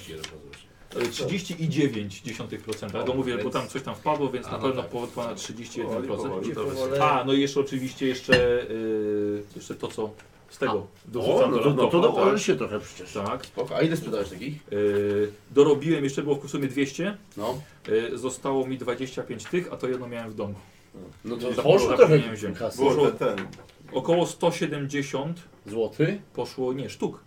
Speaker 1: E, 30,9%, bo
Speaker 5: O,
Speaker 1: mówię, bo
Speaker 5: więc-
Speaker 1: tam coś tam wpadło, więc
Speaker 5: A,
Speaker 1: na
Speaker 5: no
Speaker 1: pewno
Speaker 5: tak.
Speaker 1: po- ponad
Speaker 5: O,
Speaker 1: 31%.
Speaker 5: i powoli.
Speaker 1: A, no i jeszcze oczywiście jeszcze, y, jeszcze to co z tego
Speaker 5: O,
Speaker 1: dorzucam
Speaker 5: no
Speaker 1: do
Speaker 5: to- no to
Speaker 1: laptopa,
Speaker 5: dołoży
Speaker 1: tak.
Speaker 5: się trochę przecież.
Speaker 1: Tak.
Speaker 5: Spoko. A ile sprzedałeś takich?
Speaker 1: Y, dorobiłem, jeszcze było w sumie 200.
Speaker 5: No.
Speaker 1: Y, zostało mi 25 tych, a to jedno miałem w domu.
Speaker 5: No to
Speaker 1: Zapomniałem-
Speaker 5: poszło trochę
Speaker 1: zapomniałem wziąć.
Speaker 5: kasy.
Speaker 1: Poszło
Speaker 5: Może ten.
Speaker 1: Około 170
Speaker 5: złoty
Speaker 1: poszło, nie, sztuk.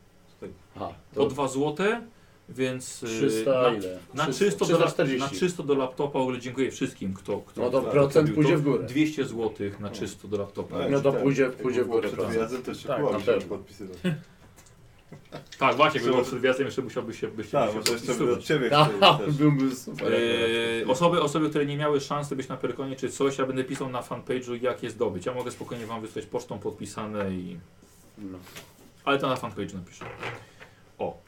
Speaker 5: Aha,
Speaker 1: Po 2 złote, więc y,
Speaker 5: 300
Speaker 1: na,
Speaker 5: ile?
Speaker 1: Na,
Speaker 5: 300,
Speaker 1: 300 do, la-
Speaker 5: 340.
Speaker 1: na 300 do laptopa w ogóle dziękuję wszystkim, kto, kto
Speaker 5: No to
Speaker 1: kto
Speaker 5: procent
Speaker 1: zrobił
Speaker 5: pójdzie
Speaker 1: to.
Speaker 5: w górę.
Speaker 1: 200 zł na 300 do laptopa.
Speaker 5: No to pójdzie- pójdzie w górę procent.
Speaker 2: Razem też się
Speaker 5: Tak,
Speaker 2: była,
Speaker 5: na
Speaker 2: mi się
Speaker 5: pewno.
Speaker 2: podpisywać.
Speaker 1: Tak, właśnie,
Speaker 2: Trzeba-
Speaker 1: gdyby przed wjazdem jeszcze musiałbyś się byś,
Speaker 2: Tak,
Speaker 1: byś
Speaker 2: może jeszcze by
Speaker 1: podpisywać.
Speaker 2: od ciebie
Speaker 5: Ah,
Speaker 2: chcieli też. Byłby super
Speaker 1: Eee,
Speaker 2: akurat.
Speaker 1: osoby, osoby, które nie miały szansy być na Perkonie czy coś, ja będę pisał na fanpage'u jak je zdobyć. Ja mogę spokojnie wam wysłać pocztą podpisane i...
Speaker 5: No.
Speaker 1: Ale to na fanpage'u napiszę. O.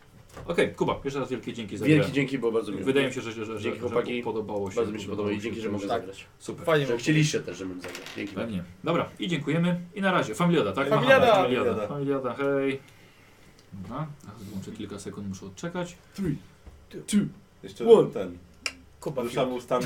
Speaker 1: Okej, Kuba, jeszcze raz wielkie dzięki za
Speaker 5: Wielkie
Speaker 1: grę.
Speaker 5: dzięki, było bardzo miło.
Speaker 1: Wydaje mi się, że, że, że,
Speaker 5: Dzięki,
Speaker 1: że
Speaker 5: chłopaki.
Speaker 1: podobało się.
Speaker 5: Bardzo mi się podobało i dzięki, że mogę
Speaker 1: Tak.
Speaker 5: zagrać. Tak.
Speaker 1: Super.
Speaker 5: Fajnie, że chcieliście też, żebym zagrał. Dzięki
Speaker 1: Pewnie. Dobra, i dziękujemy. I na razie. Familiada, tak?
Speaker 5: Familiada.
Speaker 1: Machamy. Familiada.
Speaker 5: Familiada.
Speaker 1: Familiada, hej. Dobra, muszę kilka sekund, muszę odczekać.
Speaker 2: Three, two, Jeszcze
Speaker 1: One.
Speaker 2: ten. Kuba. Ruszamy ustami